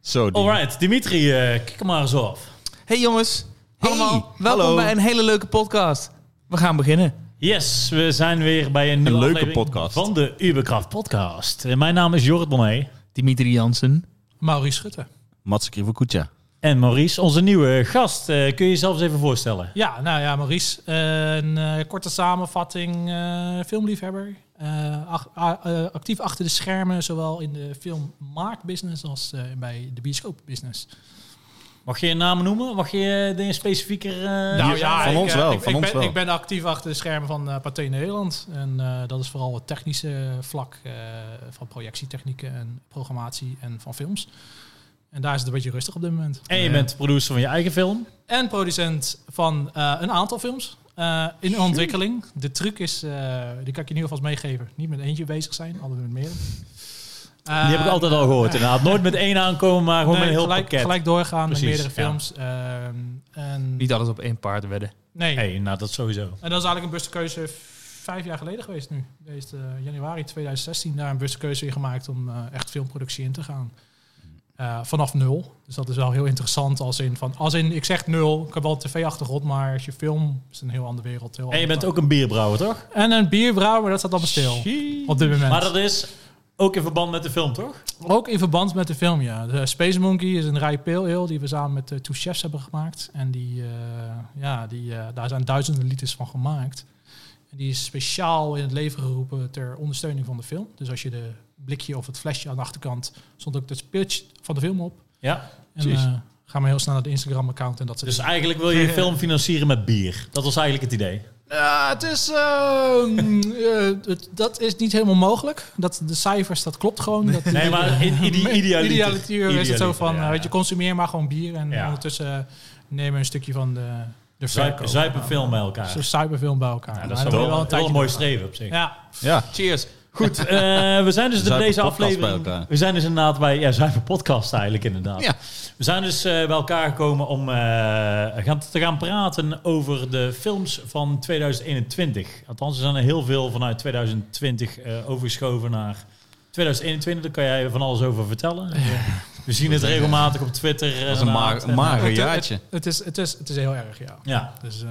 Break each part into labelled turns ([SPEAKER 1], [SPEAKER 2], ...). [SPEAKER 1] Zo, die.
[SPEAKER 2] Alright, Dimitri, eh, kijk hem maar eens af.
[SPEAKER 3] Hey jongens,
[SPEAKER 1] Hey,
[SPEAKER 3] allemaal welkom
[SPEAKER 1] hallo.
[SPEAKER 3] bij een hele leuke podcast. We gaan beginnen.
[SPEAKER 2] Yes, we zijn weer bij een, nieuwe
[SPEAKER 1] leuke
[SPEAKER 2] aflevering
[SPEAKER 1] podcast.
[SPEAKER 2] van de Uberkraft podcast. En mijn naam is Jorrit Bonnet
[SPEAKER 3] Dimitri Jansen.
[SPEAKER 4] Maurice Schutte.
[SPEAKER 1] Mats Krivokucha.
[SPEAKER 2] en Maurice, onze nieuwe gast. Eh, kun je jezelf eens even voorstellen?
[SPEAKER 4] Ja, nou ja, Maurice. eh, Een eh, korte samenvatting. eh, filmliefhebber. Eh, ach- a- eh, actief achter de schermen, zowel in de filmmaakbusiness als eh, bij de bioscoopbusiness.
[SPEAKER 2] Mag je je naam noemen? Mag je eh, dingen specifieker... eh,
[SPEAKER 1] Nou ja, van ons
[SPEAKER 4] eh,
[SPEAKER 1] wel,
[SPEAKER 4] Ik,
[SPEAKER 1] van
[SPEAKER 4] ik
[SPEAKER 1] ons
[SPEAKER 4] ben,
[SPEAKER 1] wel.
[SPEAKER 4] ik ben actief achter de schermen van eh Pathé Nederland. En eh, dat is vooral het technische vlak eh, van projectietechnieken en programmatie en van films. En daar is het een beetje rustig op dit moment.
[SPEAKER 2] En je
[SPEAKER 4] Eh,
[SPEAKER 2] bent producer van je eigen film.
[SPEAKER 4] en producent van eh, een aantal films eh, in ontwikkeling. De truc is, eh, die kan ik je nu alvast meegeven, niet met eentje bezig zijn, altijd met meer.
[SPEAKER 2] Die heb ik altijd al gehoord inderdaad. Nooit met één aankomen, maar gewoon met een heel
[SPEAKER 4] Eh, gelijk,
[SPEAKER 2] pakket.
[SPEAKER 4] gelijk doorgaan
[SPEAKER 2] Precies,
[SPEAKER 4] met meerdere
[SPEAKER 2] ja.
[SPEAKER 4] films. Ehm, en,
[SPEAKER 3] Niet alles op één paard wedden.
[SPEAKER 4] nee,
[SPEAKER 2] Hey, nou dat sowieso.
[SPEAKER 4] en dat is eigenlijk een bewuste keuze vijf jaar geleden geweest nu. Deze eh, januari 2016 daar een bewuste keuze in gemaakt om eh, echt filmproductie in te gaan.
[SPEAKER 2] Mhm.
[SPEAKER 4] Eh, vanaf nul. Dus dat is wel heel interessant als in van als in ik zeg nul, ik heb wel een tv-achtergrond, maar als je film is een heel andere wereld.
[SPEAKER 2] En
[SPEAKER 4] Heel
[SPEAKER 2] je
[SPEAKER 4] andere
[SPEAKER 2] bent
[SPEAKER 4] tak.
[SPEAKER 2] ook een bierbrouwer, toch?
[SPEAKER 4] en een bierbrouwer, maar dat staat allemaal stil op dit moment.
[SPEAKER 2] Maar dat is ook in verband met de film, toch?
[SPEAKER 4] Ook in verband met de film, ja. De Space Monkey is een rij pale ale die we samen met de Two Chefs hebben gemaakt. En die, eh, ja, die, eh, daar zijn duizenden liters van gemaakt. En die is speciaal in het leven geroepen ter ondersteuning van de film. Dus als je de blikje of het flesje aan de achterkant stond ook het speeltje van de film op.
[SPEAKER 2] Ja.
[SPEAKER 4] En
[SPEAKER 2] Precies.
[SPEAKER 4] eh, ga maar heel snel naar de Instagram-account en dat soort
[SPEAKER 2] Dus
[SPEAKER 4] dingen.
[SPEAKER 2] eigenlijk wil je je film financieren met bier. Dat was eigenlijk het idee.
[SPEAKER 4] Ja, het is, ehm, eh, het- dat is niet helemaal mogelijk. Dat, de cijfers, dat klopt gewoon. Dat,
[SPEAKER 2] Nee, maar in ide idealiter.
[SPEAKER 4] Idealiter is het zo van,
[SPEAKER 2] ja,
[SPEAKER 4] eh, weet
[SPEAKER 2] ja.
[SPEAKER 4] je, consumeer maar gewoon bier en
[SPEAKER 2] Ja.
[SPEAKER 4] ondertussen eh, nemen we een stukje van de, de
[SPEAKER 2] Zuip,
[SPEAKER 4] verkoop.
[SPEAKER 2] zuip een film bij elkaar.
[SPEAKER 4] Zo'n suikerfilm bij elkaar.
[SPEAKER 2] Ja,
[SPEAKER 4] Maar
[SPEAKER 2] dat is
[SPEAKER 4] dan
[SPEAKER 2] wel,
[SPEAKER 4] wil je
[SPEAKER 2] wel een
[SPEAKER 4] tijdje
[SPEAKER 2] mooi
[SPEAKER 4] doen.
[SPEAKER 2] streven op zich.
[SPEAKER 4] Ja,
[SPEAKER 1] Ja.
[SPEAKER 3] Cheers.
[SPEAKER 2] Goed, eh, we zijn dus
[SPEAKER 1] Zuip
[SPEAKER 2] bij
[SPEAKER 1] een
[SPEAKER 2] deze
[SPEAKER 1] podcast
[SPEAKER 2] aflevering.
[SPEAKER 1] bij elkaar.
[SPEAKER 2] we zijn dus inderdaad bij. Ja, zuiver podcast eigenlijk inderdaad.
[SPEAKER 1] Ja.
[SPEAKER 2] We zijn dus eh, bij elkaar gekomen om eh, gaan, te gaan praten over de films van 2021. Althans, er zijn er heel veel vanuit 2020 eh, overgeschoven naar 2021. Daar kan jij van alles over vertellen. We zien het regelmatig op Twitter.
[SPEAKER 1] Dat
[SPEAKER 2] eh,
[SPEAKER 1] is een
[SPEAKER 2] inderdaad.
[SPEAKER 1] ma- mager
[SPEAKER 4] Het-
[SPEAKER 1] jaartje.
[SPEAKER 4] Het is, het, is, het is heel erg, ja.
[SPEAKER 2] Ja,
[SPEAKER 4] Dus, eh,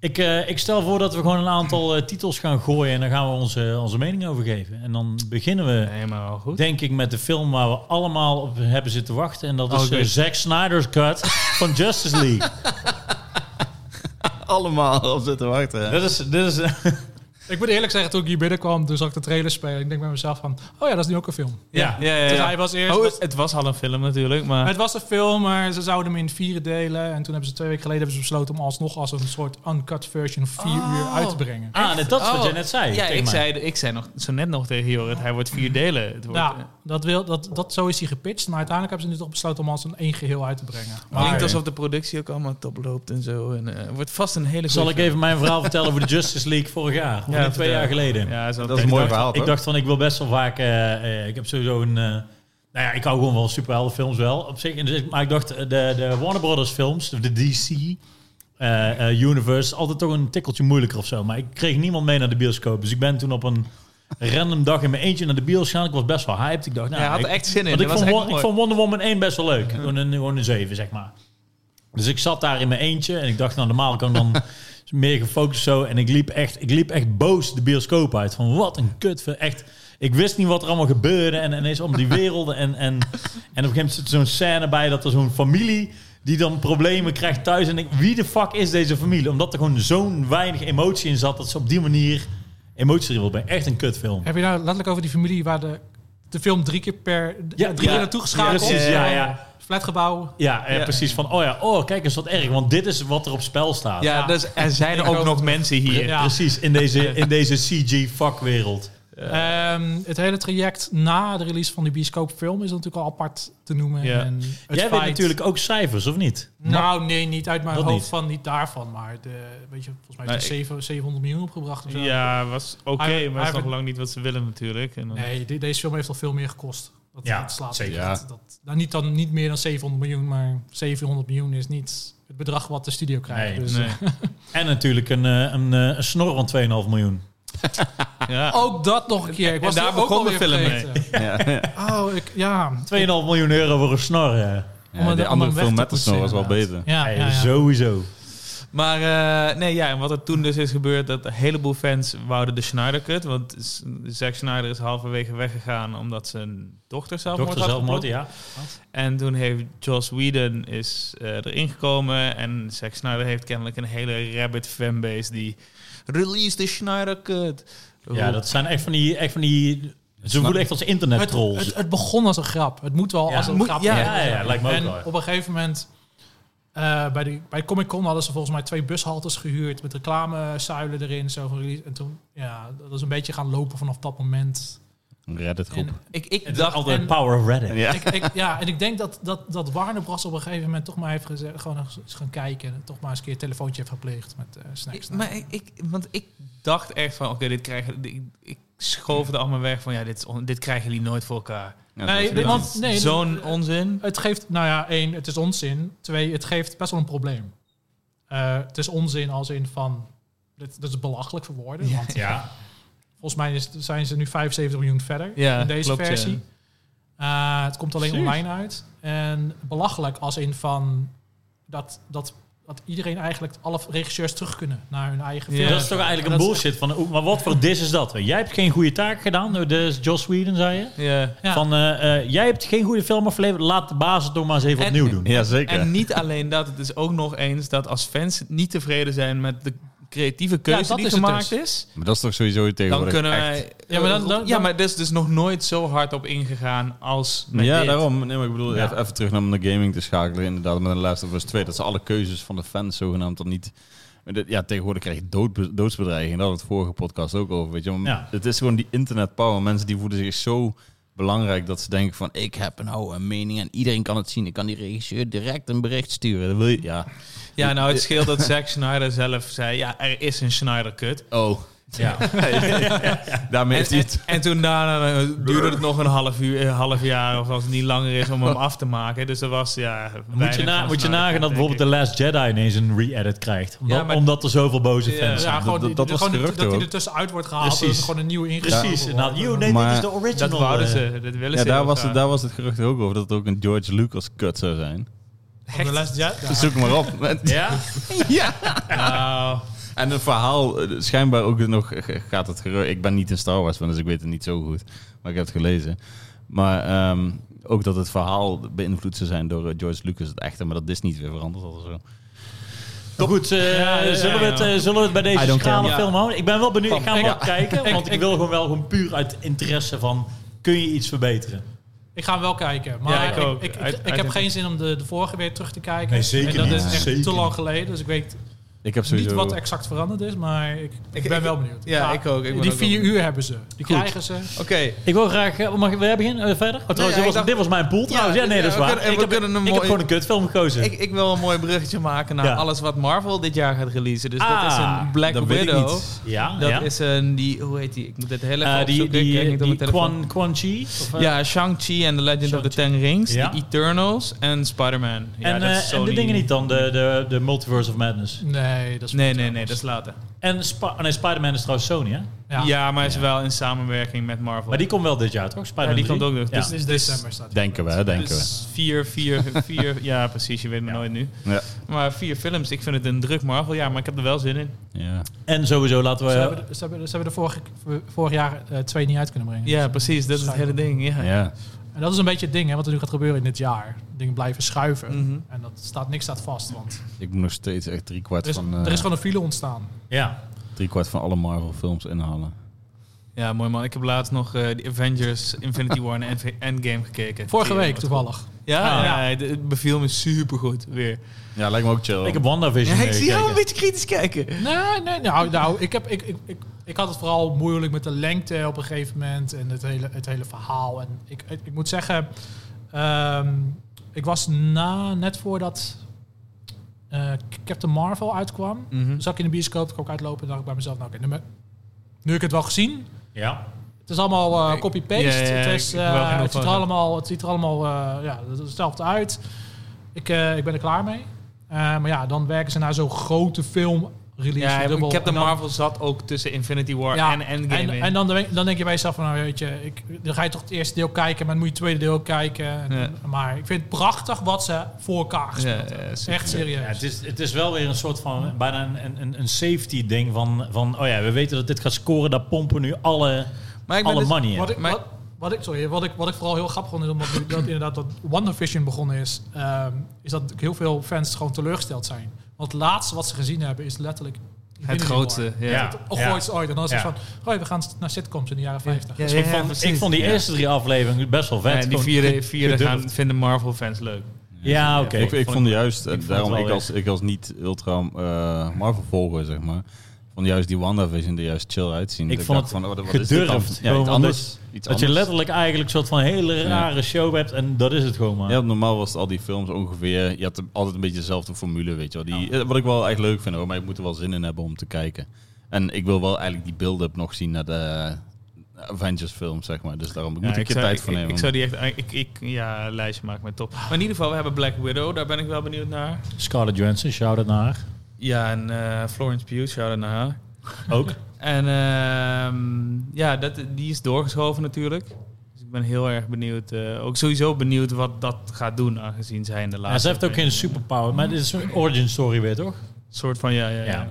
[SPEAKER 2] ik, eh, ik stel voor dat we gewoon een aantal eh, titels gaan gooien en dan gaan we onze, onze mening over geven. En dan beginnen we
[SPEAKER 3] Nee, maar wel goed.
[SPEAKER 2] Denk ik met de film waar we allemaal op hebben zitten wachten. En dat
[SPEAKER 3] Oh,
[SPEAKER 2] is
[SPEAKER 3] ik
[SPEAKER 2] eh,
[SPEAKER 3] weet-
[SPEAKER 2] Zack Snyder's cut van Justice League.
[SPEAKER 1] Allemaal op zitten wachten.
[SPEAKER 2] dat is, dat
[SPEAKER 3] eh,
[SPEAKER 2] is, ja.
[SPEAKER 4] ik moet eerlijk zeggen, toen ik hier binnenkwam, toen zag ik de trailer spelen. Ik denk bij mezelf van, oh ja, dat is nu ook een film.
[SPEAKER 3] Ja, ja, ja.
[SPEAKER 4] Dus hij was eerst...
[SPEAKER 3] Oh,
[SPEAKER 4] was-
[SPEAKER 3] het- het was al een film natuurlijk, maar...
[SPEAKER 4] het was een film, maar ze zouden hem in vier delen. En toen hebben ze twee weken geleden hebben ze besloten om alsnog als een soort uncut version vier
[SPEAKER 2] Oh.
[SPEAKER 4] uur uit te brengen.
[SPEAKER 2] Ah, net dat is wat jij net zei.
[SPEAKER 3] Oh. Ja,
[SPEAKER 2] tegen
[SPEAKER 3] ik
[SPEAKER 2] mij.
[SPEAKER 3] zei, ik zei nog, zo net nog tegen Jorrit, hij wordt vier delen. Het wordt,
[SPEAKER 4] Ja, Nou, dat wil, dat, dat, zo is hij gepitcht. Maar uiteindelijk hebben ze nu toch besloten om als een één geheel uit te brengen.
[SPEAKER 3] maar,
[SPEAKER 4] Maar
[SPEAKER 3] klinkt alsof de productie ook allemaal top loopt en zo. En, eh, het wordt vast een hele
[SPEAKER 2] Zal
[SPEAKER 3] goeie
[SPEAKER 2] ik even mijn verhaal vertellen over de Justice League vorig jaar? Of
[SPEAKER 3] film.
[SPEAKER 2] nee, twee jaar geleden.
[SPEAKER 3] Ja,
[SPEAKER 1] Dat is een mooi verhaal,
[SPEAKER 2] Ik
[SPEAKER 1] toch?
[SPEAKER 2] dacht van, ik wil best wel vaak... eh, eh, ik heb sowieso een... eh, nou ja, ik hou gewoon wel superheldenfilms wel. Op zich, En dus ik- maar ik dacht, eh, de, de Warner Brothers films, de DC... eh, eh, Universe, altijd toch een tikkeltje moeilijker of zo. Maar ik kreeg niemand mee naar de bioscoop. Dus ik ben toen op een random dag in mijn eentje naar de bios gaan. Ik was best wel hyped. Ik dacht, nou,
[SPEAKER 3] hij had
[SPEAKER 2] ik-
[SPEAKER 3] er echt zin in.
[SPEAKER 2] want ik
[SPEAKER 3] Dat was
[SPEAKER 2] vond,
[SPEAKER 3] echt
[SPEAKER 2] Won- ik
[SPEAKER 3] mooi.
[SPEAKER 2] vond Wonder Woman 1 best wel leuk. Gewoon een, gewoon een 7, zeg maar. Dus ik zat daar in mijn eentje en ik dacht, nou, normaal kan ik dan meer gefocust zo. En ik liep echt, ik liep echt boos de bioscoop uit. Van wat een kut. Echt, ik wist niet wat er allemaal gebeurde. En ineens om die werelden. En, en, en op een gegeven moment zit zo'n scène bij dat er zo'n familie die dan problemen krijgt thuis. En ik, wie de fuck is deze familie? Omdat er gewoon zo'n weinig emotie in zat dat ze op die manier emotie erin wil brengen. Echt een kutfilm.
[SPEAKER 4] heb je nou letterlijk over die familie waar de, de film drie keer per
[SPEAKER 2] Ja,
[SPEAKER 4] ja, drie
[SPEAKER 2] ja.
[SPEAKER 4] keer naartoe geschakeld
[SPEAKER 2] Ja, precies,
[SPEAKER 4] is?
[SPEAKER 2] ja, ja.
[SPEAKER 4] Flatgebouw.
[SPEAKER 2] Ja, eh,
[SPEAKER 3] Ja.
[SPEAKER 2] precies. Van, oh ja, oh, kijk eens wat erg. Want dit is wat er op spel staat.
[SPEAKER 3] Ja, dus er zijn ook nog mensen hier.
[SPEAKER 4] Ja.
[SPEAKER 2] Precies, in deze, in deze CG-vakwereld.
[SPEAKER 4] Ehm, het hele traject na de release van die bioscoopfilm is natuurlijk al apart te noemen.
[SPEAKER 3] Ja.
[SPEAKER 4] En het
[SPEAKER 2] Jij weet
[SPEAKER 4] feit-
[SPEAKER 2] natuurlijk ook cijfers, of niet?
[SPEAKER 4] Nou, nee, niet uit mijn
[SPEAKER 2] Dat
[SPEAKER 4] hoofd
[SPEAKER 2] niet.
[SPEAKER 4] van niet daarvan. Maar de, weet je, volgens mij is
[SPEAKER 3] Nee,
[SPEAKER 4] er zeven- 700 miljoen opgebracht. Of zo.
[SPEAKER 3] Ja, was oké,
[SPEAKER 4] Hij-
[SPEAKER 3] maar
[SPEAKER 4] hij-
[SPEAKER 3] is nog lang niet wat ze willen natuurlijk. En dan-
[SPEAKER 4] Nee, de- deze film heeft al veel meer gekost. Dat,
[SPEAKER 2] Ja,
[SPEAKER 4] dat slaat
[SPEAKER 2] zeker.
[SPEAKER 4] echt. Dat, nou, niet, dan, niet meer dan 700 miljoen, maar 700 miljoen is niet het bedrag wat de studio krijgt.
[SPEAKER 2] Nee,
[SPEAKER 4] dus,
[SPEAKER 3] Nee.
[SPEAKER 4] eh,
[SPEAKER 2] En natuurlijk een, eh, een, eh, een snor van 2,5 miljoen. Ja.
[SPEAKER 4] Ook dat nog een keer. Ik was
[SPEAKER 3] daar
[SPEAKER 4] die ook
[SPEAKER 3] begon de
[SPEAKER 4] alweer
[SPEAKER 3] film mee.
[SPEAKER 4] vergeten.
[SPEAKER 1] Ja, ja.
[SPEAKER 4] Oh, ik, ja.
[SPEAKER 2] 2,5 miljoen euro voor een snor. Ja.
[SPEAKER 4] Om het-
[SPEAKER 1] die
[SPEAKER 4] om
[SPEAKER 1] andere
[SPEAKER 4] hem weg
[SPEAKER 1] film
[SPEAKER 4] te
[SPEAKER 1] met de snor was
[SPEAKER 4] poetsen,
[SPEAKER 1] wel beter.
[SPEAKER 4] Ja,
[SPEAKER 2] Hey,
[SPEAKER 4] ja, ja.
[SPEAKER 2] Sowieso.
[SPEAKER 3] Maar eh, nee, ja, en wat er toen dus is gebeurd, dat een heleboel fans wouden de Snyder Cut. Want S- Zack Snyder is halverwege weggegaan omdat zijn dochter zelfmoord
[SPEAKER 2] Dokter
[SPEAKER 3] had
[SPEAKER 2] zelfmoord,
[SPEAKER 3] gepleegd.
[SPEAKER 2] ja.
[SPEAKER 3] En toen heeft Joss Whedon is, eh, erin gekomen. En Zack Snyder heeft kennelijk een hele rabbit fanbase die... Release de Snyder Cut!
[SPEAKER 2] Ja, dat zijn echt van die... Echt van die ze voelen echt als internet
[SPEAKER 4] Het,
[SPEAKER 2] trolls.
[SPEAKER 4] het, het begon als een grap. Het moet wel
[SPEAKER 2] Ja.
[SPEAKER 4] als een
[SPEAKER 2] Moet-
[SPEAKER 4] grap.
[SPEAKER 2] ja,
[SPEAKER 4] beginnen.
[SPEAKER 2] ja, ja, lijkt me ook
[SPEAKER 4] en
[SPEAKER 2] wel.
[SPEAKER 4] op een gegeven moment... eh, bij, de, bij Comic Con hadden ze volgens mij twee bushaltes gehuurd met reclamezuilen erin. Zo van release. En toen, ja, dat is een beetje gaan lopen vanaf dat moment.
[SPEAKER 1] Reddit groep.
[SPEAKER 4] En
[SPEAKER 3] Ik, ik
[SPEAKER 2] Het is
[SPEAKER 3] dacht...
[SPEAKER 2] altijd
[SPEAKER 4] en-
[SPEAKER 2] power of Reddit.
[SPEAKER 1] Ja.
[SPEAKER 4] ik, ik, ja, en ik denk dat, dat, dat Warner Bros. op een gegeven moment toch maar heeft gezegd... gewoon eens gaan kijken en toch maar eens een keer een telefoontje heeft gepleegd met eh Snacks.
[SPEAKER 3] Ik, maar ik, ik- want ik dacht echt van, oké, dit krijgen... Ik, ik schoof het allemaal weg van, ja, dit, is on- dit krijgen jullie nooit voor elkaar.
[SPEAKER 1] Ja,
[SPEAKER 4] Nee,
[SPEAKER 1] dat was-
[SPEAKER 4] want-
[SPEAKER 3] Dit is Zo'n onzin.
[SPEAKER 4] Het geeft, nou ja, één, het is onzin. Twee, het geeft best wel een probleem. Eh, het is onzin als in van, dit, dit is belachelijk voor woorden. Want
[SPEAKER 2] Ja.
[SPEAKER 4] volgens mij is, zijn ze nu 75 miljoen verder
[SPEAKER 3] Ja,
[SPEAKER 4] in deze
[SPEAKER 3] klopt,
[SPEAKER 4] versie.
[SPEAKER 3] ja.
[SPEAKER 4] Eh, het komt alleen
[SPEAKER 2] Precies.
[SPEAKER 4] online uit. En belachelijk als in van, dat, dat, dat iedereen eigenlijk, alle regisseurs terug kunnen naar hun eigen
[SPEAKER 3] Ja.
[SPEAKER 4] film.
[SPEAKER 2] Dat is toch eigenlijk een
[SPEAKER 4] Dat is-
[SPEAKER 2] bullshit van... oeh, Maar wat voor dis is dat? Jij hebt geen goede taak gedaan. door Dus Joss Whedon, zei je.
[SPEAKER 3] Ja.
[SPEAKER 4] Ja.
[SPEAKER 2] Van, eh, eh, jij hebt geen goede film afgeleverd. Laat de baas het toch maar eens even
[SPEAKER 3] En-
[SPEAKER 2] opnieuw doen.
[SPEAKER 1] Ja, zeker.
[SPEAKER 3] En niet alleen dat, het is ook nog eens dat als fans niet tevreden zijn met de creatieve keuze
[SPEAKER 4] dat
[SPEAKER 3] die
[SPEAKER 4] is het
[SPEAKER 3] gemaakt
[SPEAKER 4] dus.
[SPEAKER 3] is,
[SPEAKER 1] Maar dat is toch sowieso
[SPEAKER 3] dan
[SPEAKER 1] tegenwoordig
[SPEAKER 3] kunnen
[SPEAKER 1] echt-
[SPEAKER 3] wij.
[SPEAKER 4] Ja, maar dan- dan-
[SPEAKER 3] ja,
[SPEAKER 4] dan-
[SPEAKER 3] maar er is dus nog nooit zo hard op ingegaan als met
[SPEAKER 1] ja,
[SPEAKER 3] dit.
[SPEAKER 1] daarom. Nee, maar ik bedoel,
[SPEAKER 2] Ja.
[SPEAKER 1] even, even terug naar om de gaming te schakelen. Inderdaad, met een Last of Us 2. Dat ze alle keuzes van de fans zogenaamd dan niet... Maar dit- Ja, tegenwoordig krijg je dood, doodsbedreiging. Daar hadden we het vorige podcast ook over, weet je. Maar
[SPEAKER 2] Ja.
[SPEAKER 1] Het is gewoon die internetpower. Mensen die voelen zich zo belangrijk dat ze denken van... Ik heb nou een mening en iedereen kan het zien. Ik kan die regisseur direct een bericht sturen. Dat wil je... Ja.
[SPEAKER 3] Ja, nou, het scheelt dat Zack Snyder zelf zei: ja, er is een Snyder-cut.
[SPEAKER 1] Oh.
[SPEAKER 2] Ja.
[SPEAKER 1] Daarmee
[SPEAKER 3] En,
[SPEAKER 1] heeft hij
[SPEAKER 3] en,
[SPEAKER 1] het...
[SPEAKER 3] en toen daarna eh, duurde het nog een half, uur, een half jaar, of als het niet langer is, om hem af te maken. Dus er was, ja.
[SPEAKER 2] Moet je, na, moet je nagaan dat bijvoorbeeld The Last Jedi ineens een re-edit krijgt. Omdat,
[SPEAKER 3] Ja, maar-
[SPEAKER 2] omdat er zoveel boze
[SPEAKER 3] Ja.
[SPEAKER 2] fans zijn.
[SPEAKER 4] ja, gewoon,
[SPEAKER 1] dat-
[SPEAKER 4] die-
[SPEAKER 1] dat
[SPEAKER 4] die-
[SPEAKER 1] was
[SPEAKER 4] gewoon
[SPEAKER 1] gerucht
[SPEAKER 4] dat hij
[SPEAKER 1] ook.
[SPEAKER 4] er tussenuit wordt gehaald.
[SPEAKER 2] Precies.
[SPEAKER 4] Dat er gewoon een nieuwe ingreep
[SPEAKER 2] Precies.
[SPEAKER 4] wordt.
[SPEAKER 2] Nou, you, nee,
[SPEAKER 1] Maar-
[SPEAKER 2] dit is de original.
[SPEAKER 3] Dat wouden
[SPEAKER 2] eh,
[SPEAKER 3] ze, dat willen
[SPEAKER 1] Ja,
[SPEAKER 3] ze.
[SPEAKER 1] daar
[SPEAKER 3] heel
[SPEAKER 1] was,
[SPEAKER 3] graag.
[SPEAKER 1] het, daar was het gerucht ook over. Dat het ook een George Lucas kut zou zijn.
[SPEAKER 4] Van de les- ja, ja.
[SPEAKER 1] Zoek maar op.
[SPEAKER 2] Ja?
[SPEAKER 1] ja.
[SPEAKER 3] Nou,
[SPEAKER 1] En het verhaal, eh, schijnbaar ook nog eh, gaat het gerucht. Ik ben niet in Star Wars van, dus ik weet het niet zo goed. Maar ik heb het gelezen. Maar ehm, ook dat het verhaal beïnvloed zou zijn door eh, George Lucas het echte, maar dat is niet weer veranderd of zo.
[SPEAKER 2] Goed, eh,
[SPEAKER 3] Ja, ja,
[SPEAKER 2] zullen, we het,
[SPEAKER 3] ja.
[SPEAKER 2] eh, zullen we het bij
[SPEAKER 1] I
[SPEAKER 2] deze
[SPEAKER 1] don't care.
[SPEAKER 2] schrale
[SPEAKER 1] Ja.
[SPEAKER 2] film houden? Ik ben wel benieuwd. Ik ga hem wel kijken.
[SPEAKER 4] Ik-
[SPEAKER 2] Want ik,
[SPEAKER 4] ik-
[SPEAKER 2] wil gewoon wel gewoon puur uit interesse van... Kun je iets verbeteren?
[SPEAKER 4] Ik ga hem wel kijken. Maar
[SPEAKER 3] Ja, ik
[SPEAKER 4] ik,
[SPEAKER 3] ook.
[SPEAKER 4] ik, ik,
[SPEAKER 3] Uit-
[SPEAKER 4] ik
[SPEAKER 3] uit-
[SPEAKER 4] heb geen zin om de, de vorige weer terug te kijken.
[SPEAKER 2] Nee, zeker
[SPEAKER 4] en dat
[SPEAKER 2] niet.
[SPEAKER 4] is echt
[SPEAKER 2] Zeker
[SPEAKER 4] te lang geleden. Dus ik weet
[SPEAKER 1] Ik heb sowieso...
[SPEAKER 4] niet wat exact veranderd is. Maar ik, ik,
[SPEAKER 3] Ik-
[SPEAKER 4] ben
[SPEAKER 3] ik-
[SPEAKER 4] wel benieuwd.
[SPEAKER 3] ja, ik ook. Ik ben
[SPEAKER 4] die
[SPEAKER 3] ook
[SPEAKER 4] vier
[SPEAKER 3] wel benieuwd.
[SPEAKER 4] uur hebben ze. Die
[SPEAKER 2] Goed.
[SPEAKER 4] krijgen ze.
[SPEAKER 3] oké.
[SPEAKER 2] Ik wil graag... eh, mag wij beginnen eh, verder? Oh, trouwens,
[SPEAKER 3] ja,
[SPEAKER 2] dit,
[SPEAKER 3] ik
[SPEAKER 2] was,
[SPEAKER 3] dacht-
[SPEAKER 2] dit was mijn pool trouwens. Ja, nee,
[SPEAKER 3] ja,
[SPEAKER 2] dat is
[SPEAKER 3] we
[SPEAKER 2] waar.
[SPEAKER 3] kunnen-
[SPEAKER 2] ik
[SPEAKER 3] we
[SPEAKER 2] heb,
[SPEAKER 3] kunnen een
[SPEAKER 2] ik heb
[SPEAKER 3] mooie-
[SPEAKER 2] gewoon een kutfilm gekozen.
[SPEAKER 3] Ik, ik wil een mooi bruggetje maken naar
[SPEAKER 2] Ja.
[SPEAKER 3] alles wat Marvel dit jaar gaat releasen. Dus dat
[SPEAKER 2] Ah,
[SPEAKER 3] is een Black
[SPEAKER 1] dat weet ik
[SPEAKER 3] Widow.
[SPEAKER 1] niet.
[SPEAKER 2] ja,
[SPEAKER 3] Dat
[SPEAKER 2] ja.
[SPEAKER 3] is een, die, hoe heet die? Ik moet dit heel even
[SPEAKER 2] Eh, die
[SPEAKER 3] opzoeken. Ik
[SPEAKER 2] die,
[SPEAKER 3] kijk niet op
[SPEAKER 2] die
[SPEAKER 3] mijn telefoon.
[SPEAKER 2] Quan, Quan Chi? Of, eh,
[SPEAKER 3] Ja, Shang-Chi en The Legend of the Ten Rings,
[SPEAKER 2] Ja.
[SPEAKER 3] The Eternals en Spider-Man. Ja,
[SPEAKER 2] en,
[SPEAKER 3] dat
[SPEAKER 2] eh,
[SPEAKER 3] is
[SPEAKER 2] en
[SPEAKER 3] Sony.
[SPEAKER 2] de dingen niet dan, de, de, de Multiverse of Madness.
[SPEAKER 4] Nee, dat is
[SPEAKER 3] Nee, nee, nee, dat is later.
[SPEAKER 2] En Spa- oh nee, Spider-Man is trouwens Sony, hè?
[SPEAKER 3] Ja,
[SPEAKER 4] Ja. ja.
[SPEAKER 3] maar is wel in samenwerking met Marvel.
[SPEAKER 2] Maar die komt wel dit jaar, toch?
[SPEAKER 3] Ja,
[SPEAKER 2] Spider-Man
[SPEAKER 3] die komt
[SPEAKER 2] 3?
[SPEAKER 3] ook nog.
[SPEAKER 2] Ja.
[SPEAKER 3] Dus,
[SPEAKER 4] Dus
[SPEAKER 3] dus-
[SPEAKER 4] december staat die.
[SPEAKER 1] Denken we, hè, denken
[SPEAKER 3] dus vier, vier, vier... ja, precies, je weet me
[SPEAKER 2] Ja.
[SPEAKER 3] nooit nu.
[SPEAKER 1] we. Ja.
[SPEAKER 3] Maar vier films, ik vind het een druk Marvel. Ja, maar ik heb er wel zin in.
[SPEAKER 1] ja.
[SPEAKER 2] En sowieso laten we...
[SPEAKER 4] Ze hebben, de- ze hebben, ze hebben de vorige, vorig jaar eh, twee niet uit kunnen brengen.
[SPEAKER 3] Ja, precies, dat is het hele ding. Ja.
[SPEAKER 1] ja.
[SPEAKER 4] En dat is een beetje het ding, hè, wat er nu gaat gebeuren in dit jaar. Dingen blijven schuiven.
[SPEAKER 3] Mhm.
[SPEAKER 4] En dat staat, niks staat vast. Want
[SPEAKER 1] Ik moet nog steeds echt drie
[SPEAKER 4] er
[SPEAKER 1] kwart,
[SPEAKER 4] is,
[SPEAKER 1] van,
[SPEAKER 4] er
[SPEAKER 1] eh
[SPEAKER 4] is gewoon een file ontstaan.
[SPEAKER 2] ja.
[SPEAKER 1] drie kwart van alle Marvel films inhalen.
[SPEAKER 3] Ja, mooi man. Ik heb laatst nog eh die Avengers Infinity War en End- Endgame gekeken.
[SPEAKER 4] Vorige
[SPEAKER 3] Die, eh,
[SPEAKER 4] week
[SPEAKER 3] wat-
[SPEAKER 4] toevallig.
[SPEAKER 3] Ja,
[SPEAKER 2] Ah.
[SPEAKER 3] ja, het- het beviel me supergoed weer.
[SPEAKER 1] Ja, lijkt me ook chill.
[SPEAKER 2] Ik heb WandaVision
[SPEAKER 3] Ja, ik zie jou
[SPEAKER 2] gekeken.
[SPEAKER 3] een beetje kritisch kijken.
[SPEAKER 4] Nee, nee, nou, nou ik, heb, ik, ik, ik, ik had het vooral moeilijk met de lengte op een gegeven moment en het hele, het hele verhaal. En ik, ik, ik moet zeggen, ehm, ik was na, net voordat eh, Captain Marvel uitkwam,
[SPEAKER 3] Mhm.
[SPEAKER 4] zag ik in de bioscoop, kon ik uitlopen en dacht ik bij mezelf, nou oké, nu, me- nu heb ik het wel gezien.
[SPEAKER 2] Ja.
[SPEAKER 4] Het is allemaal eh,
[SPEAKER 3] Ik-
[SPEAKER 4] copy-paste.
[SPEAKER 3] ja, ja,
[SPEAKER 4] het, is,
[SPEAKER 3] ik- ik heb wel
[SPEAKER 4] eh,
[SPEAKER 3] genoeg
[SPEAKER 4] het ziet er
[SPEAKER 3] van.
[SPEAKER 4] allemaal, het ziet er allemaal eh, ja, het- hetzelfde uit. Ik, eh, ik ben er klaar mee. Eh, maar ja, dan werken ze naar zo'n grote film release.
[SPEAKER 3] Ja,
[SPEAKER 4] dubbel.
[SPEAKER 3] ik heb de
[SPEAKER 4] En dan-
[SPEAKER 3] Marvel zat ook tussen Infinity War
[SPEAKER 4] Ja,
[SPEAKER 3] en Endgame
[SPEAKER 4] En,
[SPEAKER 3] in.
[SPEAKER 4] en dan, denk- dan denk je bij jezelf van, nou weet je, ik, dan ga je toch het eerste deel kijken, maar dan moet je het tweede deel kijken. En-
[SPEAKER 3] Ja.
[SPEAKER 4] Maar ik vind het prachtig wat ze voor elkaar gespeeld
[SPEAKER 3] Ja, ja,
[SPEAKER 4] hebben.
[SPEAKER 3] zeker.
[SPEAKER 4] Echt serieus.
[SPEAKER 2] Ja, het, is, het is wel weer een soort van bijna een- een, een, een safety ding van, van oh ja, we weten dat dit gaat scoren, daar pompen nu alle,
[SPEAKER 3] maar ik ben
[SPEAKER 2] alle
[SPEAKER 3] dus-
[SPEAKER 2] money in.
[SPEAKER 4] Wat ik,
[SPEAKER 3] Maar-
[SPEAKER 4] wat, wat ik, sorry, wat ik, wat ik vooral heel grappig vond, is omdat nu dat inderdaad dat WandaVision begonnen is, ehm, is dat heel veel fans gewoon teleurgesteld zijn. Want het laatste wat ze gezien hebben is letterlijk
[SPEAKER 3] het
[SPEAKER 4] Infinity War.
[SPEAKER 3] grootste. Ja.
[SPEAKER 2] Ja.
[SPEAKER 4] Het gooit ooit. En dan is het
[SPEAKER 2] Ja.
[SPEAKER 4] van, oh, we gaan naar sitcoms in de jaren 50.
[SPEAKER 3] Ja,
[SPEAKER 2] Dus
[SPEAKER 3] ja,
[SPEAKER 2] ik,
[SPEAKER 3] ja,
[SPEAKER 2] vond,
[SPEAKER 3] precies.
[SPEAKER 2] ik vond die
[SPEAKER 1] Ja.
[SPEAKER 2] eerste drie afleveringen best wel vet.
[SPEAKER 3] Ja, die
[SPEAKER 2] Gewoon
[SPEAKER 3] vierde,
[SPEAKER 2] goed-
[SPEAKER 3] vierde
[SPEAKER 2] gedurfd.
[SPEAKER 3] gaan, vinden Marvel-fans leuk.
[SPEAKER 2] Ja, oké.
[SPEAKER 1] ik, ik vond juist, eh,
[SPEAKER 2] vond het
[SPEAKER 1] daarom
[SPEAKER 2] wel
[SPEAKER 1] ik als, ik als niet ultra eh, Marvel volger, zeg maar, vond juist die WandaVision er juist chill uitzien. Dat
[SPEAKER 2] vond
[SPEAKER 1] dacht
[SPEAKER 2] het
[SPEAKER 1] van, oh, wat is dit dan?
[SPEAKER 2] gedurfd.
[SPEAKER 1] Ja,
[SPEAKER 2] Gewoon
[SPEAKER 1] iets
[SPEAKER 2] omdat-
[SPEAKER 1] anders. Iets
[SPEAKER 2] dat
[SPEAKER 1] anders.
[SPEAKER 2] je letterlijk eigenlijk een soort van hele rare show hebt en dat is het gewoon maar.
[SPEAKER 1] Ja, want normaal was het al die films ongeveer. Je had altijd een beetje dezelfde formule, weet je wel. Die, eh, Wat ik wel echt leuk vind hoor, maar ik moet er wel zin in hebben om te kijken. En ik wil wel eigenlijk die build-up nog zien naar de Avengers film, zeg maar. Dus daarom ik moet
[SPEAKER 3] Ja,
[SPEAKER 1] ik
[SPEAKER 3] ik
[SPEAKER 1] je
[SPEAKER 3] zou-
[SPEAKER 1] tijd voor
[SPEAKER 3] ik-
[SPEAKER 1] nemen.
[SPEAKER 3] Ik, zou die echt... Ik, ik, ja, een lijstje maken met top. Maar in ieder geval, we hebben Black Widow. Daar ben ik wel benieuwd naar.
[SPEAKER 2] Scarlett Johansson, shout-out naar haar.
[SPEAKER 3] Ja, en eh, Florence Pugh, shout-out naar haar.
[SPEAKER 2] Ook.
[SPEAKER 3] En ehm, ja, dat, die is doorgeschoven natuurlijk. Dus ik ben heel erg benieuwd. eh, ook sowieso benieuwd wat dat gaat doen, aangezien zij in de
[SPEAKER 2] Ja,
[SPEAKER 3] laatste...
[SPEAKER 2] ze heeft ook geen superpower, maar dit is een origin story weer, toch?
[SPEAKER 3] soort van, ja, ja, ja.
[SPEAKER 2] Ja.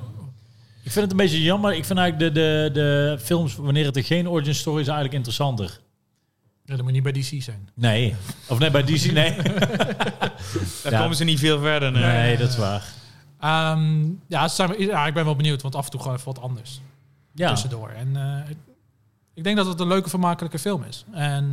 [SPEAKER 2] Ik vind het een beetje jammer. Ik vind eigenlijk de, de, de films, wanneer het er geen origin story is, eigenlijk interessanter.
[SPEAKER 4] Ja, dat moet niet bij DC zijn.
[SPEAKER 2] Nee. Of nee, bij DC, nee.
[SPEAKER 3] Daar
[SPEAKER 2] Ja.
[SPEAKER 3] komen ze niet veel verder. eh. Nee.
[SPEAKER 2] Nee, dat is waar.
[SPEAKER 4] Ehm, ja, ze zijn, ja, ik ben wel benieuwd, want af en toe gewoon even wat anders
[SPEAKER 2] Ja.
[SPEAKER 4] tussendoor. En eh, ik- ik denk dat het een leuke, vermakelijke film is. En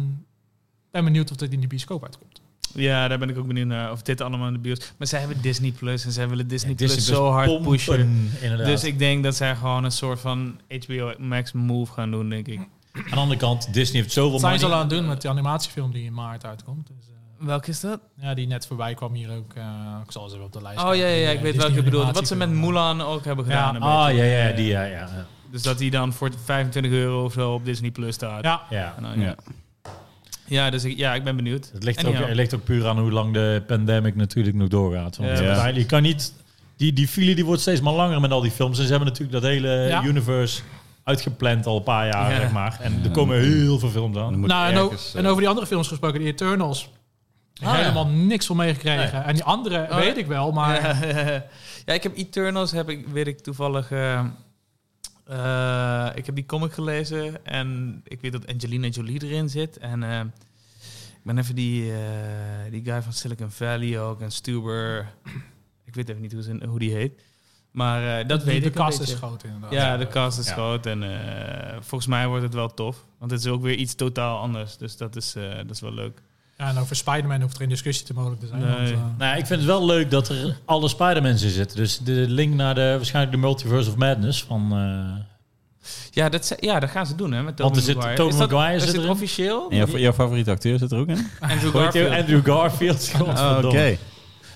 [SPEAKER 4] ik ben benieuwd of dit in de bioscoop uitkomt.
[SPEAKER 3] Ja, daar ben ik ook benieuwd naar. Of dit allemaal in de bios... Maar zij hebben Disney Plus en zij willen Disney,
[SPEAKER 2] Disney
[SPEAKER 3] Plus
[SPEAKER 2] Plus
[SPEAKER 3] zo hard
[SPEAKER 2] pompen,
[SPEAKER 3] pushen.
[SPEAKER 2] Inderdaad.
[SPEAKER 3] Dus ik denk dat zij gewoon een soort van HBO Max move gaan doen, denk ik.
[SPEAKER 2] aan de andere kant, Disney heeft zoveel
[SPEAKER 4] Wat zijn ze al
[SPEAKER 2] money.
[SPEAKER 4] aan het doen met die animatiefilm die in maart uitkomt? Dus, eh,
[SPEAKER 3] Welke is dat?
[SPEAKER 4] ja, die net voorbij kwam hier ook. eh, ik zal ze even op de lijst eh,
[SPEAKER 3] Oh ja, ja, ja ik weet welke je bedoelt. Wat ze met
[SPEAKER 4] Moela.
[SPEAKER 3] Mulan ook hebben gedaan.
[SPEAKER 4] Ja.
[SPEAKER 3] een
[SPEAKER 2] Ah,
[SPEAKER 3] beetje.
[SPEAKER 2] ja, ja, die, ja, ja.
[SPEAKER 3] Dus dat die dan voor 25 euro of zo op Disney Plus staat.
[SPEAKER 4] Ja,
[SPEAKER 2] ja.
[SPEAKER 3] Nou, ja.
[SPEAKER 1] ja.
[SPEAKER 3] Ja, dus ik, ja, ik ben benieuwd.
[SPEAKER 2] Het ligt,
[SPEAKER 3] En
[SPEAKER 2] ook,
[SPEAKER 3] jou?
[SPEAKER 2] het ligt ook puur aan hoe lang de pandemic natuurlijk nog doorgaat. Want
[SPEAKER 3] Ja.
[SPEAKER 2] uiteindelijk, je kan niet... Die, die file die wordt steeds maar langer met al die films. En ze hebben natuurlijk dat hele
[SPEAKER 4] Ja.
[SPEAKER 2] universe uitgepland al een paar jaar,
[SPEAKER 3] Ja.
[SPEAKER 2] zeg maar. En er komen heel veel films aan.
[SPEAKER 1] Dan moet
[SPEAKER 4] nou, en, o-
[SPEAKER 1] ergens, eh,
[SPEAKER 4] en over die andere films gesproken, die Eternals.
[SPEAKER 2] Ah,
[SPEAKER 4] helemaal niks van meegekregen. En die andere
[SPEAKER 3] Oh,
[SPEAKER 4] weet ik wel, maar...
[SPEAKER 3] Ja, ja, ik heb Eternals, heb ik, weet ik toevallig... eh, eh, ik heb die comic gelezen en ik weet dat Angelina Jolie erin zit. En eh, ik ben even die, eh, die guy van Silicon Valley ook en Stuber. Ik weet even niet hoe, zijn, hoe die heet. Maar eh, dat
[SPEAKER 4] de,
[SPEAKER 3] weet
[SPEAKER 4] de
[SPEAKER 3] ik een
[SPEAKER 4] kast is
[SPEAKER 3] beetje.
[SPEAKER 4] groot inderdaad.
[SPEAKER 3] Ja, de cast is
[SPEAKER 2] Ja.
[SPEAKER 3] groot en eh, volgens mij wordt het wel tof. Want het is ook weer iets totaal anders, dus dat is, eh, dat is wel leuk.
[SPEAKER 4] Ja, en over Spider-Man hoeft geen discussie te mogelijk te zijn. want,
[SPEAKER 3] Nee.
[SPEAKER 4] eh,
[SPEAKER 2] Nou, ja, ik vind het wel leuk dat er alle Spider-Mans in zitten. Dus de link naar de, waarschijnlijk de Multiverse of Madness van... eh,
[SPEAKER 3] Ja, dat, ze- ja, dat gaan ze doen, hè,
[SPEAKER 2] Want
[SPEAKER 3] met Tobey
[SPEAKER 2] er zit-
[SPEAKER 3] Maguire.
[SPEAKER 2] Tobey
[SPEAKER 3] Is dat-
[SPEAKER 2] Maguire
[SPEAKER 3] is
[SPEAKER 2] zit
[SPEAKER 3] het
[SPEAKER 2] erin.
[SPEAKER 3] officieel?
[SPEAKER 1] eh, en jouw, jouw favoriete acteur zit er ook in?
[SPEAKER 3] Andrew
[SPEAKER 2] Hoe heet die?
[SPEAKER 3] Garfield.
[SPEAKER 2] Andrew Garfield.
[SPEAKER 1] Ah, Oké.
[SPEAKER 2] Godverdomme.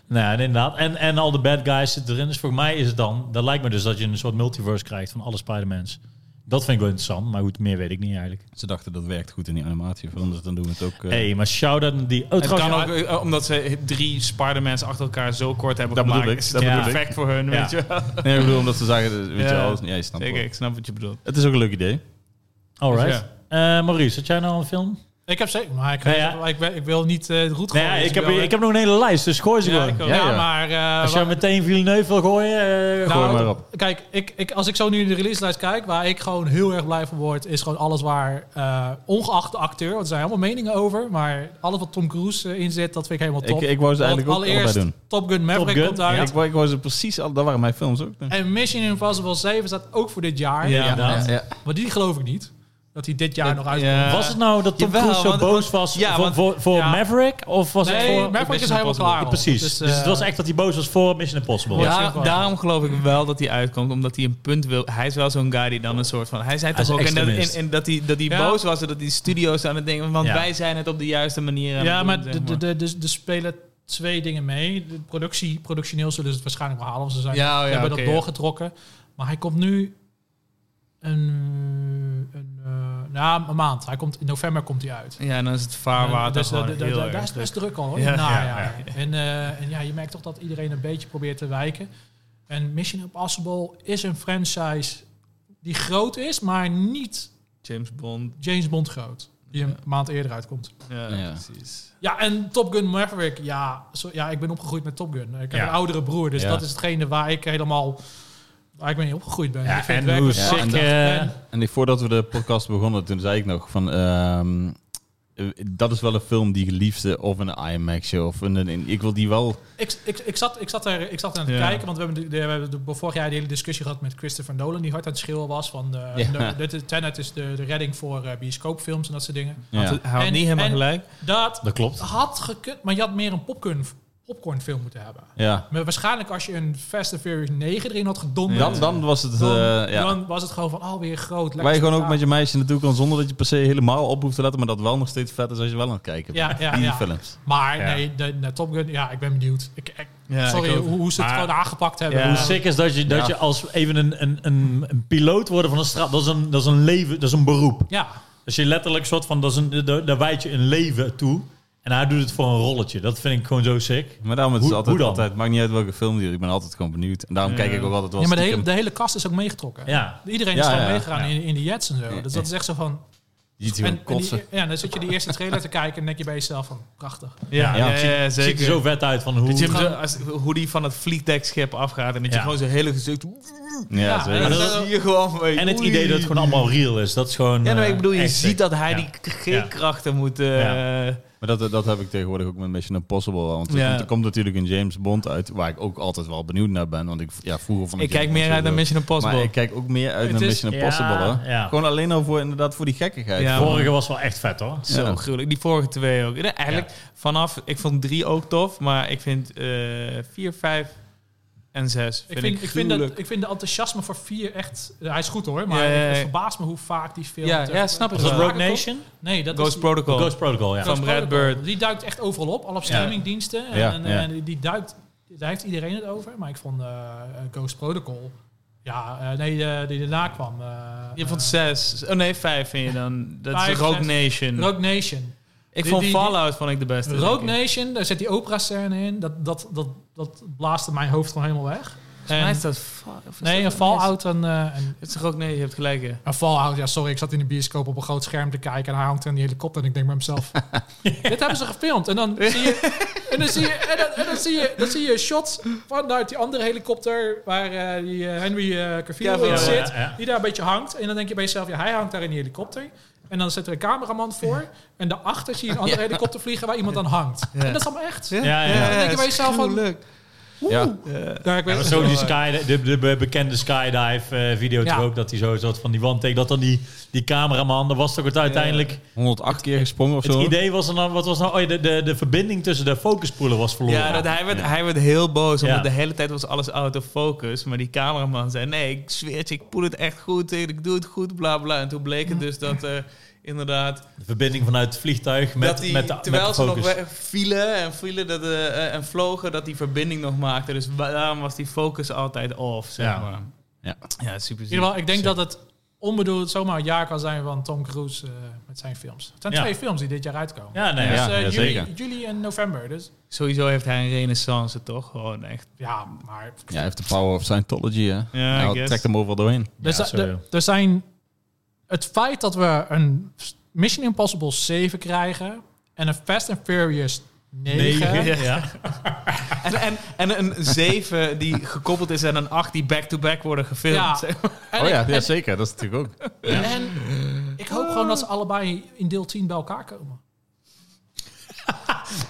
[SPEAKER 2] Nou, ja, en inderdaad. En, en al de bad guys zitten erin. Dus voor mij is het dan... Dat lijkt me dus dat je een soort multiverse krijgt van alle Spider-Mans. Dat vind ik wel interessant. Maar goed, meer weet ik niet eigenlijk.
[SPEAKER 1] Ze dachten dat werkt goed in die animatiefilm, dus dan doen we het ook. eh,
[SPEAKER 2] hey, maar shout-out naar die... Oh,
[SPEAKER 3] Het kan
[SPEAKER 2] trouwens,
[SPEAKER 3] ook, eh, omdat ze drie Spider-Mans achter elkaar zo kort hebben
[SPEAKER 1] Dat bedoel
[SPEAKER 3] gemaakt.
[SPEAKER 1] ik,
[SPEAKER 3] Is
[SPEAKER 1] dat
[SPEAKER 3] het
[SPEAKER 2] bedoel
[SPEAKER 3] perfect voor hun,
[SPEAKER 2] Ja.
[SPEAKER 3] weet je wel.
[SPEAKER 1] Nee, ik bedoel, omdat ze zagen, weet je
[SPEAKER 3] Ja.
[SPEAKER 1] wel, ja, je snapt
[SPEAKER 3] Zeker,
[SPEAKER 1] wel.
[SPEAKER 3] ik snap wat je bedoelt.
[SPEAKER 1] Het is ook een leuk idee.
[SPEAKER 2] Alright.
[SPEAKER 3] Dus
[SPEAKER 2] Eh, Maurice, had jij nou al een film?
[SPEAKER 4] Ik heb zeker, maar ik,
[SPEAKER 2] Nou ja.
[SPEAKER 4] ik, ben- ik wil niet eh, het roet
[SPEAKER 2] Nee,
[SPEAKER 4] gooien, dus
[SPEAKER 2] ik, heb,
[SPEAKER 4] wil-
[SPEAKER 2] ik heb nog een hele lijst, dus gooi ze
[SPEAKER 3] Ja,
[SPEAKER 2] gewoon.
[SPEAKER 3] ik ook.
[SPEAKER 4] Ja,
[SPEAKER 1] Ja, ja.
[SPEAKER 4] maar... eh,
[SPEAKER 2] Als jij
[SPEAKER 4] wa-
[SPEAKER 2] meteen Villeneuve wil gooien... eh,
[SPEAKER 4] Nou,
[SPEAKER 1] Gooi maar op.
[SPEAKER 4] Kijk, ik, ik, als ik zo nu in de releaselijst kijk, waar ik gewoon heel erg blij van word, is gewoon alles waar, eh, ongeacht de acteur, want er zijn helemaal meningen over, maar alles wat Tom Cruise eh, in zit, dat vind ik helemaal top.
[SPEAKER 1] Ik, ik wou ze
[SPEAKER 4] Want
[SPEAKER 1] eigenlijk ook allebei
[SPEAKER 4] allereerst
[SPEAKER 1] doen.
[SPEAKER 4] Top Gun Maverick
[SPEAKER 2] Top Gun,
[SPEAKER 4] komt
[SPEAKER 2] ja.
[SPEAKER 1] Ja,
[SPEAKER 4] uit.
[SPEAKER 1] ik, wou, ik wou ze precies al, dat waren mijn films ook. dan.
[SPEAKER 4] En Mission Impossible 7 staat ook voor dit jaar.
[SPEAKER 2] Ja,
[SPEAKER 1] Ja,
[SPEAKER 2] inderdaad.
[SPEAKER 1] ja.
[SPEAKER 4] Maar die geloof ik niet. Dat hij dit jaar nog uitkomt.
[SPEAKER 3] Ja.
[SPEAKER 2] Was het nou dat Tom
[SPEAKER 3] Jawel,
[SPEAKER 2] Cruise zo
[SPEAKER 3] want-
[SPEAKER 2] boos was
[SPEAKER 3] ja,
[SPEAKER 2] voor,
[SPEAKER 3] want-
[SPEAKER 2] voor, voor
[SPEAKER 4] ja.
[SPEAKER 2] Maverick? Of was het
[SPEAKER 4] Nee,
[SPEAKER 2] voor...
[SPEAKER 4] Maverick is
[SPEAKER 3] Mission
[SPEAKER 4] helemaal
[SPEAKER 3] Impossible.
[SPEAKER 4] klaar.
[SPEAKER 2] Ja,
[SPEAKER 4] al.
[SPEAKER 2] precies. Dus,
[SPEAKER 4] Dus, eh,
[SPEAKER 2] het was echt dat hij boos was voor Mission Impossible.
[SPEAKER 4] Ja.
[SPEAKER 2] Ja.
[SPEAKER 3] Daar-
[SPEAKER 4] zeker.
[SPEAKER 3] daarom geloof ik wel dat hij uitkomt, omdat hij een punt wil. Hij is wel zo'n guy die dan een soort van. Hij zei
[SPEAKER 2] Hij
[SPEAKER 3] toch ook
[SPEAKER 2] is
[SPEAKER 3] en dat,
[SPEAKER 2] extremist.
[SPEAKER 3] en- en dat hij, dat hij
[SPEAKER 4] Ja.
[SPEAKER 3] boos was en dat die studio's aan het denken. Want
[SPEAKER 2] Ja.
[SPEAKER 3] wij zijn het op de juiste manier. aan
[SPEAKER 4] Ja,
[SPEAKER 3] het
[SPEAKER 4] maar
[SPEAKER 3] doen,
[SPEAKER 4] de,
[SPEAKER 3] zeg
[SPEAKER 4] de, de, de, de spelen twee dingen mee. De productie, productioneel zullen ze het waarschijnlijk wel halen. want Ze, zijn,
[SPEAKER 3] Ja, oh ja,
[SPEAKER 4] ze hebben
[SPEAKER 3] oké, ja.
[SPEAKER 4] dat doorgetrokken. Maar hij komt nu een, een, eh, nou, een maand. Hij komt, in november komt hij uit.
[SPEAKER 3] Ja, en dan is het
[SPEAKER 4] En,
[SPEAKER 3] vaarwater.
[SPEAKER 4] dus da-
[SPEAKER 3] gewoon
[SPEAKER 4] da- da-
[SPEAKER 3] heel erg
[SPEAKER 4] daar is
[SPEAKER 3] druk.
[SPEAKER 4] best druk al hoor. Nou
[SPEAKER 3] Ja,
[SPEAKER 4] in het
[SPEAKER 3] ja,
[SPEAKER 4] najaar. En, eh, en ja, je merkt toch dat iedereen een beetje probeert te wijken. En Mission Impossible is een franchise die groot is, maar niet
[SPEAKER 3] James Bond.
[SPEAKER 4] James Bond groot. Die een maand eerder uitkomt.
[SPEAKER 3] Ja,
[SPEAKER 1] Ja.
[SPEAKER 3] precies.
[SPEAKER 4] Ja, en Top Gun Maverick. Ja, zo, ja ik ben opgegroeid met Top Gun. Ik heb
[SPEAKER 2] Ja.
[SPEAKER 4] een oudere broer, dus
[SPEAKER 1] Ja.
[SPEAKER 4] dat is hetgene waar ik helemaal... waar ik mee opgegroeid ben. ik
[SPEAKER 2] Ja,
[SPEAKER 4] vind
[SPEAKER 2] en
[SPEAKER 4] het
[SPEAKER 2] hoe
[SPEAKER 4] werkelijk
[SPEAKER 1] sick,
[SPEAKER 2] sick...
[SPEAKER 4] prachtig.
[SPEAKER 2] eh,
[SPEAKER 4] En-
[SPEAKER 1] En ik, voordat we de podcast begonnen, toen zei ik nog van... ehm, eh, dat is wel een film die geliefde of een IMAX-show of een, een- Ik wil die wel...
[SPEAKER 4] Ik, ik, ik, zat, ik, zat er, ik zat er aan te
[SPEAKER 3] Ja.
[SPEAKER 4] kijken, want we hebben, de, de- we hebben de- vorig jaar de hele discussie gehad met Christopher Nolan, die hard aan het schreeuwen was van eh
[SPEAKER 1] Ja.
[SPEAKER 4] no, dit is- Tenet is de, de redding voor eh, bioscoopfilms en dat soort dingen.
[SPEAKER 1] Ja.
[SPEAKER 3] Want hij had
[SPEAKER 4] En-
[SPEAKER 3] niet helemaal
[SPEAKER 4] en-
[SPEAKER 3] gelijk.
[SPEAKER 4] Dat
[SPEAKER 2] dat klopt.
[SPEAKER 4] had gekund, maar je had meer een popcorn, popcornfilm moeten hebben.
[SPEAKER 1] ja.
[SPEAKER 4] Maar waarschijnlijk als je een Fast and Furious 9 erin had gedonderd,
[SPEAKER 1] Dan, dan was het...
[SPEAKER 4] dan,
[SPEAKER 1] eh, ja.
[SPEAKER 4] dan was het gewoon van, oh, weer groot. lekker
[SPEAKER 1] Waar je gewoon ook
[SPEAKER 4] gedaan.
[SPEAKER 1] met je meisje naartoe kan zonder dat je per se helemaal op hoeft te letten, maar dat wel nog steeds vet is als je wel aan het kijken
[SPEAKER 4] Ja,
[SPEAKER 1] bent.
[SPEAKER 4] ja,
[SPEAKER 1] die
[SPEAKER 4] ja.
[SPEAKER 1] films.
[SPEAKER 4] Maar
[SPEAKER 2] Ja.
[SPEAKER 4] nee, de, de Top Gun, ja, ik ben benieuwd. Ik, ik-
[SPEAKER 3] Ja,
[SPEAKER 4] sorry,
[SPEAKER 3] ik ook.
[SPEAKER 4] hoe, hoe ze het
[SPEAKER 2] Maar-
[SPEAKER 4] gewoon aangepakt hebben.
[SPEAKER 3] Ja.
[SPEAKER 2] Hoe
[SPEAKER 4] Hoe ze-
[SPEAKER 2] sick is dat je, dat
[SPEAKER 1] Ja.
[SPEAKER 2] je als even een, een, een, een piloot worden van een straat, dat is een, dat is een leven, dat is een beroep.
[SPEAKER 4] ja.
[SPEAKER 2] Dus je letterlijk soort van, dat is een, daar daar wijd je een leven toe. En hij doet het voor een rolletje. Dat vind ik gewoon zo sick.
[SPEAKER 1] Maar daarom is het
[SPEAKER 2] Hoe-
[SPEAKER 1] altijd,
[SPEAKER 2] hoe dan?
[SPEAKER 1] altijd, maakt niet uit welke film die doet, ik ben altijd gewoon benieuwd. En daarom
[SPEAKER 3] Ja.
[SPEAKER 1] kijk ik ook altijd wel
[SPEAKER 4] ja, maar de hele,
[SPEAKER 1] stiekem.
[SPEAKER 4] de hele kast is ook meegetrokken.
[SPEAKER 2] Ja.
[SPEAKER 4] Iedereen
[SPEAKER 1] Ja,
[SPEAKER 4] is gewoon
[SPEAKER 1] ja,
[SPEAKER 4] meegegaan
[SPEAKER 2] ja.
[SPEAKER 4] In, in de jets en zo. Dus dat is echt zo van...
[SPEAKER 1] Je ziet
[SPEAKER 4] En,
[SPEAKER 1] hier gewoon
[SPEAKER 4] en die-
[SPEAKER 1] kotsen.
[SPEAKER 4] ja, dan zit je die eerste trailer te kijken en denk je bij jezelf van, prachtig.
[SPEAKER 1] Ja,
[SPEAKER 3] Ja, ja,
[SPEAKER 1] het
[SPEAKER 3] ja, ja,
[SPEAKER 2] Het ziet
[SPEAKER 3] zeker.
[SPEAKER 2] er zo vet uit van hoe...
[SPEAKER 3] Dat je hem zo- als, hoe die van het vliegdekschip afgaat en dat je
[SPEAKER 2] Ja.
[SPEAKER 3] gewoon zijn hele gezicht...
[SPEAKER 1] Ja,
[SPEAKER 4] ja,
[SPEAKER 1] zeker.
[SPEAKER 4] en
[SPEAKER 3] En
[SPEAKER 4] dat-
[SPEAKER 3] dat zie je gewoon mee.
[SPEAKER 2] en het
[SPEAKER 3] Oei.
[SPEAKER 2] idee dat het gewoon allemaal real is. Dat is gewoon...
[SPEAKER 3] Ja, nou,
[SPEAKER 2] eh,
[SPEAKER 3] ik bedoel, je
[SPEAKER 2] echt sick.
[SPEAKER 3] ziet dat hij
[SPEAKER 2] Ja.
[SPEAKER 3] die G-krachten moet... eh,
[SPEAKER 1] Maar dat, dat heb ik tegenwoordig ook met Mission Impossible. wel, Want er,
[SPEAKER 3] Ja.
[SPEAKER 1] komt, er komt natuurlijk een James Bond uit, waar ik ook altijd wel benieuwd naar ben. Want ik, ja, vroeger vond
[SPEAKER 3] Ik
[SPEAKER 1] ik...
[SPEAKER 3] kijk meer uit naar Mission Impossible.
[SPEAKER 1] Maar ik kijk ook meer uit
[SPEAKER 4] Het
[SPEAKER 1] naar
[SPEAKER 4] is-
[SPEAKER 1] Mission Impossible.
[SPEAKER 2] ja,
[SPEAKER 1] hè.
[SPEAKER 2] ja.
[SPEAKER 1] Gewoon alleen al voor, inderdaad, voor die gekkigheid.
[SPEAKER 3] Ja.
[SPEAKER 2] Vorige was wel echt vet hoor.
[SPEAKER 3] Zo
[SPEAKER 1] Ja.
[SPEAKER 3] gruwelijk. Die vorige twee ook. Ja, Eigenlijk vanaf, ik vond drie ook tof, maar ik vind eh vier, vijf en zes.
[SPEAKER 4] Ik vind, ik, vind
[SPEAKER 3] gruwelijk.
[SPEAKER 4] dat, ik vind de enthousiasme voor 4 echt... Hij is goed hoor, maar
[SPEAKER 3] Ja, ja, ja.
[SPEAKER 4] het verbaast me hoe vaak die film...
[SPEAKER 3] Ja,
[SPEAKER 4] ter-
[SPEAKER 3] ja, snap ik
[SPEAKER 4] ter
[SPEAKER 2] Was dat
[SPEAKER 3] wel.
[SPEAKER 4] sprake
[SPEAKER 2] Rogue
[SPEAKER 4] komt.
[SPEAKER 2] Nation?
[SPEAKER 4] Nee, dat
[SPEAKER 3] Ghost
[SPEAKER 4] is... die-
[SPEAKER 3] Protocol.
[SPEAKER 2] Ghost Protocol, ja.
[SPEAKER 3] Van
[SPEAKER 4] Ghost Protocol.
[SPEAKER 3] Brad Bird.
[SPEAKER 4] Die duikt echt overal op, al op streamingdiensten. En,
[SPEAKER 1] Ja,
[SPEAKER 4] en,
[SPEAKER 1] ja.
[SPEAKER 4] en die duikt... Daar heeft iedereen het over, maar ik vond eh, Ghost Protocol... Ja, eh, nee, eh, die daarna kwam. eh,
[SPEAKER 3] Je vond
[SPEAKER 4] eh,
[SPEAKER 3] zes. Oh nee, vijf vind je dan. Dat
[SPEAKER 4] Vijf,
[SPEAKER 3] is Rogue
[SPEAKER 4] zes.
[SPEAKER 3] Nation.
[SPEAKER 4] Rogue Nation.
[SPEAKER 3] ik
[SPEAKER 4] die-
[SPEAKER 3] vond
[SPEAKER 4] die- die-
[SPEAKER 3] Fallout vond ik de beste.
[SPEAKER 4] Rogue
[SPEAKER 3] denk ik.
[SPEAKER 4] Nation, daar zit die opera-scène in. Dat, dat, dat, dat blaaste mijn hoofd gewoon helemaal weg.
[SPEAKER 3] Volgens mij
[SPEAKER 4] En-
[SPEAKER 3] is dat... fa- of is
[SPEAKER 4] nee,
[SPEAKER 3] dat-
[SPEAKER 4] een Fallout en, eh, en...
[SPEAKER 3] Het is Rogue Nation, je hebt gelijk. hè.
[SPEAKER 4] Een Fallout, ja sorry, ik zat in de bioscoop op een groot scherm te kijken... en hij hangt aan die helikopter en ik denk bij mezelf... dit hebben ze gefilmd. En dan zie je... En dan zie je, en dan, en dan zie je, dan zie je shots vanuit die andere helikopter... waar eh, die eh, Henry eh, Cavill
[SPEAKER 3] Cavill,
[SPEAKER 4] in
[SPEAKER 3] ja,
[SPEAKER 4] zit.
[SPEAKER 2] ja, ja.
[SPEAKER 4] Die daar een beetje hangt. En dan denk je bij jezelf, ja, hij hangt daar in die helikopter... En dan zit er een cameraman voor. En daarachter zie je een andere helikopter vliegen waar iemand aan hangt.
[SPEAKER 3] Ja.
[SPEAKER 4] En dat is allemaal echt.
[SPEAKER 2] ja, ja.
[SPEAKER 4] Dan denk je
[SPEAKER 3] het
[SPEAKER 4] bij
[SPEAKER 3] is
[SPEAKER 4] jezelf van-
[SPEAKER 3] gruwelijk.
[SPEAKER 1] Ja.
[SPEAKER 4] Ja, ik
[SPEAKER 2] Ja, maar
[SPEAKER 4] weet
[SPEAKER 2] zo die
[SPEAKER 4] het.
[SPEAKER 2] sky, de, de be- bekende skydive eh, video
[SPEAKER 4] Ja.
[SPEAKER 2] toch ook, dat hij zo een soort van die wand tegen, dat dan die, die cameraman, dat was toch het uiteindelijk,
[SPEAKER 1] 108 keer gesprongen of
[SPEAKER 2] het
[SPEAKER 1] zo.
[SPEAKER 2] idee was er dan, wat was nou, oh ja, de, de, de verbinding tussen de focuspoelen was verloren.
[SPEAKER 3] Ja, dat hij, werd, hij werd heel boos, omdat
[SPEAKER 2] Ja.
[SPEAKER 3] de hele tijd was alles out of focus. Maar die cameraman zei, nee, ik zweer het je, ik poel het echt goed, ik doe het goed, bla bla. En toen bleek het dus dat eh, inderdaad...
[SPEAKER 2] De verbinding vanuit het vliegtuig met,
[SPEAKER 3] dat die,
[SPEAKER 2] met, de,
[SPEAKER 3] terwijl
[SPEAKER 2] met de
[SPEAKER 3] ze nog
[SPEAKER 2] focus.
[SPEAKER 3] weg- vielen en, vielen dat, eh, eh, en vlogen, dat die verbinding nog maakte. Dus wa- daarom was die focus altijd off, zeg
[SPEAKER 2] Ja.
[SPEAKER 3] maar.
[SPEAKER 1] Ja.
[SPEAKER 3] ja, super
[SPEAKER 4] In ieder geval, ik denk dat het onbedoeld zomaar een jaar kan zijn van Tom Cruise eh, met zijn films. Het zijn
[SPEAKER 2] Ja.
[SPEAKER 4] twee films die dit jaar uitkomen.
[SPEAKER 2] Ja, nee,
[SPEAKER 1] Ja.
[SPEAKER 4] Dus,
[SPEAKER 2] ja.
[SPEAKER 4] eh,
[SPEAKER 1] zeker.
[SPEAKER 4] juli, juli en november. Dus
[SPEAKER 3] Sowieso heeft hij een renaissance, toch? Gewoon echt.
[SPEAKER 4] ja, maar.
[SPEAKER 1] Ja, hij heeft de power of Scientology, hè.
[SPEAKER 3] Ja,
[SPEAKER 1] nou,
[SPEAKER 3] I guess.
[SPEAKER 1] trekt hem overal doorheen.
[SPEAKER 4] Dus
[SPEAKER 2] Ja,
[SPEAKER 4] da-
[SPEAKER 2] sorry.
[SPEAKER 4] de- er zijn. Het feit dat we een Mission Impossible 7 krijgen en een Fast and Furious 9.
[SPEAKER 2] Negen, ja.
[SPEAKER 3] En, en, en een 7 die gekoppeld is aan een 8 die back-to-back worden
[SPEAKER 4] Ja.
[SPEAKER 3] gefilmd.
[SPEAKER 4] En
[SPEAKER 1] Oh ja,
[SPEAKER 4] ik-
[SPEAKER 1] ja,
[SPEAKER 4] en-
[SPEAKER 1] zeker. Dat is natuurlijk ook.
[SPEAKER 4] En ik hoop gewoon dat ze allebei in deel 10 bij elkaar komen.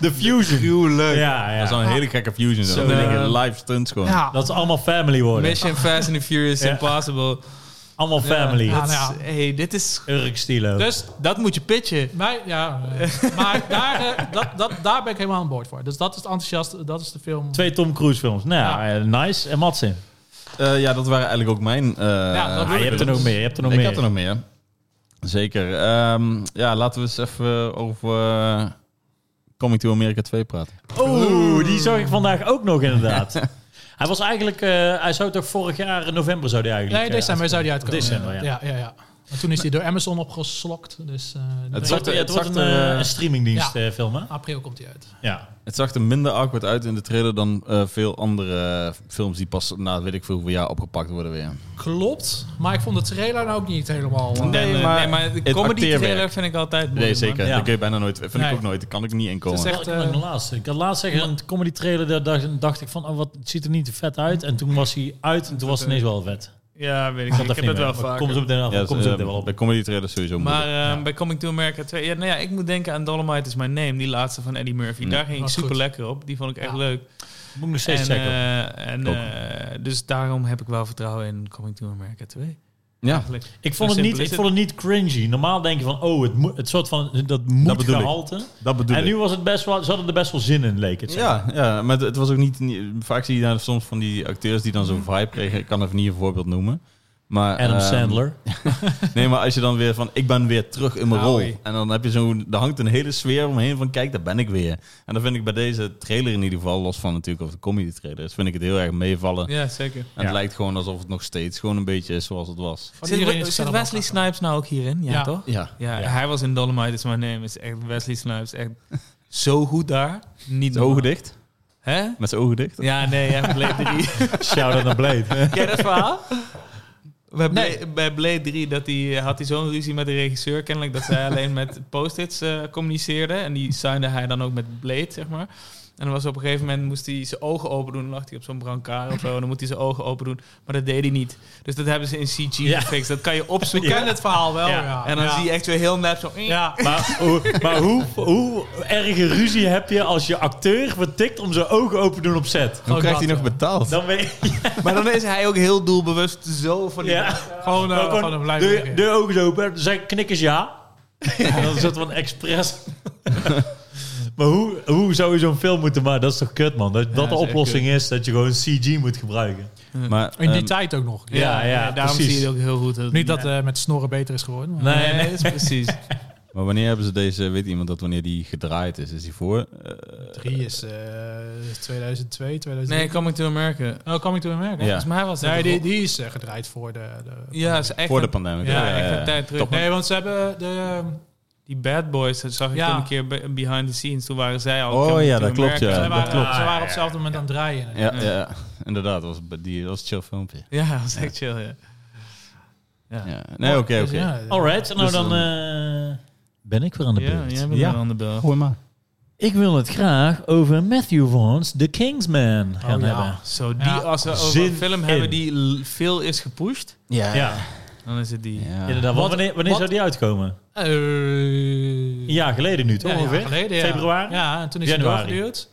[SPEAKER 2] De fusion.
[SPEAKER 3] Gruwelijk.
[SPEAKER 2] Ja,
[SPEAKER 1] Dat
[SPEAKER 2] ja.
[SPEAKER 1] zou een hele gekke fusion zijn.
[SPEAKER 3] Zo,
[SPEAKER 1] Dan
[SPEAKER 3] eh,
[SPEAKER 1] denk ik, live stunts gewoon.
[SPEAKER 4] Ja,
[SPEAKER 2] Dat ze allemaal family worden.
[SPEAKER 3] Mission Fast and the Furious
[SPEAKER 2] Ja.
[SPEAKER 3] Impossible.
[SPEAKER 2] Allemaal family.
[SPEAKER 4] Ja,
[SPEAKER 3] Dat is-
[SPEAKER 4] nou ja.
[SPEAKER 3] hey, dit is...
[SPEAKER 2] Urk stilo.
[SPEAKER 4] dus
[SPEAKER 3] Dat moet je pitchen.
[SPEAKER 4] Mij, ja, eh, maar daar, eh, dat, dat, daar ben ik helemaal aan boord voor. Dus dat is het enthousiast, dat is de film.
[SPEAKER 2] Twee Tom Cruise films. Nou ja, eh, nice. En Matsin.
[SPEAKER 1] Eh, ja, dat waren eigenlijk ook mijn... eh,
[SPEAKER 4] Ja, dat
[SPEAKER 2] Ah, je hebt er nog meer. Je hebt er nog
[SPEAKER 1] ik
[SPEAKER 2] meer.
[SPEAKER 1] had er nog meer. Zeker. Ehm, ja, laten we eens even over eh, Coming to America 2 praten.
[SPEAKER 2] Oeh, die zag ik vandaag ook nog inderdaad. hij was eigenlijk, eh, hij zou toch vorig jaar in november zou die eigenlijk.
[SPEAKER 4] nee,
[SPEAKER 2] eh,
[SPEAKER 4] december
[SPEAKER 2] uitkomen.
[SPEAKER 4] zou die uitkomen.
[SPEAKER 2] December, ja.
[SPEAKER 4] ja, ja, ja. Maar toen is die door Amazon opgeslokt. Dus eh,
[SPEAKER 1] Het
[SPEAKER 4] de-
[SPEAKER 1] zag er-
[SPEAKER 2] Ja, het
[SPEAKER 1] het
[SPEAKER 2] wordt
[SPEAKER 1] zag
[SPEAKER 2] een,
[SPEAKER 1] er,
[SPEAKER 2] eh,
[SPEAKER 1] eh,
[SPEAKER 2] een streamingdienst eh filmen.
[SPEAKER 4] april komt die uit.
[SPEAKER 2] Ja.
[SPEAKER 1] Het zag er minder awkward uit in de trailer dan eh, veel andere eh, films die pas na weet ik veel hoeveel jaar opgepakt worden weer.
[SPEAKER 4] Klopt, maar ik vond de trailer nou ook niet helemaal... eh,
[SPEAKER 1] Nee,
[SPEAKER 3] Nee,
[SPEAKER 1] maar
[SPEAKER 3] maar, nee, maar de
[SPEAKER 1] het
[SPEAKER 3] comedy
[SPEAKER 1] acteerwerk.
[SPEAKER 3] trailer vind ik altijd moeilijk.
[SPEAKER 1] Nee,
[SPEAKER 3] man.
[SPEAKER 1] zeker.
[SPEAKER 2] Ja.
[SPEAKER 1] Dat kun je bijna nooit. Vind
[SPEAKER 4] Nee.
[SPEAKER 1] ik ook nooit. Daar kan ik niet in
[SPEAKER 4] Het
[SPEAKER 1] komen.
[SPEAKER 4] is echt,
[SPEAKER 2] Wel, ik had
[SPEAKER 4] eh,
[SPEAKER 2] nog laatst. Ik had laatst zeggen, een comedy trailer, daar dacht, dacht ik van, oh, wat het ziet er niet te vet uit. En toen was hij uit en toen was het ineens wel vet.
[SPEAKER 3] Ja, weet ik.
[SPEAKER 2] Ik, had
[SPEAKER 3] niet. Ik heb
[SPEAKER 2] niet
[SPEAKER 3] het
[SPEAKER 2] meer.
[SPEAKER 3] wel
[SPEAKER 2] Maar
[SPEAKER 3] vaak.
[SPEAKER 2] Kom zo meteen af.
[SPEAKER 1] Ja,
[SPEAKER 2] kom
[SPEAKER 1] dus,
[SPEAKER 2] zo
[SPEAKER 1] eh,
[SPEAKER 2] meteen wel op.
[SPEAKER 1] bij comedy trailers sowieso
[SPEAKER 3] Maar
[SPEAKER 1] moeilijk.
[SPEAKER 3] ehm, bij Coming to America 2, ja, nou ja, ik moet denken aan Dolomite is My Name, die laatste van Eddie Murphy.
[SPEAKER 1] Ja.
[SPEAKER 3] Daar ging ik
[SPEAKER 4] Was goed.
[SPEAKER 3] super lekker op. Die vond ik echt
[SPEAKER 4] Ja.
[SPEAKER 3] leuk.
[SPEAKER 2] Moet ik nog steeds
[SPEAKER 3] en,
[SPEAKER 2] checken.
[SPEAKER 3] eh, en,
[SPEAKER 1] Ook.
[SPEAKER 3] eh, dus daarom heb ik wel vertrouwen in Coming to America 2.
[SPEAKER 1] ja.
[SPEAKER 3] Eigenlijk.
[SPEAKER 2] ik, vond het
[SPEAKER 3] zo
[SPEAKER 2] niet,
[SPEAKER 3] simpel
[SPEAKER 2] ik
[SPEAKER 3] is
[SPEAKER 2] vond het niet cringy. Normaal denk je van, oh, het, moet, het soort van, dat moet
[SPEAKER 1] bedoel ik.
[SPEAKER 2] gehalte.
[SPEAKER 1] Dat bedoel
[SPEAKER 2] En
[SPEAKER 1] ik.
[SPEAKER 2] nu was het best wel, ze hadden er best wel zin in, leek het. zeg maar.
[SPEAKER 1] Ja, ja, maar het- het was ook niet, niet- Vaak zie je daar soms van die acteurs die dan zo'n vibe kregen. Ik kan even niet een voorbeeld noemen. Maar,
[SPEAKER 2] Adam
[SPEAKER 1] ehm,
[SPEAKER 2] Sandler.
[SPEAKER 1] Nee, maar als je dan weer van, ik ben weer terug in mijn
[SPEAKER 4] Ah,
[SPEAKER 1] rol.
[SPEAKER 4] oei.
[SPEAKER 1] En dan heb je zo'n, er hangt een hele sfeer omheen van, kijk, daar ben ik weer. En dan vind ik bij deze trailer in ieder geval, los van natuurlijk of de comedy trailer is, vind ik het heel erg meevallen.
[SPEAKER 3] Ja, zeker.
[SPEAKER 1] En het lijkt gewoon alsof het nog steeds gewoon een beetje is zoals het was.
[SPEAKER 4] Van
[SPEAKER 3] Zit,
[SPEAKER 4] iedereen is
[SPEAKER 3] zit
[SPEAKER 4] zelf
[SPEAKER 3] Wesley
[SPEAKER 4] afhankelijk.
[SPEAKER 3] Snipes nou ook hierin? Ja,
[SPEAKER 4] Ja.
[SPEAKER 3] toch?
[SPEAKER 1] Ja.
[SPEAKER 3] Ja,
[SPEAKER 2] Ja.
[SPEAKER 3] hij was in Dolomite is My Name. Is echt Wesley Snipes echt zo goed daar. Niet
[SPEAKER 1] Zijn ogen
[SPEAKER 3] normaal.
[SPEAKER 1] dicht?
[SPEAKER 3] Hè?
[SPEAKER 1] Met zijn ogen dicht?
[SPEAKER 3] Ja, nee, ja, Blade 3.
[SPEAKER 2] Shout-out naar Blade.
[SPEAKER 3] Ken je dat verhaal? Bij Blade, bij Blade 3 dat die, had hij zo'n ruzie met de regisseur kennelijk dat zij alleen met post-its eh communiceerde. En die signde hij dan ook met Blade, zeg maar. En dan was op een gegeven moment moest hij zijn ogen open doen. Dan lag hij op zo'n brancard of zo. En dan moet hij zijn ogen open doen. Maar dat deed hij niet. Dus dat hebben ze in CG
[SPEAKER 2] Ja.
[SPEAKER 3] gefixt. Dat kan je
[SPEAKER 4] Ik
[SPEAKER 3] opzoeken.
[SPEAKER 4] ken het verhaal wel,
[SPEAKER 2] Ja.
[SPEAKER 4] ja.
[SPEAKER 3] En dan
[SPEAKER 4] Ja.
[SPEAKER 3] zie je echt weer heel nep zo.
[SPEAKER 4] Ja,
[SPEAKER 2] Maar, hoe, maar hoe, hoe erge ruzie heb je als je acteur vertikt om zijn ogen open te doen op set?
[SPEAKER 1] Hoe
[SPEAKER 4] Ook
[SPEAKER 1] krijgt
[SPEAKER 4] dat,
[SPEAKER 1] hij nog
[SPEAKER 4] ja.
[SPEAKER 1] betaald?
[SPEAKER 2] Dan weet je...
[SPEAKER 3] Maar dan is hij ook heel doelbewust zo van die...
[SPEAKER 2] Ja.
[SPEAKER 4] gewoon, eh,
[SPEAKER 2] Maar gewoon
[SPEAKER 4] gewoon een blij
[SPEAKER 2] de,
[SPEAKER 4] maken.
[SPEAKER 2] de ogen zo open, dan zeg ik knikkers ja. En dan zetten we een expres. maar hoe, hoe zou je zo'n film moeten maken? Dat is toch kut, man? Dat, dat de
[SPEAKER 3] dat is echt
[SPEAKER 2] oplossing is dat je gewoon CG moet gebruiken.
[SPEAKER 1] Maar,
[SPEAKER 4] In die
[SPEAKER 1] ehm,
[SPEAKER 4] tijd ook nog.
[SPEAKER 2] Ja, ja,
[SPEAKER 3] daarom
[SPEAKER 2] precies.
[SPEAKER 3] zie je het ook heel goed.
[SPEAKER 4] Niet dat eh, met snorren beter is geworden. maar-
[SPEAKER 2] Nee,
[SPEAKER 3] Nee, nee, dat is precies.
[SPEAKER 1] maar wanneer hebben ze deze, weet iemand dat wanneer die gedraaid is? Is die voor? eh,
[SPEAKER 4] Drie is eh 2002, 2003.
[SPEAKER 3] Nee, Coming to America.
[SPEAKER 4] Oh, Coming to America.
[SPEAKER 1] Ja.
[SPEAKER 3] Volgens mij was dat
[SPEAKER 4] Nee,
[SPEAKER 3] een
[SPEAKER 4] die, die is eh, gedraaid voor de... de
[SPEAKER 3] Ja, is echt
[SPEAKER 1] voor de
[SPEAKER 3] een-
[SPEAKER 1] pandemie.
[SPEAKER 4] Ja,
[SPEAKER 3] ja, echt een tijd terug.
[SPEAKER 1] Top.
[SPEAKER 4] Nee, want ze hebben de...
[SPEAKER 3] Die Bad Boys, dat zag ik
[SPEAKER 4] Ja.
[SPEAKER 3] toen een keer be- behind the scenes. Toen waren zij al...
[SPEAKER 1] Oh
[SPEAKER 3] Coming
[SPEAKER 1] ja,
[SPEAKER 3] to
[SPEAKER 1] dat klopt,
[SPEAKER 3] America.
[SPEAKER 1] ja.
[SPEAKER 4] ze,
[SPEAKER 1] dat
[SPEAKER 4] waren,
[SPEAKER 1] klopt.
[SPEAKER 4] ze waren op hetzelfde moment aan het draaien.
[SPEAKER 1] Ja, ja. inderdaad. Dat was, die, dat was een chill filmpje.
[SPEAKER 3] Ja, dat was echt chill, ja. Ja, ja.
[SPEAKER 1] Ja. Nee, oké,
[SPEAKER 4] Dus
[SPEAKER 1] oké.
[SPEAKER 4] ja,
[SPEAKER 2] Alright, nou
[SPEAKER 1] Dus
[SPEAKER 2] dan
[SPEAKER 1] dan-
[SPEAKER 2] eh, ben ik weer aan de beurt.
[SPEAKER 3] jij bent
[SPEAKER 1] Ja.
[SPEAKER 3] weer aan de bel.
[SPEAKER 1] Gooi maar.
[SPEAKER 2] Ik wil het graag over Matthew Vaughn's The Kingsman gaan
[SPEAKER 4] Oh, ja.
[SPEAKER 2] hebben.
[SPEAKER 3] Zo, die
[SPEAKER 4] Ja.
[SPEAKER 3] als we over
[SPEAKER 2] Zin
[SPEAKER 3] een film
[SPEAKER 2] in.
[SPEAKER 3] hebben die l- veel is gepusht,
[SPEAKER 1] Ja.
[SPEAKER 2] Ja,
[SPEAKER 3] dan is het die.
[SPEAKER 2] inderdaad. Want
[SPEAKER 4] Wat-
[SPEAKER 2] wanneer wanneer
[SPEAKER 4] wat-
[SPEAKER 2] zou die uitkomen?
[SPEAKER 4] Eh,
[SPEAKER 2] Een jaar geleden nu, toch
[SPEAKER 4] Ja, een jaar
[SPEAKER 2] ongeveer?
[SPEAKER 4] geleden, ja.
[SPEAKER 2] Februari?
[SPEAKER 4] Ja, en toen is
[SPEAKER 2] Januari.
[SPEAKER 4] het doorgeduwd.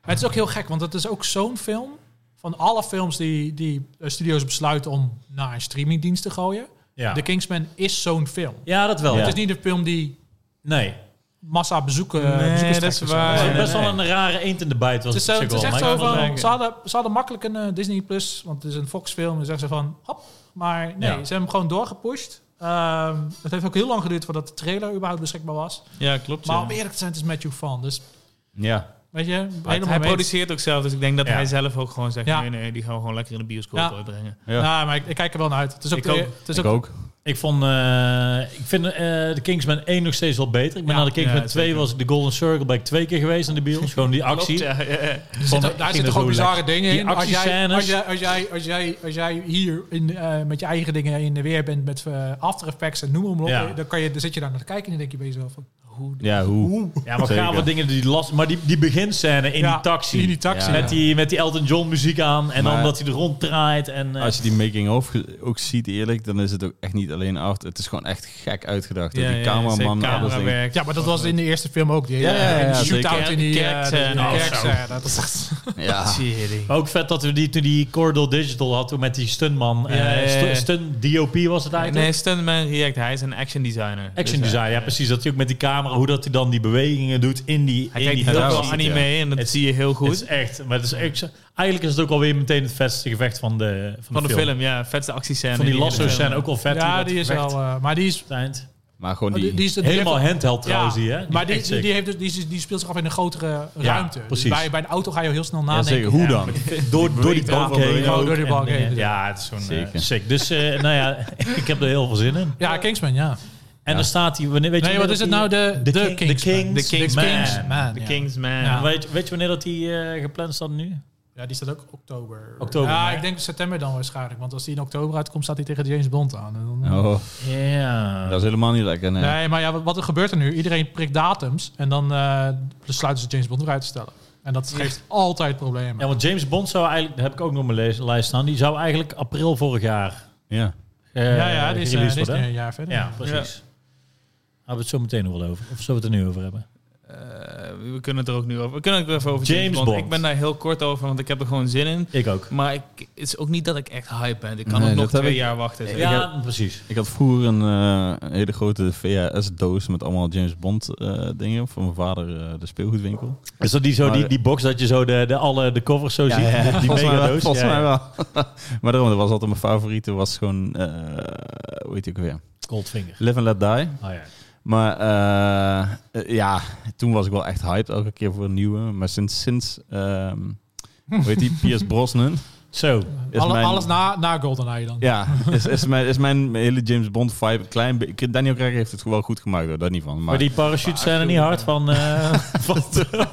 [SPEAKER 4] Maar het is ook heel gek, want het is ook zo'n film... van alle films die, die eh, studio's besluiten om naar een streamingdienst te gooien.
[SPEAKER 2] Ja.
[SPEAKER 4] The Kingsman is zo'n film.
[SPEAKER 2] Ja, dat wel.
[SPEAKER 1] Ja.
[SPEAKER 4] Het is niet een film die
[SPEAKER 2] Nee.
[SPEAKER 4] massa bezoeken. eh,
[SPEAKER 3] Nee,
[SPEAKER 4] bezoekers
[SPEAKER 3] dat
[SPEAKER 4] trekt
[SPEAKER 3] is
[SPEAKER 4] of zo.
[SPEAKER 2] Het
[SPEAKER 3] waar.
[SPEAKER 4] Het
[SPEAKER 2] was
[SPEAKER 3] Nee,
[SPEAKER 2] best
[SPEAKER 3] nee,
[SPEAKER 2] wel een rare eend in de bijt. Was
[SPEAKER 4] is, zo- het is echt
[SPEAKER 2] maar
[SPEAKER 4] zo
[SPEAKER 2] ik vond het
[SPEAKER 4] van,
[SPEAKER 2] wel-
[SPEAKER 4] ze hadden, ze hadden makkelijk een eh, Disney Plus, want het is een Fox film, dus zeggen ze van, hop. Maar
[SPEAKER 2] Ja.
[SPEAKER 4] nee, ze hebben hem gewoon doorgepusht. Ehm, het heeft ook heel lang geduurd voordat de trailer überhaupt beschikbaar was.
[SPEAKER 3] Ja, klopt.
[SPEAKER 4] Maar
[SPEAKER 3] ja.
[SPEAKER 4] om eerlijk te zijn, het is Matthew Fan. Dus
[SPEAKER 1] Ja.
[SPEAKER 4] weet je, helemaal
[SPEAKER 3] hij
[SPEAKER 4] mee.
[SPEAKER 3] produceert ook zelf, dus ik denk dat
[SPEAKER 2] Ja.
[SPEAKER 3] hij zelf ook gewoon zegt...
[SPEAKER 4] Ja.
[SPEAKER 3] nee, nee, die gaan we gewoon lekker in de bioscoop
[SPEAKER 4] Ja.
[SPEAKER 3] uitbrengen.
[SPEAKER 1] Ja.
[SPEAKER 4] Nou, maar ik, ik kijk er wel naar uit. Het is ook,
[SPEAKER 3] Ik
[SPEAKER 4] de-
[SPEAKER 3] ook.
[SPEAKER 4] Het is
[SPEAKER 1] ik
[SPEAKER 4] Dus ook,
[SPEAKER 1] ook.
[SPEAKER 2] Ik vond, eh, ik vind eh, de Kingsman 1 nog steeds wel beter. Ik ben
[SPEAKER 4] Ja.
[SPEAKER 2] naar de Kingsman
[SPEAKER 3] Ja,
[SPEAKER 2] 2
[SPEAKER 3] zeker.
[SPEAKER 2] was ik de Golden Circle ben ik twee keer geweest in de bios. Gewoon die actie.
[SPEAKER 3] Klopt, ja, ja, ja.
[SPEAKER 4] er zitten-
[SPEAKER 2] Vond-
[SPEAKER 4] daar
[SPEAKER 2] ging
[SPEAKER 4] zitten
[SPEAKER 2] er
[SPEAKER 4] gewoon
[SPEAKER 2] zo
[SPEAKER 4] bizarre
[SPEAKER 2] lekker.
[SPEAKER 4] dingen
[SPEAKER 2] Die
[SPEAKER 4] in. Als jij,
[SPEAKER 2] actiescènes.
[SPEAKER 4] als, jij, als, jij, als, jij, als jij hier in, eh, met je eigen dingen in de weer bent met eh, After Effects en noem maar op,
[SPEAKER 2] Ja.
[SPEAKER 4] dan, kan je, dan zit je daar naar te kijken en dan denk je bij jezelf van, hoe
[SPEAKER 1] Ja, hoe?
[SPEAKER 2] Ja, maar
[SPEAKER 1] Zeker.
[SPEAKER 2] gave dingen die last. Maar die, die beginscène in
[SPEAKER 4] Ja,
[SPEAKER 2] die taxi.
[SPEAKER 4] in die taxi.
[SPEAKER 1] Ja.
[SPEAKER 2] Met, die, met die Elton John muziek aan. En dan
[SPEAKER 1] Maar-
[SPEAKER 2] dat hij er ronddraait. En, eh,
[SPEAKER 1] Als je die making-of ge- ook ziet, eerlijk, dan is het ook echt niet alleen art. Het is gewoon echt gek uitgedacht. door
[SPEAKER 3] Ja,
[SPEAKER 1] die
[SPEAKER 3] ja,
[SPEAKER 1] cameraman,
[SPEAKER 3] zeker.
[SPEAKER 1] alles ding.
[SPEAKER 3] Camerawerk.
[SPEAKER 4] Ja, maar dat was in de eerste film ook. Die
[SPEAKER 1] Ja,
[SPEAKER 4] hele
[SPEAKER 1] ja, ja,
[SPEAKER 4] die
[SPEAKER 1] ja,
[SPEAKER 4] shootout
[SPEAKER 3] zeker.
[SPEAKER 4] in die
[SPEAKER 3] Kerk-
[SPEAKER 4] eh, de- de
[SPEAKER 3] nou,
[SPEAKER 4] kerkscène. Dat is echt...
[SPEAKER 1] Ja.
[SPEAKER 3] Tering.
[SPEAKER 2] Maar ook vet dat we die, toen die Cordal Digital hadden. Met die stuntman. eh,
[SPEAKER 3] Ja, ja, ja.
[SPEAKER 2] stu- stunt DOP was het eigenlijk.
[SPEAKER 3] Nee, Stuntman React, hij is een action designer.
[SPEAKER 2] Action
[SPEAKER 3] Dus, eh,
[SPEAKER 2] design, ja precies. Dat hij ook met die camera, hoe dat hij dan die bewegingen doet in die...
[SPEAKER 3] Hij
[SPEAKER 2] in
[SPEAKER 3] kijkt
[SPEAKER 2] die
[SPEAKER 3] heel
[SPEAKER 1] daar
[SPEAKER 3] veel
[SPEAKER 1] wel.
[SPEAKER 3] anime en dat
[SPEAKER 2] Het-
[SPEAKER 3] zie je heel
[SPEAKER 2] Het is
[SPEAKER 3] goed.
[SPEAKER 2] echt, maar het is echt, zo- eigenlijk is het ook alweer meteen het vetste gevecht van de, van
[SPEAKER 3] Van de
[SPEAKER 2] film.
[SPEAKER 3] film, ja. Vetste actiescène.
[SPEAKER 2] Van die
[SPEAKER 3] in die
[SPEAKER 2] lasso's
[SPEAKER 3] hele
[SPEAKER 2] zijn
[SPEAKER 3] film.
[SPEAKER 2] ook wel vet.
[SPEAKER 4] ja, die is wel... eh, maar die is
[SPEAKER 2] Eind.
[SPEAKER 1] Maar gewoon
[SPEAKER 4] Oh,
[SPEAKER 1] die...
[SPEAKER 4] is- die heeft-
[SPEAKER 2] Helemaal handheld trouwens die, hè?
[SPEAKER 4] Maar die,
[SPEAKER 2] echt
[SPEAKER 4] die,
[SPEAKER 2] sick.
[SPEAKER 4] die heeft dus, die, die speelt zich af in een grotere ruimte. Dus
[SPEAKER 2] precies.
[SPEAKER 4] bij, bij een auto ga je heel snel
[SPEAKER 1] ja,
[SPEAKER 4] nadenken.
[SPEAKER 1] zeker. Hoe
[SPEAKER 2] Ja,
[SPEAKER 1] dan?
[SPEAKER 2] maar door, door die
[SPEAKER 1] beweegt
[SPEAKER 2] bank
[SPEAKER 1] overal
[SPEAKER 2] heen.
[SPEAKER 1] doorheen.
[SPEAKER 2] ook
[SPEAKER 4] Door die bank
[SPEAKER 2] en,
[SPEAKER 4] heen,
[SPEAKER 2] eh,
[SPEAKER 4] dus
[SPEAKER 2] Ja, het is zo'n
[SPEAKER 1] Zeker.
[SPEAKER 2] eh, sick. Dus eh, nou ja, ik heb er heel veel zin in.
[SPEAKER 4] Ja, Kingsman, ja.
[SPEAKER 2] En dan staat hij, wanneer, weet je
[SPEAKER 4] Nee,
[SPEAKER 2] wanneer
[SPEAKER 4] wat is
[SPEAKER 2] dat
[SPEAKER 4] het nou?
[SPEAKER 2] die-
[SPEAKER 4] De,
[SPEAKER 2] The
[SPEAKER 4] de,
[SPEAKER 2] King- The Kings-
[SPEAKER 3] The Kings-
[SPEAKER 4] Man.
[SPEAKER 3] Man.
[SPEAKER 4] Man,
[SPEAKER 3] The
[SPEAKER 4] ja.
[SPEAKER 3] Kingsman.
[SPEAKER 4] Ja.
[SPEAKER 2] Weet, weet je wanneer dat die eh, gepland staat nu?
[SPEAKER 4] Ja, die staat ook oktober.
[SPEAKER 2] Oktober,
[SPEAKER 4] Ja,
[SPEAKER 2] hè?
[SPEAKER 4] ik denk september dan waarschijnlijk. Want als die in oktober uitkomt, staat hij tegen James Bond aan. En dan-
[SPEAKER 1] Oh,
[SPEAKER 2] Ja.
[SPEAKER 1] dat is helemaal niet lekker. Nee.
[SPEAKER 4] Nee, maar ja, wat, wat er gebeurt er nu? Iedereen prikt datums en dan eh, besluiten ze James Bond eruit te stellen. En dat geeft altijd problemen.
[SPEAKER 2] Ja, want James Bond zou eigenlijk, dat heb ik ook nog op mijn lees- lijst staan, die zou eigenlijk april vorig jaar
[SPEAKER 1] Ja.
[SPEAKER 2] eh
[SPEAKER 4] ja, ja, die is,
[SPEAKER 2] gereleased
[SPEAKER 4] eh, die is nu
[SPEAKER 2] worden.
[SPEAKER 4] een jaar verder.
[SPEAKER 2] Ja, precies. Hebben we het zo meteen nog wel over. Of zullen we het er nu over hebben?
[SPEAKER 3] Eh, we kunnen het er ook nu over. We kunnen het er even over
[SPEAKER 2] James
[SPEAKER 3] James, Bond.
[SPEAKER 2] Bond.
[SPEAKER 3] Ik ben daar heel kort over, want ik heb er gewoon zin in.
[SPEAKER 2] Ik ook.
[SPEAKER 3] Maar ik, het is ook niet dat ik echt hype ben. Ik kan
[SPEAKER 1] Nee,
[SPEAKER 3] ook nog
[SPEAKER 1] dat heb
[SPEAKER 3] twee
[SPEAKER 1] ik-
[SPEAKER 3] jaar wachten. zeg.
[SPEAKER 2] Ja, precies.
[SPEAKER 1] Ik had vroeger een, eh, een hele grote VHS-doos met allemaal James Bond eh, dingen. Van mijn vader, eh, de speelgoedwinkel.
[SPEAKER 2] Is dat die, zo,
[SPEAKER 1] Maar-
[SPEAKER 2] die, die box dat je zo de, de, alle, de covers zo ziet? Die, die
[SPEAKER 1] volgens mij
[SPEAKER 2] mega
[SPEAKER 1] wel.
[SPEAKER 2] doos?
[SPEAKER 1] Volgens mij
[SPEAKER 2] Ja, ja.
[SPEAKER 1] wel. maar daarom, dat was altijd mijn favoriete. Was gewoon, eh hoe heet die ook weer?
[SPEAKER 2] Goldfinger.
[SPEAKER 1] Live and Let Die.
[SPEAKER 2] Ah ja.
[SPEAKER 1] Maar eh, eh, ja, toen was ik wel echt hyped elke keer voor een nieuwe. Maar sinds, sinds ehm hoe heet die, Piers Brosnan.
[SPEAKER 2] Zo.
[SPEAKER 1] Is
[SPEAKER 4] Alle-
[SPEAKER 1] mijn-
[SPEAKER 4] Alles na, na GoldenEye dan.
[SPEAKER 1] Ja, is, is, mijn, is mijn hele James Bond vibe een klein beetje... Daniel Craig heeft het wel goed gemaakt, hoor, daar niet van. Maar,
[SPEAKER 2] Maar die parachutes zijn er niet hard van. eh van,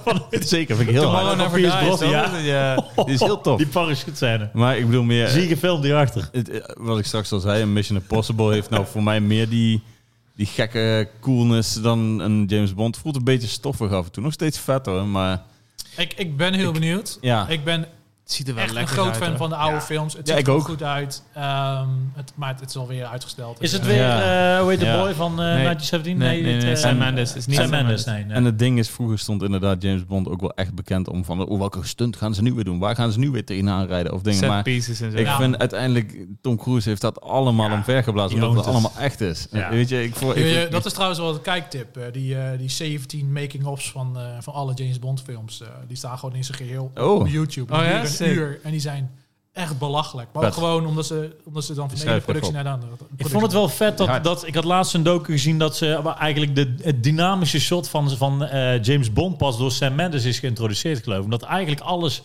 [SPEAKER 2] van
[SPEAKER 1] zeker, vind ik heel
[SPEAKER 2] Tomorrow
[SPEAKER 1] hard.
[SPEAKER 2] Never
[SPEAKER 3] Piers
[SPEAKER 2] Dies,
[SPEAKER 3] Brosnan,
[SPEAKER 2] ja.
[SPEAKER 3] ja.
[SPEAKER 2] Oh.
[SPEAKER 1] Die is heel tof.
[SPEAKER 2] die parachutes zijn er.
[SPEAKER 1] Maar ik bedoel meer...
[SPEAKER 2] Zie je gefilmd hierachter.
[SPEAKER 1] het, eh, wat ik straks al zei, een Mission Impossible heeft nou voor mij meer die, die gekke coolness dan een James Bond. Voelt een beetje stoffig af en toe. Nog steeds vet hoor, maar
[SPEAKER 4] Ik, ik ben heel benieuwd.
[SPEAKER 1] ja.
[SPEAKER 4] Ik ben
[SPEAKER 3] Het ziet er wel
[SPEAKER 4] echt een
[SPEAKER 3] lekker
[SPEAKER 4] groot
[SPEAKER 3] uit,
[SPEAKER 4] fan
[SPEAKER 3] hoor.
[SPEAKER 4] van de oude
[SPEAKER 3] Ja.
[SPEAKER 4] films. Het
[SPEAKER 1] Ja,
[SPEAKER 4] ziet
[SPEAKER 1] ik
[SPEAKER 4] er
[SPEAKER 1] ook.
[SPEAKER 4] goed uit. Ehm, het, maar het, het is alweer uitgesteld.
[SPEAKER 2] Is het
[SPEAKER 4] Ja.
[SPEAKER 2] weer,
[SPEAKER 1] Ja.
[SPEAKER 2] eh hoe heet de
[SPEAKER 1] Ja.
[SPEAKER 2] boy van eh
[SPEAKER 3] Nee.
[SPEAKER 2] 1917?
[SPEAKER 3] Nee, nee,
[SPEAKER 2] dit,
[SPEAKER 3] nee,
[SPEAKER 2] eh,
[SPEAKER 3] Sam Mendes. Het is niet
[SPEAKER 2] Sam
[SPEAKER 3] Sam
[SPEAKER 2] Mendes, nee.
[SPEAKER 3] Mendes.
[SPEAKER 2] nee.
[SPEAKER 1] En het ding is, vroeger stond inderdaad James Bond ook wel echt bekend om van... Oh, welke stunt gaan ze nu weer doen? Waar gaan ze nu weer tegenaan rijden? Of dingen.
[SPEAKER 3] Set
[SPEAKER 1] Maar
[SPEAKER 3] pieces en zo.
[SPEAKER 1] ik
[SPEAKER 4] Ja.
[SPEAKER 1] vind uiteindelijk... Tom Cruise heeft dat allemaal omvergeblazen.
[SPEAKER 2] die
[SPEAKER 1] Omdat het
[SPEAKER 2] oont het.
[SPEAKER 1] allemaal echt is.
[SPEAKER 2] Ja.
[SPEAKER 1] Weet je, ik... Voor, ik-
[SPEAKER 4] Je- je- dat is trouwens wel een kijktip. eh, die, eh, die 17 making-ofs van, eh, van alle James Bond films. eh, die staan gewoon in zijn geheel
[SPEAKER 1] Oh.
[SPEAKER 4] op YouTube.
[SPEAKER 3] Oh
[SPEAKER 4] Een
[SPEAKER 3] ja?
[SPEAKER 4] uur,
[SPEAKER 3] Sick.
[SPEAKER 4] een uur. En die zijn echt belachelijk. Maar ook
[SPEAKER 1] Vet.
[SPEAKER 4] gewoon omdat ze, omdat ze dan van de ene
[SPEAKER 1] schrijf
[SPEAKER 4] productie
[SPEAKER 1] even
[SPEAKER 4] naar de andere. productie
[SPEAKER 2] Ik vond het wel vet dat,
[SPEAKER 1] Ja.
[SPEAKER 2] dat ik had laatst een docu gezien dat ze maar eigenlijk de, het dynamische shot van, van eh, James Bond pas door Sam Mendes is geïntroduceerd, geloof ik. Omdat eigenlijk alles,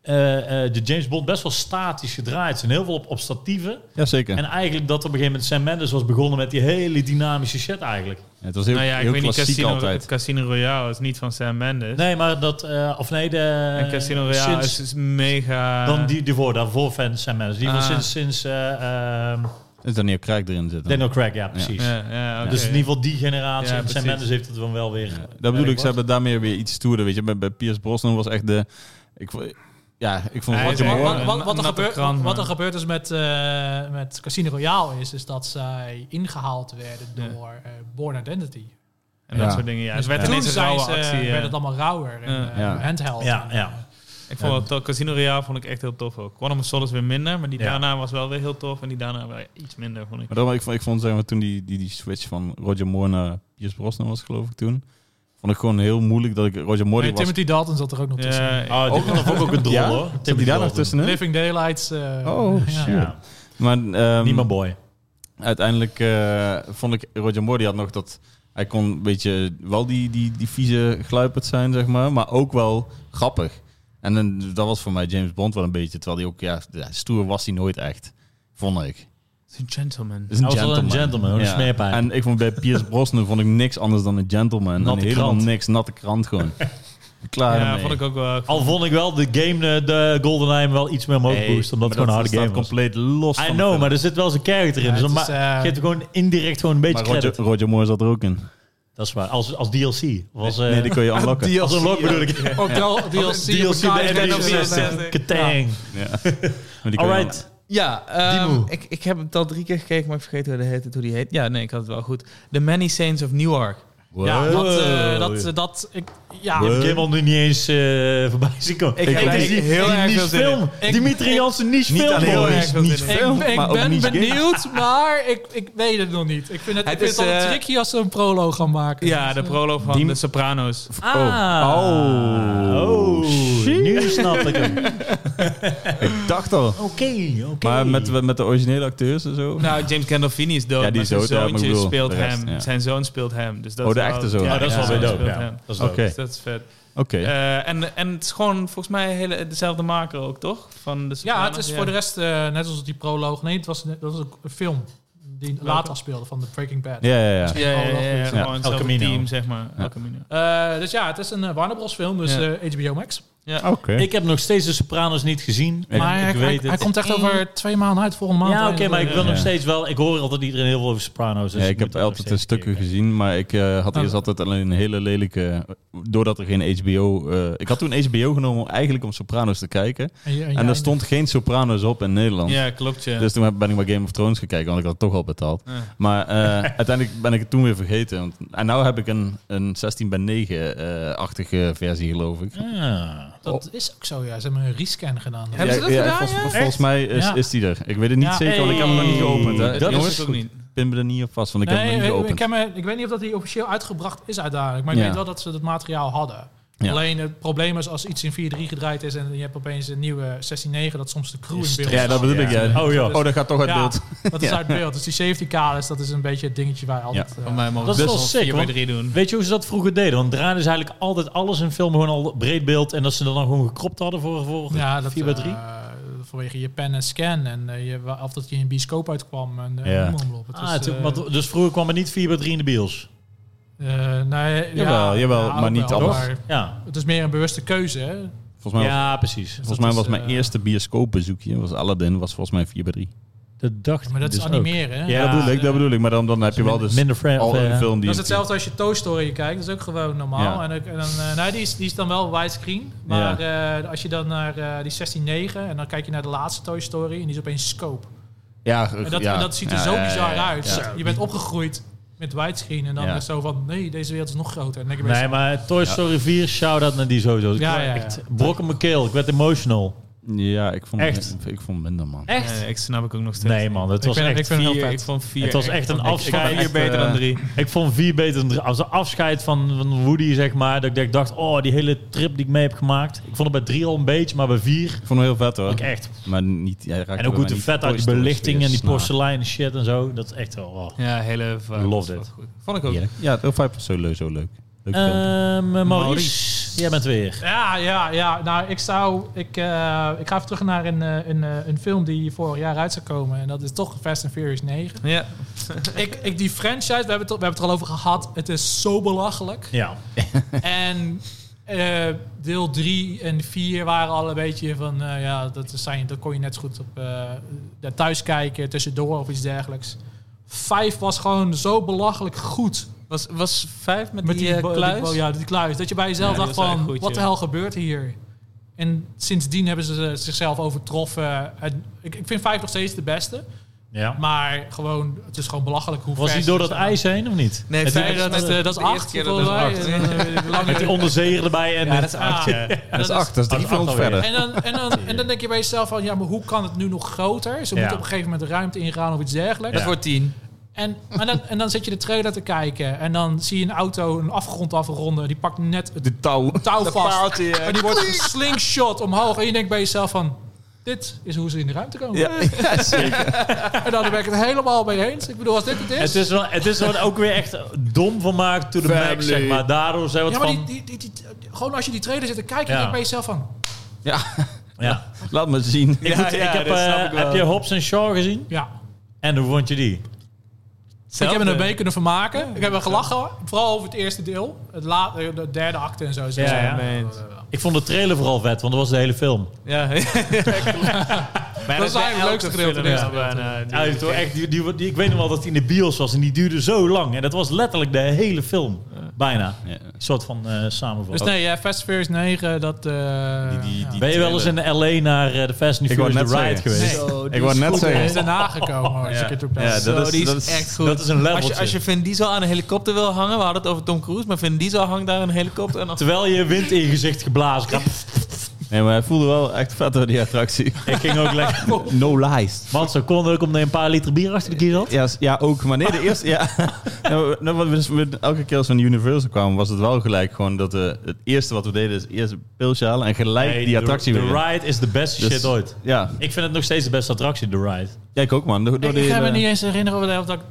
[SPEAKER 2] eh, eh, de James Bond best wel statisch gedraaid is. En heel veel op, op statieven.
[SPEAKER 1] ja, zeker.
[SPEAKER 2] En eigenlijk dat op een gegeven moment Sam Mendes was begonnen met die hele dynamische shit eigenlijk.
[SPEAKER 1] het was heel,
[SPEAKER 3] nou ja, ik
[SPEAKER 1] heel
[SPEAKER 3] weet niet,
[SPEAKER 1] klassiek
[SPEAKER 3] Casino,
[SPEAKER 1] altijd.
[SPEAKER 3] het Casino Royale is niet van Sam Mendes.
[SPEAKER 2] Nee, maar dat, eh, of nee, de...
[SPEAKER 3] en Casino Royale
[SPEAKER 2] sinds-
[SPEAKER 3] is, is mega...
[SPEAKER 2] Dan die, die voor, daarvoor van Sam Mendes. Die was
[SPEAKER 3] Ah.
[SPEAKER 2] sinds, sinds eh, eh,
[SPEAKER 1] Is Daniel Craig erin zitten.
[SPEAKER 2] Daniel Craig, ja precies.
[SPEAKER 3] Ja, ja, oké.
[SPEAKER 2] Dus in ieder geval die generatie.
[SPEAKER 3] Ja,
[SPEAKER 2] en Sam
[SPEAKER 3] precies.
[SPEAKER 2] Mendes heeft het dan wel weer...
[SPEAKER 1] Dat bedoel ik, ze
[SPEAKER 2] Ja,
[SPEAKER 1] hebben daarmee weer iets stoerder, weet je. Bij, bij Piers Brosnan was echt de... Ik, vo- ja, ik vond
[SPEAKER 3] Hij
[SPEAKER 1] Roger
[SPEAKER 3] is echt-
[SPEAKER 1] Moore...
[SPEAKER 4] Wat, wat, wat, er
[SPEAKER 3] Natte
[SPEAKER 4] gebeurt,
[SPEAKER 3] krant,
[SPEAKER 4] wat er
[SPEAKER 3] man.
[SPEAKER 4] gebeurd is met, eh, met Casino Royale is, is dat zij ingehaald werden door eh, Born Identity.
[SPEAKER 3] En dat
[SPEAKER 1] Ja.
[SPEAKER 3] soort dingen, ja. Het
[SPEAKER 4] En
[SPEAKER 3] werd ineens
[SPEAKER 4] toen
[SPEAKER 3] een
[SPEAKER 4] zijn
[SPEAKER 3] rauwe
[SPEAKER 4] ze,
[SPEAKER 3] actie.
[SPEAKER 1] eh.
[SPEAKER 3] ja.
[SPEAKER 4] werd het allemaal rauwer en
[SPEAKER 3] Ja.
[SPEAKER 4] eh,
[SPEAKER 1] Ja.
[SPEAKER 4] handheld.
[SPEAKER 2] Ja,
[SPEAKER 4] En,
[SPEAKER 2] ja.
[SPEAKER 4] eh,
[SPEAKER 3] Ik vond het Casino Royale vond ik echt heel tof ook. Quantum of Solace weer minder, maar die
[SPEAKER 2] Ja.
[SPEAKER 3] daarna was wel weer heel tof. En die daarna weer iets minder, vond ik.
[SPEAKER 1] Maar daarom, ik vond, ik vond zeg maar, toen die, die, die switch van Roger Moore naar Piers Brosnan was, geloof ik toen, vond ik gewoon heel moeilijk dat ik Roger Moore...
[SPEAKER 4] nee,
[SPEAKER 1] die was,
[SPEAKER 4] Timothy Dalton zat er ook nog tussen.
[SPEAKER 3] Ja,
[SPEAKER 2] Oh, die vond ik ook een drol
[SPEAKER 1] Ja?
[SPEAKER 2] hoor.
[SPEAKER 1] zat die daar nog tussenin?
[SPEAKER 4] Living Daylights. eh,
[SPEAKER 1] Oh,
[SPEAKER 4] ja.
[SPEAKER 1] shit. Maar ehm,
[SPEAKER 2] Niemand boy.
[SPEAKER 1] uiteindelijk eh, vond ik Roger Moore, die had nog dat... Hij kon een beetje wel die, die, die vieze gluiperd zijn, zeg maar, maar ook wel grappig. En dan, dat was voor mij James Bond wel een beetje, terwijl hij ook, ja, stoer was hij nooit echt, vond ik.
[SPEAKER 3] Het is een gentleman.
[SPEAKER 1] Is een
[SPEAKER 2] Hij was wel
[SPEAKER 1] gentleman.
[SPEAKER 2] een gentleman, hoor, een smeerpijp.
[SPEAKER 1] En ik vond bij Piers Brosnan vond ik niks anders dan een gentleman.
[SPEAKER 2] Natte
[SPEAKER 1] en helemaal
[SPEAKER 2] krant.
[SPEAKER 1] niks, natte krant gewoon. Klaar
[SPEAKER 3] Ja,
[SPEAKER 1] ermee.
[SPEAKER 3] vond ik ook wel. ik vond-
[SPEAKER 2] Al vond ik wel de game, eh, de Goldeneye, wel iets meer omhoog
[SPEAKER 1] Nee,
[SPEAKER 2] boost. Omdat het
[SPEAKER 1] maar
[SPEAKER 2] gewoon
[SPEAKER 1] dat
[SPEAKER 2] een harde
[SPEAKER 1] staat
[SPEAKER 2] game was.
[SPEAKER 1] compleet los van
[SPEAKER 2] I
[SPEAKER 1] de
[SPEAKER 2] know,
[SPEAKER 1] film.
[SPEAKER 2] maar er zit wel zijn character in.
[SPEAKER 4] Ja,
[SPEAKER 2] dus dan
[SPEAKER 4] het is,
[SPEAKER 2] ma-
[SPEAKER 4] eh,
[SPEAKER 2] geeft er gewoon indirect gewoon een beetje
[SPEAKER 1] Maar Roger,
[SPEAKER 2] credit.
[SPEAKER 1] Roger Moore zat er ook in.
[SPEAKER 2] Dat is waar. Als, als DLC. Was, eh
[SPEAKER 1] nee, die kon je unlocken.
[SPEAKER 2] als een lock bedoel ik.
[SPEAKER 4] Ook wel DLC.
[SPEAKER 2] DLC de
[SPEAKER 4] elkaar-
[SPEAKER 3] End of
[SPEAKER 2] N64.
[SPEAKER 3] Season.
[SPEAKER 2] Ketang.
[SPEAKER 1] Ja. Maar die kon je
[SPEAKER 2] Alright.
[SPEAKER 3] Ja, ehm,
[SPEAKER 2] Dimo.
[SPEAKER 3] ik, ik heb het al drie keer gekeken, maar ik vergeet hoe, de heet, hoe die heet. Ja, nee, ik had het wel goed. The Many Saints of Newark.
[SPEAKER 1] unlocken.
[SPEAKER 4] Ja,
[SPEAKER 1] Wow.
[SPEAKER 4] dat, eh,
[SPEAKER 2] Wow.
[SPEAKER 4] dat, eh, dat, ik, ja,
[SPEAKER 2] Ik heb hem al nu niet eens eh, voorbij zien komen.
[SPEAKER 3] Ik heb
[SPEAKER 2] Het is
[SPEAKER 3] echt
[SPEAKER 2] die-
[SPEAKER 3] heel
[SPEAKER 2] die
[SPEAKER 3] erg veel
[SPEAKER 2] niche
[SPEAKER 3] zin in.
[SPEAKER 2] film.
[SPEAKER 4] Ik-
[SPEAKER 2] Dimitri
[SPEAKER 4] ik-
[SPEAKER 2] Jansen niche
[SPEAKER 1] Niet
[SPEAKER 2] film.
[SPEAKER 1] alleen
[SPEAKER 2] boy.
[SPEAKER 1] heel
[SPEAKER 3] boys.
[SPEAKER 1] erg veel
[SPEAKER 3] Ik-
[SPEAKER 1] zin in.
[SPEAKER 4] ik, ik
[SPEAKER 1] maar ook
[SPEAKER 4] ben
[SPEAKER 1] niet gay.
[SPEAKER 4] benieuwd, maar ik, ik weet het nog niet. Ik vind het,
[SPEAKER 3] Het
[SPEAKER 4] ik vind
[SPEAKER 3] is,
[SPEAKER 4] het al
[SPEAKER 3] eh,
[SPEAKER 4] een tricky als ze een proloog gaan maken.
[SPEAKER 3] Ja,
[SPEAKER 4] Dus,
[SPEAKER 3] de
[SPEAKER 4] eh,
[SPEAKER 3] prolo van
[SPEAKER 4] Ah.
[SPEAKER 1] Die-
[SPEAKER 3] De Sopranos.
[SPEAKER 1] Oh.
[SPEAKER 2] Oh,
[SPEAKER 1] Oh,
[SPEAKER 2] nu nu snap ik hem. Oké,
[SPEAKER 1] Ik dacht al.
[SPEAKER 2] oké.
[SPEAKER 1] Maar met, met de originele acteurs en zo?
[SPEAKER 3] Nou, James Gandolfini is dood,
[SPEAKER 1] Ja, die
[SPEAKER 3] maar
[SPEAKER 1] is
[SPEAKER 3] zijn
[SPEAKER 1] dood, ja, maar ik
[SPEAKER 3] zoontje
[SPEAKER 1] bedoel,
[SPEAKER 3] speelt
[SPEAKER 1] de rest,
[SPEAKER 3] hem.
[SPEAKER 1] ja.
[SPEAKER 3] Zijn zoon speelt hem. Dus dat
[SPEAKER 1] Oh,
[SPEAKER 3] is
[SPEAKER 1] de
[SPEAKER 3] wel-
[SPEAKER 1] echte zoon.
[SPEAKER 2] Ja, dat is
[SPEAKER 1] Ja,
[SPEAKER 2] wel weer
[SPEAKER 1] zo
[SPEAKER 3] zijn
[SPEAKER 2] dope.
[SPEAKER 3] speelt
[SPEAKER 2] Ja,
[SPEAKER 3] hem.
[SPEAKER 2] dat is
[SPEAKER 1] Oké,
[SPEAKER 2] dope.
[SPEAKER 3] Dus dat is vet.
[SPEAKER 1] oké.
[SPEAKER 3] Eh, en, en het is gewoon volgens mij hele, dezelfde maker ook, toch? Van de
[SPEAKER 4] Ja, het
[SPEAKER 3] Sopranos,
[SPEAKER 4] is voor de rest eh, net als die proloog. Nee, het was, dat was ook een film die later afspeelde van de Breaking Bad.
[SPEAKER 1] Ja, ja, ja.
[SPEAKER 3] Ja, ja, ja, ja,
[SPEAKER 4] Ja.
[SPEAKER 3] gewoon
[SPEAKER 2] El
[SPEAKER 3] hetzelfde
[SPEAKER 2] Camino.
[SPEAKER 3] team, zeg maar.
[SPEAKER 1] Ja.
[SPEAKER 3] El Camino.
[SPEAKER 4] Eh, dus ja, het is een eh, Warner Bros. film, dus
[SPEAKER 3] Ja.
[SPEAKER 4] eh, HBO Max.
[SPEAKER 1] Oké.
[SPEAKER 2] Ik heb nog steeds de Sopranos niet gezien.
[SPEAKER 1] Ik-
[SPEAKER 4] maar
[SPEAKER 2] Maar
[SPEAKER 4] hij,
[SPEAKER 2] ik weet
[SPEAKER 4] hij-
[SPEAKER 2] het.
[SPEAKER 4] hij komt echt over twee maanden uit, volgende maand.
[SPEAKER 2] Ja, oké, maar ik wil
[SPEAKER 1] Ja.
[SPEAKER 2] nog steeds wel... Ik hoor altijd iedereen heel veel over Sopranos. dus
[SPEAKER 1] ja, ik heb
[SPEAKER 2] moet nog
[SPEAKER 1] altijd een
[SPEAKER 2] steeds
[SPEAKER 1] stukken
[SPEAKER 2] kijken.
[SPEAKER 1] gezien, maar ik eh, had
[SPEAKER 4] Oh.
[SPEAKER 1] eerst altijd alleen een hele lelijke... Doordat er geen HBO... eh, ik had toen HBO genomen eigenlijk om Sopranos te kijken.
[SPEAKER 4] En, je-
[SPEAKER 1] en
[SPEAKER 4] jij-
[SPEAKER 1] er stond geen Sopranos op in Nederland.
[SPEAKER 3] Ja, klopt, ja.
[SPEAKER 1] Dus toen heb- ben ik maar Game of Thrones gekeken, want ik had het toch al betaald.
[SPEAKER 3] Ja.
[SPEAKER 1] Maar eh, uiteindelijk ben ik het toen weer vergeten. Want, en nu heb ik een, een 16 bij 9-achtige versie, geloof ik.
[SPEAKER 2] Ja.
[SPEAKER 4] Dat is ook zo, ja. Ze hebben een rescan gedaan.
[SPEAKER 3] Ja. Hebben ze dat gedaan,
[SPEAKER 1] volgens,
[SPEAKER 3] ja?
[SPEAKER 1] volgens mij is,
[SPEAKER 4] Ja.
[SPEAKER 1] is die er. Ik weet het niet
[SPEAKER 4] Ja.
[SPEAKER 1] zeker, want ik heb hem nog niet
[SPEAKER 2] Hey.
[SPEAKER 1] geopend. Hè.
[SPEAKER 2] Dat
[SPEAKER 3] dat
[SPEAKER 1] Jongens,
[SPEAKER 3] is het ook niet.
[SPEAKER 1] pin me er niet op vast, want ik heb hem nog niet
[SPEAKER 4] ik,
[SPEAKER 1] geopend.
[SPEAKER 4] ik, heb me- ik weet niet of dat die officieel uitgebracht is uiteindelijk. Maar ik
[SPEAKER 1] Ja.
[SPEAKER 4] weet wel dat ze dat materiaal hadden.
[SPEAKER 1] Ja.
[SPEAKER 4] Alleen het probleem is als iets in 4-3 gedraaid is en je hebt opeens een nieuwe 16-9, dat soms de crew in beeld
[SPEAKER 1] Ja, dat bedoel ik. Ja.
[SPEAKER 2] Oh ja.
[SPEAKER 1] Oh, dat gaat toch uit
[SPEAKER 4] Ja,
[SPEAKER 1] beeld.
[SPEAKER 4] dat is uit beeld. Dus die safety car is, dat is een beetje het dingetje waar je altijd... eh,
[SPEAKER 3] Van mij mogen
[SPEAKER 2] Dat is
[SPEAKER 3] best
[SPEAKER 2] wel
[SPEAKER 3] wel
[SPEAKER 2] sick,
[SPEAKER 3] 4 bij
[SPEAKER 2] want-
[SPEAKER 3] 3 doen.
[SPEAKER 2] Weet je hoe ze dat vroeger deden? Want draaiden ze eigenlijk altijd alles in film gewoon al breed beeld. En dat ze dat dan gewoon gekropt hadden voor, voor
[SPEAKER 4] ja, dat,
[SPEAKER 2] 4 bij 3.
[SPEAKER 4] eh, vanwege je pen en scan en eh, je, wa- of dat je in een bioscoop uitkwam. En, eh,
[SPEAKER 1] Ja.
[SPEAKER 4] noem maar op. Het
[SPEAKER 2] ah,
[SPEAKER 4] is,
[SPEAKER 2] toen-
[SPEAKER 4] eh,
[SPEAKER 2] want- dus vroeger kwam er niet 4 bij 3 in de bios.
[SPEAKER 4] eh, nee,
[SPEAKER 1] Jawel,
[SPEAKER 4] ja,
[SPEAKER 1] jawel,
[SPEAKER 4] ja,
[SPEAKER 1] maar
[SPEAKER 4] ook
[SPEAKER 1] niet
[SPEAKER 4] wel,
[SPEAKER 1] alles.
[SPEAKER 4] maar
[SPEAKER 2] Ja,
[SPEAKER 4] Het is meer een bewuste keuze. Hè?
[SPEAKER 1] Volgens mij, was-
[SPEAKER 2] ja precies.
[SPEAKER 1] volgens
[SPEAKER 4] dat
[SPEAKER 1] mij
[SPEAKER 4] is,
[SPEAKER 1] was mijn
[SPEAKER 4] eh,
[SPEAKER 1] eerste bioscoopbezoekje, was Aladdin, was volgens mij 4 bij 3.
[SPEAKER 2] Dat dacht
[SPEAKER 4] Maar dat
[SPEAKER 2] ik
[SPEAKER 4] is
[SPEAKER 2] dus ook.
[SPEAKER 4] animeren. Hè?
[SPEAKER 2] Ja,
[SPEAKER 1] Ja, dat bedoel ik, dat
[SPEAKER 4] eh,
[SPEAKER 1] bedoel ik. Maar dan, dan heb je wel dus
[SPEAKER 2] Minder fra-
[SPEAKER 1] al
[SPEAKER 2] of, eh,
[SPEAKER 1] een film die...
[SPEAKER 4] Dat is hetzelfde als je Toy Story kijkt. Dat is ook gewoon normaal.
[SPEAKER 1] Ja.
[SPEAKER 4] En, ook- en dan, eh, nou, die, is, die is dan wel widescreen. Maar eh, als je dan naar eh, die 16-9 en dan kijk je naar de laatste Toy Story en die is opeens scope.
[SPEAKER 1] Ja,
[SPEAKER 4] En dat,
[SPEAKER 1] ja.
[SPEAKER 4] en dat ziet er
[SPEAKER 1] Ja,
[SPEAKER 4] zo
[SPEAKER 1] ja, ja,
[SPEAKER 4] bizar
[SPEAKER 1] ja.
[SPEAKER 4] uit.
[SPEAKER 1] Ja.
[SPEAKER 4] Je bent opgegroeid met widescreen en dan
[SPEAKER 1] Ja.
[SPEAKER 4] is zo van nee, deze wereld is nog groter. En dan denk je
[SPEAKER 2] Nee,
[SPEAKER 4] nee,
[SPEAKER 2] maar Toy Story 4, shout-out naar die sowieso.
[SPEAKER 4] Ja,
[SPEAKER 2] Ja,
[SPEAKER 4] ja, ja.
[SPEAKER 2] Echt, brok in mijn keel, ik werd emotional.
[SPEAKER 1] Ja, ik vond,
[SPEAKER 2] Echt?
[SPEAKER 1] Ik, vond het minder, man.
[SPEAKER 2] Echt?
[SPEAKER 3] Nee, ik snap ik ook nog steeds.
[SPEAKER 2] Nee man, het
[SPEAKER 4] Ik
[SPEAKER 2] was
[SPEAKER 4] vind het-
[SPEAKER 2] echt
[SPEAKER 4] ik vind het
[SPEAKER 2] vier.
[SPEAKER 4] heel
[SPEAKER 3] Ik vond 4.
[SPEAKER 2] Het was echt een afscheid.
[SPEAKER 3] Ik vond 4 beter dan 3.
[SPEAKER 2] Ik vond 4 beter dan drie. Als de afscheid van, van Woody, zeg maar, dat ik dacht, oh, die hele trip die ik mee heb gemaakt. Ik vond het bij 3 al een beetje, maar bij 4
[SPEAKER 1] Ik vond hem heel vet, hoor.
[SPEAKER 2] ook echt.
[SPEAKER 1] Maar niet... Hij raakte
[SPEAKER 2] En ook
[SPEAKER 1] bij
[SPEAKER 2] goed
[SPEAKER 1] mij
[SPEAKER 2] de
[SPEAKER 1] niet
[SPEAKER 2] vet uit die
[SPEAKER 1] Toy Story
[SPEAKER 2] belichting en die
[SPEAKER 1] sfeer.
[SPEAKER 2] porselein shit en zo. Dat is echt wel... oh.
[SPEAKER 3] Ja, hele vibe.
[SPEAKER 2] Loved
[SPEAKER 3] was
[SPEAKER 2] it.
[SPEAKER 3] goed. Vond ik ook.
[SPEAKER 1] Heerlijk. Ja, heel vibe was sowieso zo leuk. Leuk filmpje.
[SPEAKER 2] Ehm, eh, Maurice,
[SPEAKER 3] Maurice.
[SPEAKER 2] jij bent weer.
[SPEAKER 4] Ja, ja, ja. Nou, ik zou. Ik, eh, ik ga even terug naar een, eh, een, eh, een film die vorig jaar uit zou komen. En dat is toch Fast and Furious 9.
[SPEAKER 3] Ja.
[SPEAKER 4] ik, ik, die franchise, we hebben, het, al- we hebben het er al over gehad. Het is zo belachelijk.
[SPEAKER 2] Ja.
[SPEAKER 4] En eh, deel 3 en 4 waren al een beetje van, eh, ja, dat, zijn, dat kon je net zo goed op eh, daar thuis kijken, tussendoor of iets dergelijks. 5 was gewoon zo belachelijk goed.
[SPEAKER 3] Was, was 5 met, die,
[SPEAKER 4] bo-
[SPEAKER 3] eh,
[SPEAKER 4] bo-
[SPEAKER 3] kluis?
[SPEAKER 4] ja, die kluis. Dat je bij jezelf
[SPEAKER 3] Ja, die
[SPEAKER 4] dacht
[SPEAKER 3] was echt
[SPEAKER 4] van,
[SPEAKER 3] goed,
[SPEAKER 4] wat de
[SPEAKER 3] ja.
[SPEAKER 4] hel gebeurt hier? En sindsdien hebben ze eh, zichzelf overtroffen. En ik, ik vind 5 nog steeds de beste.
[SPEAKER 2] ja.
[SPEAKER 4] Maar gewoon, het is gewoon belachelijk hoe
[SPEAKER 2] Was
[SPEAKER 4] ver
[SPEAKER 2] hij
[SPEAKER 4] ze
[SPEAKER 2] door dat
[SPEAKER 4] zijn.
[SPEAKER 2] ijs heen of niet?
[SPEAKER 3] Nee,
[SPEAKER 2] Met die-
[SPEAKER 3] vijf-
[SPEAKER 4] Nee, dat, is, eh, dat is
[SPEAKER 3] De eerste
[SPEAKER 4] acht.
[SPEAKER 3] keer dat
[SPEAKER 4] volgens
[SPEAKER 3] is
[SPEAKER 4] mij.
[SPEAKER 3] acht.
[SPEAKER 4] En, eh, lange-
[SPEAKER 2] Met die onderzeeër erbij en...
[SPEAKER 3] Ja, dat is
[SPEAKER 4] Ah.
[SPEAKER 3] acht, ja.
[SPEAKER 1] Dat is acht, dat is drie
[SPEAKER 2] dat is
[SPEAKER 1] films
[SPEAKER 2] acht alweer.
[SPEAKER 1] verder.
[SPEAKER 4] En dan, en, dan, en dan denk je bij jezelf van, ja, maar hoe kan het nu nog groter? Ze
[SPEAKER 2] Ja.
[SPEAKER 4] moeten op een gegeven moment ruimte ingaan of iets dergelijks.
[SPEAKER 3] Dat
[SPEAKER 2] Ja.
[SPEAKER 3] wordt 10.
[SPEAKER 4] En, en, dan, en dan zit je de trailer te kijken en dan zie je een auto een afgrond afronden. Die pakt net het
[SPEAKER 1] De touw.
[SPEAKER 4] touw
[SPEAKER 3] Dat
[SPEAKER 4] vast.
[SPEAKER 3] paaltje, ja.
[SPEAKER 4] En die wordt slingshot omhoog. En je denkt bij jezelf van, dit is hoe ze in de ruimte komen.
[SPEAKER 1] Ja, ja, zeker.
[SPEAKER 4] En dan ben ik het helemaal mee eens. Ik bedoel, als dit het is...
[SPEAKER 2] Het is, wel, het is wel ook weer echt dom gemaakt to the max, zeg maar. Daardoor zijn we
[SPEAKER 4] ja,
[SPEAKER 2] het
[SPEAKER 4] maar die,
[SPEAKER 2] van...
[SPEAKER 4] die, die, die- gewoon als je die trailer zit te kijken,
[SPEAKER 2] Ja.
[SPEAKER 4] denk je bij jezelf van...
[SPEAKER 1] Ja,
[SPEAKER 2] ja.
[SPEAKER 1] laat me zien.
[SPEAKER 2] Ik, moet-
[SPEAKER 3] ja,
[SPEAKER 2] ik heb,
[SPEAKER 3] dat
[SPEAKER 2] eh,
[SPEAKER 3] snap ik wel.
[SPEAKER 2] heb je Hobbs en Shaw gezien?
[SPEAKER 4] Ja,
[SPEAKER 2] En hoe vond je die?
[SPEAKER 4] Ik heb
[SPEAKER 3] Zelfde.
[SPEAKER 4] me ermee kunnen vermaken. ik heb wel gelachen. Vooral over het eerste deel. Het la- eh, de derde acte en zo. Zo.
[SPEAKER 2] Ja, ja.
[SPEAKER 4] Eh,
[SPEAKER 2] Ik vond de trailer vooral vet, want dat was de hele film.
[SPEAKER 3] Ja, Maar
[SPEAKER 4] dat is eigenlijk het leukste gedeelte.
[SPEAKER 3] film,
[SPEAKER 4] Ja,
[SPEAKER 3] ja, bijna. Die-
[SPEAKER 2] Ja, die- echt, die, die, die- ik weet nog wel dat die in de bios was en die duurde zo lang. En dat was letterlijk de hele film. Bijna.
[SPEAKER 1] Ja.
[SPEAKER 2] Een soort van eh samenvatting.
[SPEAKER 4] Dus nee, eh, Fast and Furious 9, dat... eh, ja.
[SPEAKER 2] ben je wel eens in LA naar eh, de Fast and
[SPEAKER 1] Ik wou
[SPEAKER 2] Furious The
[SPEAKER 1] net
[SPEAKER 2] Ride
[SPEAKER 1] zeggen.
[SPEAKER 2] geweest?
[SPEAKER 4] Nee. Zo,
[SPEAKER 1] Ik wou net
[SPEAKER 4] Hij is
[SPEAKER 1] zeggen.
[SPEAKER 4] daarna gekomen. Als ik het ook
[SPEAKER 1] Ja,
[SPEAKER 4] best-
[SPEAKER 1] dat
[SPEAKER 3] Zo,
[SPEAKER 1] is-
[SPEAKER 3] die
[SPEAKER 1] dat is-
[SPEAKER 3] echt goed.
[SPEAKER 2] Dat is een
[SPEAKER 3] als,
[SPEAKER 2] leveltje.
[SPEAKER 3] je, als je Vin Diesel aan een helikopter wil hangen, we hadden het over Tom Cruise, maar Vin Diesel hangt daar een helikopter aan.
[SPEAKER 2] Terwijl je wind in je gezicht geblazen krijgt.
[SPEAKER 1] Nee, maar hij voelde wel echt vet door die attractie.
[SPEAKER 2] Ik ging ook lekker...
[SPEAKER 1] No lies.
[SPEAKER 2] Want ze kon ook omdat je een paar liter bier achter de kies had.
[SPEAKER 1] Ja, s- ja, ook. Maar nee, de eerste... Ja. Nou, nou, wat we dus met- elke keer als we naar Universal kwamen, was het wel gelijk gewoon dat we... Het eerste wat we deden is eerst een pilsje halen en gelijk
[SPEAKER 2] Nee,
[SPEAKER 1] die
[SPEAKER 2] de-
[SPEAKER 1] attractie
[SPEAKER 2] De
[SPEAKER 1] weer in.
[SPEAKER 2] ride is de beste
[SPEAKER 1] Dus-
[SPEAKER 2] shit ooit.
[SPEAKER 1] Ja,
[SPEAKER 2] Ik vind het nog steeds de beste attractie, de ride.
[SPEAKER 1] ja, ik ook man. Door, door
[SPEAKER 4] Ik
[SPEAKER 1] die,
[SPEAKER 4] ga me
[SPEAKER 1] eh,
[SPEAKER 4] niet eens herinneren of dat ik...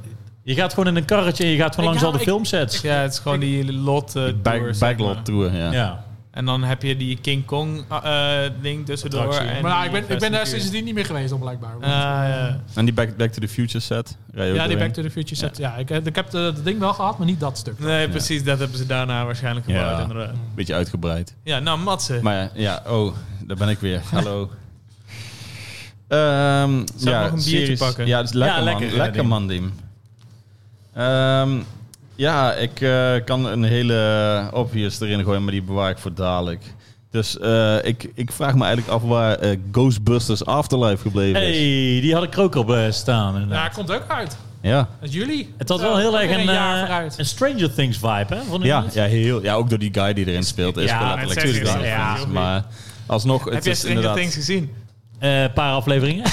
[SPEAKER 2] Je gaat gewoon in een karretje en je gaat gewoon langs
[SPEAKER 4] Ik hou-
[SPEAKER 2] al de
[SPEAKER 4] ik-
[SPEAKER 2] filmsets.
[SPEAKER 3] Ja, het is gewoon die lot eh,
[SPEAKER 1] back-
[SPEAKER 3] tour, zeg maar.
[SPEAKER 1] backlot tour, ja.
[SPEAKER 2] Ja.
[SPEAKER 3] En dan heb je die King Kong eh, eh, ding tussendoor.
[SPEAKER 2] Attractie.
[SPEAKER 3] en
[SPEAKER 4] Maar ja,
[SPEAKER 3] die
[SPEAKER 4] ik ben, ik
[SPEAKER 3] Fast
[SPEAKER 4] ben daar
[SPEAKER 3] and Furious.
[SPEAKER 4] sindsdien niet meer geweest, blijkbaar.
[SPEAKER 3] Ah, ja.
[SPEAKER 1] En die back, back to the Future set. rij je ook
[SPEAKER 4] ja, die
[SPEAKER 1] doorheen.
[SPEAKER 4] Back to the Future set. Ja, ik, ik heb de- dat ding wel gehad, maar niet dat stuk.
[SPEAKER 3] Nee, precies. Dat hebben ze daarna waarschijnlijk
[SPEAKER 1] Ja.
[SPEAKER 3] gebouwd, inderdaad.
[SPEAKER 1] Beetje uitgebreid.
[SPEAKER 3] Ja, nou, Matze.
[SPEAKER 1] Maar ja, ja, oh, daar ben ik weer. Hallo. Ehm ja,
[SPEAKER 3] nog een biertje
[SPEAKER 1] series-
[SPEAKER 3] pakken?
[SPEAKER 1] Ja, dat is lekker,
[SPEAKER 2] Ja,
[SPEAKER 1] man.
[SPEAKER 2] lekker,
[SPEAKER 1] Lekker,
[SPEAKER 2] ja, Dim.
[SPEAKER 1] man, Dim. Ehm, ja, ik eh, kan een hele obvious erin gooien, maar die bewaar ik voor dadelijk. Dus eh, ik, ik vraag me eigenlijk af waar eh, Ghostbusters Afterlife gebleven
[SPEAKER 2] Hey,
[SPEAKER 1] is.
[SPEAKER 2] die had ik er ook op eh, staan.
[SPEAKER 4] Ja,
[SPEAKER 2] inderdaad.
[SPEAKER 4] komt ook uit.
[SPEAKER 1] Ja.
[SPEAKER 4] Dat is jullie.
[SPEAKER 2] Het had
[SPEAKER 4] Zo,
[SPEAKER 2] wel heel
[SPEAKER 4] weer
[SPEAKER 2] erg
[SPEAKER 4] een
[SPEAKER 2] een,
[SPEAKER 4] jaar
[SPEAKER 2] eh,
[SPEAKER 4] vooruit.
[SPEAKER 2] een Stranger Things vibe, hè? Vond ik
[SPEAKER 1] Ja,
[SPEAKER 2] niet?
[SPEAKER 1] ja, heel, ja, ook door die guy die erin speelt. Is
[SPEAKER 2] Ja,
[SPEAKER 1] ja,
[SPEAKER 2] het
[SPEAKER 1] letterlijk
[SPEAKER 3] zegt
[SPEAKER 1] Stranger
[SPEAKER 3] is-
[SPEAKER 1] Things,
[SPEAKER 3] ja.
[SPEAKER 1] Maar alsnog,
[SPEAKER 3] heb
[SPEAKER 1] het
[SPEAKER 3] jij
[SPEAKER 1] is
[SPEAKER 3] Stranger
[SPEAKER 1] inderdaad...
[SPEAKER 3] Things gezien?
[SPEAKER 2] Eh, een paar afleveringen.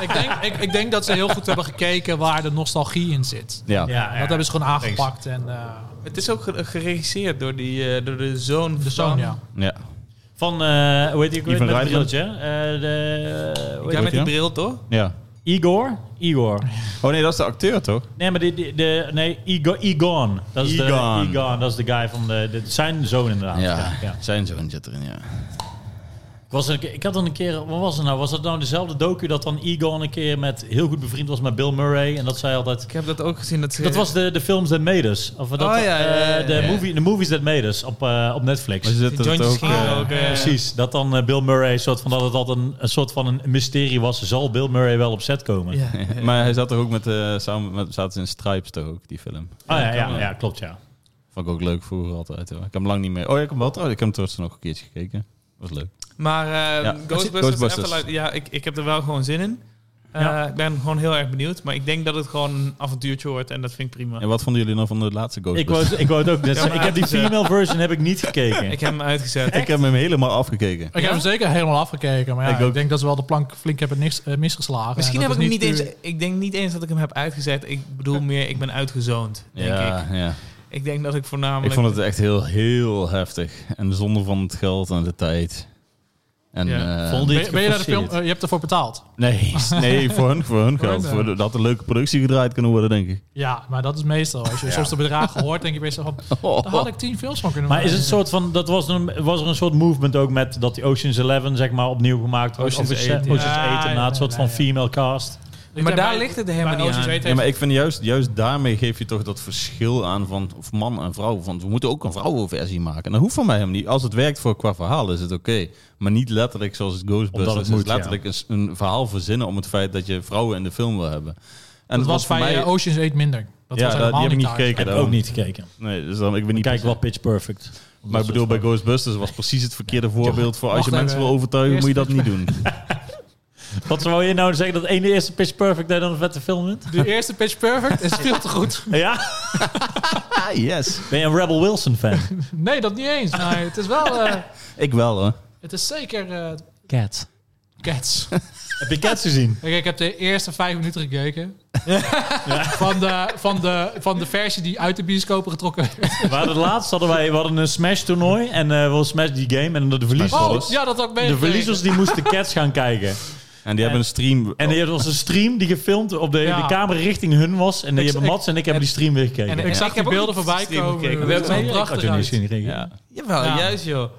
[SPEAKER 4] ik, denk, ik, ik denk dat ze heel goed hebben gekeken waar de nostalgie in zit.
[SPEAKER 1] Ja.
[SPEAKER 4] Dat hebben ze gewoon aangepakt. En, eh,
[SPEAKER 3] Het is ook ge- geregisseerd door, die, eh, door de zoon
[SPEAKER 4] de
[SPEAKER 3] van...
[SPEAKER 4] zoon, ja.
[SPEAKER 1] ja.
[SPEAKER 2] Van, eh hoe heet die ook weer?
[SPEAKER 1] Ivan
[SPEAKER 2] Met een
[SPEAKER 1] Reitman.
[SPEAKER 2] brilletje, hè? Eh, de, hoe
[SPEAKER 3] Ja,
[SPEAKER 2] heet
[SPEAKER 3] met die
[SPEAKER 1] Ja.
[SPEAKER 3] bril, toch?
[SPEAKER 1] Ja.
[SPEAKER 2] die? Igor? Igor.
[SPEAKER 1] Oh nee, dat is de acteur, toch?
[SPEAKER 2] Nee, maar die, die- de, nee, Igor, Egon. Dat is
[SPEAKER 1] Egon.
[SPEAKER 2] De, Egon. Dat is de guy van de, de, zijn zoon inderdaad. ja.
[SPEAKER 1] zijn zoon zit erin, ja.
[SPEAKER 2] Ik, was er een keer- ik had dan een keer, wat was het nou? Was dat nou dezelfde docu dat dan Egon een keer met heel goed bevriend was met Bill Murray? En dat zei altijd.
[SPEAKER 3] Ik heb dat ook gezien. Dat, ze-
[SPEAKER 2] Dat was de, de films That Made Us. Of dat,
[SPEAKER 3] Oh, ja, ja, ja,
[SPEAKER 2] eh, de,
[SPEAKER 3] ja.
[SPEAKER 2] movie, de movies That Made Us op, eh, op Netflix.
[SPEAKER 1] Maar ze
[SPEAKER 3] Die
[SPEAKER 1] zitten het
[SPEAKER 3] jointjes
[SPEAKER 1] ook...
[SPEAKER 3] gingen
[SPEAKER 1] eh,
[SPEAKER 3] ook... eh,
[SPEAKER 2] Precies, dat dan eh, Bill Murray, een soort van dat het altijd een, een soort van een mysterie was. Zal Bill Murray wel op set komen? Ah,
[SPEAKER 3] Ja.
[SPEAKER 1] maar hij zat er ook met... eh samen met, zaten ze in Stripes toch ook, die film.
[SPEAKER 2] Oh, ja, ja, ja, klopt ja.
[SPEAKER 1] Vond ik ook leuk vroeger altijd. Hoor. Ik heb hem lang niet meer... Oh, ja, ik heb hem wel trouwens. Ik heb hem trouwens nog een keertje gekeken. Was leuk.
[SPEAKER 3] Maar eh,
[SPEAKER 1] Ja.
[SPEAKER 3] Ghostbusters,
[SPEAKER 1] Ghostbusters.
[SPEAKER 3] Afterlife, ja, ik, ik heb er wel gewoon zin in. Eh,
[SPEAKER 2] Ja.
[SPEAKER 3] Ik ben gewoon heel erg benieuwd. Maar ik denk dat het gewoon een avontuurtje wordt. En dat vind ik prima.
[SPEAKER 1] En wat vonden jullie nou van de laatste
[SPEAKER 2] Ik
[SPEAKER 1] Ghostbusters?
[SPEAKER 2] wou, ik wou het ook net
[SPEAKER 3] dus. Ja,
[SPEAKER 2] zeggen.
[SPEAKER 3] maar
[SPEAKER 2] Ik heb die
[SPEAKER 3] uitgezet.
[SPEAKER 2] female version heb ik niet gekeken.
[SPEAKER 3] Ik heb hem uitgezet.
[SPEAKER 1] Ik heb hem helemaal afgekeken.
[SPEAKER 4] Ik heb hem zeker helemaal afgekeken. Maar ja,
[SPEAKER 1] Ik
[SPEAKER 4] ik,
[SPEAKER 1] ook.
[SPEAKER 4] denk dat ze wel de plank flink hebben niks, eh, misgeslagen.
[SPEAKER 3] Misschien
[SPEAKER 4] En
[SPEAKER 3] heb
[SPEAKER 4] dat
[SPEAKER 3] ik hem
[SPEAKER 4] is
[SPEAKER 3] niet eens... Ik denk niet eens dat ik hem heb uitgezet. Ik bedoel meer, ik ben uitgezoond, denk
[SPEAKER 1] ja,
[SPEAKER 3] ik.
[SPEAKER 1] ja.
[SPEAKER 3] Ik denk dat ik voornamelijk...
[SPEAKER 1] Ik vond het echt heel, heel heftig. En zonder van het geld en de tijd. En,
[SPEAKER 3] Ja.
[SPEAKER 1] eh,
[SPEAKER 2] Vond
[SPEAKER 4] Ben,
[SPEAKER 2] je
[SPEAKER 4] je- ben je naar de film? eh, je hebt ervoor betaald.
[SPEAKER 1] Nee, nee voor, hun, voor hun geld.
[SPEAKER 4] hun,
[SPEAKER 1] Voor de- dat een leuke productie gedraaid kan worden, denk ik.
[SPEAKER 4] Ja, maar dat is meestal. Als je soms de bedragen hoort, denk je best wel van... Daar had ik tien films van kunnen
[SPEAKER 2] Maar is
[SPEAKER 4] maken.
[SPEAKER 2] het soort van, dat was, een, was er een soort movement ook met dat die Ocean's Eleven zeg maar opnieuw gemaakt wordt?
[SPEAKER 3] Ocean's
[SPEAKER 2] of is-
[SPEAKER 3] Eight, ja.
[SPEAKER 2] Ocean's
[SPEAKER 4] Ja,
[SPEAKER 2] Eight, inderdaad,
[SPEAKER 4] ja,
[SPEAKER 2] een soort
[SPEAKER 4] ja,
[SPEAKER 2] van
[SPEAKER 4] ja.
[SPEAKER 2] female cast.
[SPEAKER 4] Ik
[SPEAKER 3] Maar
[SPEAKER 4] denk
[SPEAKER 3] Dus daar
[SPEAKER 4] bij-
[SPEAKER 3] ligt het helemaal
[SPEAKER 4] bij
[SPEAKER 3] niet
[SPEAKER 4] Ocean's
[SPEAKER 3] aan.
[SPEAKER 4] Eight
[SPEAKER 1] Ja, maar
[SPEAKER 4] heeft-
[SPEAKER 1] ik vind juist, juist daarmee geef je toch dat verschil aan van of man en vrouw. Want we moeten ook een vrouwenversie maken. En dat hoeft van mij hem niet. Als het werkt voor qua verhaal is het oké. Maar niet letterlijk zoals het Ghostbusters.
[SPEAKER 2] Omdat
[SPEAKER 1] Het
[SPEAKER 2] het
[SPEAKER 1] is
[SPEAKER 2] moet, ja.
[SPEAKER 1] letterlijk een, s- een verhaal verzinnen om het feit dat je vrouwen in de film wil hebben. En
[SPEAKER 4] dat was
[SPEAKER 1] voor
[SPEAKER 4] bij
[SPEAKER 1] mij...
[SPEAKER 4] eh, Ocean's Eight minder. Dat
[SPEAKER 1] Ja, dat-
[SPEAKER 4] was
[SPEAKER 1] die
[SPEAKER 4] helemaal
[SPEAKER 1] heb ik
[SPEAKER 4] niet
[SPEAKER 1] niet
[SPEAKER 4] thuis.
[SPEAKER 1] gekeken.
[SPEAKER 2] Heb ik
[SPEAKER 1] daarom.
[SPEAKER 2] ook niet gekeken.
[SPEAKER 1] Nee, dus dan, ik ben niet...
[SPEAKER 2] Kijk wel Pitch Perfect.
[SPEAKER 1] maar ik bedoel, bij Ghostbusters was precies het verkeerde voorbeeld voor als je
[SPEAKER 4] wacht
[SPEAKER 1] mensen
[SPEAKER 4] even.
[SPEAKER 1] wil overtuigen, moet je dat
[SPEAKER 4] Eerst-
[SPEAKER 1] niet doen.
[SPEAKER 2] Wat zou je nou zeggen dat één de eerste Pitch Perfect daar dan een vette film vindt?
[SPEAKER 4] De eerste Pitch Perfect is veel te goed.
[SPEAKER 2] Ja?
[SPEAKER 1] ah, yes.
[SPEAKER 2] Ben je een Rebel Wilson fan?
[SPEAKER 4] Nee, dat niet eens. Nee, het is wel... eh,
[SPEAKER 1] Ik wel, hè.
[SPEAKER 4] het is zeker... eh
[SPEAKER 2] Cats.
[SPEAKER 4] Cats.
[SPEAKER 2] Heb je Cats gezien?
[SPEAKER 4] Kijk, ik heb de eerste vijf minuten gekeken. Van, de, van, de, van de versie die uit de bioscopen getrokken werd.
[SPEAKER 2] We hadden het laatst hadden wij we hadden een Smash toernooi en eh we Smash die game en de verliezers.
[SPEAKER 1] Smash
[SPEAKER 4] Oh,
[SPEAKER 1] Alles.
[SPEAKER 4] ja, dat ook mee.
[SPEAKER 2] De verliezers die moesten Cats gaan kijken.
[SPEAKER 1] En die hebben een stream...
[SPEAKER 2] En er was een stream die gefilmd op de,
[SPEAKER 4] Ja.
[SPEAKER 2] de camera richting hun was. En die
[SPEAKER 4] Ik-
[SPEAKER 2] hebben
[SPEAKER 4] ik-
[SPEAKER 2] Mats en ik hebben die stream weer gekeken.
[SPEAKER 4] En
[SPEAKER 2] En,
[SPEAKER 4] ik zag
[SPEAKER 3] Ik
[SPEAKER 4] die
[SPEAKER 3] heb ook
[SPEAKER 4] beelden
[SPEAKER 3] niet
[SPEAKER 4] voorbij
[SPEAKER 3] stream
[SPEAKER 4] komen.
[SPEAKER 3] gekeken.
[SPEAKER 4] Dat
[SPEAKER 3] We
[SPEAKER 4] is wel
[SPEAKER 3] hebben-
[SPEAKER 2] had
[SPEAKER 4] prachtig
[SPEAKER 2] je niet
[SPEAKER 4] uit.
[SPEAKER 2] zien gekeken.
[SPEAKER 1] ja.
[SPEAKER 3] Jawel,
[SPEAKER 4] Ja.
[SPEAKER 3] juist joh.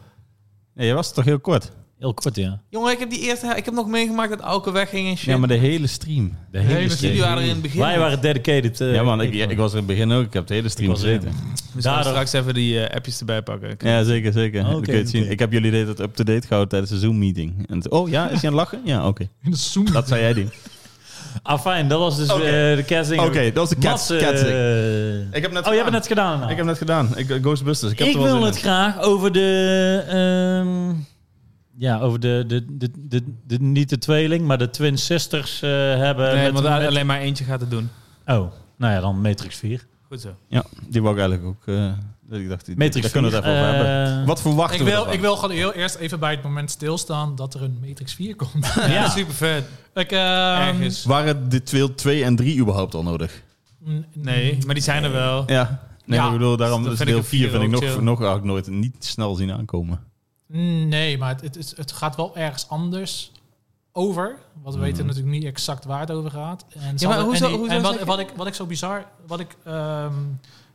[SPEAKER 1] ja, je was toch heel kort?
[SPEAKER 2] Heel kort, ja.
[SPEAKER 3] Jongen, ik heb die eerste... Ik heb nog meegemaakt dat Alke wegging en shit.
[SPEAKER 1] Ja, maar de hele stream.
[SPEAKER 2] De
[SPEAKER 4] hele
[SPEAKER 2] hele
[SPEAKER 4] stream.
[SPEAKER 3] Jullie
[SPEAKER 2] stream.
[SPEAKER 3] waren er in het begin.
[SPEAKER 2] Wij waren dedicated. eh,
[SPEAKER 1] ja, man, ik, ik was er in het begin ook. Ik heb de hele stream
[SPEAKER 2] Ik was erin.
[SPEAKER 1] gezeten.
[SPEAKER 2] Daardoor-
[SPEAKER 3] We zullen straks even die eh, appjes erbij pakken.
[SPEAKER 1] Ja, zeker, zeker.
[SPEAKER 2] Oké,
[SPEAKER 1] Dan kun je het zien.
[SPEAKER 2] oké.
[SPEAKER 1] Ik heb jullie de hele tijd up-to-date gehouden tijdens de Zoom-meeting. En het- oh ja, is je aan het lachen? Ja, oké.
[SPEAKER 4] In de Zoom.
[SPEAKER 1] Dat zei jij die.
[SPEAKER 2] Ah, fijn. Dat was dus
[SPEAKER 1] Oké.
[SPEAKER 2] eh, de casting.
[SPEAKER 1] Oké, dat is de
[SPEAKER 2] Mats,
[SPEAKER 1] cats.
[SPEAKER 2] eh,
[SPEAKER 1] cats ik.
[SPEAKER 2] oh,
[SPEAKER 1] Ik heb net
[SPEAKER 2] je hebt het net gedaan. nou.
[SPEAKER 1] Ik heb net gedaan. Ik, eh, Ghostbusters. Ik,
[SPEAKER 2] Ik,
[SPEAKER 1] heb er wel
[SPEAKER 2] wil
[SPEAKER 1] zin
[SPEAKER 2] het
[SPEAKER 1] in.
[SPEAKER 2] graag over de. ehm, ja, over de, de, de, de, de- Niet de tweeling, maar de Twin Sisters eh, hebben.
[SPEAKER 3] Nee,
[SPEAKER 2] met-
[SPEAKER 3] want daar-
[SPEAKER 2] met-
[SPEAKER 3] alleen maar eentje gaat het doen.
[SPEAKER 2] Oh, nou ja, dan Matrix 4.
[SPEAKER 3] Goed zo.
[SPEAKER 1] Ja, die wou ik eigenlijk ook. eh, dat ik dacht, die,
[SPEAKER 2] Matrix
[SPEAKER 1] daar kunnen we het even over
[SPEAKER 2] vier,
[SPEAKER 1] hebben.
[SPEAKER 2] eh,
[SPEAKER 1] Wat verwachten
[SPEAKER 4] Ik
[SPEAKER 1] we?
[SPEAKER 4] wil,
[SPEAKER 1] ervan?
[SPEAKER 4] ik wil gewoon heel eerst even bij het moment stilstaan dat er een Matrix 4 komt.
[SPEAKER 2] Ja,
[SPEAKER 3] Ja, super vet.
[SPEAKER 4] ik, ehm,
[SPEAKER 3] Ergens.
[SPEAKER 1] Waren de twee- 2 en 3 überhaupt al nodig?
[SPEAKER 4] mm,
[SPEAKER 3] Nee, maar die zijn er wel.
[SPEAKER 1] Ja. Nee,
[SPEAKER 4] Ja.
[SPEAKER 1] maar ik bedoel, daarom
[SPEAKER 3] Dat
[SPEAKER 1] is
[SPEAKER 3] vind ik
[SPEAKER 1] deel
[SPEAKER 3] een
[SPEAKER 1] 4 vind ik
[SPEAKER 3] vier
[SPEAKER 1] nog,
[SPEAKER 3] ook
[SPEAKER 1] nog eigenlijk nooit niet snel zien aankomen.
[SPEAKER 4] Nee, maar het, het, is- het gaat wel ergens anders over. Want
[SPEAKER 1] Mhm.
[SPEAKER 4] we weten natuurlijk niet exact waar het over gaat. En, ze
[SPEAKER 3] maar
[SPEAKER 4] hadden-
[SPEAKER 3] hoezo-
[SPEAKER 4] en, die-
[SPEAKER 3] hoezo
[SPEAKER 4] en
[SPEAKER 3] zeg
[SPEAKER 4] wat,
[SPEAKER 3] je-
[SPEAKER 4] wat, ik, wat ik zo bizar... Wat ik, ehm,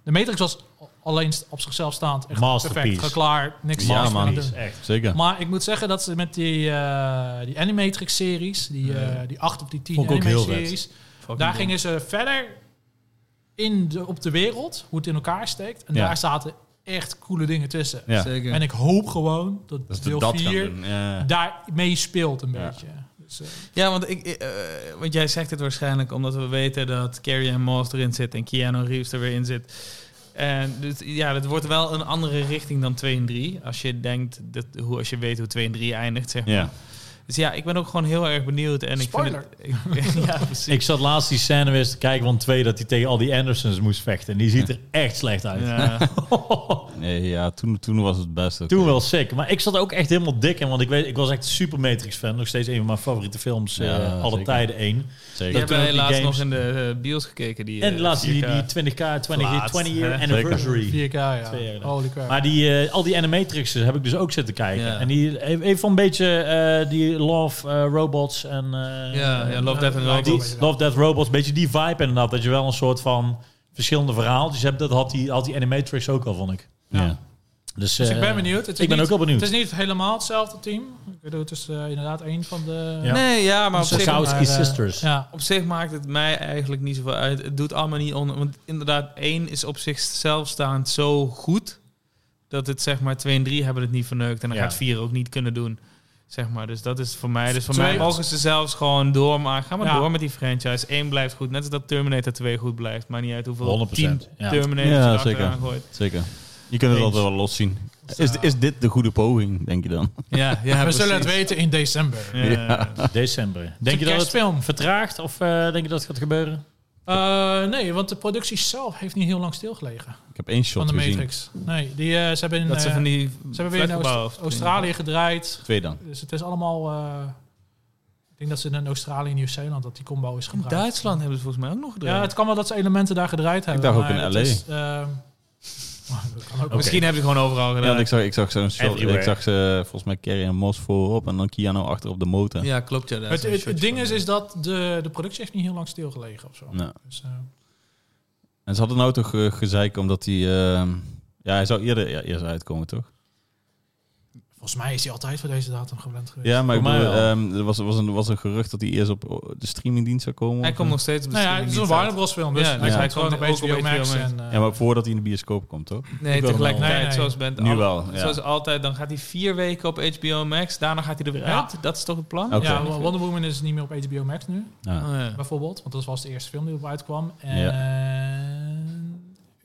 [SPEAKER 4] de Matrix was alleen op zichzelf staand. Echt
[SPEAKER 2] Masterpiece.
[SPEAKER 4] perfect, klaar, niks
[SPEAKER 1] Ja,
[SPEAKER 4] anders meer aan
[SPEAKER 1] man.
[SPEAKER 4] doen.
[SPEAKER 2] echt.
[SPEAKER 1] Zeker.
[SPEAKER 4] Maar ik moet zeggen dat ze met die, eh, die Animatrix-series... Die, eh, die acht of die tien
[SPEAKER 2] Vond ik ook heel
[SPEAKER 4] Animatrix-series...
[SPEAKER 3] Fucking
[SPEAKER 4] Daar
[SPEAKER 3] dom.
[SPEAKER 4] gingen ze verder in de, op de wereld, hoe het in elkaar steekt. En
[SPEAKER 1] Ja.
[SPEAKER 4] daar zaten echt coole dingen tussen.
[SPEAKER 1] Ja.
[SPEAKER 3] Zeker.
[SPEAKER 4] En ik hoop gewoon dat,
[SPEAKER 1] Dat ze
[SPEAKER 4] deel
[SPEAKER 1] dat gaan
[SPEAKER 4] 4
[SPEAKER 1] doen. Ja.
[SPEAKER 4] daarmee speelt een
[SPEAKER 1] Ja.
[SPEAKER 4] beetje. Dus, eh,
[SPEAKER 3] Ja, want, ik, eh, eh, want jij zegt het waarschijnlijk omdat we weten dat Carrie en Moss erin zit en Keanu Reeves er weer in zit. En dus, ja, dat wordt wel een andere richting dan 2 en 3. Als je denkt, dat, hoe, als je weet hoe 2 en 3 eindigt, zeg maar.
[SPEAKER 1] Ja.
[SPEAKER 3] Dus ja, ik ben ook gewoon heel erg benieuwd. En
[SPEAKER 4] Spoiler.
[SPEAKER 3] Ik vind het, ik- ja, precies.
[SPEAKER 2] Ik zat laatst die scène weer eens te kijken van twee dat hij tegen al die Andersons moest vechten. En die ziet er echt slecht uit.
[SPEAKER 3] Ja.
[SPEAKER 1] Nee, ja toen, toen was het best. oké.
[SPEAKER 2] Toen wel sick. Maar ik zat ook echt helemaal dik in. Want ik, weet, ik was echt super Matrix fan. Nog steeds een van mijn favoriete films. eh,
[SPEAKER 1] Ja,
[SPEAKER 2] alle
[SPEAKER 1] zeker.
[SPEAKER 2] tijden één.
[SPEAKER 3] Die
[SPEAKER 1] Zeker.
[SPEAKER 2] Dat
[SPEAKER 3] hebben wij
[SPEAKER 2] doen ook
[SPEAKER 3] laatst
[SPEAKER 2] die
[SPEAKER 3] nog
[SPEAKER 2] games.
[SPEAKER 3] in de eh, bios gekeken. Die,
[SPEAKER 2] en
[SPEAKER 3] eh,
[SPEAKER 2] laatst die,
[SPEAKER 3] 4K.
[SPEAKER 2] die 20k, 20,
[SPEAKER 3] Laatst,
[SPEAKER 2] 20 year
[SPEAKER 3] hè?
[SPEAKER 2] anniversary.
[SPEAKER 4] 4K, ja.
[SPEAKER 2] Twee jaar
[SPEAKER 4] Holy crap.
[SPEAKER 2] Maar die, eh, al die animatrixen heb ik dus ook zitten kijken.
[SPEAKER 3] Ja.
[SPEAKER 2] En die heeft heeft wel een beetje eh, die Love eh, Robots en... eh,
[SPEAKER 3] Ja, ja, Love, Death and
[SPEAKER 4] Ja, die-
[SPEAKER 3] Robots.
[SPEAKER 2] Die- Love Death Robots, een beetje die vibe inderdaad. Dat je wel een soort van verschillende verhaaltjes hebt. Dat had die, had die Animatrix ook al, vond ik.
[SPEAKER 1] Ja.
[SPEAKER 2] Dus,
[SPEAKER 4] dus
[SPEAKER 2] eh,
[SPEAKER 4] ik ben benieuwd. Het is
[SPEAKER 2] ik ben
[SPEAKER 4] niet-
[SPEAKER 2] ook wel benieuwd.
[SPEAKER 4] Het is niet helemaal hetzelfde team. Ik bedoel, het is eh, inderdaad een van de...
[SPEAKER 2] Ja.
[SPEAKER 3] Nee, ja, maar op
[SPEAKER 2] De
[SPEAKER 3] zich,
[SPEAKER 2] Sosowski
[SPEAKER 4] maar, eh,
[SPEAKER 2] Sisters.
[SPEAKER 4] Ja.
[SPEAKER 3] op zich maakt het mij eigenlijk niet zoveel uit. Het doet allemaal niet onder. Want inderdaad, één is op zichzelf staand zo goed. Dat het zeg maar 2 en 3 hebben het niet verneukt. En dan
[SPEAKER 2] Ja.
[SPEAKER 3] gaat 4 ook niet kunnen doen. Zeg maar. Dus dat is voor mij. Dus voor
[SPEAKER 4] Twee-
[SPEAKER 3] mij mogen ze zelfs gewoon doormaken. Ga maar
[SPEAKER 4] Ja.
[SPEAKER 3] door met die franchise. 1 blijft goed. Net als dat Terminator 2 goed blijft. Maar niet uit hoeveel 10
[SPEAKER 2] 100%. Ja.
[SPEAKER 3] Terminators
[SPEAKER 1] Ja,
[SPEAKER 3] je er
[SPEAKER 1] zeker.
[SPEAKER 3] achteraan gooit.
[SPEAKER 1] Zeker. Je kunt het
[SPEAKER 2] Eens.
[SPEAKER 1] altijd wel los zien. Is, is dit de goede poging, denk je dan?
[SPEAKER 3] Ja, ja,
[SPEAKER 4] We zullen het weten in december.
[SPEAKER 3] Ja, ja, ja.
[SPEAKER 2] December. Denk je dat het
[SPEAKER 4] kerstfilm.
[SPEAKER 2] vertraagt of eh, denk je dat het gaat gebeuren?
[SPEAKER 4] Eh, nee, want de productie zelf heeft niet heel lang stilgelegen.
[SPEAKER 1] Ik heb één shot
[SPEAKER 4] van de
[SPEAKER 1] gezien.
[SPEAKER 4] Matrix. Nee, die, eh, ze hebben in,
[SPEAKER 3] Dat ze
[SPEAKER 4] eh,
[SPEAKER 3] van die
[SPEAKER 4] ze hebben weer in
[SPEAKER 3] flatgebouwen
[SPEAKER 4] Oost-
[SPEAKER 3] of-
[SPEAKER 4] Australië gedraaid.
[SPEAKER 1] Twee dan.
[SPEAKER 4] Dus het is allemaal... eh, ik denk dat ze in Australië en Nieuw-Zeeland dat die combo is
[SPEAKER 3] In
[SPEAKER 4] gebruikt.
[SPEAKER 3] Duitsland hebben ze volgens mij ook nog gedaan.
[SPEAKER 4] Ja, het kan wel dat ze elementen daar gedraaid hebben.
[SPEAKER 1] dacht ook
[SPEAKER 4] maar
[SPEAKER 1] in
[SPEAKER 4] het
[SPEAKER 1] LA.
[SPEAKER 4] is, ehm, maar dat kan ook
[SPEAKER 2] Oké.
[SPEAKER 3] Misschien hebben ze gewoon overal
[SPEAKER 1] Ja,
[SPEAKER 3] gedaan.
[SPEAKER 1] want ik zag, ik zag zo'n shot.
[SPEAKER 2] Everywhere.
[SPEAKER 1] Ik zag ze volgens mij Carrie en Moss voorop en dan Keanu achter op de motor.
[SPEAKER 3] Ja, klopt. Ja, daar
[SPEAKER 4] Het,
[SPEAKER 3] is een
[SPEAKER 4] het, het
[SPEAKER 3] shotje
[SPEAKER 4] ding
[SPEAKER 3] van.
[SPEAKER 4] is, is dat de, de productie heeft niet heel lang stilgelegen of zo.
[SPEAKER 1] Nou.
[SPEAKER 4] Dus, eh,
[SPEAKER 1] En ze hadden nou toch eh, gezeik omdat hij... eh, ja, hij zou eerder, ja, eerst uitkomen, toch?
[SPEAKER 4] volgens mij is die altijd voor deze datum gepland geweest.
[SPEAKER 1] Ja, maar ik
[SPEAKER 2] Voor mij
[SPEAKER 1] bedoel,
[SPEAKER 2] wel.
[SPEAKER 1] ehm, er was, was, een, was een gerucht dat hij eerst op oh, de streamingdienst zou komen.
[SPEAKER 3] Hij
[SPEAKER 1] of
[SPEAKER 3] komt
[SPEAKER 1] zo.
[SPEAKER 3] nog steeds op de
[SPEAKER 4] Nou ja, het is een
[SPEAKER 3] streamingdienst
[SPEAKER 4] Warner
[SPEAKER 3] uit.
[SPEAKER 4] Bros film, dus
[SPEAKER 3] Ja,
[SPEAKER 4] hij
[SPEAKER 1] ja.
[SPEAKER 4] gaat gewoon
[SPEAKER 3] Hij
[SPEAKER 4] op
[SPEAKER 3] komt ook
[SPEAKER 4] HBO
[SPEAKER 3] op
[SPEAKER 4] Max.
[SPEAKER 3] HBO Max.
[SPEAKER 4] En, eh,
[SPEAKER 1] Ja, maar voordat hij in de bioscoop komt, toch?
[SPEAKER 3] Nee,
[SPEAKER 2] wil
[SPEAKER 3] tegelijkertijd,
[SPEAKER 4] wel.
[SPEAKER 3] zoals bent
[SPEAKER 1] Nu wel, ja.
[SPEAKER 3] Zoals altijd, dan gaat hij vier weken op HBO Max. Daarna gaat hij er weer
[SPEAKER 4] Ja.
[SPEAKER 3] uit. Dat is toch het plan?
[SPEAKER 1] Oké.
[SPEAKER 4] ja, Wonder Woman is niet meer op HBO Max nu,
[SPEAKER 1] Ja.
[SPEAKER 3] Oh, ja.
[SPEAKER 4] bijvoorbeeld. Want dat was de eerste film die op uitkwam. En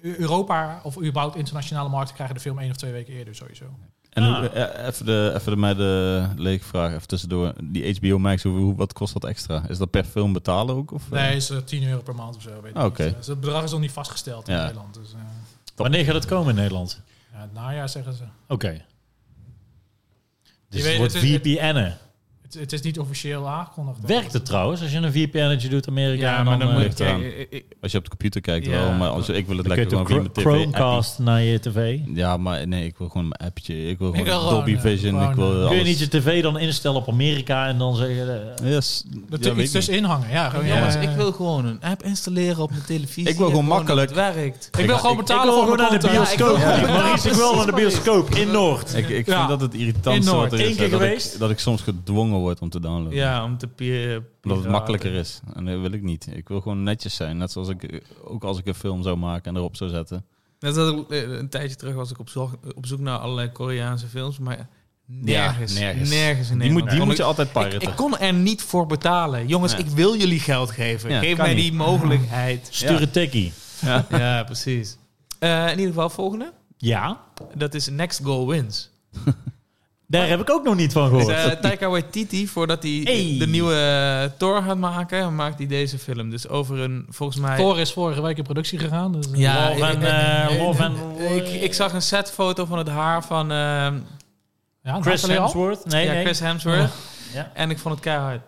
[SPEAKER 4] eh, Europa, of überhaupt internationale markten, krijgen de film één of twee weken eerder sowieso.
[SPEAKER 1] En
[SPEAKER 2] Ah.
[SPEAKER 1] hoe- eh, even, de, even de, mij de leegvraag, even tussendoor. Die HBO Max, hoe, hoe- wat kost dat extra? Is dat per film betalen ook? Of, eh?
[SPEAKER 4] Nee, is eh, 10 euro per maand of zo.
[SPEAKER 2] Ah,
[SPEAKER 4] weet ik
[SPEAKER 1] Oké.
[SPEAKER 4] niet. Dus het bedrag is nog niet vastgesteld in
[SPEAKER 1] Ja.
[SPEAKER 4] Nederland. Dus, eh,
[SPEAKER 2] Wanneer gaat het komen in Nederland?
[SPEAKER 4] ja, het najaar zeggen ze.
[SPEAKER 2] Oké. Dus
[SPEAKER 4] weet,
[SPEAKER 2] het wordt
[SPEAKER 4] het is-
[SPEAKER 2] VPN'en.
[SPEAKER 4] Het, het is niet officieel aangekondigd.
[SPEAKER 2] Werkt het trouwens als je een VPN'etje doet Amerika?
[SPEAKER 3] Ja,
[SPEAKER 2] en
[SPEAKER 3] maar dan
[SPEAKER 2] eh,
[SPEAKER 3] moet
[SPEAKER 1] ligt
[SPEAKER 3] ik...
[SPEAKER 1] eraan.
[SPEAKER 3] eh, eh,
[SPEAKER 1] Als je op de computer kijkt
[SPEAKER 3] Ja.
[SPEAKER 1] wel, maar als, ik wil het
[SPEAKER 2] dan
[SPEAKER 1] lekker
[SPEAKER 2] kun je
[SPEAKER 1] gewoon via
[SPEAKER 2] toch
[SPEAKER 1] mijn
[SPEAKER 2] Chr-
[SPEAKER 1] tv.
[SPEAKER 2] Chromecast naar je tv.
[SPEAKER 1] appie. Ja, maar nee, ik wil gewoon mijn appje. Ik wil
[SPEAKER 4] Ik
[SPEAKER 1] gewoon
[SPEAKER 4] wil gewoon,
[SPEAKER 1] Dolby
[SPEAKER 4] eh,
[SPEAKER 1] Vision.
[SPEAKER 4] gewoon,
[SPEAKER 1] ik wil
[SPEAKER 4] eh,
[SPEAKER 1] alles.
[SPEAKER 2] Kun je niet je tv dan instellen op Amerika en dan zeggen... eh,
[SPEAKER 1] Yes.
[SPEAKER 4] Dat
[SPEAKER 1] Ja,
[SPEAKER 4] er
[SPEAKER 1] weet
[SPEAKER 4] iets
[SPEAKER 1] ik niet.
[SPEAKER 4] tussenin hangen. Ja, gewoon,
[SPEAKER 3] Jongens,
[SPEAKER 4] ja.
[SPEAKER 3] ik wil gewoon een app installeren op mijn televisie.
[SPEAKER 1] Ik wil gewoon makkelijk.
[SPEAKER 3] Het werkt.
[SPEAKER 4] ik wil gewoon
[SPEAKER 2] ik
[SPEAKER 4] betalen
[SPEAKER 2] wil
[SPEAKER 4] voor
[SPEAKER 2] gewoon naar
[SPEAKER 4] mijn
[SPEAKER 2] de
[SPEAKER 4] content.
[SPEAKER 2] bioscoop.
[SPEAKER 3] Ja, ik wil-
[SPEAKER 2] Maurice, ik wil naar de bioscoop in Noord.
[SPEAKER 1] Ik, ik
[SPEAKER 4] Ja.
[SPEAKER 1] vind dat het irritantste
[SPEAKER 4] In
[SPEAKER 1] wat er
[SPEAKER 2] Noord.
[SPEAKER 1] is.
[SPEAKER 2] Eén
[SPEAKER 1] hè,
[SPEAKER 2] keer
[SPEAKER 1] dat, ik,
[SPEAKER 2] geweest?
[SPEAKER 1] dat ik soms gedwongen word om te downloaden.
[SPEAKER 3] Ja, om te peer...
[SPEAKER 1] Omdat het makkelijker is. En dat wil ik niet. Ik wil gewoon netjes zijn. Net zoals ik, eh, ook als ik een film zou maken en erop zou zetten.
[SPEAKER 3] Net als ik, eh, een tijdje terug was ik op zoek, op zoek naar allerlei Koreaanse films, maar nergens.
[SPEAKER 1] Ja,
[SPEAKER 3] nergens.
[SPEAKER 1] nergens.
[SPEAKER 3] in
[SPEAKER 1] Die moet,
[SPEAKER 3] Nederland.
[SPEAKER 1] die
[SPEAKER 3] Kon
[SPEAKER 1] moet
[SPEAKER 3] ik-
[SPEAKER 1] je altijd
[SPEAKER 3] ik,
[SPEAKER 1] piraten.
[SPEAKER 3] ik kon er niet voor betalen. Jongens,
[SPEAKER 1] Nee.
[SPEAKER 3] ik wil jullie geld geven.
[SPEAKER 1] Ja,
[SPEAKER 3] Geef
[SPEAKER 1] kan
[SPEAKER 3] mij
[SPEAKER 1] niet.
[SPEAKER 3] die mogelijkheid.
[SPEAKER 2] Stuur een tikkie.
[SPEAKER 3] Ja, precies. Eh, in ieder geval, volgende.
[SPEAKER 2] Ja.
[SPEAKER 3] Dat is Next Goal Wins.
[SPEAKER 2] Daar heb ik ook nog niet van gehoord.
[SPEAKER 3] Dus, eh, Taika Waititi, voordat hij
[SPEAKER 2] Hey.
[SPEAKER 3] de nieuwe eh, Thor gaat maken, maakt hij deze film. Dus over een, volgens mij...
[SPEAKER 4] Eh, Thor is vorige week in productie gegaan. Dus, eh,
[SPEAKER 3] Ja,
[SPEAKER 2] Wolf en,
[SPEAKER 3] ik-
[SPEAKER 2] eh,
[SPEAKER 3] ik-
[SPEAKER 2] Wolf en
[SPEAKER 3] ik, ik zag een setfoto van het haar van eh,
[SPEAKER 4] ja, een
[SPEAKER 2] Chris
[SPEAKER 4] aantal jaar.
[SPEAKER 2] Hemsworth. Nee,
[SPEAKER 3] ja,
[SPEAKER 2] nee.
[SPEAKER 3] Chris Hemsworth.
[SPEAKER 2] Ja.
[SPEAKER 3] En ik vond het keihard.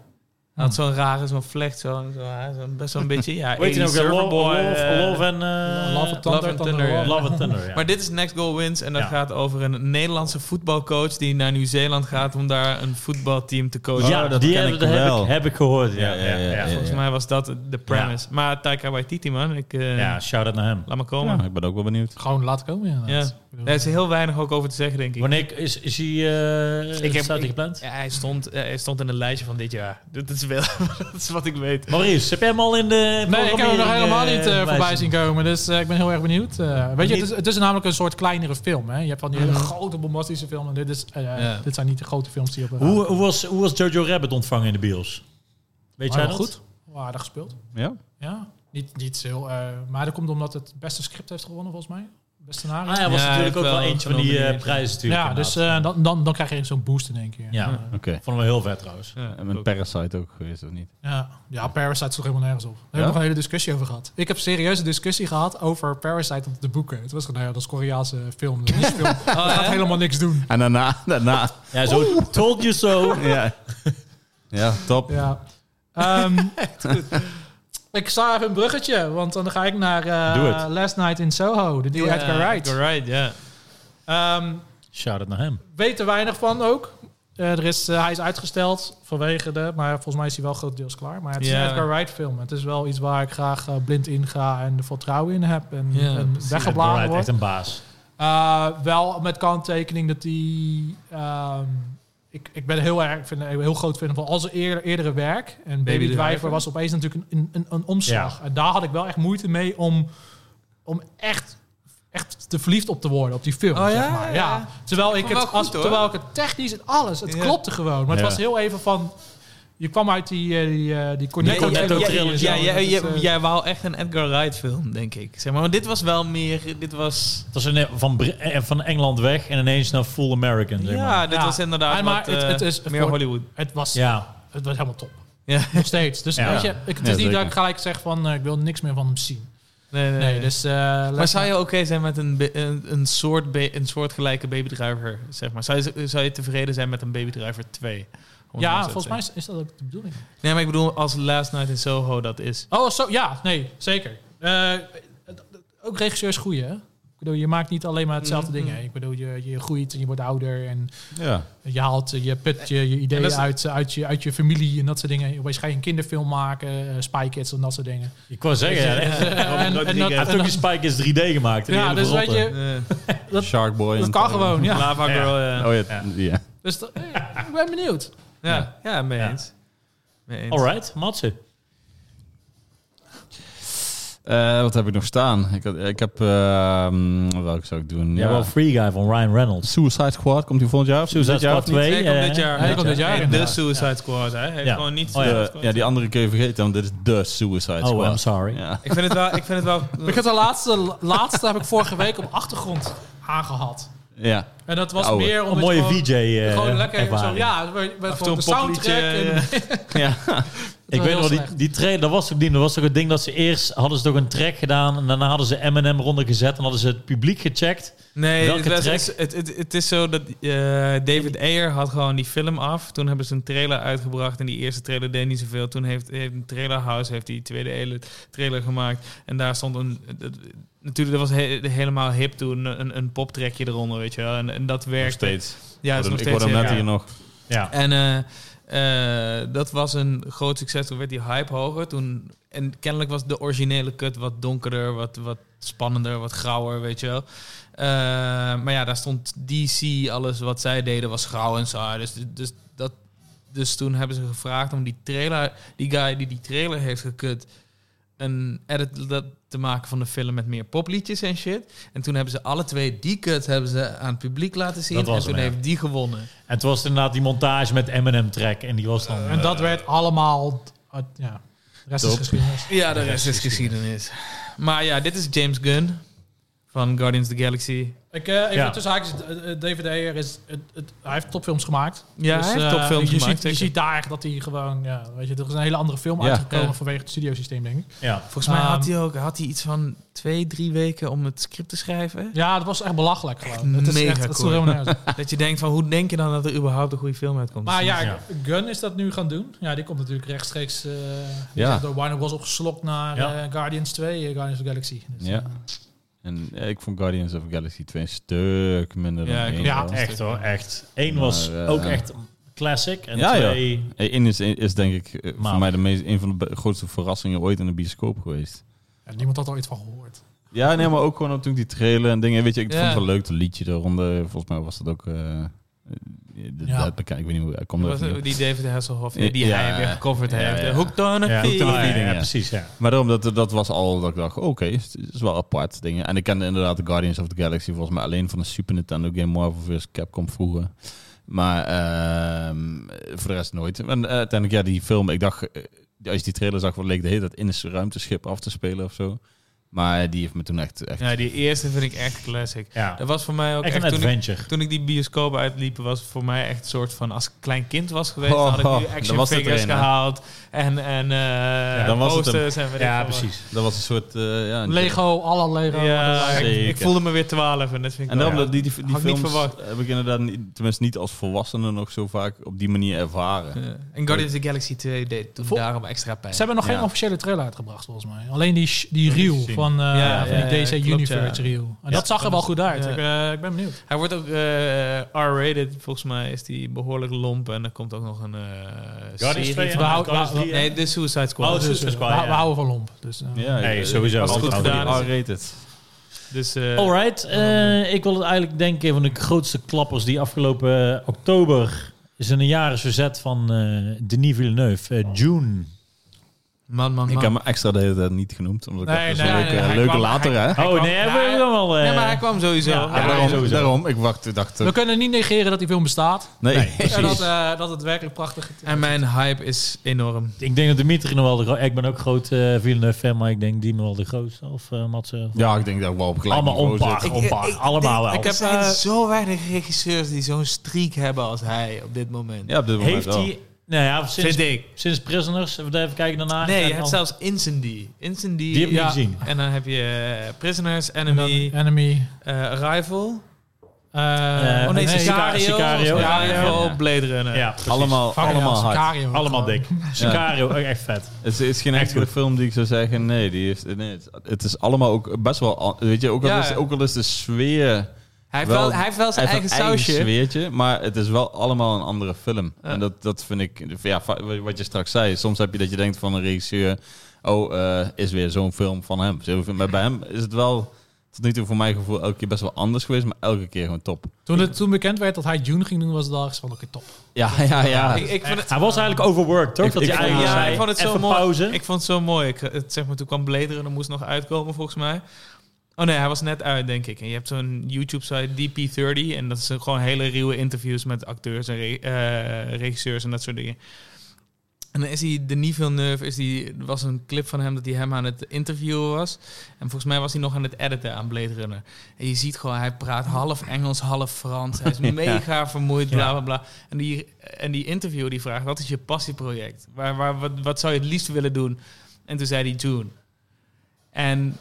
[SPEAKER 3] Hij had zo'n rare, zo'n vlecht, zo'n zo, hè, zo'n- best zo'n beetje... Ja,
[SPEAKER 2] Weet je nou ook?
[SPEAKER 3] 80s
[SPEAKER 2] weer? Wolf,
[SPEAKER 3] surferboy,
[SPEAKER 2] Wolf,
[SPEAKER 3] eh,
[SPEAKER 2] Wolf en... eh,
[SPEAKER 4] Love and
[SPEAKER 3] Love
[SPEAKER 4] Thunder.
[SPEAKER 3] and
[SPEAKER 4] Thunder,
[SPEAKER 3] Thunder,
[SPEAKER 4] War.
[SPEAKER 3] ja.
[SPEAKER 2] Love and Thunder, ja.
[SPEAKER 3] Maar dit is Next Goal Wins en dat
[SPEAKER 2] Ja.
[SPEAKER 3] gaat over een Nederlandse voetbalcoach die naar Nieuw-Zeeland gaat om daar een voetbalteam te coachen.
[SPEAKER 2] ja,
[SPEAKER 1] Oh, dat
[SPEAKER 2] die
[SPEAKER 1] ken
[SPEAKER 2] heb,
[SPEAKER 1] ik
[SPEAKER 2] dat heb
[SPEAKER 1] wel.
[SPEAKER 2] ik, heb ik gehoord. Ja,
[SPEAKER 1] Ja,
[SPEAKER 2] ja,
[SPEAKER 1] ja,
[SPEAKER 2] ja,
[SPEAKER 1] ja, ja.
[SPEAKER 3] Volgens mij was dat de premise. Maar Taika Waititi, man. Ik, eh,
[SPEAKER 2] Ja, shout-out naar hem.
[SPEAKER 3] Laat maar komen.
[SPEAKER 1] Ja, ik ben ook wel benieuwd.
[SPEAKER 4] Gewoon laten komen, ja.
[SPEAKER 3] Ja.
[SPEAKER 4] Ik bedoel,
[SPEAKER 3] Daar is heel weinig ook over te zeggen, denk ik.
[SPEAKER 2] Wanneer is, is hij... eh
[SPEAKER 3] Ik heb-
[SPEAKER 2] staat hij
[SPEAKER 3] ik-
[SPEAKER 2] gepland?
[SPEAKER 3] Ja, hij, stond, eh, hij stond in een lijstje van dit jaar. Dat is, wel, dat is wat ik weet.
[SPEAKER 2] Maurice, heb jij hem al in de...
[SPEAKER 4] Nee, ik heb hem nog helemaal niet eh, voorbij zien
[SPEAKER 2] komen.
[SPEAKER 4] komen. Dus eh, ik ben heel erg benieuwd. Eh, weet je, het
[SPEAKER 2] Niet-
[SPEAKER 4] is, het is namelijk een soort kleinere film. Hè? Je hebt van die hele grote bombastische film. En dit, is, eh,
[SPEAKER 3] Ja.
[SPEAKER 4] dit zijn niet de grote films die op de
[SPEAKER 2] Hoe, hoe, was, hoe was Jojo Rabbit ontvangen in de bios? Weet
[SPEAKER 4] Maar
[SPEAKER 2] jij
[SPEAKER 4] Ah, wel
[SPEAKER 2] dat?
[SPEAKER 4] goed. Hoe aardig gespeeld.
[SPEAKER 1] Ja?
[SPEAKER 4] Ja, niet, niet heel... eh, maar dat komt omdat het beste script heeft gewonnen, volgens mij. Beste scenario.
[SPEAKER 2] Ah, hij was
[SPEAKER 3] Ja,
[SPEAKER 2] natuurlijk ook
[SPEAKER 3] wel
[SPEAKER 2] wel eentje van die eh,
[SPEAKER 3] genomineerd, ja.
[SPEAKER 2] prijzen natuurlijk.
[SPEAKER 4] ja, dus
[SPEAKER 2] inderdaad.
[SPEAKER 4] eh, dan, dan, dan krijg je zo'n boost in één keer.
[SPEAKER 2] ja,
[SPEAKER 4] Eh,
[SPEAKER 1] Oké.
[SPEAKER 2] vonden we heel vet trouwens.
[SPEAKER 3] Ja,
[SPEAKER 1] En met
[SPEAKER 3] ook.
[SPEAKER 1] Eh, Parasite ook geweest, of niet?
[SPEAKER 4] Ja, ja Parasite sloeg helemaal nergens op. Daar
[SPEAKER 1] Ja?
[SPEAKER 4] hebben we nog een hele discussie over gehad. Ik heb serieus een discussie gehad over Parasite op de boeken. Het was gewoon, nou ja, dat is Koreaanse film. Dat is film. Dat gaat helemaal niks doen.
[SPEAKER 1] En daarna, daarna.
[SPEAKER 2] Ja, zo told you so.
[SPEAKER 1] Ja, ja top.
[SPEAKER 4] Ja. Ehm, ik sta even een bruggetje, want dan ga ik naar eh,
[SPEAKER 1] Doe het.
[SPEAKER 4] Last Night in Soho, de nieuwe
[SPEAKER 3] Ja,
[SPEAKER 4] Edgar Wright.
[SPEAKER 3] Edgar Wright, ja.
[SPEAKER 4] Ehm,
[SPEAKER 2] Shout-out naar hem.
[SPEAKER 4] weet er weinig van ook. Eh, er is, eh, hij is uitgesteld vanwege de, maar volgens mij is hij wel grotendeels klaar. Maar het is
[SPEAKER 3] Ja.
[SPEAKER 4] een Edgar Wright film. Het is wel iets waar ik graag eh, blind in ga en er vertrouwen in heb en,
[SPEAKER 3] Ja,
[SPEAKER 4] en
[SPEAKER 3] precies.
[SPEAKER 4] weggeblazen
[SPEAKER 2] Wright,
[SPEAKER 4] wordt.
[SPEAKER 2] echt een baas.
[SPEAKER 4] Eh, wel met kanttekening dat die. ehm, ik, ik ben heel erg ik vind, ik ben een heel groot fan van al zijn eer- eerdere werk. En Baby,
[SPEAKER 3] Driver.
[SPEAKER 4] Driver was opeens natuurlijk een, een, een omslag. En daar had ik wel echt moeite mee om, om echt, echt te verliefd op te worden op die film.
[SPEAKER 3] Oh,
[SPEAKER 4] zeg
[SPEAKER 3] ja, ja,
[SPEAKER 4] maar. ja,
[SPEAKER 3] ja.
[SPEAKER 4] Terwijl, ik
[SPEAKER 3] vond
[SPEAKER 4] het,
[SPEAKER 3] hem wel
[SPEAKER 4] als,
[SPEAKER 3] goed, hoor.
[SPEAKER 4] terwijl ik het technisch en alles, het
[SPEAKER 3] Ja.
[SPEAKER 4] klopte gewoon. Maar
[SPEAKER 1] Ja.
[SPEAKER 4] het was heel even van. Je kwam uit die, eh, die, eh, die Cornetto
[SPEAKER 2] Cornetto
[SPEAKER 4] trilogie en
[SPEAKER 2] trilogie.
[SPEAKER 4] zo.
[SPEAKER 3] Ja,
[SPEAKER 4] En
[SPEAKER 3] jij-
[SPEAKER 4] dat is,
[SPEAKER 3] jij-
[SPEAKER 4] eh,
[SPEAKER 3] jij wou echt een Edgar Wright film, denk ik. Zeg maar. maar dit was wel meer... Dit was...
[SPEAKER 2] Het was een, eh, van, Br- eh, van Engeland weg en ineens naar full American, zeg maar.
[SPEAKER 3] Ja, dit
[SPEAKER 4] Ja. dus-
[SPEAKER 3] was inderdaad
[SPEAKER 4] Ja, maar
[SPEAKER 3] wat,
[SPEAKER 4] het-
[SPEAKER 3] eh,
[SPEAKER 4] het is
[SPEAKER 3] meer
[SPEAKER 4] voor-
[SPEAKER 3] Hollywood.
[SPEAKER 4] het, was,
[SPEAKER 2] Ja,
[SPEAKER 4] het was helemaal top.
[SPEAKER 3] Ja.
[SPEAKER 4] Nog steeds. Dus
[SPEAKER 2] Ja.
[SPEAKER 4] weet je, ik, het
[SPEAKER 1] Ja,
[SPEAKER 4] is niet
[SPEAKER 1] zeker.
[SPEAKER 4] dat ik gelijk zeg van eh, ik wil niks meer van hem zien.
[SPEAKER 3] Nee, nee,
[SPEAKER 4] Nee,
[SPEAKER 3] nee.
[SPEAKER 4] dus... eh,
[SPEAKER 3] Maar
[SPEAKER 4] laat
[SPEAKER 3] zou je
[SPEAKER 4] maar.
[SPEAKER 3] oké zijn met een, be- een, een, soort be- een soortgelijke babydriver, zeg maar? Zou je, zou je tevreden zijn met een babydriver 2? Om het maar zo
[SPEAKER 4] Ja,
[SPEAKER 3] te
[SPEAKER 4] volgens mij
[SPEAKER 3] zeggen.
[SPEAKER 4] is, is dat ook de bedoeling.
[SPEAKER 3] Nee, maar ik bedoel, als Last Night in Soho dat is.
[SPEAKER 4] Oh, zo, ja, nee, zeker. Eh, ook regisseurs groeien, hè? Ik bedoel, je maakt niet alleen maar hetzelfde
[SPEAKER 3] Mhm.
[SPEAKER 4] ding. Hè? Ik bedoel, je, je groeit en je wordt ouder en
[SPEAKER 1] Ja.
[SPEAKER 4] je haalt, eh, je put je, je
[SPEAKER 3] En
[SPEAKER 4] ideeën
[SPEAKER 3] dat is-
[SPEAKER 4] uit, eh, uit, je, uit je familie en dat soort dingen. Opeens ga je een kinderfilm maken, eh, Spy Kids en dat soort dingen.
[SPEAKER 2] ik wou zeggen.
[SPEAKER 4] Ja,
[SPEAKER 2] ja, echt.
[SPEAKER 4] en- en dat-
[SPEAKER 2] Hij heeft ook die Spike is 3D gemaakt. die
[SPEAKER 4] Ja,
[SPEAKER 2] hele
[SPEAKER 4] dus weet
[SPEAKER 2] verrotte.
[SPEAKER 4] je,
[SPEAKER 3] Eh,
[SPEAKER 4] Dat-
[SPEAKER 1] Sharkboy.
[SPEAKER 4] dat
[SPEAKER 1] en-
[SPEAKER 4] kan gewoon, ja.
[SPEAKER 3] Lava
[SPEAKER 2] Ja.
[SPEAKER 3] Girl, ja.
[SPEAKER 1] Oh ja, ja.
[SPEAKER 4] Dus dat- eh, ik ben benieuwd.
[SPEAKER 3] Ja, ja, mee
[SPEAKER 2] Ja.
[SPEAKER 3] eens. Mee eens.
[SPEAKER 2] Alright, Matze.
[SPEAKER 1] Eh, wat heb ik nog staan? Ik, had, ik heb... ehm, welke zou ik doen?
[SPEAKER 2] Ja, wel Free Guy van Ryan Reynolds.
[SPEAKER 1] Suicide Squad, komt die volgend jaar? of
[SPEAKER 2] Suicide
[SPEAKER 1] dit jaar
[SPEAKER 2] Squad
[SPEAKER 1] of niet?
[SPEAKER 2] 2.
[SPEAKER 3] Nee, komt
[SPEAKER 2] eh,
[SPEAKER 3] dit jaar.
[SPEAKER 4] hij komt dit jaar
[SPEAKER 3] Hey, de
[SPEAKER 4] inderdaad.
[SPEAKER 3] Suicide Squad, hè? Hij heeft
[SPEAKER 2] Ja.
[SPEAKER 3] gewoon niet
[SPEAKER 2] Oh, ja.
[SPEAKER 3] Suicide Squad.
[SPEAKER 1] Ja, die andere kun je vergeten, want dit is de Suicide Squad.
[SPEAKER 2] Oh, I'm sorry.
[SPEAKER 1] Ja.
[SPEAKER 3] Ik vind het wel... Ik vind het wel
[SPEAKER 4] Ik heb de laatste, laatste heb ik vorige week op achtergrond aangehad.
[SPEAKER 1] ja.
[SPEAKER 4] En dat was
[SPEAKER 1] Ja, ouwe.
[SPEAKER 4] meer om
[SPEAKER 2] Een
[SPEAKER 4] het
[SPEAKER 2] mooie
[SPEAKER 4] gewoon-
[SPEAKER 2] VJ. eh,
[SPEAKER 4] Gewoon lekker even zo,
[SPEAKER 2] ervaring.
[SPEAKER 4] ja, met, met
[SPEAKER 3] Af en toe
[SPEAKER 4] gewoon de
[SPEAKER 3] een popliedje,
[SPEAKER 4] soundtrack.
[SPEAKER 3] eh,
[SPEAKER 4] en-
[SPEAKER 1] ja.
[SPEAKER 2] Ik
[SPEAKER 4] wel
[SPEAKER 2] weet
[SPEAKER 4] heel
[SPEAKER 2] nog, wel, die,
[SPEAKER 4] slecht.
[SPEAKER 2] die trailer, dat was ook niet. Dat was toch het ding dat ze eerst hadden ze toch een track gedaan. En daarna hadden ze M&M eronder gezet. En hadden ze het publiek gecheckt.
[SPEAKER 3] Nee,
[SPEAKER 2] Welke
[SPEAKER 3] het,
[SPEAKER 2] track?
[SPEAKER 3] is, het, het, het is zo dat eh, David Ayer had gewoon die film af. Toen hebben ze een trailer uitgebracht en die eerste trailer deed niet zoveel. Toen heeft, heeft een trailer house, heeft die tweede hele trailer gemaakt. En daar stond een... dat- natuurlijk, dat was he- helemaal hip toen, een, een poptrekje eronder, weet je wel. En, en dat
[SPEAKER 1] Nog
[SPEAKER 3] werkte.
[SPEAKER 1] steeds.
[SPEAKER 3] Ja, dat is nog
[SPEAKER 1] ik
[SPEAKER 3] steeds
[SPEAKER 1] hoorde hem
[SPEAKER 3] hip,
[SPEAKER 1] net
[SPEAKER 3] ja.
[SPEAKER 1] hier nog.
[SPEAKER 2] Ja.
[SPEAKER 3] En eh, eh, dat was een groot succes. Toen werd die hype hoger. Toen, en kennelijk was de originele kut wat donkerder, wat, wat spannender, wat grauwer, weet je wel. Eh, maar ja, daar stond DC, alles wat zij deden was grauw en saai. Dus, dus, dat, dus toen hebben ze gevraagd om die trailer, die guy die die trailer heeft gekut, een edit dat te maken van de film met meer popliedjes en shit. En toen hebben ze alle twee die kut hebben ze aan het publiek laten zien.
[SPEAKER 2] Dat was
[SPEAKER 3] en toen
[SPEAKER 2] hem, ja.
[SPEAKER 3] heeft die gewonnen.
[SPEAKER 2] En toen was het inderdaad die montage met M&M track. En die was dan... eh,
[SPEAKER 4] en dat werd allemaal... uit- ja, de rest
[SPEAKER 1] Top.
[SPEAKER 4] is geschiedenis.
[SPEAKER 3] Ja, de rest is geschiedenis. Maar ja, dit is James Gunn. van Guardians of the Galaxy.
[SPEAKER 4] Ik, eh even
[SPEAKER 2] Ja.
[SPEAKER 4] tussen haakjes, DVD'er is... Het, het, hij heeft topfilms gemaakt.
[SPEAKER 3] Ja, hij heeft
[SPEAKER 4] eh,
[SPEAKER 3] topfilms
[SPEAKER 4] je
[SPEAKER 3] gemaakt,
[SPEAKER 4] Ziet, je
[SPEAKER 3] zeker.
[SPEAKER 4] ziet daar dat hij gewoon... Ja, weet je, er is een hele andere film
[SPEAKER 1] Ja.
[SPEAKER 4] uitgekomen
[SPEAKER 3] Ja.
[SPEAKER 4] vanwege het studiosysteem, denk ik.
[SPEAKER 2] Ja.
[SPEAKER 3] Volgens mij had
[SPEAKER 4] Ehm,
[SPEAKER 3] hij ook had hij iets van twee, drie weken om het script te schrijven.
[SPEAKER 4] Ja, dat was echt belachelijk gewoon.
[SPEAKER 3] Echt
[SPEAKER 4] het is
[SPEAKER 3] mega
[SPEAKER 4] echt, dat is
[SPEAKER 3] cool.
[SPEAKER 4] helemaal nergens.
[SPEAKER 3] Dat je denkt van, hoe denk je dan dat er überhaupt een goede film uitkomt?
[SPEAKER 4] Maar ja,
[SPEAKER 2] Ja.
[SPEAKER 4] Gun is dat nu gaan doen. Ja, die komt natuurlijk rechtstreeks... eh, die
[SPEAKER 1] Ja.
[SPEAKER 4] is door Warner Bros. opgeslokt naar
[SPEAKER 2] Ja.
[SPEAKER 4] eh, Guardians 2, eh, Guardians of the Galaxy. Dus,
[SPEAKER 1] Ja.
[SPEAKER 4] eh,
[SPEAKER 1] En ja, ik vond Guardians of the Galaxy 2 een stuk minder
[SPEAKER 3] Ja,
[SPEAKER 1] dan
[SPEAKER 3] ik
[SPEAKER 1] één.
[SPEAKER 3] ook.
[SPEAKER 4] Ja,
[SPEAKER 1] wel.
[SPEAKER 2] Echt hoor, echt. Eén was
[SPEAKER 1] Maar, eh,
[SPEAKER 2] ook echt een classic. En
[SPEAKER 1] Ja, ja.
[SPEAKER 2] twee...
[SPEAKER 1] Eén is, is denk ik eh, voor
[SPEAKER 2] Maar-
[SPEAKER 1] mij de meest, een van de be- grootste verrassingen ooit in de bioscoop geweest.
[SPEAKER 4] ja, niemand had er ooit van gehoord.
[SPEAKER 1] Ja, nee, maar ook gewoon toen die trailer en dingen. Weet je, ik
[SPEAKER 3] Ja.
[SPEAKER 1] vond het wel leuk, het liedje eronder. Volgens mij was dat ook... eh, eh, de-
[SPEAKER 4] Ja.
[SPEAKER 1] dat bekend. Ik weet niet hoe... Ik kom
[SPEAKER 3] Dat
[SPEAKER 1] er
[SPEAKER 3] was
[SPEAKER 1] even niet op.
[SPEAKER 3] die David Hasselhoff, die, die
[SPEAKER 1] Ja.
[SPEAKER 3] hij weer gecoverd
[SPEAKER 1] Ja,
[SPEAKER 3] heeft.
[SPEAKER 1] ja.
[SPEAKER 3] Hooked on a
[SPEAKER 2] Ja,
[SPEAKER 3] Thief.
[SPEAKER 2] ja, ja,
[SPEAKER 1] feeling, ja.
[SPEAKER 2] precies. Ja.
[SPEAKER 1] Maar daarom, dat, dat was al dat ik dacht, oké, het is wel apart dingen. En ik kende inderdaad de Guardians of the Galaxy volgens mij alleen van de Super Nintendo game Marvel vs. Capcom vroeger. Maar ehm, voor de rest nooit. En eh, uiteindelijk, ja, die film, ik dacht, eh, als je die trailer zag, wat leek de hele tijd in een ruimteschip af te spelen of zo. Maar die heeft me toen echt... echt
[SPEAKER 3] Ja, die eerste vind ik echt classic.
[SPEAKER 2] Ja.
[SPEAKER 3] Dat was voor mij ook
[SPEAKER 2] Echt
[SPEAKER 3] echt,
[SPEAKER 2] een
[SPEAKER 3] toen, ik,
[SPEAKER 2] adventure.
[SPEAKER 3] toen ik die bioscoop uitliep, was voor mij echt een soort van als ik klein kind was geweest,
[SPEAKER 1] Oh,
[SPEAKER 3] had ik
[SPEAKER 1] oh,
[SPEAKER 3] nu
[SPEAKER 1] dan
[SPEAKER 3] action
[SPEAKER 1] was het
[SPEAKER 3] figures
[SPEAKER 1] erin, hè?
[SPEAKER 3] gehaald en en eh,
[SPEAKER 1] dan was het hem.
[SPEAKER 3] posters en weet ik
[SPEAKER 2] Ja,
[SPEAKER 3] veel wat.
[SPEAKER 2] precies.
[SPEAKER 1] Dat was een soort... eh, ja, een-
[SPEAKER 4] Lego, alle Lego.
[SPEAKER 3] Ja,
[SPEAKER 1] dat is-
[SPEAKER 3] ik, ik
[SPEAKER 1] Zeker.
[SPEAKER 3] voelde me weer 12 en dat vind ik
[SPEAKER 1] En
[SPEAKER 3] wel-
[SPEAKER 1] daarom, dat die, die, die
[SPEAKER 3] Had ik niet
[SPEAKER 1] films
[SPEAKER 3] verwacht.
[SPEAKER 1] heb ik inderdaad, niet, tenminste niet als volwassene nog zo vaak op die manier ervaren.
[SPEAKER 3] Ja. En Guardians of the Galaxy 2 deed toen
[SPEAKER 4] Vol-
[SPEAKER 3] daarom extra pijn.
[SPEAKER 4] Ze hebben nog
[SPEAKER 1] Ja.
[SPEAKER 4] geen officiële trailer uitgebracht, volgens mij. Alleen die, sh- die
[SPEAKER 2] Dat is
[SPEAKER 4] reel
[SPEAKER 2] gezien.
[SPEAKER 4] van, eh,
[SPEAKER 3] Ja,
[SPEAKER 4] van
[SPEAKER 3] ja,
[SPEAKER 4] die
[SPEAKER 3] ja,
[SPEAKER 4] DC
[SPEAKER 3] klopt,
[SPEAKER 4] Universe
[SPEAKER 3] ja.
[SPEAKER 4] reel.
[SPEAKER 3] Ja,
[SPEAKER 4] En dat zag er
[SPEAKER 3] dat
[SPEAKER 4] wel
[SPEAKER 3] is-
[SPEAKER 4] goed uit.
[SPEAKER 3] ja.
[SPEAKER 4] Ik, eh, ik ben benieuwd.
[SPEAKER 3] Hij wordt ook eh, R-rated, volgens mij is die behoorlijk lomp en er komt ook nog een eh
[SPEAKER 2] Guardians
[SPEAKER 3] serie
[SPEAKER 2] 2 en
[SPEAKER 3] van.
[SPEAKER 4] Wauw,
[SPEAKER 2] Guardians
[SPEAKER 4] wauw,
[SPEAKER 2] 3 en-
[SPEAKER 3] Nee, de Suicide Squad.
[SPEAKER 2] Oh, de
[SPEAKER 4] Dus,
[SPEAKER 2] Suicide
[SPEAKER 4] eh,
[SPEAKER 2] Squad,
[SPEAKER 4] we,
[SPEAKER 2] ja.
[SPEAKER 4] we houden van Lomp. Dus, eh,
[SPEAKER 1] Ja,
[SPEAKER 2] Nee,
[SPEAKER 1] eh,
[SPEAKER 2] sowieso.
[SPEAKER 1] Als het
[SPEAKER 3] Goed
[SPEAKER 1] goed
[SPEAKER 3] gedaan is
[SPEAKER 1] gedaan
[SPEAKER 3] het.
[SPEAKER 1] R-rated.
[SPEAKER 3] Dus, eh,
[SPEAKER 2] Alright, eh, ik wil het eigenlijk denken een van de grootste klappers die afgelopen eh, oktober is in een jaar is verzet van eh Denis Villeneuve. eh, June.
[SPEAKER 3] man, man, man.
[SPEAKER 1] Ik heb me extra de hele tijd niet genoemd, omdat ik
[SPEAKER 4] Nee,
[SPEAKER 1] dacht, dat
[SPEAKER 4] nee,
[SPEAKER 1] is een
[SPEAKER 3] nee,
[SPEAKER 1] leuke,
[SPEAKER 3] hij
[SPEAKER 1] leuke
[SPEAKER 3] kwam- Nou,
[SPEAKER 1] later, hè?
[SPEAKER 2] Oh nee,
[SPEAKER 4] ja,
[SPEAKER 2] hebben we hem al. eh,
[SPEAKER 3] Nee, maar hij kwam sowieso.
[SPEAKER 2] Ja,
[SPEAKER 1] Ja,
[SPEAKER 3] Hij kwam-
[SPEAKER 1] daarom,
[SPEAKER 2] sowieso.
[SPEAKER 1] daarom, ik wacht, dacht
[SPEAKER 4] We
[SPEAKER 1] er-
[SPEAKER 4] kunnen niet negeren dat die film bestaat.
[SPEAKER 1] nee.
[SPEAKER 2] Nee, precies.
[SPEAKER 4] En dat, eh, dat het werkelijk prachtig is.
[SPEAKER 3] En mijn hype is enorm.
[SPEAKER 2] Ik denk dat Dimitri nog wel de gro- Ik ben ook groot eh Villeneuve fan, maar ik denk die nog wel de grootste. Of eh Matze. of-
[SPEAKER 1] Ja, ik denk dat ik wel op gelijk
[SPEAKER 2] Allemaal
[SPEAKER 1] niveau
[SPEAKER 2] onpaar,
[SPEAKER 1] zit.
[SPEAKER 3] Ik-
[SPEAKER 2] onpaar.
[SPEAKER 3] ik- ik-
[SPEAKER 2] Allemaal wel.
[SPEAKER 3] Ik heb
[SPEAKER 2] Eh,
[SPEAKER 3] echt zo weinig regisseurs die zo'n streak hebben als hij op dit moment.
[SPEAKER 1] Ja, op dit moment
[SPEAKER 2] heeft
[SPEAKER 1] wel.
[SPEAKER 2] hij... Nou ja, sinds, Ah,
[SPEAKER 3] Vind ik.
[SPEAKER 2] sinds Prisoners, even kijken daarna.
[SPEAKER 3] Nee, je
[SPEAKER 2] En
[SPEAKER 3] hebt
[SPEAKER 2] al-
[SPEAKER 3] zelfs Incendy. Incendy.
[SPEAKER 2] Die heb ik
[SPEAKER 3] ja.
[SPEAKER 2] niet gezien.
[SPEAKER 3] En dan heb je eh, Prisoners,
[SPEAKER 4] En dan
[SPEAKER 3] Enemy,
[SPEAKER 4] Enemy.
[SPEAKER 3] eh Arrival.
[SPEAKER 4] eh,
[SPEAKER 3] oh nee,
[SPEAKER 2] nee,
[SPEAKER 3] Sicario.
[SPEAKER 2] Sicario.
[SPEAKER 3] Sicario,
[SPEAKER 1] Ja, ja.
[SPEAKER 3] Blade Runner.
[SPEAKER 2] Ja, precies.
[SPEAKER 1] Allemaal,
[SPEAKER 4] Fuck,
[SPEAKER 1] allemaal
[SPEAKER 4] ja,
[SPEAKER 1] hard.
[SPEAKER 4] Sicario ook
[SPEAKER 2] Allemaal
[SPEAKER 4] gewoon.
[SPEAKER 2] dik. Sicario, ook echt vet.
[SPEAKER 1] Het is, het is geen
[SPEAKER 2] Echt
[SPEAKER 1] enkele
[SPEAKER 2] goed.
[SPEAKER 1] film die ik zou zeggen, nee, die heeft, nee het, het is allemaal ook best wel, an- weet je, ook al,
[SPEAKER 3] Ja.
[SPEAKER 1] is, ook al is de sfeer,
[SPEAKER 3] Hij, heeft wel,
[SPEAKER 1] Wel-
[SPEAKER 3] hij heeft wel zijn
[SPEAKER 1] hij heeft
[SPEAKER 3] eigen
[SPEAKER 1] een
[SPEAKER 3] sausje.
[SPEAKER 1] sfeertje, maar het is wel allemaal een andere film.
[SPEAKER 3] Ja.
[SPEAKER 1] En dat, dat vind ik, ja, va- wat je straks zei, soms heb je dat je denkt van een regisseur, oh, eh, is weer zo'n film van hem. Zo, Maar bij hem is het wel, tot nu toe voor mijn gevoel, elke keer best wel anders geweest, maar elke keer gewoon top.
[SPEAKER 4] Toen, het, toen bekend werd dat hij June ging doen, was het al eens van oké, top.
[SPEAKER 1] Ja, ja, ja.
[SPEAKER 3] Ik, ik vond het,
[SPEAKER 2] Hij was eigenlijk overworked, toch?
[SPEAKER 1] Ik-
[SPEAKER 2] dat
[SPEAKER 1] ik
[SPEAKER 2] hij
[SPEAKER 1] vond-
[SPEAKER 2] eigenlijk
[SPEAKER 1] ja,
[SPEAKER 2] zei,
[SPEAKER 3] ik vond het zo
[SPEAKER 2] even
[SPEAKER 3] mooi.
[SPEAKER 2] pauze.
[SPEAKER 3] ik vond het zo mooi. Ik, het, zeg maar, toen kwam Blade Runner, moest nog uitkomen volgens mij. Oh nee, hij was net uit, denk ik. En je hebt zo'n YouTube-site, DP30. En dat is gewoon hele ruwe interviews met acteurs en re- eh, regisseurs en dat soort dingen. En dan is hij, Denis Villeneuve, is die, er was een clip van hem dat hij hem aan het interviewen was. En volgens mij was hij nog aan het editen aan Blade Runner. En je ziet gewoon, hij praat half Engels, half Frans. Hij is mega vermoeid, bla bla bla. En die, en die interview die vraagt, wat is je passieproject? Waar, waar, wat, wat zou je het liefst willen doen? En toen zei hij June. En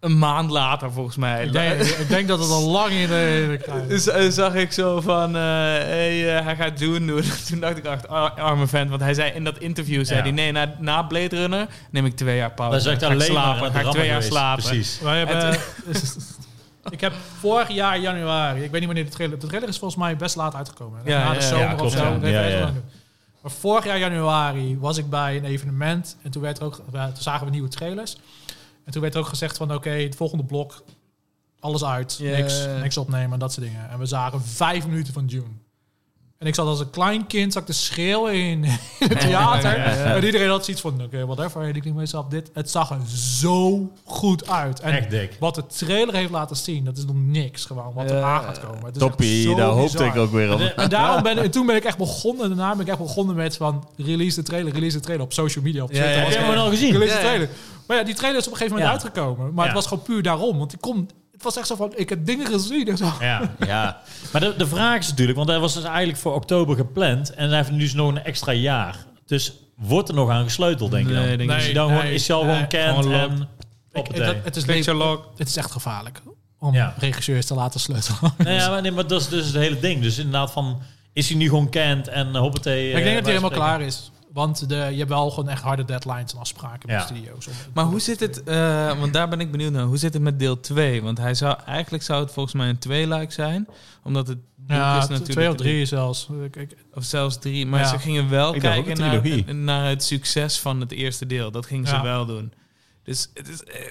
[SPEAKER 3] een maand later, volgens mij,
[SPEAKER 4] Ik denk, ik denk dat het al lang in de... de-
[SPEAKER 3] z- eh, zag ik zo van, eh, hey, eh, hij gaat June doen. toen dacht ik, echt, ar- arme vent. Want hij zei in dat interview, zei
[SPEAKER 2] Ja.
[SPEAKER 3] hij, nee, na, na Blade Runner neem ik twee jaar pauze.
[SPEAKER 2] Dat is echt
[SPEAKER 3] Oh, Ga ik
[SPEAKER 2] alleen maar
[SPEAKER 3] slapen,
[SPEAKER 2] aan het
[SPEAKER 3] ga ik
[SPEAKER 2] rammen
[SPEAKER 3] twee jaar
[SPEAKER 2] geweest.
[SPEAKER 3] slapen.
[SPEAKER 2] Precies.
[SPEAKER 4] Wij hebben,
[SPEAKER 3] En
[SPEAKER 4] ik heb vorig jaar januari, ik weet niet wanneer de trailer... De trailer is volgens mij best laat uitgekomen.
[SPEAKER 3] Ja,
[SPEAKER 4] Na
[SPEAKER 3] ja,
[SPEAKER 4] de
[SPEAKER 3] ja,
[SPEAKER 4] zomer
[SPEAKER 2] ja,
[SPEAKER 4] of
[SPEAKER 2] klopt,
[SPEAKER 4] zo.
[SPEAKER 2] ja.
[SPEAKER 4] Dat heeft
[SPEAKER 1] Ja,
[SPEAKER 4] best wel
[SPEAKER 1] ja.
[SPEAKER 4] lang geduurd. Maar vorig jaar januari was ik bij een evenement en toen, werd er ook, eh, toen zagen we nieuwe trailers. En toen werd er ook gezegd van oké, het volgende blok, alles uit,
[SPEAKER 3] Ja.
[SPEAKER 4] niks, niks opnemen, dat soort dingen. En we zagen vijf minuten van June. En ik zat als een klein kind, zat ik te schreeuwen in, in het theater.
[SPEAKER 3] Ja, ja, ja.
[SPEAKER 4] En iedereen had zoiets van, oké, whatever. En ik denk mezelf, dit, het zag er zo goed uit. En
[SPEAKER 2] Echt dik.
[SPEAKER 4] wat de trailer heeft laten zien, dat is nog niks gewoon. Wat er aan gaat komen. Het is echt
[SPEAKER 1] Toppie,
[SPEAKER 4] zo
[SPEAKER 1] daar hoopte
[SPEAKER 4] bizar.
[SPEAKER 1] ik ook weer op.
[SPEAKER 4] En daarom ben, en toen ben ik echt begonnen. En daarna ben ik echt begonnen met van release de trailer, release de trailer op social media, op
[SPEAKER 3] Ja, ja,
[SPEAKER 4] Twitter.
[SPEAKER 3] ja.
[SPEAKER 2] Heb je hem al gezien?
[SPEAKER 4] Release
[SPEAKER 3] Ja,
[SPEAKER 4] de
[SPEAKER 3] ja.
[SPEAKER 4] trailer. Maar ja, die trailer is op een gegeven moment
[SPEAKER 2] Ja.
[SPEAKER 4] uitgekomen. Maar het
[SPEAKER 2] Ja.
[SPEAKER 4] was gewoon puur daarom. Want die komt. Het was echt zo van, ik heb dingen gezien en zo.
[SPEAKER 2] Ja.
[SPEAKER 1] Ja,
[SPEAKER 2] Maar de, de vraag is natuurlijk, want dat was dus eigenlijk voor oktober gepland. En hij heeft nu dus nog een extra jaar. Dus wordt er nog aan gesleuteld, denk je dan?
[SPEAKER 3] Nee, denk
[SPEAKER 2] Is
[SPEAKER 3] ik
[SPEAKER 4] Nee,
[SPEAKER 2] hij dan gewoon,
[SPEAKER 4] nee,
[SPEAKER 2] is hij al gewoon
[SPEAKER 4] nee.
[SPEAKER 2] kent
[SPEAKER 3] Gewoon loopt.
[SPEAKER 2] en...
[SPEAKER 4] Ik-
[SPEAKER 2] Hoppatee.
[SPEAKER 4] dat- het, is
[SPEAKER 3] Klik
[SPEAKER 4] le-
[SPEAKER 3] zo log.
[SPEAKER 4] het is echt gevaarlijk om
[SPEAKER 2] Ja.
[SPEAKER 4] regisseurs te laten sleutelen.
[SPEAKER 2] Nee, ja, maar, nee, maar dat is dus het hele ding. Dus inderdaad van, is hij nu gewoon kent en uh, hoppatee...
[SPEAKER 4] ik denk dat
[SPEAKER 2] hij
[SPEAKER 4] hij helemaal klaar is. Want de, je hebt wel gewoon echt harde deadlines en afspraken met
[SPEAKER 2] Ja.
[SPEAKER 4] de studio's. om-
[SPEAKER 3] Maar hoe zit het, eh, want daar ben ik benieuwd naar, hoe zit het met deel 2? Want hij zou, eigenlijk zou het volgens mij een tweeluik zijn, omdat het boek
[SPEAKER 4] Ja,
[SPEAKER 3] is
[SPEAKER 4] t-
[SPEAKER 3] natuurlijk...
[SPEAKER 4] twee of drie zelfs. Ik, ik,
[SPEAKER 3] Of zelfs drie, maar
[SPEAKER 4] Ja.
[SPEAKER 3] ze gingen wel
[SPEAKER 1] Ik dacht ook
[SPEAKER 3] kijken
[SPEAKER 1] een
[SPEAKER 3] naar,
[SPEAKER 1] trilogie.
[SPEAKER 3] naar het succes van het eerste deel. Dat gingen ze
[SPEAKER 4] Ja.
[SPEAKER 3] wel doen. Dus het is... eh,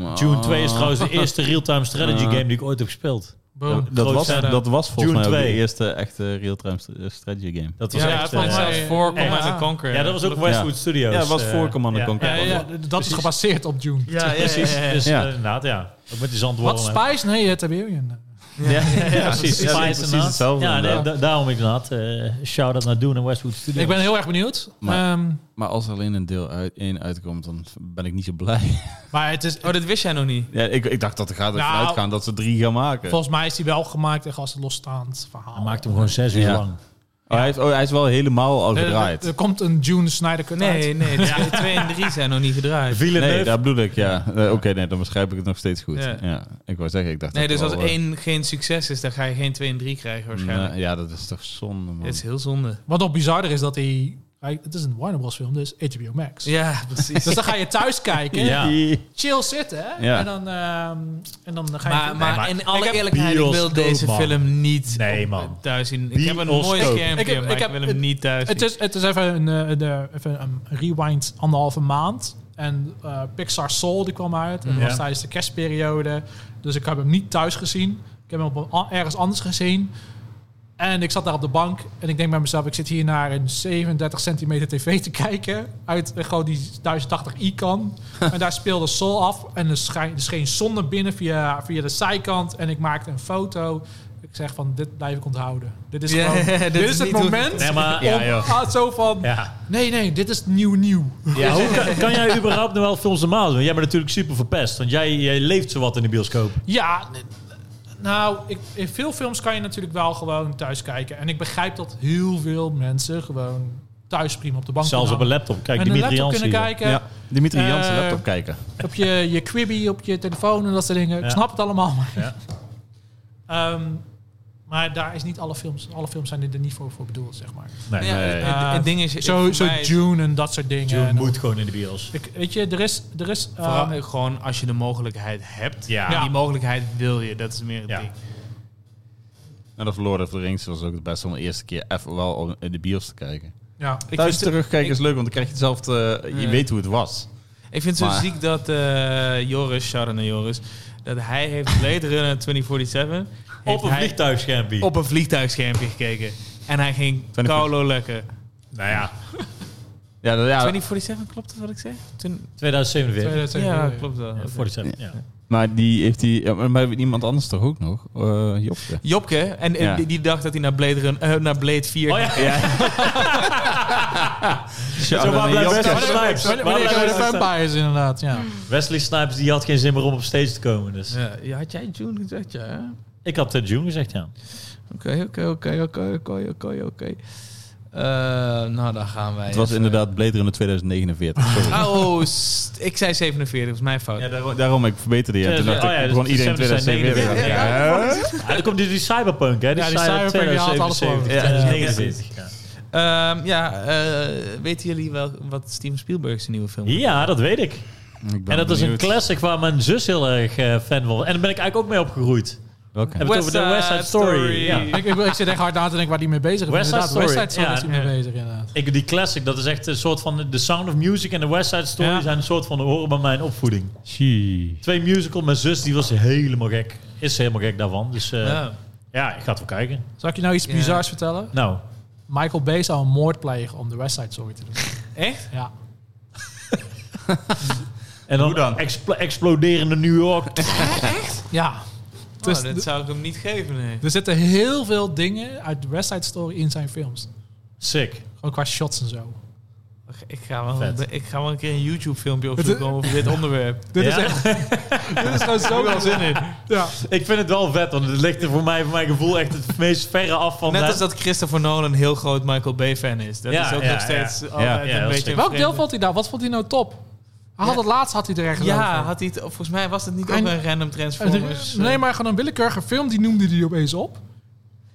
[SPEAKER 1] Oh.
[SPEAKER 2] June 2
[SPEAKER 4] Oh.
[SPEAKER 2] is trouwens de eerste real-time strategy
[SPEAKER 1] Ah.
[SPEAKER 2] game die ik ooit heb gespeeld.
[SPEAKER 4] boom.
[SPEAKER 1] Dat, dat
[SPEAKER 2] Groot
[SPEAKER 1] was,
[SPEAKER 2] setup.
[SPEAKER 1] dat was volgens mij
[SPEAKER 2] Dune
[SPEAKER 1] ook
[SPEAKER 2] 2.
[SPEAKER 1] de eerste echte real-time st- eh, strategy game.
[SPEAKER 2] Dat was
[SPEAKER 3] ja,
[SPEAKER 2] echt,
[SPEAKER 3] het was
[SPEAKER 2] eh,
[SPEAKER 4] mij-
[SPEAKER 3] zelfs voor Command
[SPEAKER 4] Ja.
[SPEAKER 3] and Conquer.
[SPEAKER 4] eh,
[SPEAKER 2] ja, dat was ook Westwood Studios.
[SPEAKER 1] Ja, dat was
[SPEAKER 2] eh,
[SPEAKER 1] voor Command
[SPEAKER 2] ja.
[SPEAKER 1] Conquer.
[SPEAKER 4] Ja, ja, dat is gebaseerd op June.
[SPEAKER 3] Ja, ja,
[SPEAKER 2] Precies.
[SPEAKER 3] ja, ja, ja.
[SPEAKER 2] Dus
[SPEAKER 1] Ja.
[SPEAKER 2] eh, inderdaad, ja. Ook met die zandwormen.
[SPEAKER 4] Wat Spice? Nee, het Alien.
[SPEAKER 3] Ja, ja, ja.
[SPEAKER 2] Ja, precies.
[SPEAKER 1] Ja,
[SPEAKER 2] Spice
[SPEAKER 1] precies
[SPEAKER 2] inderdaad.
[SPEAKER 1] hetzelfde
[SPEAKER 2] Ja, nee,
[SPEAKER 1] inderdaad.
[SPEAKER 2] da- daarom ik inderdaad. eh Shout-out naar Doen en Westwood Studios.
[SPEAKER 4] Ik ben heel erg benieuwd. Ehm,
[SPEAKER 1] Maar-
[SPEAKER 4] Maar,
[SPEAKER 1] Maar als er alleen een deel uit, één uitkomt, dan ben ik niet zo blij.
[SPEAKER 4] maar het is,
[SPEAKER 3] Oh, dat wist jij nog niet?
[SPEAKER 1] Ja, ik, ik dacht dat er gaat ervan
[SPEAKER 4] Nou.
[SPEAKER 1] uitgaan dat ze drie gaan maken.
[SPEAKER 4] volgens mij is die wel gemaakt echt als een losstaand verhaal.
[SPEAKER 2] Hij maakt hem gewoon zes uur
[SPEAKER 1] Ja.
[SPEAKER 2] lang.
[SPEAKER 1] Oh, hij, heeft, oh, hij is wel helemaal al
[SPEAKER 4] Eh, Er- er-
[SPEAKER 1] gedraaid.
[SPEAKER 4] Er, komt een June Snyder cut uit.
[SPEAKER 3] Nee, nee. de Twee, twee en drie zijn nog niet gedraaid.
[SPEAKER 1] Nee,
[SPEAKER 2] Villeneuve.
[SPEAKER 1] dat bedoel ik, ja. Eh, Oké, nee, dan beschrijf ik het nog steeds goed.
[SPEAKER 3] Ja.
[SPEAKER 1] Ja. Ik wou zeggen, ik dacht...
[SPEAKER 3] Nee,
[SPEAKER 1] dat
[SPEAKER 3] dus
[SPEAKER 1] er
[SPEAKER 3] als
[SPEAKER 1] wel, eh,
[SPEAKER 3] één geen succes is, dan ga je geen twee en drie krijgen waarschijnlijk.
[SPEAKER 1] nee, ja, dat is toch zonde, man.
[SPEAKER 3] Dat is heel zonde.
[SPEAKER 4] Wat nog bizarder is dat hij... hij- Het is een Warner Bros. film, dus HBO Max.
[SPEAKER 3] Ja, precies.
[SPEAKER 4] Dus dan ga je thuis kijken.
[SPEAKER 2] Ja.
[SPEAKER 4] Chill zitten. hè?
[SPEAKER 1] Ja.
[SPEAKER 4] En, dan, ehm, en dan ga je...
[SPEAKER 3] Maar, maar,
[SPEAKER 2] maar
[SPEAKER 3] in alle
[SPEAKER 2] ik heb
[SPEAKER 3] eerlijkheid, ik wil
[SPEAKER 2] bioscoop,
[SPEAKER 3] deze
[SPEAKER 2] man.
[SPEAKER 3] film niet
[SPEAKER 2] Nee,
[SPEAKER 3] op-
[SPEAKER 2] man.
[SPEAKER 3] thuis zien. Ik heb een mooi
[SPEAKER 2] Bioscoop.
[SPEAKER 3] schermpje,
[SPEAKER 4] Ik heb-
[SPEAKER 3] maar
[SPEAKER 4] ik
[SPEAKER 3] ik,
[SPEAKER 4] heb-
[SPEAKER 3] wil hem
[SPEAKER 4] het-
[SPEAKER 3] niet thuis
[SPEAKER 4] Het
[SPEAKER 3] zien.
[SPEAKER 4] is, het is even een, eh, de, even een rewind anderhalve maand. En eh, Pixar Soul die kwam uit. En dat
[SPEAKER 2] Ja.
[SPEAKER 4] was tijdens de kerstperiode. Dus ik heb hem niet thuis gezien. Ik heb hem op een a- ergens anders gezien. En ik zat daar op de bank. En ik denk bij mezelf, ik zit hier naar een 37 centimeter tv te kijken. Uit eh, gewoon die 1080i kan. en daar speelde Soul af. En er schijn- er scheen zon naar binnen via, via de zijkant. En ik maakte een foto. Ik zeg van, dit blijf ik onthouden. Dit is,
[SPEAKER 3] Ja,
[SPEAKER 4] gewoon,
[SPEAKER 3] dit
[SPEAKER 4] dit
[SPEAKER 3] is
[SPEAKER 4] is het
[SPEAKER 3] niet hoe-
[SPEAKER 4] moment
[SPEAKER 2] Nee, maar... Ja,
[SPEAKER 4] om- ah, zo van,
[SPEAKER 2] ja.
[SPEAKER 4] nee, nee, dit is nieuw, nieuw.
[SPEAKER 2] Ja, hoe kan, kan jij überhaupt nog wel films normaal doen? Jij bent natuurlijk super verpest, want jij, jij leeft zowat in de bioscoop.
[SPEAKER 4] Ja, n- nou, ik, in veel films kan je natuurlijk wel gewoon thuis kijken. En ik begrijp dat heel veel mensen gewoon thuis prima op de bank
[SPEAKER 2] Zelfs op een
[SPEAKER 4] kunnen
[SPEAKER 2] laptop. Kijk,
[SPEAKER 4] hangen. en
[SPEAKER 2] Dimitri
[SPEAKER 4] een laptop
[SPEAKER 2] Jansen.
[SPEAKER 4] kunnen
[SPEAKER 2] hier.
[SPEAKER 4] kijken,
[SPEAKER 1] Ja, Dimitri
[SPEAKER 4] Eh,
[SPEAKER 1] Jansen, laptop kijken.
[SPEAKER 4] op je, je Quibi, op je telefoon en dat soort dingen.
[SPEAKER 2] Ja.
[SPEAKER 4] Ik snap het allemaal. Maar,
[SPEAKER 2] Ja.
[SPEAKER 4] Ehm, maar daar is niet alle films, alle films zijn er niet voor, voor bedoeld, zeg maar.
[SPEAKER 2] Nee,
[SPEAKER 3] Ja,
[SPEAKER 2] nee.
[SPEAKER 3] het-
[SPEAKER 4] Eh,
[SPEAKER 3] het ding is... ik-
[SPEAKER 4] Zo,
[SPEAKER 3] voor
[SPEAKER 4] zo
[SPEAKER 3] mij is-
[SPEAKER 4] June en dat soort dingen.
[SPEAKER 2] Je
[SPEAKER 4] En-
[SPEAKER 2] moet gewoon in de bios.
[SPEAKER 4] ik, weet je, er is... Er is ehm,
[SPEAKER 3] Vooral eh, gewoon als je de mogelijkheid hebt.
[SPEAKER 2] Ja.
[SPEAKER 3] En die mogelijkheid wil je. Dat is meer het
[SPEAKER 2] Ja.
[SPEAKER 3] ding.
[SPEAKER 1] En of Lord of the Rings was ook het beste om de eerste keer even wel om in de bios te kijken.
[SPEAKER 4] ja.
[SPEAKER 3] Ik
[SPEAKER 1] Thuis
[SPEAKER 3] vind,
[SPEAKER 1] terugkijken is leuk, want dan krijg je hetzelfde... eh, je
[SPEAKER 3] Ja.
[SPEAKER 1] weet hoe het was.
[SPEAKER 3] ik vind het zo
[SPEAKER 1] maar-
[SPEAKER 3] ziek dat eh, Joris, shout-out naar Joris... dat hij heeft Blade Runner 2047... heeft
[SPEAKER 2] Op een
[SPEAKER 3] hij
[SPEAKER 2] vliegtuigschermpje.
[SPEAKER 3] op een vliegtuigschermpje gekeken. En hij ging
[SPEAKER 1] 20.
[SPEAKER 3] koulo lekker.
[SPEAKER 2] Nou ja,
[SPEAKER 1] Ja, dat- ja
[SPEAKER 3] 2047, klopt dat wat ik zeg? Toen,
[SPEAKER 2] 2047.
[SPEAKER 3] ja,
[SPEAKER 4] 2047.
[SPEAKER 3] klopt wel.
[SPEAKER 2] Ja, 47, ja.
[SPEAKER 1] maar die heeft die... ja, maar hebben we iemand anders toch ook nog? Eh Jopke.
[SPEAKER 3] Jopke, en eh,
[SPEAKER 1] Ja.
[SPEAKER 3] die, die dacht dat hij naar Blade, Run, eh, naar Blade 4
[SPEAKER 2] Oh ja,
[SPEAKER 1] Shout-out
[SPEAKER 2] maar
[SPEAKER 1] naar
[SPEAKER 2] blijft
[SPEAKER 1] Jopke.
[SPEAKER 2] Wesley Snipes.
[SPEAKER 4] Wanneer-
[SPEAKER 2] Waar
[SPEAKER 4] wanneer
[SPEAKER 2] blijft
[SPEAKER 4] komen de
[SPEAKER 2] Wesley Snipes?
[SPEAKER 4] vampires inderdaad, ja.
[SPEAKER 2] Wesley Snipes die had geen zin meer om op stage te komen. Dus.
[SPEAKER 3] Ja, ja, had jij June gezegd, ja? hè?
[SPEAKER 2] Ik had uh, June gezegd, ja.
[SPEAKER 3] Oké, oké, oké, oké, oké, oké, oké. Eh, Nou, dan gaan wij.
[SPEAKER 1] Het was
[SPEAKER 3] even-
[SPEAKER 1] inderdaad Blade Runner 2049. Sorry.
[SPEAKER 3] Oh, st- ik zei 47, was mijn fout.
[SPEAKER 1] Ja, daarom, daarom, ik verbeterde je.
[SPEAKER 2] Ja,
[SPEAKER 1] Toen
[SPEAKER 2] ja,
[SPEAKER 1] dacht
[SPEAKER 2] oh ja,
[SPEAKER 1] ik,
[SPEAKER 2] dus
[SPEAKER 1] gewoon
[SPEAKER 2] de
[SPEAKER 1] iedereen
[SPEAKER 2] 77.
[SPEAKER 1] 2047.
[SPEAKER 2] Ja,
[SPEAKER 1] Ja, hè?
[SPEAKER 2] Ja, dan komt die, die cyberpunk, hè?
[SPEAKER 4] Ja, die cyberpunk, die haalt alles gewoon.
[SPEAKER 2] 2079. Ja,
[SPEAKER 3] Ehm, ja eh, weten jullie wel wat Steven Spielberg zijn nieuwe film is?
[SPEAKER 2] Ja, dat weet ik.
[SPEAKER 1] Ik ben
[SPEAKER 2] En dat is een
[SPEAKER 1] benieuwd.
[SPEAKER 2] classic waar mijn zus heel erg eh, fan van was. En daar ben ik eigenlijk ook mee opgegroeid.
[SPEAKER 1] Welke?
[SPEAKER 2] Heb- over de West Side Story, ja.
[SPEAKER 4] Ik, ik, ik zit echt hard na te denken waar die mee bezig is.
[SPEAKER 2] West Side
[SPEAKER 4] inderdaad,
[SPEAKER 2] Story.
[SPEAKER 4] West Side Story
[SPEAKER 2] Ja,
[SPEAKER 4] is die mee
[SPEAKER 2] ja.
[SPEAKER 4] bezig, inderdaad.
[SPEAKER 2] Ik, die classic, dat is echt een soort van... The Sound of Music en The West Side Story
[SPEAKER 4] Ja.
[SPEAKER 2] zijn een soort van... horen bij mijn opvoeding.
[SPEAKER 1] Gee.
[SPEAKER 2] Twee musical, mijn zus die was helemaal gek. Is helemaal gek daarvan. Dus eh, ja. ik ga het wel kijken.
[SPEAKER 4] Zal ik je nou iets
[SPEAKER 3] Ja.
[SPEAKER 4] bizars vertellen?
[SPEAKER 2] Nou,
[SPEAKER 4] Michael Bay zou een moord plegen om de West Side Story te doen.
[SPEAKER 3] Echt?
[SPEAKER 4] Ja.
[SPEAKER 2] en dan,
[SPEAKER 1] Hoe dan?
[SPEAKER 2] expl- exploderende New York.
[SPEAKER 4] ja. Dus
[SPEAKER 3] Oh, dat
[SPEAKER 4] de-
[SPEAKER 3] zou ik hem niet geven, nee.
[SPEAKER 4] er zitten heel veel dingen uit de West Side Story in zijn films.
[SPEAKER 2] Sick.
[SPEAKER 4] Gewoon qua shots en zo.
[SPEAKER 3] Ik ga wel,
[SPEAKER 2] Vet.
[SPEAKER 3] ik ga wel een keer een YouTube-filmpje
[SPEAKER 4] Het-
[SPEAKER 3] opzoeken over dit onderwerp.
[SPEAKER 4] Dit is
[SPEAKER 2] Ja?
[SPEAKER 4] echt... dit is gewoon zo...
[SPEAKER 3] wel zin in.
[SPEAKER 4] Ja.
[SPEAKER 2] Ik vind het wel vet, want het ligt er voor mij, voor mijn gevoel, echt het meest verre af van.
[SPEAKER 3] Net
[SPEAKER 2] de-
[SPEAKER 3] als dat Christopher Nolan een heel groot Michael Bay-fan is. Dat
[SPEAKER 2] Ja,
[SPEAKER 3] is ook
[SPEAKER 2] ja,
[SPEAKER 3] nog steeds
[SPEAKER 2] ja.
[SPEAKER 1] Ja,
[SPEAKER 3] altijd
[SPEAKER 2] ja,
[SPEAKER 3] een
[SPEAKER 2] dat is
[SPEAKER 3] beetje...
[SPEAKER 2] slim.
[SPEAKER 3] een
[SPEAKER 4] Welk deel
[SPEAKER 3] vreemde-
[SPEAKER 4] vond hij nou? Wat vond hij nou top? Hij had
[SPEAKER 3] Ja.
[SPEAKER 4] het laatst had hij er ergens
[SPEAKER 3] Ja,
[SPEAKER 4] over.
[SPEAKER 3] had eh, hij het, volgens mij was het niet
[SPEAKER 4] En-
[SPEAKER 3] ook een random Transformers.
[SPEAKER 4] Nee, maar gewoon een willekeurige film, die noemde hij opeens op.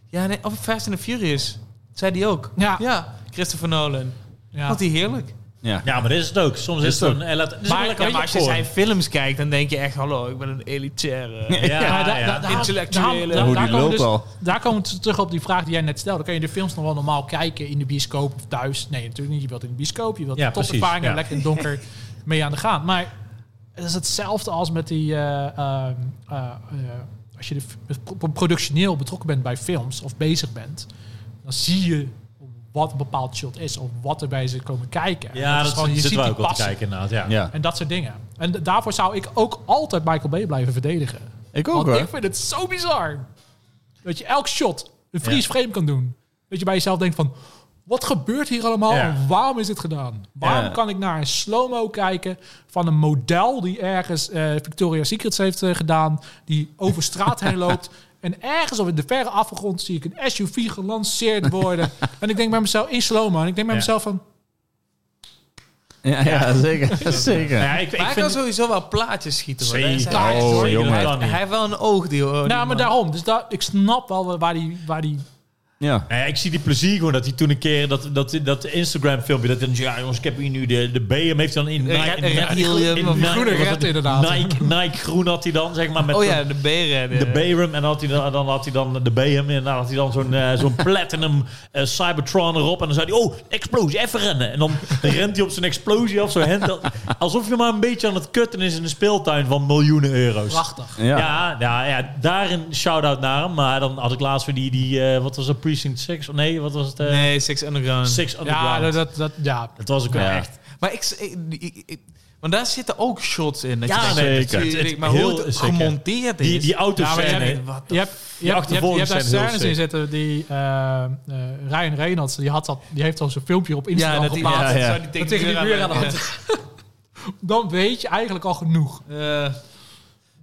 [SPEAKER 3] Ja, nee, of Fast and the Furious. Zei die ook.
[SPEAKER 4] Ja.
[SPEAKER 3] Ja, Christopher Nolan.
[SPEAKER 4] Ja.
[SPEAKER 3] Wat die heerlijk.
[SPEAKER 1] Ja.
[SPEAKER 2] Ja, maar dit is het ook. Soms is
[SPEAKER 1] het
[SPEAKER 2] het een. eh, laat- dit is ook
[SPEAKER 3] Maar,
[SPEAKER 2] lekker
[SPEAKER 3] ja, maar als je
[SPEAKER 2] popcorn.
[SPEAKER 3] zijn films kijkt, dan denk je echt... Hallo, ik ben een elitaire...
[SPEAKER 2] Ja,
[SPEAKER 4] Ja, da-
[SPEAKER 2] ja.
[SPEAKER 4] da- daar-
[SPEAKER 3] Intellectuele.
[SPEAKER 4] daar- daar-
[SPEAKER 1] Hoe
[SPEAKER 4] daar
[SPEAKER 1] die
[SPEAKER 4] komen we
[SPEAKER 1] lult
[SPEAKER 4] dus-
[SPEAKER 1] al.
[SPEAKER 4] Daar komen we terug op die vraag die jij net stelde. Kan je de films nog wel normaal kijken in de bioscoop of thuis? Nee, natuurlijk niet. Je wilt in de bioscoop, je wilt
[SPEAKER 2] Ja,
[SPEAKER 4] de
[SPEAKER 2] precies,
[SPEAKER 4] topervaringen,
[SPEAKER 2] ja.
[SPEAKER 4] lekker in het donker mee aan de gaan. Maar het is hetzelfde als met die... eh, ehm, eh, eh, als je de, pro- productioneel betrokken bent bij films of bezig bent, dan zie je wat een bepaald shot is of wat erbij ze komen kijken. En
[SPEAKER 2] Ja, dat,
[SPEAKER 4] is gewoon- je
[SPEAKER 2] zitten
[SPEAKER 4] ziet
[SPEAKER 2] we
[SPEAKER 4] die
[SPEAKER 2] ook wel te
[SPEAKER 4] passie
[SPEAKER 2] kijken inderdaad. Ja.
[SPEAKER 1] ja.
[SPEAKER 4] En dat soort dingen. En d- daarvoor zou ik ook altijd Michael Bay blijven verdedigen.
[SPEAKER 1] Ik ook
[SPEAKER 4] Want
[SPEAKER 1] hoor.
[SPEAKER 4] ik vind het zo bizar. Dat je elk shot een freeze frame kan doen. Dat je bij jezelf denkt van... Wat gebeurt hier allemaal
[SPEAKER 2] Ja.
[SPEAKER 4] en waarom is dit gedaan? Waarom
[SPEAKER 1] Ja.
[SPEAKER 4] kan ik naar een slow-mo kijken van een model die ergens eh, Victoria's Secrets heeft eh, gedaan, die over straat heen loopt en ergens op in de verre achtergrond zie ik een SUV gelanceerd worden en ik denk bij mezelf in slow-mo en ik denk bij
[SPEAKER 2] Ja.
[SPEAKER 4] mezelf van
[SPEAKER 1] Ja, ja, zeker. zeker.
[SPEAKER 2] Nou ja, ik, ik
[SPEAKER 3] Maar hij
[SPEAKER 2] vind
[SPEAKER 3] kan sowieso wel plaatjes schieten. hoor. Daar is
[SPEAKER 2] Zeker.
[SPEAKER 3] hij-
[SPEAKER 4] Oh,
[SPEAKER 2] Zeker, dat
[SPEAKER 1] jongen.
[SPEAKER 2] kan niet.
[SPEAKER 3] Hij heeft wel een oogdeel. hoor, die
[SPEAKER 4] nou, maar
[SPEAKER 3] man.
[SPEAKER 4] daarom. Dus daar, ik snap wel waar die, waar die
[SPEAKER 1] Ja.
[SPEAKER 2] Nou ja, ik zie die plezier gewoon dat hij toen een keer dat, dat, dat Instagram filmpje dat hij dan zegt, ja jongens ik heb hier nu de, de BM heeft dan in Nike
[SPEAKER 3] red-
[SPEAKER 2] in-
[SPEAKER 3] red
[SPEAKER 2] in-
[SPEAKER 3] helium
[SPEAKER 2] in-
[SPEAKER 3] of
[SPEAKER 2] Nike-
[SPEAKER 4] groene
[SPEAKER 2] was
[SPEAKER 4] red
[SPEAKER 2] het?
[SPEAKER 4] inderdaad.
[SPEAKER 2] Nike, Nike groen had hij dan zeg maar met
[SPEAKER 3] Oh
[SPEAKER 2] zo'n-
[SPEAKER 3] ja, de B-redder.
[SPEAKER 2] de Bayram en had hij dan, dan had hij dan de BM en dan had hij dan zo'n eh, zo'n platinum eh, Cybertron erop en dan zei hij oh explosie even rennen en dan rent hij op zijn explosie af zo hen alsof je maar een beetje aan het kutten is in een speeltuin van miljoenen euro's.
[SPEAKER 4] prachtig.
[SPEAKER 1] Ja.
[SPEAKER 2] Ja, ja, ja, daarin shout-out naar hem. Maar dan had ik laatst weer die, die eh, wat was dat, Precinct 6? Of nee, wat was het? eh
[SPEAKER 3] Nee, Six Underground.
[SPEAKER 2] Six
[SPEAKER 4] Ja,
[SPEAKER 2] Underground.
[SPEAKER 4] dat, dat, dat, ja.
[SPEAKER 2] Het was ook wel
[SPEAKER 1] Ja.
[SPEAKER 2] echt.
[SPEAKER 3] Maar ik, ik, ik- ik- want daar zitten ook shots in. Dat
[SPEAKER 2] Ja,
[SPEAKER 3] je denkt,
[SPEAKER 2] nee,
[SPEAKER 3] dat
[SPEAKER 2] zeker.
[SPEAKER 3] je-
[SPEAKER 2] Het-
[SPEAKER 3] maar
[SPEAKER 2] heel
[SPEAKER 3] hoe het
[SPEAKER 2] zeker.
[SPEAKER 3] gemonteerd is.
[SPEAKER 2] Die, die
[SPEAKER 4] Ja, maar
[SPEAKER 2] autoscène.
[SPEAKER 4] jij
[SPEAKER 3] en
[SPEAKER 4] scène.
[SPEAKER 3] ik- wat
[SPEAKER 4] Je hebt, je, hebt, je, hebt, je hebt daar
[SPEAKER 2] achtervolging zijn heel
[SPEAKER 4] scènes in
[SPEAKER 2] sick.
[SPEAKER 4] zitten die eh, eh, Ryan Reynolds, die, had dat, die heeft al zijn filmpje op
[SPEAKER 3] ja,
[SPEAKER 4] Instagram
[SPEAKER 3] dat die,
[SPEAKER 4] geplaatst.
[SPEAKER 1] ja, ja.
[SPEAKER 3] Zo die
[SPEAKER 4] Dat tegen die muur aan de hand. Dan weet je eigenlijk al genoeg.
[SPEAKER 3] Ja. Eh,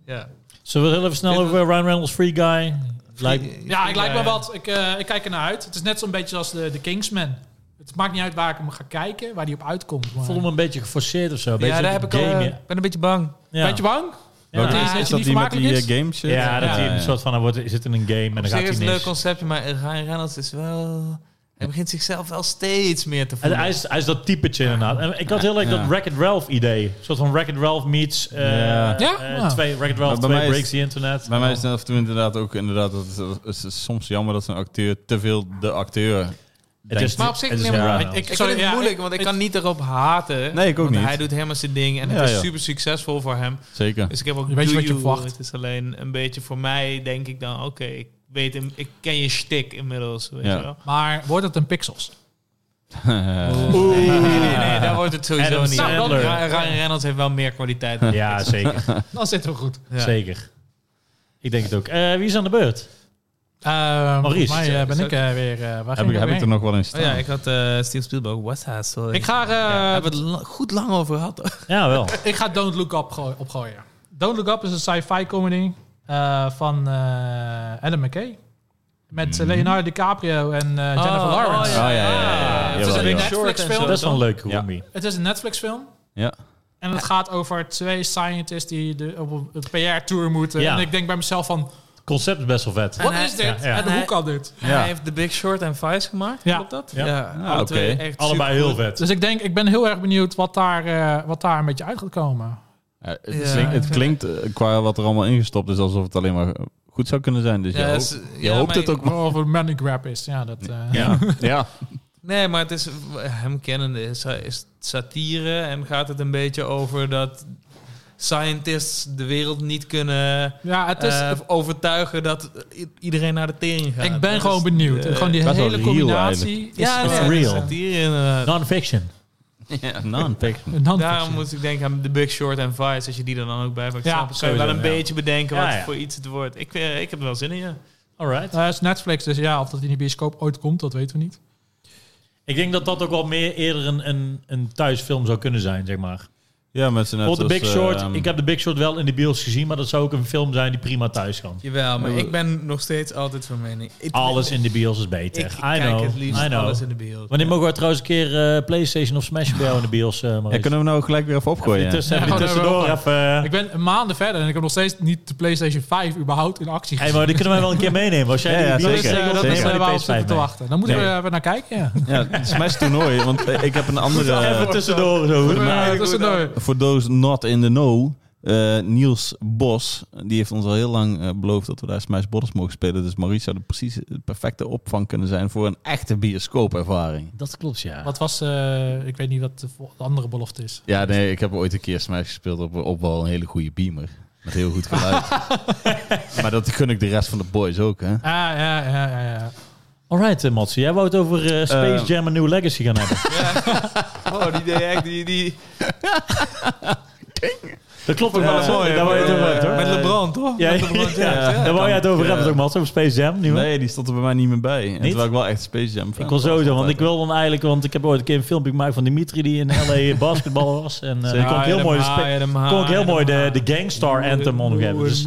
[SPEAKER 3] ja.
[SPEAKER 2] Zullen we heel even snel
[SPEAKER 3] Dit-
[SPEAKER 2] over Ryan Reynolds Free Guy? Lijkt,
[SPEAKER 4] Ja, ik lijk me wat. Ik, eh, ik kijk er naar uit. Het is net zo'n beetje als de, de Kingsman. Het maakt niet uit waar ik hem ga kijken, waar die op uitkomt. Maar...
[SPEAKER 2] ik voel me een beetje geforceerd of zo. Een
[SPEAKER 3] Ja,
[SPEAKER 2] beetje
[SPEAKER 3] daar heb ik al,
[SPEAKER 2] game,
[SPEAKER 3] eh,
[SPEAKER 2] ja.
[SPEAKER 3] ik ben een beetje bang.
[SPEAKER 2] Ja.
[SPEAKER 4] Ben je bang?
[SPEAKER 2] Ja.
[SPEAKER 4] Dat
[SPEAKER 1] Welke
[SPEAKER 4] hij-
[SPEAKER 1] is,
[SPEAKER 4] dat
[SPEAKER 1] is
[SPEAKER 4] je
[SPEAKER 1] dat
[SPEAKER 4] niet
[SPEAKER 1] die met die
[SPEAKER 4] vermakelijk
[SPEAKER 1] eh, game shit?
[SPEAKER 2] Ja, dat
[SPEAKER 1] Ja,
[SPEAKER 2] hij
[SPEAKER 1] ja.
[SPEAKER 2] een soort van, hij wordt, zit in een game en dan gaat
[SPEAKER 3] Op zich
[SPEAKER 2] hij
[SPEAKER 3] is het een leuk
[SPEAKER 2] niks.
[SPEAKER 3] conceptje, maar Ryan Reynolds is wel... Hij begint zichzelf wel steeds meer te
[SPEAKER 2] Hij,
[SPEAKER 3] voelen.
[SPEAKER 2] hij, is, hij is dat typetje inderdaad. En ik had heel erg
[SPEAKER 1] Ja.
[SPEAKER 2] dat Wreck-It Ralph idee. Een soort van Wreck-It Ralph meets... eh
[SPEAKER 1] Ja.
[SPEAKER 4] Ja,
[SPEAKER 2] eh,
[SPEAKER 4] ja.
[SPEAKER 2] twee, Wreck-It
[SPEAKER 1] Maar
[SPEAKER 2] Ralph
[SPEAKER 1] bij
[SPEAKER 2] 2
[SPEAKER 1] mij is-
[SPEAKER 2] breaks the internet. Oh.
[SPEAKER 1] Bij mij is het af en toe inderdaad ook inderdaad, dat het, het is soms jammer dat zo'n acteur te veel de acteur
[SPEAKER 2] Het is,
[SPEAKER 3] Maar op zich,
[SPEAKER 2] het is
[SPEAKER 3] nee, maar
[SPEAKER 2] Ryan
[SPEAKER 3] ik-
[SPEAKER 2] Reynolds.
[SPEAKER 3] Ik
[SPEAKER 4] Sorry,
[SPEAKER 3] vind het
[SPEAKER 4] ja,
[SPEAKER 3] moeilijk,
[SPEAKER 4] ik-
[SPEAKER 3] want ik
[SPEAKER 4] ik-
[SPEAKER 3] kan niet erop haten.
[SPEAKER 1] Nee, ik ook
[SPEAKER 3] want
[SPEAKER 1] niet.
[SPEAKER 3] hij doet helemaal zijn ding en
[SPEAKER 1] Ja,
[SPEAKER 3] het is
[SPEAKER 1] ja.
[SPEAKER 3] super succesvol voor hem.
[SPEAKER 1] zeker.
[SPEAKER 3] Dus ik heb ook
[SPEAKER 4] Je weet
[SPEAKER 3] Do
[SPEAKER 4] wat je
[SPEAKER 3] You.
[SPEAKER 4] verwacht.
[SPEAKER 3] Het is alleen een beetje voor mij, denk ik dan, oké, ik weet hem, ik ken je shtick inmiddels, weet
[SPEAKER 1] Ja.
[SPEAKER 3] je wel.
[SPEAKER 4] Maar wordt het een pixels?
[SPEAKER 2] Oh.
[SPEAKER 3] Nee, nee, nee, nee, daar wordt het sowieso
[SPEAKER 2] Adam
[SPEAKER 3] niet.
[SPEAKER 2] Sandler.
[SPEAKER 3] Nou, dan- Ra- Ryan Reynolds heeft wel meer kwaliteit. dan
[SPEAKER 2] Ja,
[SPEAKER 3] Pixels.
[SPEAKER 2] zeker.
[SPEAKER 4] Dan zitten we goed.
[SPEAKER 3] Ja.
[SPEAKER 2] Zeker. Ik denk het ook. Eh, wie is aan de beurt?
[SPEAKER 4] Eh volgens mij eh, ben
[SPEAKER 3] zou-
[SPEAKER 4] ik eh, weer... eh,
[SPEAKER 1] heb
[SPEAKER 4] waar ging
[SPEAKER 1] ik, heb
[SPEAKER 4] weer
[SPEAKER 1] ik er nog wel in staan?
[SPEAKER 3] Oh ja, ik had eh Steve Spielberg, What's That? Sorry.
[SPEAKER 4] heen? ik ga... eh,
[SPEAKER 3] Ja, hebben we het la- goed lang over gehad.
[SPEAKER 2] Ja, wel.
[SPEAKER 4] Ik ga Don't Look Up gooi- opgooien. Don't Look Up is een sci-fi comedy eh, van eh, Adam McKay. Met
[SPEAKER 1] Mhm.
[SPEAKER 4] eh, Leonardo DiCaprio en eh, Jennifer
[SPEAKER 3] Oh,
[SPEAKER 4] Lawrence.
[SPEAKER 3] oh,
[SPEAKER 1] ja, ja, ja, Jawel,
[SPEAKER 4] Het is een
[SPEAKER 1] jawel.
[SPEAKER 4] Netflix
[SPEAKER 3] Short en zo.
[SPEAKER 4] film.
[SPEAKER 2] Dat is wel een leuke
[SPEAKER 1] Ja.
[SPEAKER 2] combi.
[SPEAKER 4] Het is een Netflix film.
[SPEAKER 1] Ja.
[SPEAKER 4] En het gaat over twee scientists die de, op een PR-tour moeten.
[SPEAKER 2] Ja.
[SPEAKER 4] En ik denk bij mezelf van,
[SPEAKER 2] Het concept is best wel vet.
[SPEAKER 4] wat
[SPEAKER 3] hij-
[SPEAKER 4] is dit?
[SPEAKER 2] ja, ja.
[SPEAKER 4] En
[SPEAKER 3] En
[SPEAKER 4] hoe
[SPEAKER 3] hij-
[SPEAKER 4] kan dit?
[SPEAKER 1] Ja.
[SPEAKER 3] Hij heeft The Big Short en Vice gemaakt,
[SPEAKER 4] Ja.
[SPEAKER 3] klopt dat?
[SPEAKER 2] Ja.
[SPEAKER 1] Ah,
[SPEAKER 3] alle
[SPEAKER 1] oké.
[SPEAKER 3] twee echt
[SPEAKER 2] Allebei heel
[SPEAKER 3] supergoed.
[SPEAKER 2] vet.
[SPEAKER 4] Dus ik denk, ik ben heel erg benieuwd wat daar, eh, wat daar een beetje uit gaat komen.
[SPEAKER 1] Ja, het,
[SPEAKER 3] Ja.
[SPEAKER 1] Klinkt, het klinkt eh, qua wat er allemaal ingestopt is alsof het alleen maar eh, goed zou kunnen zijn. Dus je,
[SPEAKER 3] Ja,
[SPEAKER 1] hoopt,
[SPEAKER 3] ze-
[SPEAKER 1] je
[SPEAKER 3] ja,
[SPEAKER 1] hoopt
[SPEAKER 3] maar-
[SPEAKER 1] het ook wel.
[SPEAKER 4] Of het money grab is. Ja, dat, eh,
[SPEAKER 1] Ja. ja.
[SPEAKER 3] Nee, maar het is hem kennende is, is het satire en gaat het een beetje over dat scientists de wereld niet kunnen
[SPEAKER 4] ja, het is,
[SPEAKER 3] eh, overtuigen dat i- iedereen naar de tering gaat.
[SPEAKER 4] ik ben
[SPEAKER 3] Dat
[SPEAKER 4] gewoon
[SPEAKER 3] is
[SPEAKER 4] benieuwd.
[SPEAKER 3] de-
[SPEAKER 4] gewoon die
[SPEAKER 1] best wel
[SPEAKER 4] hele
[SPEAKER 1] real
[SPEAKER 4] combinatie. is
[SPEAKER 3] ja,
[SPEAKER 4] gewoon-
[SPEAKER 3] nee, het is
[SPEAKER 2] real.
[SPEAKER 3] satire inderdaad.
[SPEAKER 2] Non-fiction.
[SPEAKER 1] ja non-fiction.
[SPEAKER 4] Een handfiction.
[SPEAKER 3] Daarom moet ik denken aan The Big Short en Vice. Als je die er dan ook bij pakt,
[SPEAKER 4] Ja,
[SPEAKER 3] ja, kan je wel
[SPEAKER 2] sowieso,
[SPEAKER 3] een
[SPEAKER 2] ja.
[SPEAKER 3] beetje bedenken
[SPEAKER 2] Ja,
[SPEAKER 3] wat
[SPEAKER 2] ja.
[SPEAKER 3] voor iets het wordt. Ik, eh, ik heb er wel zin in, ja.
[SPEAKER 2] Alright.
[SPEAKER 4] Eh, het is Netflix, dus ja, of dat in de bioscoop ooit komt, dat weten we niet.
[SPEAKER 2] Ik denk dat dat ook wel meer eerder een, een, een thuisfilm zou kunnen zijn, zeg maar.
[SPEAKER 1] Ja, met z'n net
[SPEAKER 2] Bijvoorbeeld de
[SPEAKER 1] als,
[SPEAKER 2] Big Short.
[SPEAKER 1] ehm,
[SPEAKER 2] ik heb de Big Short wel in de bios gezien, maar dat zou ook een film zijn die prima thuis kan.
[SPEAKER 3] Jawel, maar
[SPEAKER 1] Ja,
[SPEAKER 3] ik ben nog steeds altijd van mening. Ik-
[SPEAKER 2] Alles in de bios is
[SPEAKER 3] Ik,
[SPEAKER 2] beter.
[SPEAKER 3] ik
[SPEAKER 2] I
[SPEAKER 3] kijk
[SPEAKER 2] know.
[SPEAKER 3] het liefst
[SPEAKER 2] I know.
[SPEAKER 3] alles in de beeld.
[SPEAKER 2] Wanneer mogen we trouwens een keer eh, PlayStation of Smash bij jou in de bios? eh maar
[SPEAKER 1] ja, kunnen we nou gelijk weer even opgooien? ja?
[SPEAKER 2] tussen, even die
[SPEAKER 4] Ja,
[SPEAKER 2] tussendoor
[SPEAKER 4] ja.
[SPEAKER 2] even. eh,
[SPEAKER 4] Ik ben een maanden verder en ik heb nog steeds niet de PlayStation 5 überhaupt in actie
[SPEAKER 2] Hey,
[SPEAKER 4] gezien.
[SPEAKER 2] maar die kunnen wij wel een keer meenemen. Als jij
[SPEAKER 1] Ja,
[SPEAKER 2] die
[SPEAKER 1] ja,
[SPEAKER 4] dat
[SPEAKER 2] bios
[SPEAKER 4] is, eh,
[SPEAKER 1] zeker,
[SPEAKER 4] dat is
[SPEAKER 1] zeker.
[SPEAKER 4] eh, waar we
[SPEAKER 2] PS5
[SPEAKER 4] op zitten te
[SPEAKER 2] mee.
[SPEAKER 4] wachten. Dan moeten
[SPEAKER 1] Nee.
[SPEAKER 4] we even naar kijken. Ja.
[SPEAKER 1] Ja, het Smash toernooi, want eh, ik heb een andere...
[SPEAKER 2] Even tussendoor zo.
[SPEAKER 4] Ja, dat is een-
[SPEAKER 1] Voor those not in the know, eh, Niels Bos, die heeft ons al heel lang eh, beloofd dat we daar Smash Brothers mogen spelen. Dus Maurice zou de precies de perfecte opvang kunnen zijn voor een echte bioscoopervaring.
[SPEAKER 2] Dat klopt, ja.
[SPEAKER 4] Wat was, eh, ik weet niet wat de vo- de andere belofte is.
[SPEAKER 1] Ja, nee, ik heb ooit een keer Smash gespeeld op, op wel een hele goede beamer. Met heel goed geluid. maar dat gun ik de rest van de boys ook, hè.
[SPEAKER 4] Ah, ja, ja, ja, ja. ja.
[SPEAKER 2] Alright, eh, Mats. Jij wou het over eh, Space
[SPEAKER 1] Eh,
[SPEAKER 2] Jam en New Legacy gaan hebben.
[SPEAKER 3] Oh, die deed echt die... die
[SPEAKER 2] Dat klopt ook, Mats.
[SPEAKER 3] mooi,
[SPEAKER 2] Eh,
[SPEAKER 3] eh,
[SPEAKER 2] Daar wou je het over hebben,
[SPEAKER 3] met
[SPEAKER 2] hoor.
[SPEAKER 3] LeBron, toch?
[SPEAKER 2] Ja,
[SPEAKER 3] Met LeBron James,
[SPEAKER 2] ja,
[SPEAKER 3] ja.
[SPEAKER 2] daar wou jij het over hebben,
[SPEAKER 1] Ja.
[SPEAKER 2] toch, Mats? Over Space Jam, nieuwe?
[SPEAKER 1] Nee, die stond er bij mij niet meer bij. En terwijl ik wel echt Space Jam fan
[SPEAKER 2] Ik wil
[SPEAKER 1] was
[SPEAKER 2] sowieso, want
[SPEAKER 1] altijd.
[SPEAKER 2] ik wil dan eigenlijk, want ik heb ooit een keer een filmpje gemaakt van Dimitri die in LA basketbal was. En eh, daar kon ik heel mooi, de spe- kon ik heel mooi de, de Gangstar Anthem omgeven. Dus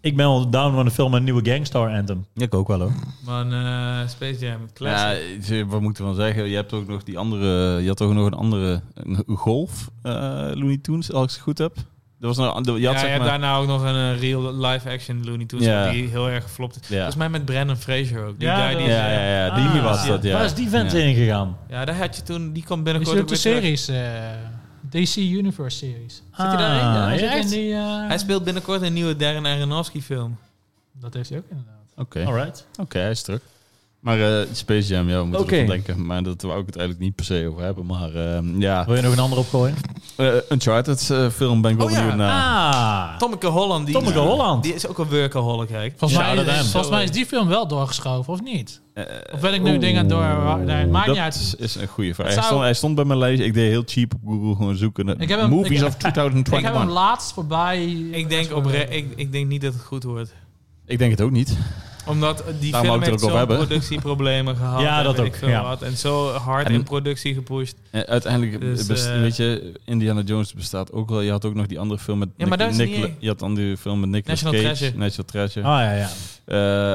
[SPEAKER 2] ik ben al down van de film een nieuwe Gangstar Anthem.
[SPEAKER 1] Ik ook wel, hoor.
[SPEAKER 3] Man, eh, Space Jam,
[SPEAKER 1] Ja,
[SPEAKER 3] classic.
[SPEAKER 1] ze- wat moet ik ervan zeggen? Je hebt ook nog die andere. Je had toch nog een andere een golf eh, Looney Tunes, als ik het goed heb. Dat was nou, je had
[SPEAKER 3] Ja,
[SPEAKER 1] zeg
[SPEAKER 3] je hebt
[SPEAKER 1] maar-
[SPEAKER 3] daarna ook nog een eh, real live action Looney Tunes
[SPEAKER 1] Ja.
[SPEAKER 3] die heel erg geflopt is.
[SPEAKER 1] Ja.
[SPEAKER 3] Volgens mij met Brandon Fraser ook. Die
[SPEAKER 2] Ja,
[SPEAKER 3] guy
[SPEAKER 2] dat-
[SPEAKER 3] die,
[SPEAKER 1] ja, ja, ja, die
[SPEAKER 2] Ah,
[SPEAKER 1] was dat. Ja.
[SPEAKER 2] Waar is die vent
[SPEAKER 1] Ja.
[SPEAKER 2] ingegaan?
[SPEAKER 3] Ja, daar had je toen, die kwam
[SPEAKER 4] Is
[SPEAKER 3] binnenkort
[SPEAKER 4] die ook de
[SPEAKER 3] weer terug.
[SPEAKER 4] series? eh, DC Universe series. Zit hij
[SPEAKER 2] Ah,
[SPEAKER 4] daarin? Ja, hij
[SPEAKER 2] ja,
[SPEAKER 4] zit in
[SPEAKER 2] echt?
[SPEAKER 4] die, eh,
[SPEAKER 3] Hij speelt binnenkort een nieuwe Darren Aronofsky film.
[SPEAKER 4] Dat heeft hij ook inderdaad.
[SPEAKER 1] Oké,
[SPEAKER 2] Alright.
[SPEAKER 1] Oké, hij is terug. Maar eh, Space Jam, ja, we moeten
[SPEAKER 2] Oké.
[SPEAKER 1] ervan denken. Maar dat wou ik het eigenlijk niet per se over hebben. Maar eh, ja,
[SPEAKER 2] Wil je nog een ander opgooien?
[SPEAKER 1] Eh, Uncharted eh, film ben ik wel
[SPEAKER 3] Oh, ja.
[SPEAKER 1] benieuwd naar.
[SPEAKER 2] Ah,
[SPEAKER 3] Tommeke Holland. Die,
[SPEAKER 2] Tommeke Holland.
[SPEAKER 3] Die is ook een workaholic, hè?
[SPEAKER 4] Volgens,
[SPEAKER 2] Shout out
[SPEAKER 4] mij,
[SPEAKER 2] hem.
[SPEAKER 4] is, volgens mij is die film wel doorgeschoven, of niet?
[SPEAKER 1] Eh,
[SPEAKER 4] Of ben ik nu
[SPEAKER 1] oeh,
[SPEAKER 4] dingen door... Nee, het maakt
[SPEAKER 1] dat
[SPEAKER 4] niet uit.
[SPEAKER 1] is een goede vraag.
[SPEAKER 4] Het
[SPEAKER 1] Hij,
[SPEAKER 4] zou-
[SPEAKER 1] stond, hij stond bij mijn lijst. Ik deed heel cheap op Google gewoon zoeken. naar
[SPEAKER 4] Ik heb hem-
[SPEAKER 1] Movies
[SPEAKER 4] ik-
[SPEAKER 1] of 2021.
[SPEAKER 4] Ik heb hem laatst voorbij...
[SPEAKER 3] Ik denk, op ik, ik denk niet dat het goed wordt.
[SPEAKER 1] ik denk het ook niet.
[SPEAKER 3] Omdat die
[SPEAKER 1] wou ik
[SPEAKER 3] film
[SPEAKER 1] het er ook
[SPEAKER 3] heeft
[SPEAKER 1] over
[SPEAKER 3] zo'n
[SPEAKER 1] hebben.
[SPEAKER 3] productieproblemen gehad.
[SPEAKER 2] Ja,
[SPEAKER 3] en
[SPEAKER 2] dat ook,
[SPEAKER 3] weet ik veel
[SPEAKER 2] ja.
[SPEAKER 3] wat. En zo hard
[SPEAKER 1] En-
[SPEAKER 3] in productie gepusht.
[SPEAKER 1] Eh, uiteindelijk,
[SPEAKER 3] Dus,
[SPEAKER 1] best-
[SPEAKER 3] eh,
[SPEAKER 1] weet je, Indiana Jones bestaat ook wel. Je had ook nog die andere film met
[SPEAKER 3] Ja, maar
[SPEAKER 1] Nic-
[SPEAKER 3] dat is niet
[SPEAKER 1] Nicola-
[SPEAKER 3] erg.
[SPEAKER 1] Je had dan die film met Nicolas
[SPEAKER 3] National
[SPEAKER 1] Cage.
[SPEAKER 3] Treasure.
[SPEAKER 1] National Treasure.
[SPEAKER 2] ah ja, ja.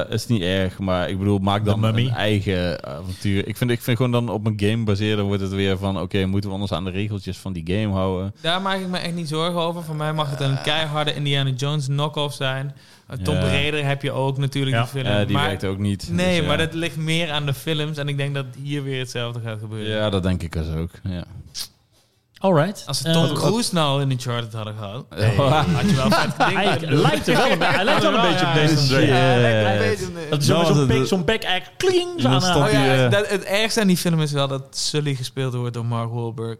[SPEAKER 1] Eh, is niet erg, maar ik bedoel, maak
[SPEAKER 2] The
[SPEAKER 1] dan
[SPEAKER 2] Mummy.
[SPEAKER 1] een eigen avontuur. Ik vind, ik vind gewoon dan op een game baseren wordt het weer van... Oké, moeten we anders aan de regeltjes van die game houden?
[SPEAKER 3] Daar maak ik me echt niet zorgen over. Voor mij mag het een keiharde Indiana Jones knock-off zijn. Uh, Tom
[SPEAKER 1] Eh. Ja.
[SPEAKER 3] Raider heb je ook natuurlijk
[SPEAKER 2] Ja.
[SPEAKER 3] die film.
[SPEAKER 1] Eh, die
[SPEAKER 3] maar,
[SPEAKER 1] werkt ook niet.
[SPEAKER 3] Nee,
[SPEAKER 1] Dus ja.
[SPEAKER 3] maar dat ligt meer aan de films. En ik denk dat hier weer hetzelfde gaat gebeuren.
[SPEAKER 1] Ja, dat denk ik dus ook. Ja.
[SPEAKER 2] Alright.
[SPEAKER 3] Als ze
[SPEAKER 2] Eh,
[SPEAKER 3] Tom
[SPEAKER 2] wat-
[SPEAKER 3] Cruise nou in Uncharted hadden gehad...
[SPEAKER 1] Had je wel
[SPEAKER 2] Hij lijkt er wel een, hij lijkt wel een beetje op deze
[SPEAKER 1] shit.
[SPEAKER 2] Drake. Dat is
[SPEAKER 1] Nou,
[SPEAKER 2] zo'n
[SPEAKER 1] dat-
[SPEAKER 2] zo'n bek,
[SPEAKER 1] dat-
[SPEAKER 2] zo'n bek eigenlijk kling zo
[SPEAKER 1] Dan
[SPEAKER 2] aan
[SPEAKER 1] stond
[SPEAKER 3] Oh
[SPEAKER 2] haar.
[SPEAKER 1] hij- Die,
[SPEAKER 3] ja,
[SPEAKER 1] eh,
[SPEAKER 3] dat, het ergste aan die film is wel dat Sully gespeeld wordt door Mark Wahlberg.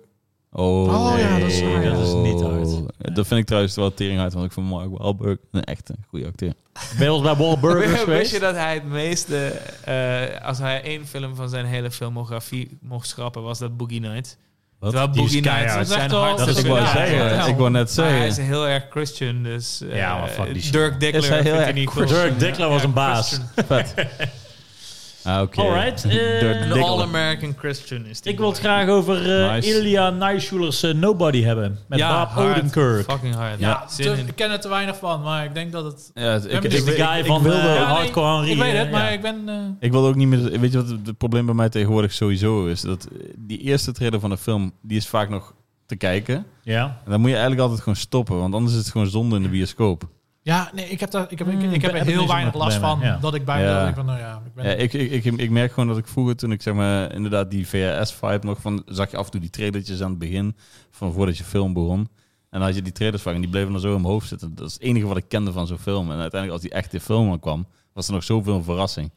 [SPEAKER 1] Oh,
[SPEAKER 4] Oh ja, dat is-
[SPEAKER 1] nee.
[SPEAKER 4] ja, dat
[SPEAKER 2] is niet hard.
[SPEAKER 1] Eh, Dat vind ik trouwens wel tering uit, want ik vind Mark Wahlberg een echt een goede acteur.
[SPEAKER 2] Ben je wel eens bij Wahlburgers
[SPEAKER 3] Wist
[SPEAKER 2] geweest?
[SPEAKER 3] wist je dat hij het meeste, eh, als hij één film van zijn hele filmografie mocht schrappen, was dat Boogie Nights.
[SPEAKER 1] Wat?
[SPEAKER 3] Terwijl
[SPEAKER 2] Die is
[SPEAKER 3] Boogie Nights
[SPEAKER 2] keihard.
[SPEAKER 3] zijn
[SPEAKER 4] Dat is
[SPEAKER 3] hardste
[SPEAKER 1] Dat ik wou
[SPEAKER 3] film.
[SPEAKER 1] zeggen.
[SPEAKER 3] Ja,
[SPEAKER 1] Ik wou net
[SPEAKER 3] Maar hij is
[SPEAKER 1] zeggen.
[SPEAKER 3] heel erg Christian, dus eh,
[SPEAKER 2] Ja, maar fuck die shit.
[SPEAKER 3] Dirk Dickler
[SPEAKER 1] Is hij heel
[SPEAKER 3] vindt
[SPEAKER 1] erg
[SPEAKER 3] niet
[SPEAKER 1] Christian?
[SPEAKER 3] cool.
[SPEAKER 2] Dirk Dickler was een baas.
[SPEAKER 1] Vet. Ah, oké.
[SPEAKER 2] Alright, eh,
[SPEAKER 1] Dirk
[SPEAKER 3] Een
[SPEAKER 1] Diggler.
[SPEAKER 3] all-American Christian is die
[SPEAKER 2] Ik wil het
[SPEAKER 3] boy.
[SPEAKER 2] graag over eh
[SPEAKER 1] Nice.
[SPEAKER 2] Ilya Naishuler's eh, Nobody hebben. Met Bob
[SPEAKER 3] hard.
[SPEAKER 2] Odenkirk.
[SPEAKER 3] Fucking hard.
[SPEAKER 1] Ja.
[SPEAKER 3] Ja, zin
[SPEAKER 4] te-
[SPEAKER 3] in.
[SPEAKER 4] dus ik ken er te weinig van, maar ik denk dat het...
[SPEAKER 1] Ja, het- ik,
[SPEAKER 4] Hem
[SPEAKER 1] ik,
[SPEAKER 4] dus
[SPEAKER 2] de
[SPEAKER 1] ik,
[SPEAKER 2] guy van
[SPEAKER 1] wilde-
[SPEAKER 2] eh,
[SPEAKER 1] Ja, nee,
[SPEAKER 2] Hardcore Henry.
[SPEAKER 4] Ik weet
[SPEAKER 2] eh,
[SPEAKER 4] het, maar
[SPEAKER 2] ja.
[SPEAKER 4] ik ben... eh,
[SPEAKER 1] ik wilde ook niet meer... Weet je wat het probleem bij mij tegenwoordig sowieso is? Dat eh, die eerste trailer van de film, die is vaak nog te kijken.
[SPEAKER 2] Ja.
[SPEAKER 1] En dan moet je eigenlijk altijd gewoon stoppen, want anders is het gewoon zonde in de bioscoop.
[SPEAKER 4] Ja, nee, ik heb, daar, ik heb, ik,
[SPEAKER 2] Hmm,
[SPEAKER 4] ik heb
[SPEAKER 2] ben-
[SPEAKER 4] er
[SPEAKER 2] heb ik
[SPEAKER 4] heel
[SPEAKER 2] niet
[SPEAKER 4] weinig
[SPEAKER 2] zo'n
[SPEAKER 4] last van
[SPEAKER 2] problemen, ja.
[SPEAKER 4] dat ik bij
[SPEAKER 1] Ja.
[SPEAKER 4] me dat ik van, nou ja, ik ben...
[SPEAKER 1] Ja, ik, ik, ik, ik merk gewoon dat ik vroeger, toen ik zeg maar inderdaad die VHS-vibe nog van, zag je af en toe die trailertjes aan het begin, van voordat je film begon. En dan had je die trailers van en die bleven dan zo in mijn hoofd zitten. Dat is het enige wat ik kende van zo'n film. En uiteindelijk als die echte film dan kwam, was er nog zoveel verrassing.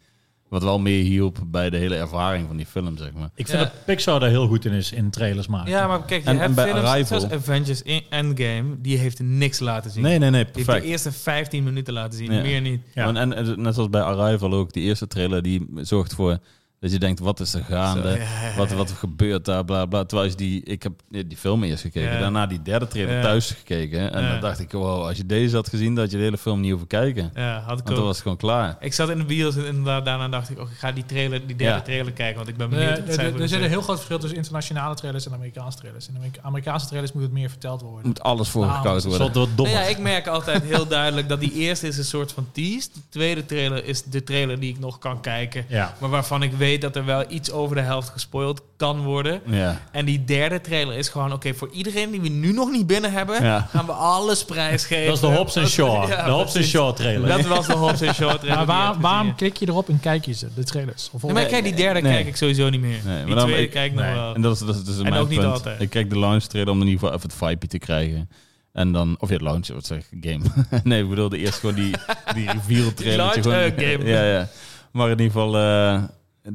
[SPEAKER 1] Wat wel meer hielp bij de hele ervaring van die film, zeg maar.
[SPEAKER 2] Ik vind
[SPEAKER 3] Ja.
[SPEAKER 2] dat Pixar daar heel goed in is, in trailers maken.
[SPEAKER 3] Ja, maar kijk, je
[SPEAKER 1] En- en
[SPEAKER 3] hebt
[SPEAKER 1] bij
[SPEAKER 3] films
[SPEAKER 1] Arrival-
[SPEAKER 3] zoals Avengers in Endgame, die heeft niks laten zien.
[SPEAKER 1] Nee, nee, nee,
[SPEAKER 3] Die heeft de
[SPEAKER 1] perfect.
[SPEAKER 3] eerste 15 minuten laten zien,
[SPEAKER 1] Ja.
[SPEAKER 3] meer niet.
[SPEAKER 2] Ja.
[SPEAKER 1] En, en, en net als bij Arrival ook, die eerste trailer die zorgt voor Dat je denkt, wat is er gaande?
[SPEAKER 3] Zo, ja, ja,
[SPEAKER 1] Wat,
[SPEAKER 3] ja.
[SPEAKER 1] wat gebeurt daar? Bla, bla. Terwijl je die, ik heb die film eerst gekeken.
[SPEAKER 3] Ja.
[SPEAKER 1] Daarna die derde trailer
[SPEAKER 3] Ja.
[SPEAKER 1] thuis gekeken. En
[SPEAKER 3] Ja.
[SPEAKER 1] dan dacht ik, wow, als je deze had gezien, dan had je de hele film niet hoeven kijken.
[SPEAKER 3] Ja, had ik
[SPEAKER 1] Want
[SPEAKER 3] ook.
[SPEAKER 1] dan was het gewoon klaar.
[SPEAKER 3] Ik zat in de bios en inderdaad daarna dacht ik, oh, ik ga die trailer, die derde
[SPEAKER 1] Ja.
[SPEAKER 3] trailer kijken, want ik ben
[SPEAKER 4] Eh,
[SPEAKER 3] benieuwd.
[SPEAKER 4] er-
[SPEAKER 3] wat zij
[SPEAKER 4] er-
[SPEAKER 3] voor
[SPEAKER 4] er
[SPEAKER 3] de
[SPEAKER 4] zit een
[SPEAKER 3] zin-
[SPEAKER 4] heel groot verschil tussen internationale trailers en Amerikaanse trailers. In Amerika- Amerikaanse trailers moet het meer verteld
[SPEAKER 1] Er
[SPEAKER 4] worden.
[SPEAKER 1] moet alles voorgekoud
[SPEAKER 2] Zal het
[SPEAKER 1] worden.
[SPEAKER 2] wat dommer.
[SPEAKER 3] Nou ja, ik merk altijd heel duidelijk dat die eerste is een soort van tease. De tweede trailer is de trailer die ik nog kan kijken.
[SPEAKER 2] Ja.
[SPEAKER 3] Maar waarvan ik weet dat er wel iets over de helft gespoild kan worden.
[SPEAKER 1] Ja.
[SPEAKER 3] En die derde trailer is gewoon, oké, voor iedereen die we nu nog niet binnen hebben,
[SPEAKER 1] Ja.
[SPEAKER 3] gaan we alles prijsgeven.
[SPEAKER 2] Dat is de Hobbs and Shaw.
[SPEAKER 3] Ja,
[SPEAKER 2] de Hobbs and
[SPEAKER 3] precies.
[SPEAKER 2] Shaw trailer.
[SPEAKER 3] Dat was de Hobbs and Shaw trailer.
[SPEAKER 4] Maar
[SPEAKER 3] die je
[SPEAKER 4] waar-
[SPEAKER 3] hebt
[SPEAKER 4] waarom
[SPEAKER 3] gezien.
[SPEAKER 4] klik je erop en kijk je ze, de trailers? Of
[SPEAKER 3] Nee, maar kijk, die derde
[SPEAKER 1] Nee.
[SPEAKER 3] kijk ik sowieso niet meer.
[SPEAKER 1] Nee, maar
[SPEAKER 3] die
[SPEAKER 1] dan-
[SPEAKER 3] tweede
[SPEAKER 1] ik-
[SPEAKER 3] kijk ik nog
[SPEAKER 2] nee.
[SPEAKER 3] wel.
[SPEAKER 1] En dat is, dat is, dat is
[SPEAKER 3] En
[SPEAKER 1] mijn
[SPEAKER 3] ook niet
[SPEAKER 1] punt.
[SPEAKER 3] altijd.
[SPEAKER 1] Ik kijk de launch trailer om in ieder geval even het vibe te krijgen. En dan, of ja, launch, wat zeg ik, game. nee, ik bedoelde eerst gewoon die, die reveal trailer.
[SPEAKER 3] launch, eh, game.
[SPEAKER 1] ja, ja. Maar in ieder geval, eh,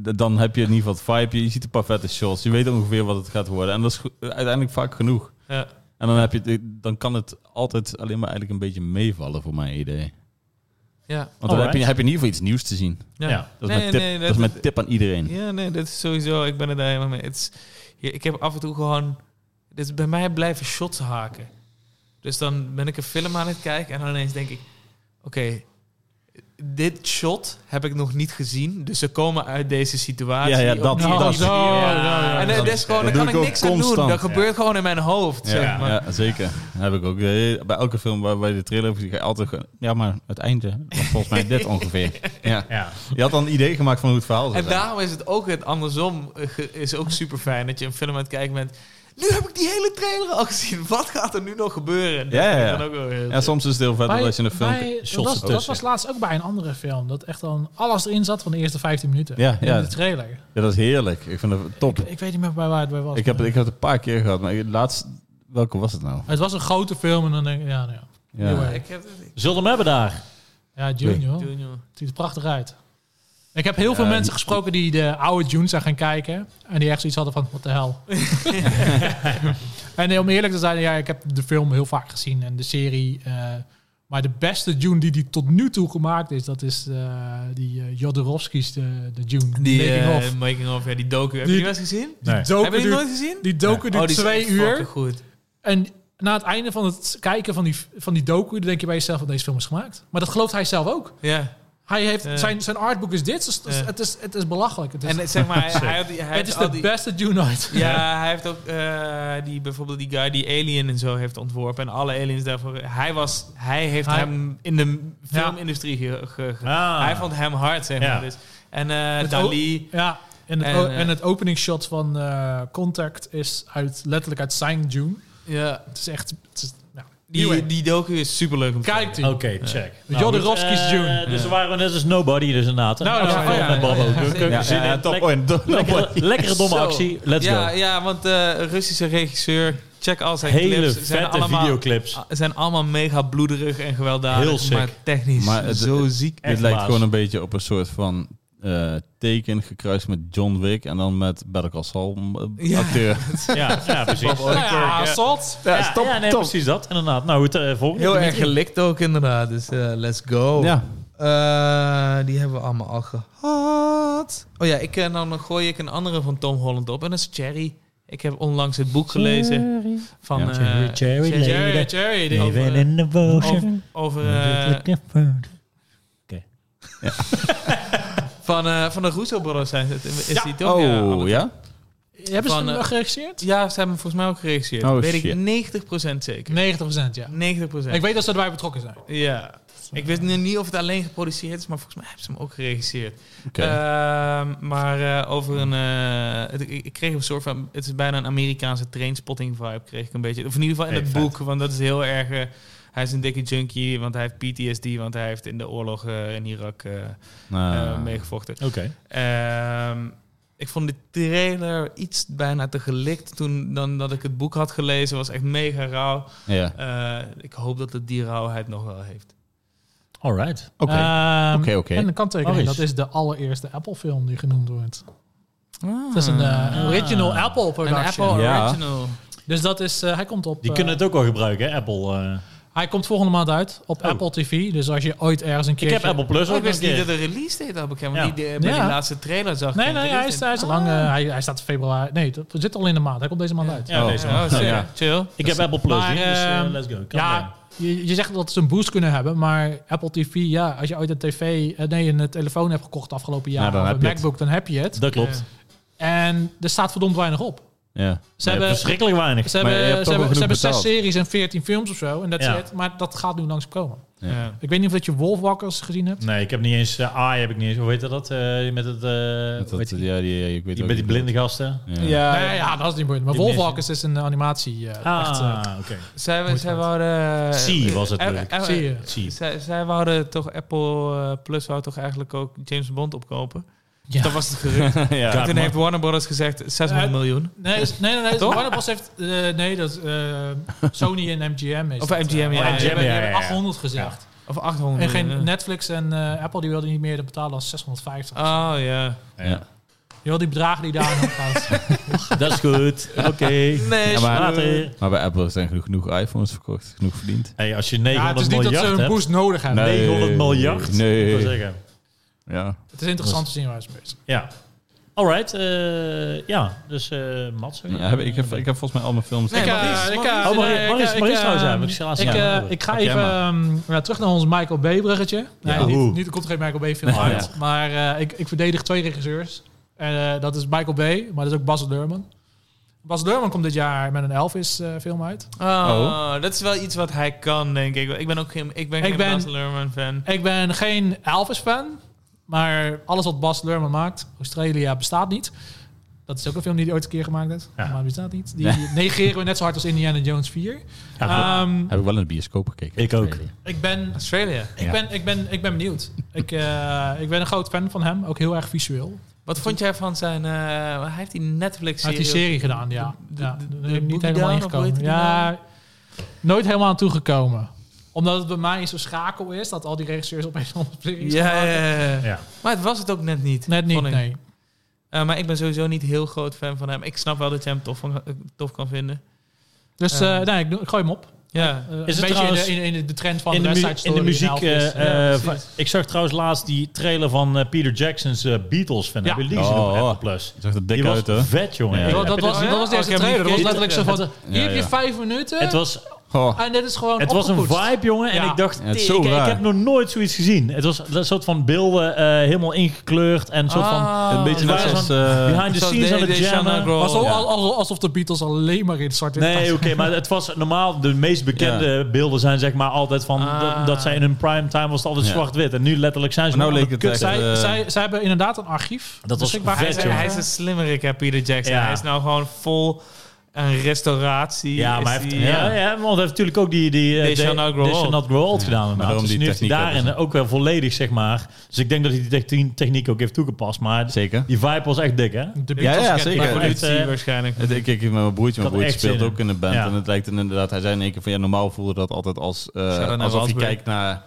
[SPEAKER 1] d- dan heb je in ieder geval het vibe. Je ziet een paar vette shots. Je weet ongeveer wat het gaat worden. En dat is go- uiteindelijk vaak genoeg.
[SPEAKER 3] Ja.
[SPEAKER 1] En dan, heb je, het- dan kan het altijd alleen maar eigenlijk een beetje meevallen voor mijn idee.
[SPEAKER 3] Ja.
[SPEAKER 1] Want dan heb je,
[SPEAKER 2] Alright.
[SPEAKER 1] heb je in ieder geval iets nieuws te zien.
[SPEAKER 3] Ja.
[SPEAKER 2] Ja.
[SPEAKER 1] Dat is,
[SPEAKER 3] Nee,
[SPEAKER 1] mijn, tip,
[SPEAKER 3] nee,
[SPEAKER 1] dat
[SPEAKER 3] dat-
[SPEAKER 1] is mijn tip aan iedereen.
[SPEAKER 3] Ja, nee, dat is sowieso. Ik ben het daar helemaal mee. Het is, ja, ik heb af en toe gewoon. Dus bij mij blijven shots haken. Dus dan ben ik een film aan het kijken en dan ineens denk ik: oké, dit shot heb ik nog niet gezien. Dus ze komen uit deze situatie.
[SPEAKER 1] Ja, ja,
[SPEAKER 3] op
[SPEAKER 1] dat-
[SPEAKER 3] die-
[SPEAKER 1] dat-
[SPEAKER 3] op die
[SPEAKER 1] zo,
[SPEAKER 3] manier.
[SPEAKER 2] ja.
[SPEAKER 3] En dat is
[SPEAKER 1] dat
[SPEAKER 3] gewoon, daar
[SPEAKER 1] doe ik
[SPEAKER 3] kan ik
[SPEAKER 1] ook
[SPEAKER 3] niks aan doen.
[SPEAKER 1] constant.
[SPEAKER 3] Dat gebeurt gewoon in mijn hoofd.
[SPEAKER 2] Ja.
[SPEAKER 3] Zeg maar.
[SPEAKER 1] Ja, zeker. Dat heb ik ook. Eh, Bij elke film waar, waar je de trailer hebt gezien, ga je altijd gewoon... Ja, maar het einde was volgens mij dit ongeveer. Ja.
[SPEAKER 2] Ja.
[SPEAKER 1] Je had dan een idee gemaakt van hoe het verhaal zou
[SPEAKER 3] En
[SPEAKER 1] zijn.
[SPEAKER 3] daarom is het ook het andersom eh, ge- is ook super fijn dat je een film aan het kijken bent. Nu heb ik die hele trailer al gezien. Wat gaat er nu nog gebeuren? Dat
[SPEAKER 1] Ja, ja,
[SPEAKER 3] vind ik
[SPEAKER 1] ja.
[SPEAKER 3] dan ook wel heel
[SPEAKER 1] Ja, soms is het heel vet
[SPEAKER 4] Bij-
[SPEAKER 1] dat je een film...
[SPEAKER 4] bij-
[SPEAKER 2] shots
[SPEAKER 4] dat, was, dat
[SPEAKER 2] ertussen.
[SPEAKER 4] was laatst ook bij een andere film. Dat echt dan alles erin zat van de eerste 15 minuten.
[SPEAKER 1] Ja, ja.
[SPEAKER 4] In de trailer.
[SPEAKER 1] Ja, dat is heerlijk. Ik vind het top.
[SPEAKER 4] Ik weet niet meer bij waar het bij was.
[SPEAKER 1] Ik heb, ik heb het een paar keer gehad, maar laatst... Welke was het nou?
[SPEAKER 4] Het was een grote film en dan denk ik, ja, nou ja. Heel
[SPEAKER 1] Ja.
[SPEAKER 4] erg.
[SPEAKER 3] Ja, ik heb het.
[SPEAKER 2] Zullen we hem hebben daar?
[SPEAKER 4] Ja, Junior.
[SPEAKER 3] Doen, joh.
[SPEAKER 4] Het ziet er prachtig uit. Ik heb heel
[SPEAKER 1] Ja,
[SPEAKER 4] veel mensen
[SPEAKER 1] die-
[SPEAKER 4] gesproken die de oude June zijn gaan kijken. En die echt zoiets hadden van, wat de hel. en eh, om eerlijk te zijn, ja, ik heb de film heel vaak gezien en de serie. eh, maar de beste June die die tot nu toe gemaakt is, dat is eh, die eh, Jodorowsky's de, de June.
[SPEAKER 3] Die
[SPEAKER 4] Making
[SPEAKER 3] eh,
[SPEAKER 4] of. Die
[SPEAKER 3] making of, ja, die docu. Heb je
[SPEAKER 4] Die-
[SPEAKER 3] die wel eens gezien?
[SPEAKER 2] Nee.
[SPEAKER 4] docu
[SPEAKER 3] Heb je die
[SPEAKER 4] duurt-
[SPEAKER 3] nooit gezien? Oh,
[SPEAKER 4] die docu duurt
[SPEAKER 3] is
[SPEAKER 4] twee
[SPEAKER 3] echt fucking
[SPEAKER 4] uur.
[SPEAKER 3] goed.
[SPEAKER 4] En na het einde van het kijken van die, van die docu, dan denk je bij jezelf dat deze film is gemaakt. Maar dat gelooft hij zelf ook.
[SPEAKER 3] Ja.
[SPEAKER 4] Hij heeft,
[SPEAKER 3] Ja.
[SPEAKER 4] zijn, zijn artboek is dit, dus
[SPEAKER 3] Ja.
[SPEAKER 4] het, is, het is belachelijk. Het is,
[SPEAKER 3] En eh, zeg maar, hij, hij, had die- hij
[SPEAKER 4] het is
[SPEAKER 3] had al
[SPEAKER 4] de
[SPEAKER 3] die-
[SPEAKER 4] beste June ooit.
[SPEAKER 3] Ja, hij heeft ook eh, die, bijvoorbeeld die guy die Alien en zo heeft ontworpen. En alle aliens daarvoor. Hij, was, hij heeft
[SPEAKER 4] Hij-
[SPEAKER 3] hem in de
[SPEAKER 4] Ja.
[SPEAKER 3] filmindustrie ge, ge- ge-
[SPEAKER 2] Ah.
[SPEAKER 3] Hij vond hem hard, zeg maar.
[SPEAKER 2] Ja.
[SPEAKER 3] Dus. En eh,
[SPEAKER 4] Het
[SPEAKER 3] Dali...
[SPEAKER 4] Ja, en het,
[SPEAKER 3] En,
[SPEAKER 4] o-
[SPEAKER 3] eh,
[SPEAKER 4] en het openingsshot van eh, Contact is uit, letterlijk uit zijn June.
[SPEAKER 3] Ja.
[SPEAKER 4] Het is echt... Het is, nou,
[SPEAKER 3] Die,
[SPEAKER 4] anyway.
[SPEAKER 3] die docu is superleuk om te
[SPEAKER 4] Kijkt u.
[SPEAKER 2] Oké, check.
[SPEAKER 4] Jodorowsky's
[SPEAKER 2] goed, eh,
[SPEAKER 4] June.
[SPEAKER 2] Dus
[SPEAKER 3] Ja.
[SPEAKER 2] we waren net als nobody, dus inderdaad.
[SPEAKER 4] Nou,
[SPEAKER 2] Nou,
[SPEAKER 4] nou,
[SPEAKER 2] nou,
[SPEAKER 4] ja,
[SPEAKER 2] met
[SPEAKER 3] ja,
[SPEAKER 2] Bob
[SPEAKER 3] ja,
[SPEAKER 2] ook.
[SPEAKER 3] ja,
[SPEAKER 2] We kunnen
[SPEAKER 3] ja,
[SPEAKER 2] zin in.
[SPEAKER 1] top.
[SPEAKER 2] Lekker-
[SPEAKER 1] Oh, en-
[SPEAKER 2] lekkere- Lekkere domme
[SPEAKER 3] Zo.
[SPEAKER 2] actie. Let's
[SPEAKER 3] ja,
[SPEAKER 2] go.
[SPEAKER 3] ja, want de Russische regisseur, check al zijn
[SPEAKER 2] Hele
[SPEAKER 3] clips. zijn
[SPEAKER 2] vette
[SPEAKER 3] allemaal, Ah.
[SPEAKER 2] videoclips.
[SPEAKER 3] a- zijn allemaal mega bloederig en gewelddadig.
[SPEAKER 2] Heel sick.
[SPEAKER 3] Maar technisch
[SPEAKER 1] Maar het-
[SPEAKER 3] zo ziek.
[SPEAKER 1] Dit
[SPEAKER 2] Echt
[SPEAKER 1] lijkt
[SPEAKER 2] baas.
[SPEAKER 1] gewoon een beetje op een soort van eh, teken gekruist met John Wick en dan met Better Call Saul eh,
[SPEAKER 3] Ja.
[SPEAKER 1] acteur.
[SPEAKER 2] Ja, ja, precies.
[SPEAKER 4] nou ja,
[SPEAKER 2] Ja.
[SPEAKER 4] zot.
[SPEAKER 2] Ja, ja, nee, precies dat. Inderdaad. Nou, het eh, volgende.
[SPEAKER 3] Heel erg
[SPEAKER 2] Dimitri.
[SPEAKER 3] gelikt ook inderdaad, dus eh, let's go.
[SPEAKER 1] Ja.
[SPEAKER 3] Eh, die hebben we allemaal al gehad. Oh ja, ik, eh, nou, dan gooi ik een andere van Tom Holland op en dat is Cherry. Ik heb onlangs het boek gelezen van
[SPEAKER 1] Ja.
[SPEAKER 3] eh,
[SPEAKER 2] Cherry, Cherry,
[SPEAKER 3] Cherry,
[SPEAKER 2] Lady.
[SPEAKER 3] Cherry, die over,
[SPEAKER 2] Living in the
[SPEAKER 3] over,
[SPEAKER 2] motion.
[SPEAKER 3] over, eh, van, eh, van de Russo Brothers zijn ze- is
[SPEAKER 4] Ja.
[SPEAKER 3] die toch? ja,
[SPEAKER 1] Oh,
[SPEAKER 3] alle
[SPEAKER 1] ja?
[SPEAKER 4] Hebben ze
[SPEAKER 3] Van,
[SPEAKER 4] hem
[SPEAKER 3] eh,
[SPEAKER 4] wel geregisseerd? 90%,
[SPEAKER 3] Ja, ze hebben hem volgens mij ook geregisseerd.
[SPEAKER 1] Oh,
[SPEAKER 3] Weet
[SPEAKER 1] shit.
[SPEAKER 3] ik 90% zeker.
[SPEAKER 4] ja.
[SPEAKER 3] 90%.
[SPEAKER 4] Ik weet dat ze erbij betrokken zijn.
[SPEAKER 3] ja. Ik weet nu niet of het alleen geproduceerd is, maar volgens mij hebben ze hem ook geregisseerd.
[SPEAKER 1] Oké.
[SPEAKER 3] Ehm, maar eh, over een... eh, het- ik ik kreeg een soort van... Het is bijna een Amerikaanse trainspotting vibe, kreeg ik een beetje. Of in ieder geval in
[SPEAKER 2] Hey,
[SPEAKER 3] het
[SPEAKER 2] vet.
[SPEAKER 3] boek, want dat is heel erg... eh, hij is een dikke junkie, want hij heeft PTSD, want hij heeft in de oorlog eh, in Irak eh, eh,
[SPEAKER 1] Nou,
[SPEAKER 3] meegevochten.
[SPEAKER 2] Oké.
[SPEAKER 3] Ehm, ik vond de trailer iets bijna te gelikt toen dan dat ik het boek had gelezen. was echt mega rauw.
[SPEAKER 1] ja.
[SPEAKER 3] Eh, ik hoop dat het die rauwheid nog wel heeft.
[SPEAKER 2] Alright.
[SPEAKER 1] Oké.
[SPEAKER 4] Ehm,
[SPEAKER 1] Oké, oké.
[SPEAKER 4] En de kanttekening,
[SPEAKER 2] Maurice.
[SPEAKER 4] dat is de allereerste Apple-film die genoemd wordt.
[SPEAKER 3] Het
[SPEAKER 4] Het is een eh, original
[SPEAKER 2] Ah.
[SPEAKER 4] Apple
[SPEAKER 3] Een
[SPEAKER 4] production.
[SPEAKER 3] Apple
[SPEAKER 1] Ja.
[SPEAKER 3] Original.
[SPEAKER 4] Dus dat is, eh, hij komt op...
[SPEAKER 2] Die
[SPEAKER 4] eh,
[SPEAKER 2] kunnen het ook wel gebruiken, hè, Apple. eh.
[SPEAKER 4] Hij komt volgende maand uit op
[SPEAKER 2] Oh.
[SPEAKER 4] Apple TV. Dus als je ooit ergens een
[SPEAKER 2] Ik
[SPEAKER 4] keer...
[SPEAKER 2] heb Apple Plus
[SPEAKER 3] Oh,
[SPEAKER 2] ook
[SPEAKER 3] ik wist
[SPEAKER 2] een
[SPEAKER 3] niet
[SPEAKER 2] keer.
[SPEAKER 3] dat de release date al bekend
[SPEAKER 2] Ja.
[SPEAKER 3] want die, de- bij
[SPEAKER 4] Ja.
[SPEAKER 3] die laatste trailer zag ik
[SPEAKER 4] Nee,
[SPEAKER 3] geen
[SPEAKER 4] nee, hij
[SPEAKER 3] release
[SPEAKER 4] is,
[SPEAKER 3] date.
[SPEAKER 4] hij is al lang... eh, hij, hij staat in februari... Nee, dat zit al in de maand. Hij komt deze maand uit.
[SPEAKER 2] Oh. Ja,
[SPEAKER 1] Oh,
[SPEAKER 2] deze
[SPEAKER 1] ja.
[SPEAKER 2] man.
[SPEAKER 3] Oh, sorry.
[SPEAKER 1] Ja.
[SPEAKER 3] Chill.
[SPEAKER 2] Ik heb Apple Plus,
[SPEAKER 4] Maar,
[SPEAKER 2] hè, dus eh,
[SPEAKER 4] ehm,
[SPEAKER 2] let's go. Kan
[SPEAKER 4] Ja,
[SPEAKER 2] wel.
[SPEAKER 4] je, je zegt dat ze een boost kunnen hebben, maar Apple TV, ja, als je ooit een tv, eh, nee, een telefoon hebt gekocht de afgelopen jaar,
[SPEAKER 1] Nou, dan
[SPEAKER 4] of
[SPEAKER 1] heb
[SPEAKER 4] een
[SPEAKER 1] je het.
[SPEAKER 4] MacBook, dan heb je het.
[SPEAKER 2] Dat klopt.
[SPEAKER 4] Eh, En er staat verdomd weinig op.
[SPEAKER 1] Ja.
[SPEAKER 4] Ze
[SPEAKER 2] Nee,
[SPEAKER 4] hebben, ze
[SPEAKER 2] verschrikkelijk weinig.
[SPEAKER 1] Maar
[SPEAKER 4] hebben,
[SPEAKER 1] je hebt toch
[SPEAKER 4] ze
[SPEAKER 1] wel
[SPEAKER 4] hebben, ze hebben
[SPEAKER 1] genoeg
[SPEAKER 4] zes
[SPEAKER 1] betaald.
[SPEAKER 4] series en veertien films of zo, en dat
[SPEAKER 2] Ja.
[SPEAKER 4] is het. Maar dat gaat nu langs komen.
[SPEAKER 3] Ja. Ja.
[SPEAKER 4] Ik weet niet of dat je Wolfwalkers gezien hebt.
[SPEAKER 2] Nee, ik heb niet eens... eh, AI heb ik niet eens... Hoe heet dat? eh, met het... eh,
[SPEAKER 1] Dat, eh,
[SPEAKER 2] hoe heet die,
[SPEAKER 1] ja, die, ja, ik weet
[SPEAKER 2] die,
[SPEAKER 1] ook
[SPEAKER 2] met
[SPEAKER 1] niet.
[SPEAKER 2] die blinde gasten.
[SPEAKER 1] Ja.
[SPEAKER 4] Nee, ja, dat is niet moeilijk. Maar
[SPEAKER 2] Die
[SPEAKER 4] Wolfwalkers is een animatie. eh, echt, eh,
[SPEAKER 2] Ah, oké.
[SPEAKER 3] Zij,
[SPEAKER 4] Moet
[SPEAKER 3] zij
[SPEAKER 4] dat.
[SPEAKER 3] wouden...
[SPEAKER 2] Sea was het
[SPEAKER 3] eh,
[SPEAKER 2] leuk.
[SPEAKER 3] eh, eh,
[SPEAKER 4] zie je.
[SPEAKER 2] Zie.
[SPEAKER 3] Zij, zij wouden toch Apple eh, Plus wou toch eigenlijk ook James Bond opkopen.
[SPEAKER 4] Ja.
[SPEAKER 3] Dat was het gerucht.
[SPEAKER 1] ja.
[SPEAKER 2] Ja,
[SPEAKER 3] Toen
[SPEAKER 2] maar-
[SPEAKER 3] heeft Warner Brothers gezegd 600
[SPEAKER 4] Eh,
[SPEAKER 3] miljoen.
[SPEAKER 4] Nee, is- nee, nee, nee.
[SPEAKER 3] Toch?
[SPEAKER 4] Warner Bros. heeft... eh, nee, dat is, eh, Sony en MGM. Is
[SPEAKER 3] Of
[SPEAKER 4] dat, eh,
[SPEAKER 3] MGM, ja.
[SPEAKER 4] die
[SPEAKER 3] Ja,
[SPEAKER 4] hebben- die
[SPEAKER 2] ja, ja,
[SPEAKER 4] hebben
[SPEAKER 2] ja.
[SPEAKER 4] 800 gezegd.
[SPEAKER 3] Of 800
[SPEAKER 4] En
[SPEAKER 3] miljoen.
[SPEAKER 4] geen Netflix en eh, Apple die wilden niet meer betalen dan 650.
[SPEAKER 3] ja. Oh ja.
[SPEAKER 1] Ja.
[SPEAKER 4] Je wil die bedragen die daar aan gaan.
[SPEAKER 2] Dat is goed. Oké.
[SPEAKER 3] Nee,
[SPEAKER 1] Ja, maar-
[SPEAKER 2] Later.
[SPEAKER 1] Maar bij Apple zijn genoeg, genoeg iPhones verkocht, genoeg verdiend.
[SPEAKER 2] Hey, als je
[SPEAKER 4] Ja,
[SPEAKER 2] 900
[SPEAKER 4] het is niet dat
[SPEAKER 2] miljard
[SPEAKER 4] ze een
[SPEAKER 2] hebt...
[SPEAKER 4] boost nodig hebben.
[SPEAKER 1] Nee.
[SPEAKER 2] 900 miljard?
[SPEAKER 1] Nee.
[SPEAKER 2] moet ik wel zeggen.
[SPEAKER 1] Ja.
[SPEAKER 4] Het is interessant te zien waar ze mee zijn.
[SPEAKER 2] Ja. Alright. eh, ja, dus eh Mats. sorry.
[SPEAKER 1] Ja, heb ik, ik, heb, ik heb volgens mij al mijn films.
[SPEAKER 3] Nee,
[SPEAKER 4] Ik, eh,
[SPEAKER 3] Maurice,
[SPEAKER 4] ik, eh,
[SPEAKER 3] Maurice.
[SPEAKER 2] Oh, Maurice,
[SPEAKER 4] ik, eh,
[SPEAKER 2] Maurice,
[SPEAKER 4] ik,
[SPEAKER 2] Maurice
[SPEAKER 4] eh,
[SPEAKER 2] trouwens hebben. Ik zal laatst
[SPEAKER 4] Ik,
[SPEAKER 2] aan
[SPEAKER 4] eh,
[SPEAKER 2] horen.
[SPEAKER 4] ik ga
[SPEAKER 1] Pak jij
[SPEAKER 4] even
[SPEAKER 1] maar.
[SPEAKER 4] ehm, ja, terug naar ons Michael B. bruggetje. Nee,
[SPEAKER 2] Ja. Oeh. Nou
[SPEAKER 4] niet, niet, er komt geen Michael B. film
[SPEAKER 1] Nee.
[SPEAKER 4] uit.
[SPEAKER 1] Ja.
[SPEAKER 4] Maar eh, ik, ik verdedig twee regisseurs. Eh, dat is Michael B., maar dat is ook Bas Lerman. Bas Lerman komt dit jaar met een Elvis eh, film uit.
[SPEAKER 3] Oh, dat is wel iets wat hij kan, denk ik. Ik ben ook geen, ik ben
[SPEAKER 4] Ik
[SPEAKER 3] geen
[SPEAKER 4] ben-
[SPEAKER 3] Baz Luhrmann fan.
[SPEAKER 4] Ik ben geen Elvis-fan, maar alles wat Bas Lerman maakt, Australia bestaat niet. Dat is ook een film die hij ooit een keer gemaakt heeft,
[SPEAKER 2] Ja.
[SPEAKER 4] maar bestaat niet. Die negeren we net zo hard als Indiana Jones 4.
[SPEAKER 2] Ja,
[SPEAKER 4] Ehm,
[SPEAKER 1] Heb ik wel in de bioscoop gekeken.
[SPEAKER 2] Ik ook.
[SPEAKER 4] ik, ben,
[SPEAKER 3] Australia.
[SPEAKER 4] ik, ben, ik, ben, ik ben benieuwd. Ik, eh, ik ben een groot fan van hem, ook heel erg visueel.
[SPEAKER 3] Wat vond jij van zijn... eh, hij heeft die
[SPEAKER 4] Hij
[SPEAKER 3] Netflix-serie...
[SPEAKER 4] heeft die serie gedaan, ja.
[SPEAKER 3] de-
[SPEAKER 4] ja
[SPEAKER 3] de-
[SPEAKER 4] daar
[SPEAKER 3] de
[SPEAKER 4] ben ik niet
[SPEAKER 3] Boogie
[SPEAKER 4] helemaal
[SPEAKER 3] Down, of hoe
[SPEAKER 4] ingekomen.
[SPEAKER 3] heet die
[SPEAKER 4] Ja, nooit helemaal aan toegekomen. Omdat het bij mij zo schakel is dat al die regisseurs opeens andere series
[SPEAKER 3] Ja,
[SPEAKER 4] gaan
[SPEAKER 3] ja,
[SPEAKER 4] maken.
[SPEAKER 3] ja, ja.
[SPEAKER 2] Ja.
[SPEAKER 3] Maar het was het ook net niet.
[SPEAKER 4] Net niet,
[SPEAKER 3] vond ik.
[SPEAKER 4] nee.
[SPEAKER 3] Eh, maar ik ben sowieso niet heel groot fan van hem. Ik snap wel dat jij hem tof, van, eh, tof kan vinden.
[SPEAKER 4] Dus
[SPEAKER 3] Ja.
[SPEAKER 4] eh, nee, ik, doe- ik gooi hem op.
[SPEAKER 3] Ja.
[SPEAKER 4] Eh,
[SPEAKER 2] Is
[SPEAKER 4] een
[SPEAKER 2] het
[SPEAKER 4] beetje in
[SPEAKER 2] trouwens-
[SPEAKER 4] de, in, in de trend van
[SPEAKER 2] In de, mu-
[SPEAKER 4] West Side
[SPEAKER 2] in
[SPEAKER 4] Story
[SPEAKER 2] de
[SPEAKER 4] en
[SPEAKER 2] muziek.
[SPEAKER 4] Elvis.
[SPEAKER 2] eh, eh,
[SPEAKER 4] Ja,
[SPEAKER 2] van-
[SPEAKER 4] precies.
[SPEAKER 2] ik zag trouwens laatst die trailer van eh, Peter Jackson's eh, Beatles fan.
[SPEAKER 4] Ja.
[SPEAKER 2] Hebben jullie die gezien op
[SPEAKER 1] Oh.
[SPEAKER 2] Apple Plus?
[SPEAKER 1] Je zag er
[SPEAKER 2] Die
[SPEAKER 1] dik
[SPEAKER 2] was
[SPEAKER 1] uit, hè?
[SPEAKER 2] vet, jongen.
[SPEAKER 1] Ja.
[SPEAKER 2] Hey,
[SPEAKER 4] Dat-
[SPEAKER 2] heb
[SPEAKER 4] dat,
[SPEAKER 2] je
[SPEAKER 4] was,
[SPEAKER 2] dit-
[SPEAKER 4] dat was de
[SPEAKER 3] Oh,
[SPEAKER 4] eerste
[SPEAKER 3] ik heb
[SPEAKER 4] trailer. Dat was
[SPEAKER 3] niet
[SPEAKER 4] letterlijk zo van,
[SPEAKER 3] gekeken.
[SPEAKER 4] hier heb je
[SPEAKER 1] Ja, ja.
[SPEAKER 4] vijf minuten
[SPEAKER 2] Het was,
[SPEAKER 1] Oh.
[SPEAKER 4] en dit is gewoon
[SPEAKER 2] het was een
[SPEAKER 4] opgepoetst.
[SPEAKER 2] vibe, jongen. En
[SPEAKER 4] Ja.
[SPEAKER 2] ik dacht,
[SPEAKER 1] Ja, het is
[SPEAKER 2] ik,
[SPEAKER 1] zo
[SPEAKER 2] Ah, ik
[SPEAKER 1] raar.
[SPEAKER 2] heb nog nooit zoiets gezien. Het was een soort van beelden eh, helemaal ingekleurd. En een soort van
[SPEAKER 3] Ah.
[SPEAKER 1] een beetje
[SPEAKER 2] waar
[SPEAKER 1] net
[SPEAKER 2] is
[SPEAKER 1] zoals...
[SPEAKER 2] dan-
[SPEAKER 1] eh,
[SPEAKER 2] behind the
[SPEAKER 3] Zoals
[SPEAKER 2] scenes aan
[SPEAKER 3] Day
[SPEAKER 2] het
[SPEAKER 3] Day Shana
[SPEAKER 2] jammen.
[SPEAKER 3] Grow.
[SPEAKER 4] Alsof,
[SPEAKER 1] Ja.
[SPEAKER 4] al- alsof de Beatles alleen maar in zwart
[SPEAKER 2] Nee, oké, maar het was normaal. De meest bekende beelden zijn zeg maar altijd van
[SPEAKER 3] Ah.
[SPEAKER 2] dat, dat zij in hun prime time was het altijd
[SPEAKER 1] Ja.
[SPEAKER 2] zwart-wit en nu letterlijk zijn ze
[SPEAKER 1] Maar nou
[SPEAKER 2] nog aan
[SPEAKER 1] leek
[SPEAKER 2] de
[SPEAKER 1] het
[SPEAKER 2] kut
[SPEAKER 1] echt,
[SPEAKER 2] zijn.
[SPEAKER 4] zij,
[SPEAKER 1] eh,
[SPEAKER 4] zij, zij hebben inderdaad een archief. Dus
[SPEAKER 2] Dat was
[SPEAKER 4] beschikbaar.
[SPEAKER 2] vet,
[SPEAKER 3] Hij is,
[SPEAKER 2] joh.
[SPEAKER 3] hij is een slimmerik, hè, Peter Jackson.
[SPEAKER 2] Ja.
[SPEAKER 3] Hij is nou gewoon vol een restauratie.
[SPEAKER 2] Ja, maar
[SPEAKER 3] Is
[SPEAKER 2] hij heeft,
[SPEAKER 3] hij-
[SPEAKER 2] ja.
[SPEAKER 3] eh,
[SPEAKER 2] Ja, want hij heeft natuurlijk ook die, die eh,
[SPEAKER 3] They Shall
[SPEAKER 2] They-
[SPEAKER 3] Not Grow
[SPEAKER 2] They Shall
[SPEAKER 3] Old.
[SPEAKER 2] Not Grow Old gedaan.
[SPEAKER 1] daarom
[SPEAKER 2] inderdaad. Dus
[SPEAKER 1] die
[SPEAKER 2] nu heeft hij
[SPEAKER 1] techniek
[SPEAKER 2] daarin ook wel volledig, zeg maar. Dus ik denk dat hij die technie- techniek ook heeft toegepast. Maar
[SPEAKER 1] Zeker.
[SPEAKER 2] die vibe was echt dik, hè?
[SPEAKER 1] Ja,
[SPEAKER 4] De Beatles
[SPEAKER 1] ja,
[SPEAKER 4] kent-
[SPEAKER 1] zeker.
[SPEAKER 4] maar goed,
[SPEAKER 2] Ja.
[SPEAKER 3] Evolutie
[SPEAKER 2] Echt, eh,
[SPEAKER 3] waarschijnlijk.
[SPEAKER 1] Het, ik, ik met mijn broertje,
[SPEAKER 2] had
[SPEAKER 1] mijn broertje
[SPEAKER 2] echt zin
[SPEAKER 1] speelt
[SPEAKER 2] in.
[SPEAKER 1] ook in een band.
[SPEAKER 2] Ja.
[SPEAKER 1] En het lijkt inderdaad, hij zei in één keer van ja, normaal voelde dat altijd als eh,
[SPEAKER 3] Sharon
[SPEAKER 1] alsof je
[SPEAKER 3] Osbourne.
[SPEAKER 1] kijkt naar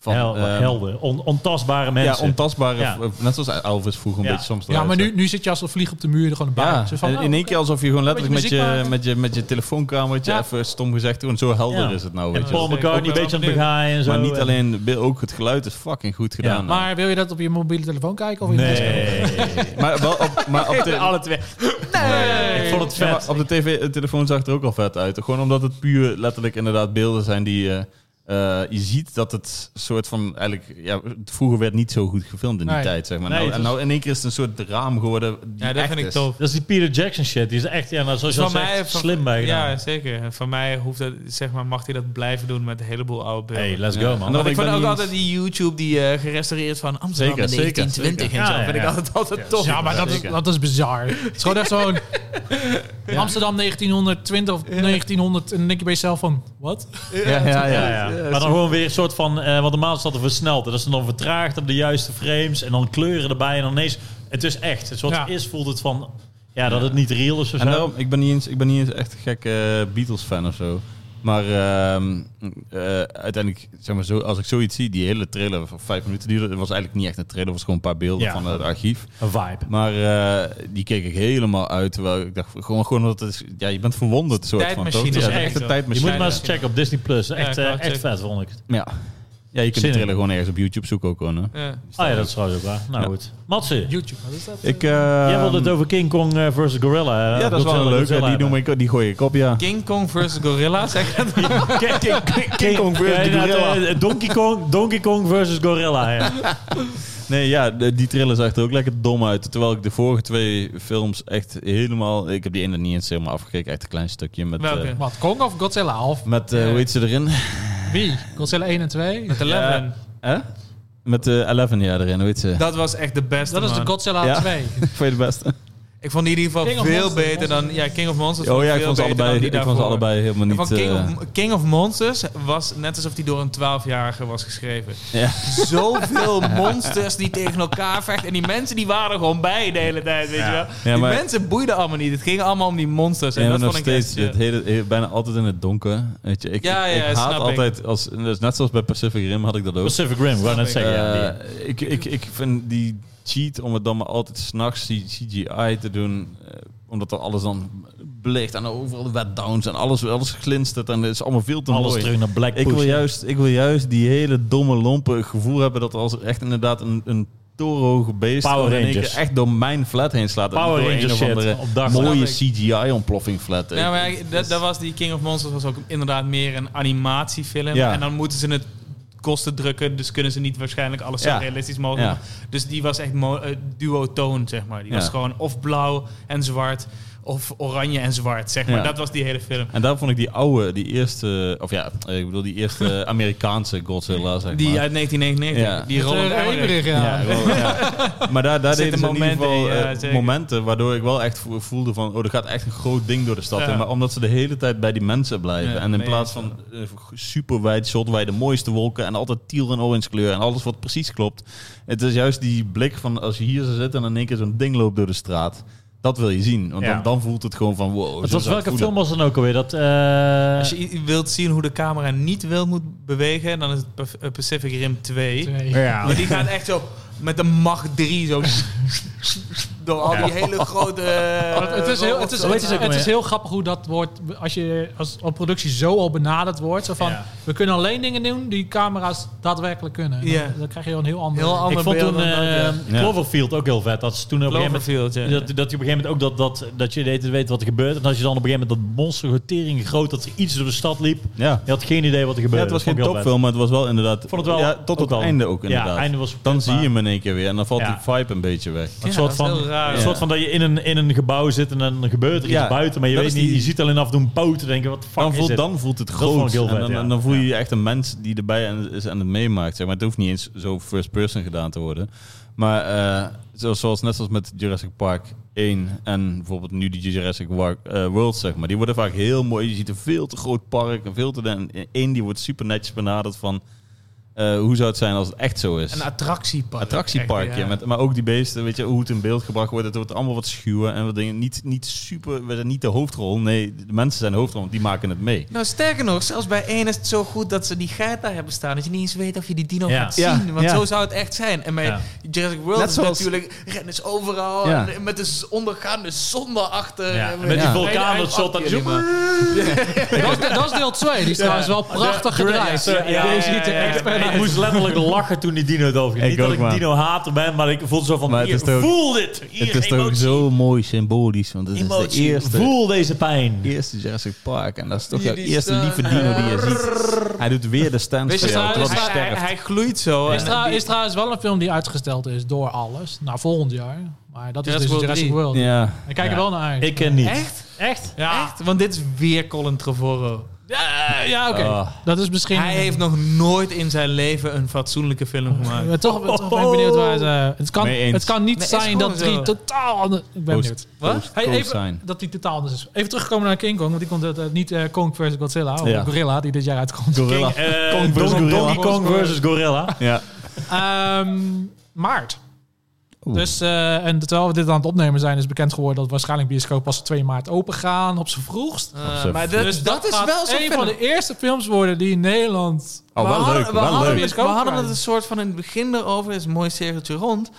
[SPEAKER 1] van
[SPEAKER 2] Hel-
[SPEAKER 1] eh,
[SPEAKER 2] helden, on- ontastbare mensen.
[SPEAKER 1] ja, ontastbare,
[SPEAKER 2] Ja.
[SPEAKER 1] v- net zoals Elvis vroeger een
[SPEAKER 2] Ja.
[SPEAKER 1] beetje soms.
[SPEAKER 4] Ja, maar
[SPEAKER 1] eruit
[SPEAKER 4] nu, nu zit je als een vlieg op de muur er gewoon bij.
[SPEAKER 1] Ja,
[SPEAKER 4] Zo van,
[SPEAKER 1] en
[SPEAKER 4] oh,
[SPEAKER 1] in één
[SPEAKER 4] oké.
[SPEAKER 1] keer alsof je gewoon letterlijk met
[SPEAKER 4] Beetje muziek
[SPEAKER 1] je,
[SPEAKER 4] maken.
[SPEAKER 1] met je, met je telefoonkamertje
[SPEAKER 4] Ja.
[SPEAKER 1] even stom gezegd doen. Zo helder
[SPEAKER 2] Ja.
[SPEAKER 1] is het nou,
[SPEAKER 2] en
[SPEAKER 1] weet je wel.
[SPEAKER 2] Paul
[SPEAKER 3] dat is
[SPEAKER 2] McCartney
[SPEAKER 3] ook
[SPEAKER 2] een
[SPEAKER 3] wel
[SPEAKER 2] beetje aan het
[SPEAKER 3] benieuwd.
[SPEAKER 2] begaaien en zo.
[SPEAKER 1] Maar niet
[SPEAKER 2] En-
[SPEAKER 1] alleen, be- ook het geluid is fucking goed gedaan.
[SPEAKER 2] Ja,
[SPEAKER 1] nou.
[SPEAKER 4] Maar wil je dat op je mobiele telefoon kijken? Of in de desktop?
[SPEAKER 2] Nee.
[SPEAKER 1] maar, wel op, maar op de,
[SPEAKER 2] Alle twee. Nee. Ik vond het
[SPEAKER 1] Ja,
[SPEAKER 2] vet.
[SPEAKER 1] maar op de tv, de telefoon zag het er ook al vet uit. Gewoon omdat het puur letterlijk inderdaad beelden zijn die... eh, eh, je ziet dat het soort van eigenlijk... Ja, vroeger werd niet zo goed gefilmd in die
[SPEAKER 4] Nee.
[SPEAKER 1] tijd, zeg maar.
[SPEAKER 2] Nee,
[SPEAKER 1] nou,
[SPEAKER 2] het
[SPEAKER 1] en
[SPEAKER 2] is-
[SPEAKER 1] nou in één keer is het een soort raam geworden die
[SPEAKER 3] Ja, dat
[SPEAKER 1] echt
[SPEAKER 3] vind ik
[SPEAKER 1] is.
[SPEAKER 3] tof.
[SPEAKER 2] Dat is die Peter Jackson shit. Die is echt, ja, nou, zoals je al
[SPEAKER 3] Van
[SPEAKER 2] zegt,
[SPEAKER 3] van-
[SPEAKER 2] slim bij gedaan.
[SPEAKER 3] Ja, zeker. Van mij hoeft dat, zeg maar, mag hij dat blijven doen met een heleboel oude beelden.
[SPEAKER 2] hey, let's
[SPEAKER 1] Ja.
[SPEAKER 2] go,
[SPEAKER 1] En
[SPEAKER 2] man.
[SPEAKER 1] dat-
[SPEAKER 3] Want ik
[SPEAKER 1] ik ben
[SPEAKER 3] vond ook
[SPEAKER 1] niet-
[SPEAKER 3] altijd die YouTube die eh, gerestaureerd van Amsterdam
[SPEAKER 1] Zeker,
[SPEAKER 3] in
[SPEAKER 1] zeker,
[SPEAKER 3] 1920 en zo.
[SPEAKER 2] zeker.
[SPEAKER 3] vind ik
[SPEAKER 2] Ja, ja,
[SPEAKER 3] altijd, altijd
[SPEAKER 2] ja.
[SPEAKER 3] tof.
[SPEAKER 4] Ja, maar dat is,
[SPEAKER 1] Zeker.
[SPEAKER 4] dat is bizar. Het is gewoon echt zo'n... Amsterdam 1920 of 1900. En dan denk je bij jezelf van... Wat?
[SPEAKER 1] Ja, ja,
[SPEAKER 2] Ja,
[SPEAKER 1] ja.
[SPEAKER 2] ja. Maar dan gewoon weer een soort van... eh want normaal is dat er versneld. En dat is dan vertraagd op de juiste frames. En dan kleuren erbij. En dan ineens... Het is echt. Het soort
[SPEAKER 4] Ja.
[SPEAKER 2] is voelt het van... Ja, dat het niet real is of
[SPEAKER 1] En
[SPEAKER 2] zo.
[SPEAKER 1] daarom, ik ben niet eens, ik ben niet eens echt een gek eh, Beatles-fan of zo. Maar ehm, eh, uiteindelijk, zeg maar zo, als ik zoiets zie, die hele trailer van vijf minuten duurde, het was eigenlijk niet echt een trailer, het was gewoon een paar beelden
[SPEAKER 2] Ja.
[SPEAKER 1] van het archief.
[SPEAKER 2] Een vibe.
[SPEAKER 1] Maar eh, die keek ik helemaal uit, terwijl ik dacht, gewoon, gewoon dat het is, ja, je bent verwonderd soort van. toch?
[SPEAKER 3] Tijdmachine
[SPEAKER 1] Ja,
[SPEAKER 2] is
[SPEAKER 1] het is echt een
[SPEAKER 3] echt
[SPEAKER 2] Je
[SPEAKER 3] zo.
[SPEAKER 2] moet
[SPEAKER 1] tijdmachine.
[SPEAKER 2] maar eens checken op Disney Plus. Echt,
[SPEAKER 3] ik wou
[SPEAKER 2] eh,
[SPEAKER 3] het
[SPEAKER 2] echt
[SPEAKER 3] checken.
[SPEAKER 2] vet vond ik het.
[SPEAKER 1] ja. ja, je kunt de
[SPEAKER 2] Zin in.
[SPEAKER 1] trailer gewoon ergens op YouTube zoeken ook gewoon. Hè.
[SPEAKER 3] Ja.
[SPEAKER 2] Ah ja, dat is trouwens ook waar. Nou
[SPEAKER 1] Ja.
[SPEAKER 2] goed. Matze,
[SPEAKER 4] YouTube, wat is dat?
[SPEAKER 1] Ik,
[SPEAKER 2] jij wilde
[SPEAKER 1] ehm,
[SPEAKER 2] het over King Kong eh, versus Gorilla. eh,
[SPEAKER 1] Ja, dat is wel
[SPEAKER 2] Godzilla,
[SPEAKER 1] een leuke.
[SPEAKER 2] Godzilla
[SPEAKER 1] Die, noem
[SPEAKER 2] hebben.
[SPEAKER 1] ik, die gooi ik op, ja.
[SPEAKER 3] King Kong versus Gorilla, zeg je dat?
[SPEAKER 2] King, King,
[SPEAKER 1] Kong versus
[SPEAKER 2] Ja, inderdaad,
[SPEAKER 1] Gorilla.
[SPEAKER 2] eh, Donkey Kong, Donkey Kong versus Gorilla. Ja.
[SPEAKER 1] Nee, ja, de- die trailer zag er ook lekker dom uit. Terwijl ik de vorige twee films echt helemaal... Ik heb die ene niet eens helemaal afgekeken. Echt een klein stukje met... eh,
[SPEAKER 3] Welke?
[SPEAKER 4] Wat, Kong of Godzilla? Of
[SPEAKER 1] met, eh, hoe heet ze erin?
[SPEAKER 4] wie? Godzilla 1 en 2?
[SPEAKER 3] Met Eleven.
[SPEAKER 1] Hè? Met eh Eleven, ja, erin. Hoe heet ze?
[SPEAKER 3] Dat was echt de beste,
[SPEAKER 4] Dat is de
[SPEAKER 3] man.
[SPEAKER 4] Godzilla
[SPEAKER 1] Ja.
[SPEAKER 4] 2.
[SPEAKER 1] Vond je de beste?
[SPEAKER 3] Ik vond die in ieder geval
[SPEAKER 4] King of
[SPEAKER 3] veel
[SPEAKER 4] Monsters,
[SPEAKER 3] beter dan... Ja, King of Monsters
[SPEAKER 1] Oh ja, ik
[SPEAKER 3] veel
[SPEAKER 1] vond ze
[SPEAKER 3] beter dan
[SPEAKER 1] allebei,
[SPEAKER 3] die
[SPEAKER 1] ik vond ze
[SPEAKER 3] daarvoor.
[SPEAKER 1] allebei helemaal niet...
[SPEAKER 3] Van King,
[SPEAKER 1] eh,
[SPEAKER 3] of, King of Monsters was net alsof die door een 12-jarige was geschreven.
[SPEAKER 1] ja.
[SPEAKER 3] Zoveel monsters die tegen elkaar vechten. En die mensen die waren er gewoon bij de hele tijd, weet je wel. die
[SPEAKER 1] maar-
[SPEAKER 3] mensen boeiden allemaal niet. Het ging allemaal om die monsters. En
[SPEAKER 1] En
[SPEAKER 3] dat
[SPEAKER 1] nog
[SPEAKER 3] vond ik
[SPEAKER 1] steeds,
[SPEAKER 3] echt, eh,
[SPEAKER 1] het hele, he- bijna altijd in het donker. Weet je, ik,
[SPEAKER 3] Ja,
[SPEAKER 1] ik
[SPEAKER 3] ja,
[SPEAKER 1] haat
[SPEAKER 3] snap ik.
[SPEAKER 1] altijd, als, dus net zoals bij Pacific Rim had ik dat ook.
[SPEAKER 2] Pacific Rim, wou net
[SPEAKER 3] ik.
[SPEAKER 2] zeggen. ja, die-
[SPEAKER 1] Eh, ik, ik, ik vind die cheat om het dan maar altijd s'nachts CGI te doen, eh, omdat er alles dan blikt en overal de wet downs en alles, alles glinstert en het is allemaal veel te
[SPEAKER 2] Alles
[SPEAKER 1] mooi.
[SPEAKER 2] terug naar Black
[SPEAKER 1] Ik wil,
[SPEAKER 2] Push.
[SPEAKER 1] juist, ik wil juist die hele domme lompe gevoel hebben dat als er echt inderdaad een, een torenhoge beest
[SPEAKER 2] Power
[SPEAKER 1] gewoon in één
[SPEAKER 2] Rangers.
[SPEAKER 1] keer echt door mijn flat heen slaat. en
[SPEAKER 2] Power
[SPEAKER 1] door
[SPEAKER 2] Rangers
[SPEAKER 1] een
[SPEAKER 2] shit,
[SPEAKER 1] of andere
[SPEAKER 2] op dag.
[SPEAKER 1] mooie
[SPEAKER 3] Snap
[SPEAKER 1] CGI-ontploffing flat. eh.
[SPEAKER 3] Ja, Nou, maar ja, dat, dat was die King of Monsters was ook inderdaad meer een animatiefilm.
[SPEAKER 1] Ja.
[SPEAKER 3] En dan moeten ze het kosten drukken, dus kunnen ze niet waarschijnlijk alles zo
[SPEAKER 1] Ja.
[SPEAKER 3] realistisch mogelijk.
[SPEAKER 1] Ja.
[SPEAKER 3] maken. Dus die was echt mo- eh, duotoon, zeg maar. Die
[SPEAKER 1] Ja.
[SPEAKER 3] was gewoon of blauw en zwart, of oranje en zwart, zeg maar.
[SPEAKER 1] Ja.
[SPEAKER 3] Dat was die hele film.
[SPEAKER 1] En daar vond ik die oude, die eerste, of ja, eh, ik bedoel die eerste Amerikaanse Godzilla, zeg
[SPEAKER 3] Die
[SPEAKER 1] maar.
[SPEAKER 3] uit 1999,
[SPEAKER 1] Ja.
[SPEAKER 3] die Roland
[SPEAKER 4] Eh,
[SPEAKER 3] Emmerich.
[SPEAKER 4] Emmerich, ja.
[SPEAKER 1] Ja, wel, ja. Maar daar, daar deden
[SPEAKER 3] Er zitten
[SPEAKER 1] ze in ieder
[SPEAKER 3] momenten in,
[SPEAKER 1] geval
[SPEAKER 3] ja,
[SPEAKER 1] eh,
[SPEAKER 3] zeker.
[SPEAKER 1] momenten waardoor ik wel echt vo- voelde van, oh, er gaat echt een groot ding door de stad.
[SPEAKER 3] Ja.
[SPEAKER 1] in. Maar omdat ze de hele tijd bij die mensen blijven.
[SPEAKER 3] Ja,
[SPEAKER 1] en in
[SPEAKER 3] nee,
[SPEAKER 1] plaats van eh, super wijd shot, waar je de mooiste wolken en altijd teal en orange kleur en alles wat precies klopt. Het is juist die blik van als je hier zou zitten en in één keer zo'n ding loopt door de straat. Dat wil je zien. Want
[SPEAKER 2] Ja.
[SPEAKER 1] dan, dan voelt het gewoon van, wow.
[SPEAKER 2] Het
[SPEAKER 1] zo
[SPEAKER 2] was
[SPEAKER 1] zou
[SPEAKER 2] welke
[SPEAKER 1] het
[SPEAKER 2] film
[SPEAKER 1] voelen.
[SPEAKER 2] was dan ook alweer? Dat, eh,
[SPEAKER 3] Als je i- wilt zien hoe de camera niet wil moet bewegen, dan is het Paf- eh, Pacific Rim 2.
[SPEAKER 4] Twee.
[SPEAKER 2] ja.
[SPEAKER 3] Maar die gaat echt zo met de macht 3 zo door al die hele grote. eh,
[SPEAKER 4] Het, het is heel, het, is,
[SPEAKER 2] Weet je
[SPEAKER 4] het, is,
[SPEAKER 2] zeker,
[SPEAKER 4] het is
[SPEAKER 2] maar-
[SPEAKER 4] heel grappig hoe dat wordt als je als op productie zo al benaderd wordt. Zo van,
[SPEAKER 2] Ja.
[SPEAKER 4] we kunnen alleen dingen doen die camera's daadwerkelijk kunnen.
[SPEAKER 3] Ja.
[SPEAKER 4] Dan, dan krijg je een heel ander...
[SPEAKER 3] heel ander
[SPEAKER 2] ik vond
[SPEAKER 3] beeld
[SPEAKER 2] toen
[SPEAKER 3] dan dat, ja.
[SPEAKER 2] eh, Cloverfield ook heel vet. Dat ze toen op een gegeven
[SPEAKER 3] Cloverfield, ja.
[SPEAKER 2] moment... Dat, dat je op een gegeven moment ook dat, dat, dat je deed weet wat er gebeurt. En als je dan op een gegeven moment dat monster gotering groot dat ze iets door de stad liep.
[SPEAKER 1] Ja.
[SPEAKER 2] Je had geen idee wat er
[SPEAKER 1] Ja,
[SPEAKER 2] gebeurde.
[SPEAKER 1] het was
[SPEAKER 2] Dat
[SPEAKER 1] geen
[SPEAKER 2] vond ik heel
[SPEAKER 1] topfilm, maar het was wel inderdaad...
[SPEAKER 2] vond het wel-
[SPEAKER 1] ja, tot
[SPEAKER 2] ook
[SPEAKER 1] het
[SPEAKER 2] wel.
[SPEAKER 1] einde ook
[SPEAKER 2] Ja,
[SPEAKER 1] inderdaad.
[SPEAKER 2] einde was
[SPEAKER 1] dan
[SPEAKER 2] vet,
[SPEAKER 1] zie je
[SPEAKER 2] maar-
[SPEAKER 1] hem in één keer weer en dan valt
[SPEAKER 2] Ja.
[SPEAKER 1] die vibe een beetje weg.
[SPEAKER 2] vet. Een,
[SPEAKER 3] Ja,
[SPEAKER 2] soort,
[SPEAKER 3] dat is
[SPEAKER 2] van,
[SPEAKER 3] heel raar,
[SPEAKER 2] een
[SPEAKER 1] ja.
[SPEAKER 2] soort van dat je in een, in een gebouw zit en dan gebeurt er
[SPEAKER 1] Ja,
[SPEAKER 2] iets buiten. Maar je
[SPEAKER 1] dat
[SPEAKER 2] weet
[SPEAKER 1] is
[SPEAKER 2] niet,
[SPEAKER 1] die-
[SPEAKER 2] je ziet alleen af en toe een poot en denken wat de fuck
[SPEAKER 1] Dan
[SPEAKER 2] is
[SPEAKER 1] voelt,
[SPEAKER 2] dit?
[SPEAKER 1] dan voelt het
[SPEAKER 2] vond
[SPEAKER 1] groot.
[SPEAKER 2] ik heel
[SPEAKER 1] en
[SPEAKER 2] vet,
[SPEAKER 1] dan,
[SPEAKER 2] ja.
[SPEAKER 1] dan voel je je echt een mens die erbij en, is en het meemaakt. Zeg maar. Het hoeft niet eens zo first person gedaan te worden. Maar eh, zoals, zoals net zoals met Jurassic Park 1 en bijvoorbeeld nu die Jurassic War- eh, World, zeg maar. Die worden vaak heel mooi. Je ziet een veel te groot park en veel te... En één die wordt super netjes benaderd van... eh, hoe zou het zijn als het echt zo is?
[SPEAKER 3] Een attractiepark.
[SPEAKER 1] attractieparkje.
[SPEAKER 3] Echt, ja.
[SPEAKER 1] Met, maar ook die beesten, weet je, hoe het in beeld gebracht wordt. Het wordt allemaal wat schuwen en wat dingen. Niet, niet super, we zijn niet de hoofdrol. Nee, de mensen zijn de hoofdrol, want die maken het mee.
[SPEAKER 3] Nou, sterker nog, zelfs bij één is het zo goed dat ze die geit daar hebben staan. Dat je niet eens weet of je die dino
[SPEAKER 2] Ja.
[SPEAKER 3] gaat
[SPEAKER 1] Ja.
[SPEAKER 3] zien. Want
[SPEAKER 1] Ja.
[SPEAKER 3] zo zou het echt zijn. En bij
[SPEAKER 2] Ja.
[SPEAKER 3] Jurassic World
[SPEAKER 1] Net
[SPEAKER 3] is
[SPEAKER 1] zoals-
[SPEAKER 3] natuurlijk rennen ze overal.
[SPEAKER 1] Ja.
[SPEAKER 3] en Met de z- ondergaande zon daarachter.
[SPEAKER 2] Ja,
[SPEAKER 3] En
[SPEAKER 2] met die
[SPEAKER 1] Ja.
[SPEAKER 2] vulkaan
[SPEAKER 3] en-
[SPEAKER 2] dat shot
[SPEAKER 3] en-
[SPEAKER 2] dat zo-
[SPEAKER 4] Dat, is, dat is deel 2. Die is trouwens wel prachtig gedraaid.
[SPEAKER 2] Ja, ja,
[SPEAKER 4] Deze ziet er
[SPEAKER 2] ja,
[SPEAKER 4] echt
[SPEAKER 2] ja.
[SPEAKER 4] vet
[SPEAKER 2] Ik
[SPEAKER 4] uit.
[SPEAKER 2] moest letterlijk lachen toen die dino doodging.
[SPEAKER 1] Ik
[SPEAKER 2] Niet dat
[SPEAKER 1] ook,
[SPEAKER 2] ik
[SPEAKER 1] man.
[SPEAKER 2] een dino hater ben, maar ik voelde zo van,
[SPEAKER 1] Maar het
[SPEAKER 2] hier,
[SPEAKER 1] is toch-
[SPEAKER 2] voel dit. Hier,
[SPEAKER 1] Het is toch ook
[SPEAKER 2] emotie,
[SPEAKER 1] zo mooi symbolisch, want het is de
[SPEAKER 2] emotie.
[SPEAKER 1] eerste,
[SPEAKER 2] Voel deze pijn.
[SPEAKER 1] eerste Jurassic Park. En dat is toch
[SPEAKER 3] Die-
[SPEAKER 1] jouw
[SPEAKER 3] die
[SPEAKER 1] eerste
[SPEAKER 3] staan-
[SPEAKER 1] lieve dino die je ziet. Hij doet weer de stand
[SPEAKER 3] Weet je,
[SPEAKER 1] voor jou,
[SPEAKER 3] hij,
[SPEAKER 1] terwijl hij
[SPEAKER 3] hij- hij-
[SPEAKER 1] sterft.
[SPEAKER 3] hij gloeit zo.
[SPEAKER 4] Is,
[SPEAKER 3] En
[SPEAKER 4] trouw-
[SPEAKER 3] die-
[SPEAKER 4] is trouwens wel een film die uitgesteld is door alles. Nou, volgend jaar. Maar dat is
[SPEAKER 3] Jurassic
[SPEAKER 4] dus
[SPEAKER 3] World
[SPEAKER 4] Jurassic
[SPEAKER 3] 3.
[SPEAKER 4] World.
[SPEAKER 1] Ja.
[SPEAKER 4] Ik kijk er
[SPEAKER 2] Ja.
[SPEAKER 4] wel naar uit.
[SPEAKER 2] Ik ken niet.
[SPEAKER 3] Echt?
[SPEAKER 2] Echt?
[SPEAKER 4] Ja.
[SPEAKER 3] Echt? Want dit is weer Colin Trevorrow.
[SPEAKER 4] Ja, ja oké.
[SPEAKER 1] Ah.
[SPEAKER 4] Dat is misschien...
[SPEAKER 3] Hij heeft nog nooit in zijn leven een fatsoenlijke film gemaakt.
[SPEAKER 4] Ja, toch, toch ben ik benieuwd waar ze... Het kan,
[SPEAKER 1] Mee eens.
[SPEAKER 4] het kan niet
[SPEAKER 3] Nee, is
[SPEAKER 4] zijn
[SPEAKER 3] gewoon
[SPEAKER 4] dat drie
[SPEAKER 3] zo.
[SPEAKER 4] totaal anders... Ik ben
[SPEAKER 1] Post-
[SPEAKER 4] benieuwd.
[SPEAKER 3] Wat?
[SPEAKER 4] Hey,
[SPEAKER 1] Co-sign.
[SPEAKER 4] even, dat die totaal anders is. Even terugkomen naar King Kong. Want die komt uit, eh, niet eh, Kong vs. Godzilla. Of
[SPEAKER 1] Ja.
[SPEAKER 4] Gorilla, die dit jaar uitkomt.
[SPEAKER 1] Gorilla.
[SPEAKER 2] Eh,
[SPEAKER 1] Kong versus
[SPEAKER 2] Don-
[SPEAKER 1] Gorilla.
[SPEAKER 2] Donkey Kong versus Gorilla.
[SPEAKER 1] Ja.
[SPEAKER 4] Ehm, maart.
[SPEAKER 1] Oeh.
[SPEAKER 4] Dus, eh, en terwijl we dit aan het opnemen zijn, is bekend geworden dat waarschijnlijk bioscoop pas 2 maart open gaan op zijn vroegst.
[SPEAKER 3] Eh,
[SPEAKER 1] zo.
[SPEAKER 3] maar dat,
[SPEAKER 4] dus
[SPEAKER 3] dat, is
[SPEAKER 4] gaat
[SPEAKER 3] wel zo'n
[SPEAKER 4] een
[SPEAKER 3] film.
[SPEAKER 4] van de eerste films worden die in Nederland.
[SPEAKER 1] Oh,
[SPEAKER 3] we
[SPEAKER 1] wel
[SPEAKER 3] hadden,
[SPEAKER 1] leuk,
[SPEAKER 3] we
[SPEAKER 1] wel
[SPEAKER 3] hadden dus
[SPEAKER 1] leuk.
[SPEAKER 3] het- we
[SPEAKER 4] Bioscoop
[SPEAKER 3] hadden het
[SPEAKER 4] krijgen.
[SPEAKER 3] een soort van in het begin erover, is een mooi cirkeltje rond,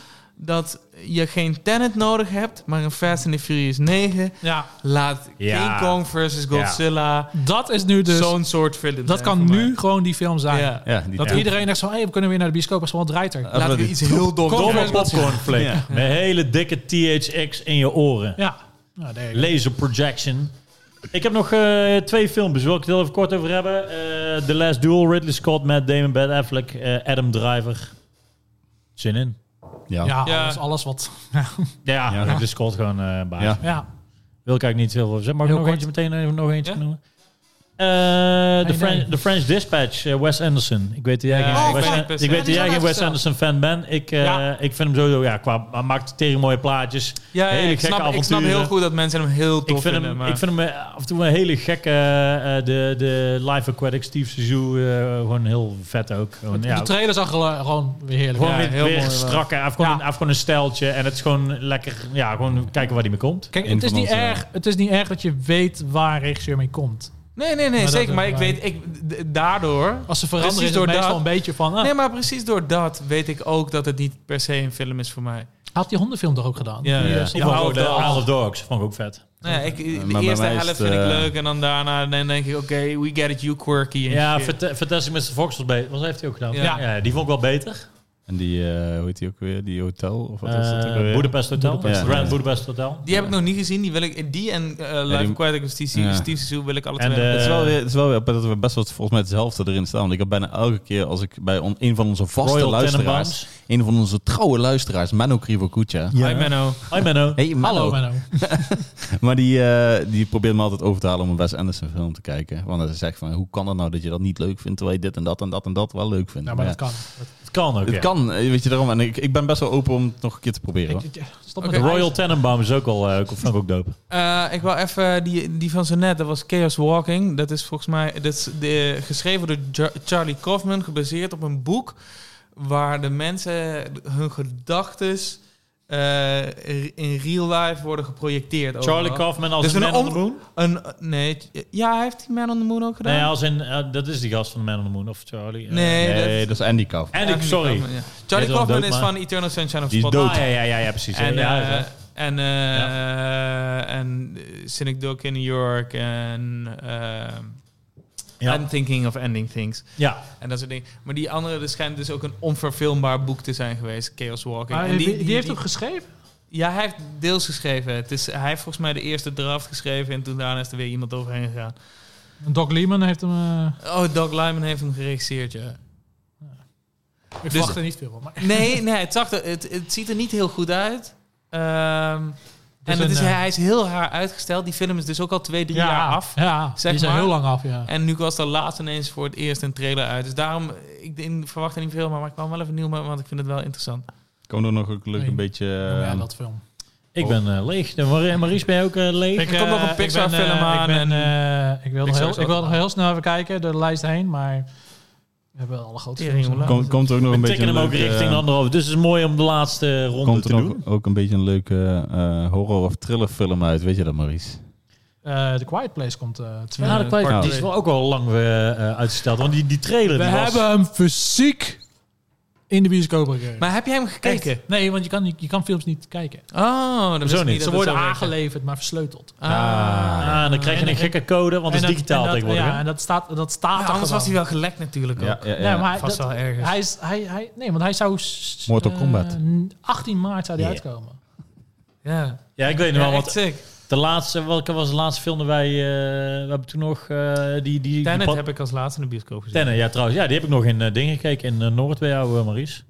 [SPEAKER 3] dat je geen Tenet nodig hebt, maar een Fast and the Furious 9
[SPEAKER 4] Ja,
[SPEAKER 3] laat
[SPEAKER 2] Ja.
[SPEAKER 3] King Kong versus Godzilla
[SPEAKER 4] dat is nu dus.
[SPEAKER 3] zo'n soort film
[SPEAKER 4] dat
[SPEAKER 3] zijn
[SPEAKER 4] kan
[SPEAKER 3] voor mij.
[SPEAKER 4] nu gewoon die film zijn.
[SPEAKER 3] Ja.
[SPEAKER 1] Ja, die
[SPEAKER 4] Dat
[SPEAKER 1] ja.
[SPEAKER 4] iedereen echt zo, hey, we kunnen weer naar de bioscoop, als wel draait er.
[SPEAKER 1] Als
[SPEAKER 3] Laten
[SPEAKER 1] we
[SPEAKER 3] we
[SPEAKER 1] die-
[SPEAKER 3] iets heel doms
[SPEAKER 4] Kom.
[SPEAKER 3] doen.
[SPEAKER 2] Domme popcornflake.
[SPEAKER 1] Ja.
[SPEAKER 2] Met hele dikke THX in je oren.
[SPEAKER 4] Ja. Nou, daar heb je-
[SPEAKER 2] Laser projection. Ik heb nog eh, twee filmpjes. Wil ik het heel even kort over hebben? Eh, The Last Duel, Ridley Scott, Matt Damon, Ben Affleck, eh, Adam Driver. Zin in.
[SPEAKER 1] Ja.
[SPEAKER 4] ja,
[SPEAKER 3] Ja.
[SPEAKER 4] alles, alles wat.
[SPEAKER 2] Ja,
[SPEAKER 1] Ja.
[SPEAKER 2] Ridley Scott gewoon eh baas.
[SPEAKER 1] Ja.
[SPEAKER 4] Ja.
[SPEAKER 2] Wil ik eigenlijk niet veel over zeggen. Mag ik
[SPEAKER 4] Heel
[SPEAKER 2] nog
[SPEAKER 4] kort.
[SPEAKER 2] eentje meteen eh, nog eentje
[SPEAKER 3] Ja?
[SPEAKER 2] noemen? Eh, the,
[SPEAKER 4] Geen
[SPEAKER 2] French,
[SPEAKER 4] idee.
[SPEAKER 2] the French Dispatch, eh, Wes Anderson. Ik weet dat jij
[SPEAKER 3] Ja,
[SPEAKER 2] geen,
[SPEAKER 3] oh,
[SPEAKER 2] Wes,
[SPEAKER 3] fuck,
[SPEAKER 2] An-
[SPEAKER 3] best.
[SPEAKER 2] ik
[SPEAKER 3] Ja,
[SPEAKER 2] weet dat
[SPEAKER 4] die is
[SPEAKER 2] jij
[SPEAKER 4] al
[SPEAKER 2] geen Wes
[SPEAKER 4] uitgesteld.
[SPEAKER 2] Anderson fan bent. Ik, eh,
[SPEAKER 4] Ja.
[SPEAKER 2] ik vind hem sowieso, ja, qua hij maakt tering mooie plaatjes.
[SPEAKER 3] Ja,
[SPEAKER 2] Hele
[SPEAKER 3] ja, ik,
[SPEAKER 2] gekke
[SPEAKER 3] snap, ik snap
[SPEAKER 2] avonturen.
[SPEAKER 3] heel goed dat mensen hem heel tof
[SPEAKER 2] Ik vind,
[SPEAKER 3] vinden.
[SPEAKER 2] hem,
[SPEAKER 3] maar-
[SPEAKER 2] ik vind hem eh, af en toe een hele gekke, eh, eh, de, de Live Aquatic Steve Sezou, gewoon heel vet ook. Gewoon, ja,
[SPEAKER 4] De trailer zag er, eh, gewoon weer heerlijk
[SPEAKER 2] gewoon
[SPEAKER 4] uit. eh.
[SPEAKER 2] weer,
[SPEAKER 3] heel
[SPEAKER 2] weer
[SPEAKER 3] mooi eh, wel.
[SPEAKER 2] strakker, hij heeft gewoon,
[SPEAKER 4] Ja.
[SPEAKER 2] hij heeft gewoon een stijltje en het is gewoon lekker, ja, gewoon kijken waar hij mee komt.
[SPEAKER 4] Kijk,
[SPEAKER 1] Een
[SPEAKER 4] het is,
[SPEAKER 1] van
[SPEAKER 4] niet
[SPEAKER 1] onze-
[SPEAKER 4] erg, het is niet erg dat je weet waar regisseur mee komt.
[SPEAKER 3] nee, nee, nee,
[SPEAKER 4] dat
[SPEAKER 3] zeker. Maar ik
[SPEAKER 4] hebben
[SPEAKER 3] weet, ik, d- daardoor...
[SPEAKER 4] Als ze veranderen
[SPEAKER 3] Precies
[SPEAKER 4] is het
[SPEAKER 3] door dat-
[SPEAKER 4] meestal een beetje van... ah,
[SPEAKER 3] Nee, maar precies door dat weet ik ook dat het niet per se een film is voor mij.
[SPEAKER 4] Had die hondenfilm toch ook gedaan?
[SPEAKER 3] Ja,
[SPEAKER 1] Ja.
[SPEAKER 3] ja.
[SPEAKER 2] Of
[SPEAKER 3] Hour
[SPEAKER 2] ook
[SPEAKER 3] of
[SPEAKER 2] de
[SPEAKER 3] Dogs.
[SPEAKER 2] Isle of Dogs, vond ik ook vet.
[SPEAKER 3] Nou ja, ik, de
[SPEAKER 1] Eh, bij
[SPEAKER 3] eerste
[SPEAKER 1] mij is
[SPEAKER 3] helft
[SPEAKER 1] het,
[SPEAKER 3] vind ik
[SPEAKER 1] eh,
[SPEAKER 3] leuk en dan daarna dan denk ik, oké, we get it, you quirky. En
[SPEAKER 2] Ja,
[SPEAKER 3] shit.
[SPEAKER 2] Fant- Fantastic Mr. Fox was beter. Wat heeft hij ook gedaan?
[SPEAKER 3] Ja.
[SPEAKER 2] die vond ik wel beter.
[SPEAKER 1] En die, eh hoe heet die ook weer? Die hotel? Of wat was dat ook
[SPEAKER 2] Eh,
[SPEAKER 1] weer?
[SPEAKER 2] Budapest Hotel.
[SPEAKER 1] Budapest. Ja.
[SPEAKER 2] Grand Budapest Hotel.
[SPEAKER 3] Die heb ik nog niet gezien. Die, wil ik, die en eh Live
[SPEAKER 1] die-
[SPEAKER 3] Aquatic of Steve,
[SPEAKER 1] Ja.
[SPEAKER 3] Steve Zissou wil ik alle
[SPEAKER 2] En
[SPEAKER 3] twee.
[SPEAKER 2] de-
[SPEAKER 3] hebben.
[SPEAKER 1] Eh, Het is wel weer, het is wel weer dat we best wel volgens mij hetzelfde erin staan. Want ik heb bijna elke keer als ik bij on- een van onze vaste
[SPEAKER 2] Royal
[SPEAKER 1] luisteraars, een van onze trouwe luisteraars, Mano Krivokucha.
[SPEAKER 2] Ja.
[SPEAKER 3] Hi Menno.
[SPEAKER 2] Hi Menno.
[SPEAKER 1] Hey, Menno.
[SPEAKER 4] Hallo Menno.
[SPEAKER 1] Maar die, eh, die probeert me altijd over te halen om een Wes Anderson film te kijken. Want hij zegt van, hoe kan het nou dat je dat niet leuk vindt, terwijl je dit en dat en dat en dat wel leuk vindt.
[SPEAKER 4] Ja, Nou, maar dat
[SPEAKER 1] Ja.
[SPEAKER 4] kan.
[SPEAKER 2] Het kan ook,
[SPEAKER 1] Het
[SPEAKER 2] ja.
[SPEAKER 1] kan, eh, weet je daarom. En ik, ik ben best wel open om het nog een keer te proberen. hoor.
[SPEAKER 4] Ik- ik- Stop
[SPEAKER 3] Oké.
[SPEAKER 4] met de
[SPEAKER 2] Royal Tenenbaum is ook al, eh, vond ik ook dope.
[SPEAKER 3] Eh, ik wil even die, die van zo net, dat was Chaos Walking. Dat is volgens mij dat is de, geschreven door Ja- Charlie Kaufman, gebaseerd op een boek waar de mensen hun gedachten eh, in real life worden geprojecteerd.
[SPEAKER 2] Charlie
[SPEAKER 3] overal.
[SPEAKER 2] Kaufman als
[SPEAKER 3] Dus
[SPEAKER 2] een
[SPEAKER 3] een
[SPEAKER 2] Man on the
[SPEAKER 3] on-
[SPEAKER 2] Moon?
[SPEAKER 3] Een, nee, ja, hij heeft die Man on the Moon ook gedaan?
[SPEAKER 2] Nee, als in, eh, dat is die gast van Man on the Moon, of Charlie. eh.
[SPEAKER 3] Nee,
[SPEAKER 1] Nee,
[SPEAKER 3] dat-
[SPEAKER 1] dat is Andy Kauf.
[SPEAKER 2] En ik, sorry.
[SPEAKER 3] Kaufman, ja.
[SPEAKER 2] Hij is
[SPEAKER 3] Charlie
[SPEAKER 2] wel
[SPEAKER 3] Kaufman
[SPEAKER 2] dood,
[SPEAKER 3] is
[SPEAKER 2] maar-
[SPEAKER 3] van Eternal Sunshine of the
[SPEAKER 1] Die is
[SPEAKER 3] Spot.
[SPEAKER 1] dood.
[SPEAKER 2] Ah, ja, ja, ja, ja, precies.
[SPEAKER 3] En,
[SPEAKER 2] ja,
[SPEAKER 3] eh,
[SPEAKER 2] ja, ja.
[SPEAKER 3] en, eh, en eh, Cynic Duck in New York en ehm,
[SPEAKER 2] Ja.
[SPEAKER 3] I'm Thinking of Ending Things
[SPEAKER 2] ja.
[SPEAKER 3] en dat soort dingen. Maar die andere, er schijnt dus ook een onverfilmbaar boek te zijn geweest, Chaos Walking.
[SPEAKER 4] Ah,
[SPEAKER 3] en
[SPEAKER 4] die, die heeft hem geschreven?
[SPEAKER 3] Ja, hij heeft deels geschreven. Het is, hij heeft volgens mij de eerste draft geschreven en toen daarna is er weer iemand overheen gegaan.
[SPEAKER 4] Doc Lehman heeft hem... eh,
[SPEAKER 3] Oh, Doug Lyman heeft hem geregisseerd, ja.
[SPEAKER 4] ik
[SPEAKER 3] Dus-
[SPEAKER 4] verwacht er niet veel van. Maar,
[SPEAKER 3] Nee, nee het, zag er, het, het ziet er niet heel goed uit. Ehm,
[SPEAKER 4] Dus
[SPEAKER 3] en het
[SPEAKER 4] een,
[SPEAKER 3] is,
[SPEAKER 4] eh,
[SPEAKER 3] hij is heel haar uitgesteld. Die film is dus ook al twee, drie jaar af.
[SPEAKER 4] Ja,
[SPEAKER 3] Zeg
[SPEAKER 4] die zijn
[SPEAKER 3] maar.
[SPEAKER 4] heel lang af, ja.
[SPEAKER 3] En nu was er laatst ineens voor het eerst een trailer uit. Dus daarom, ik denk- verwacht er niet veel, maar ik kwam wel even nieuw, maar- want ik vind het wel interessant.
[SPEAKER 1] Komen er nog ook leuk
[SPEAKER 4] Nee.
[SPEAKER 1] een beetje... eh,
[SPEAKER 4] ja, dat film.
[SPEAKER 2] Ik ben eh, leeg. De Mar- Maries, ben je ook eh, leeg?
[SPEAKER 3] Ik- er komt nog een
[SPEAKER 4] eh, ik
[SPEAKER 3] Pixar
[SPEAKER 4] ben, eh,
[SPEAKER 3] film aan
[SPEAKER 4] Ik, ben, eh, ik wil, nog
[SPEAKER 3] Pixar
[SPEAKER 4] heel,
[SPEAKER 3] is
[SPEAKER 4] ik wil
[SPEAKER 3] ook-
[SPEAKER 4] nog heel snel even kijken door de lijst heen, maar we hebben alle grote
[SPEAKER 3] Tering,
[SPEAKER 4] films.
[SPEAKER 3] hoe
[SPEAKER 4] aan.
[SPEAKER 3] lang?
[SPEAKER 1] Komt, komt er ook nog een
[SPEAKER 2] We
[SPEAKER 1] beetje
[SPEAKER 2] tikken
[SPEAKER 1] een
[SPEAKER 2] hem ook
[SPEAKER 1] leuke,
[SPEAKER 2] richting
[SPEAKER 1] eh,
[SPEAKER 2] anderhalf. Dus het is mooi om de laatste ronde
[SPEAKER 1] Komt
[SPEAKER 2] te
[SPEAKER 1] er
[SPEAKER 2] doen.
[SPEAKER 1] ook, ook een beetje een leuke eh, horror- of thrillerfilm uit. Weet je dat, Maurice?
[SPEAKER 4] Eh, The Quiet Place komt eh twee.
[SPEAKER 2] Ja, de kwijt,
[SPEAKER 1] Part
[SPEAKER 2] die is
[SPEAKER 3] twee.
[SPEAKER 2] wel ook al lang eh, eh, uitgesteld. Want die, die trailer
[SPEAKER 4] We
[SPEAKER 2] die was...
[SPEAKER 4] hebben hem fysiek in de bioscoop gekregen.
[SPEAKER 3] Maar heb jij hem gekeken?
[SPEAKER 4] Echt? Nee, want je kan, niet- je kan films niet kijken.
[SPEAKER 3] Oh, dat wist ik
[SPEAKER 2] niet.
[SPEAKER 3] niet.
[SPEAKER 4] Ze
[SPEAKER 3] dat
[SPEAKER 4] worden
[SPEAKER 3] het zo werkte.
[SPEAKER 4] aangeleverd, maar versleuteld.
[SPEAKER 3] Ah.
[SPEAKER 2] Ah, en dan krijg je
[SPEAKER 4] En-
[SPEAKER 2] een
[SPEAKER 4] en-
[SPEAKER 2] gekke code, want het
[SPEAKER 4] En
[SPEAKER 2] is
[SPEAKER 4] dat- en
[SPEAKER 2] digitaal
[SPEAKER 4] dat-
[SPEAKER 2] tegenwoordig.
[SPEAKER 4] Ja,
[SPEAKER 2] hè?
[SPEAKER 4] en dat staat, dat staat
[SPEAKER 3] Ja,
[SPEAKER 4] er
[SPEAKER 3] Ah, anders was hij
[SPEAKER 4] gewoon.
[SPEAKER 3] wel gelekt natuurlijk ook.
[SPEAKER 4] Nee, maar hij,
[SPEAKER 3] Vast
[SPEAKER 4] dat-
[SPEAKER 3] wel ergens.
[SPEAKER 4] hij is, hij, hij, nee, want hij zou... s-
[SPEAKER 1] Mortal
[SPEAKER 4] eh,
[SPEAKER 1] Kombat.
[SPEAKER 4] 18 maart zou die
[SPEAKER 2] Ja.
[SPEAKER 4] uitkomen.
[SPEAKER 3] Ja,
[SPEAKER 2] Ja, ik weet nog wel,
[SPEAKER 3] Ja, echt
[SPEAKER 2] want
[SPEAKER 3] sick.
[SPEAKER 2] de laatste, welke was de laatste film dat wij... eh, we hebben toen nog eh, die... die, die
[SPEAKER 3] Tenet
[SPEAKER 2] pad-
[SPEAKER 3] heb ik als laatste in de bioscoop gezien.
[SPEAKER 2] Tenet, ja trouwens. Ja, die heb ik nog in eh, dingen gekeken in eh, Noord bij jou, eh, Maurice.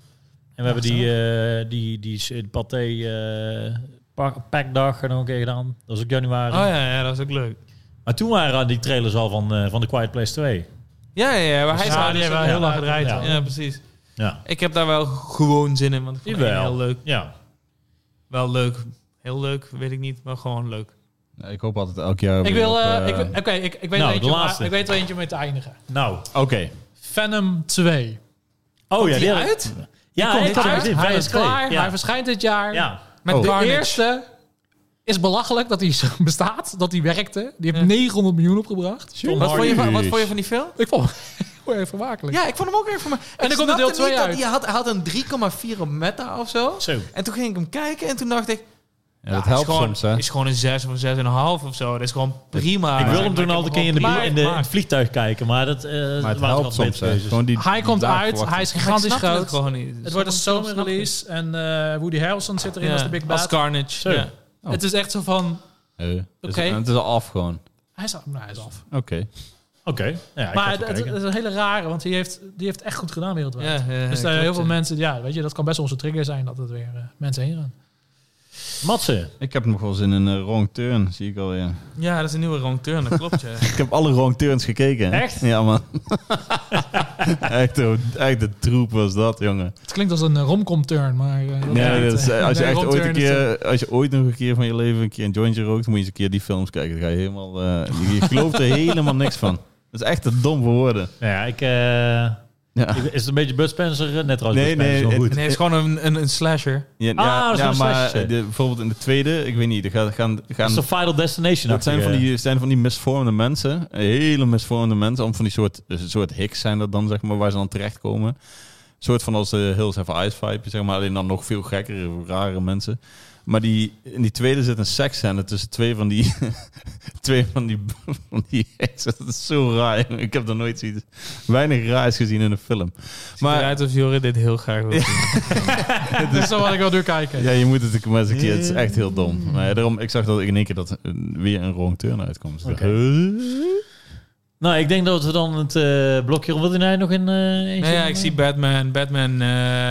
[SPEAKER 2] En we hebben die, eh, die, die, die paté eh, pa- pakdag nog een keer gedaan. Dat was ook januari.
[SPEAKER 3] Oh ja, ja, dat is ook leuk.
[SPEAKER 2] Maar toen waren die trailers al van, eh, van The Quiet Place 2.
[SPEAKER 3] Ja, ja, ja maar hij
[SPEAKER 4] Ja,
[SPEAKER 3] is
[SPEAKER 4] die hebben wel heel lang gedraaid,
[SPEAKER 3] Ja.
[SPEAKER 2] hoor.
[SPEAKER 3] precies.
[SPEAKER 2] Ja.
[SPEAKER 3] Ik heb daar wel gewoon zin in, want ik vond het
[SPEAKER 2] Jawel.
[SPEAKER 3] heel leuk.
[SPEAKER 2] Ja.
[SPEAKER 3] Wel leuk. Heel leuk, weet ik niet, maar gewoon leuk.
[SPEAKER 1] Ja, Ik hoop altijd elk jaar
[SPEAKER 4] Ik
[SPEAKER 1] weer
[SPEAKER 4] wil...
[SPEAKER 1] op,
[SPEAKER 4] eh,
[SPEAKER 1] eh,
[SPEAKER 4] ik wil- Oké, ik, ik, weet
[SPEAKER 2] Nou,
[SPEAKER 4] er
[SPEAKER 2] de
[SPEAKER 4] eentje om-
[SPEAKER 2] laatste.
[SPEAKER 4] ik weet er eentje om mee te eindigen.
[SPEAKER 2] Nou.
[SPEAKER 1] Oké.
[SPEAKER 4] Venom 2.
[SPEAKER 2] Oh ja,
[SPEAKER 3] die
[SPEAKER 2] had-
[SPEAKER 3] uit?
[SPEAKER 2] Ja,
[SPEAKER 4] komt
[SPEAKER 2] ik heb
[SPEAKER 4] uit. hij,
[SPEAKER 2] het in
[SPEAKER 4] is
[SPEAKER 2] 5 en 2.
[SPEAKER 4] klaar.
[SPEAKER 2] Ja.
[SPEAKER 4] Hij verschijnt dit jaar.
[SPEAKER 2] Ja.
[SPEAKER 3] Met
[SPEAKER 1] Oh.
[SPEAKER 3] de
[SPEAKER 4] De
[SPEAKER 3] Carnage.
[SPEAKER 4] eerste is belachelijk dat hij zo bestaat, dat hij werkte. Die heeft
[SPEAKER 3] Ja.
[SPEAKER 4] 900 miljoen opgebracht.
[SPEAKER 2] Tom
[SPEAKER 3] Wat vond, je van, wat
[SPEAKER 1] Jeez.
[SPEAKER 3] vond je van die film?
[SPEAKER 4] Ik vond hem heel vermakelijk.
[SPEAKER 3] Ja, ik vond hem ook even... Maar
[SPEAKER 4] En
[SPEAKER 3] ik
[SPEAKER 4] er komt er deel
[SPEAKER 3] snapte
[SPEAKER 4] twee
[SPEAKER 3] niet dat
[SPEAKER 4] uit.
[SPEAKER 3] Hij had, hij had een 3,4 op meta of zo.
[SPEAKER 2] Zo.
[SPEAKER 3] En toen ging ik hem kijken en toen dacht ik...
[SPEAKER 1] Ja, dat
[SPEAKER 3] het is
[SPEAKER 1] helpt
[SPEAKER 3] gewoon,
[SPEAKER 1] soms, hè?
[SPEAKER 3] is gewoon een 6 of een 6,5 of zo. Dat is gewoon prima.
[SPEAKER 2] Ik wil hem
[SPEAKER 3] Maar
[SPEAKER 2] toen
[SPEAKER 3] heb
[SPEAKER 2] altijd een keer in, de,
[SPEAKER 3] gewoon-
[SPEAKER 2] in, de, in
[SPEAKER 3] Maar-
[SPEAKER 2] het vliegtuig kijken, maar dat eh
[SPEAKER 1] Maar het
[SPEAKER 2] waren
[SPEAKER 1] helpt
[SPEAKER 2] wat
[SPEAKER 1] soms,
[SPEAKER 2] betere
[SPEAKER 1] hè?
[SPEAKER 2] keuzes.
[SPEAKER 1] Gewoon die,
[SPEAKER 4] Hij komt
[SPEAKER 1] die
[SPEAKER 4] uit,
[SPEAKER 1] daagverwachting.
[SPEAKER 4] hij is
[SPEAKER 3] maar ik
[SPEAKER 4] gigantisch
[SPEAKER 3] snapte het
[SPEAKER 4] groot.
[SPEAKER 3] gewoon niet.
[SPEAKER 4] Het wordt een
[SPEAKER 3] Sommige
[SPEAKER 4] summer
[SPEAKER 3] films snap ik.
[SPEAKER 4] release en eh, Woody Harrelson zit erin
[SPEAKER 3] Ja,
[SPEAKER 4] als de big
[SPEAKER 3] Als
[SPEAKER 4] bad.
[SPEAKER 3] Carnage.
[SPEAKER 2] Zo.
[SPEAKER 3] Ja.
[SPEAKER 4] Oh. Het is echt zo van,
[SPEAKER 1] Eh, het is-
[SPEAKER 4] Oké.
[SPEAKER 1] Het is al af gewoon.
[SPEAKER 4] hij is, af- nou, hij is af.
[SPEAKER 1] Oké.
[SPEAKER 2] Oké. Ja, ik ga
[SPEAKER 4] maar
[SPEAKER 2] even
[SPEAKER 4] het, het
[SPEAKER 2] kijken.
[SPEAKER 4] is een hele rare, want die heeft, die heeft echt goed gedaan wereldwijd.
[SPEAKER 3] Ja, ja, ja,
[SPEAKER 4] dus daar
[SPEAKER 3] klopt,
[SPEAKER 4] heel veel
[SPEAKER 3] ja.
[SPEAKER 4] mensen, ja, weet je, dat kan best wel onze trigger zijn dat het weer eh, mensen heen gaan.
[SPEAKER 2] Matsen.
[SPEAKER 1] Ik heb nog wel eens in een eh, wrong turn, zie ik al. Ja.
[SPEAKER 3] Ja, dat is een nieuwe wrong turn, dat klopt. Ja.
[SPEAKER 1] Ik heb alle wrong turns gekeken. hè?
[SPEAKER 2] Echt?
[SPEAKER 1] Ja, man. echt, een- echt de troep was dat, jongen.
[SPEAKER 4] Het klinkt als een eh, romcom turn, maar eh, dat-
[SPEAKER 1] Nee, dat is, eh, als je
[SPEAKER 4] Nee,
[SPEAKER 1] echt ooit een
[SPEAKER 4] romturn is, eh,
[SPEAKER 1] keer, als je ooit nog een keer van je leven een keer een jointje rookt, moet je eens een keer die films kijken. Dan ga je helemaal, eh, je gelooft er helemaal niks van. Dat is echt te dom voor woorden.
[SPEAKER 2] Nou ja, ik, eh,
[SPEAKER 1] Ja.
[SPEAKER 2] ik- is het een beetje Bud Spencer? eh, Net trouwens
[SPEAKER 1] Nee,
[SPEAKER 2] Bud
[SPEAKER 1] nee,
[SPEAKER 2] Spencer, wel goed.
[SPEAKER 3] Nee, het is gewoon een, een, een slasher.
[SPEAKER 1] Ja,
[SPEAKER 2] Ah,
[SPEAKER 1] ja,
[SPEAKER 2] dat is
[SPEAKER 1] ja,
[SPEAKER 2] een
[SPEAKER 1] maar
[SPEAKER 2] slashje.
[SPEAKER 1] eh, de- bijvoorbeeld in de tweede, ik weet niet, er gaan, gaan,
[SPEAKER 2] Dat
[SPEAKER 1] gaan
[SPEAKER 2] is de Final Destination.
[SPEAKER 1] dat zijn van,
[SPEAKER 2] achtige-
[SPEAKER 1] die, zijn van die misvormde mensen, hele misvormde mensen, om van die soort, dus een soort hicks zijn dat dan, zeg maar, waar ze dan terechtkomen. Een soort van als de Hills Have Ice vibe, zeg maar, alleen dan nog veel gekkere, rare mensen. Maar die, in die tweede zit een seksscène tussen twee van die, twee van die, van die hicks. Dat is zo raar, jongen. ik heb daar nooit zoiets, weinig raars gezien in een film.
[SPEAKER 3] Maar
[SPEAKER 1] Maar
[SPEAKER 3] eruit of Jorrit dit heel graag wil zien.
[SPEAKER 4] dat is wel wat ik wil doorkijken.
[SPEAKER 1] ja, je moet het maar eens een keer, het is echt heel dom. Maar ja, daarom, ik zag dat in één keer dat eh, weer een wrong turn Dus uitkomt.
[SPEAKER 2] Oké. Nou, ik denk dat we dan het eh, blokje... Wil hij nog in eh eentje?
[SPEAKER 3] Nee, ja, ik zie Batman. Batman...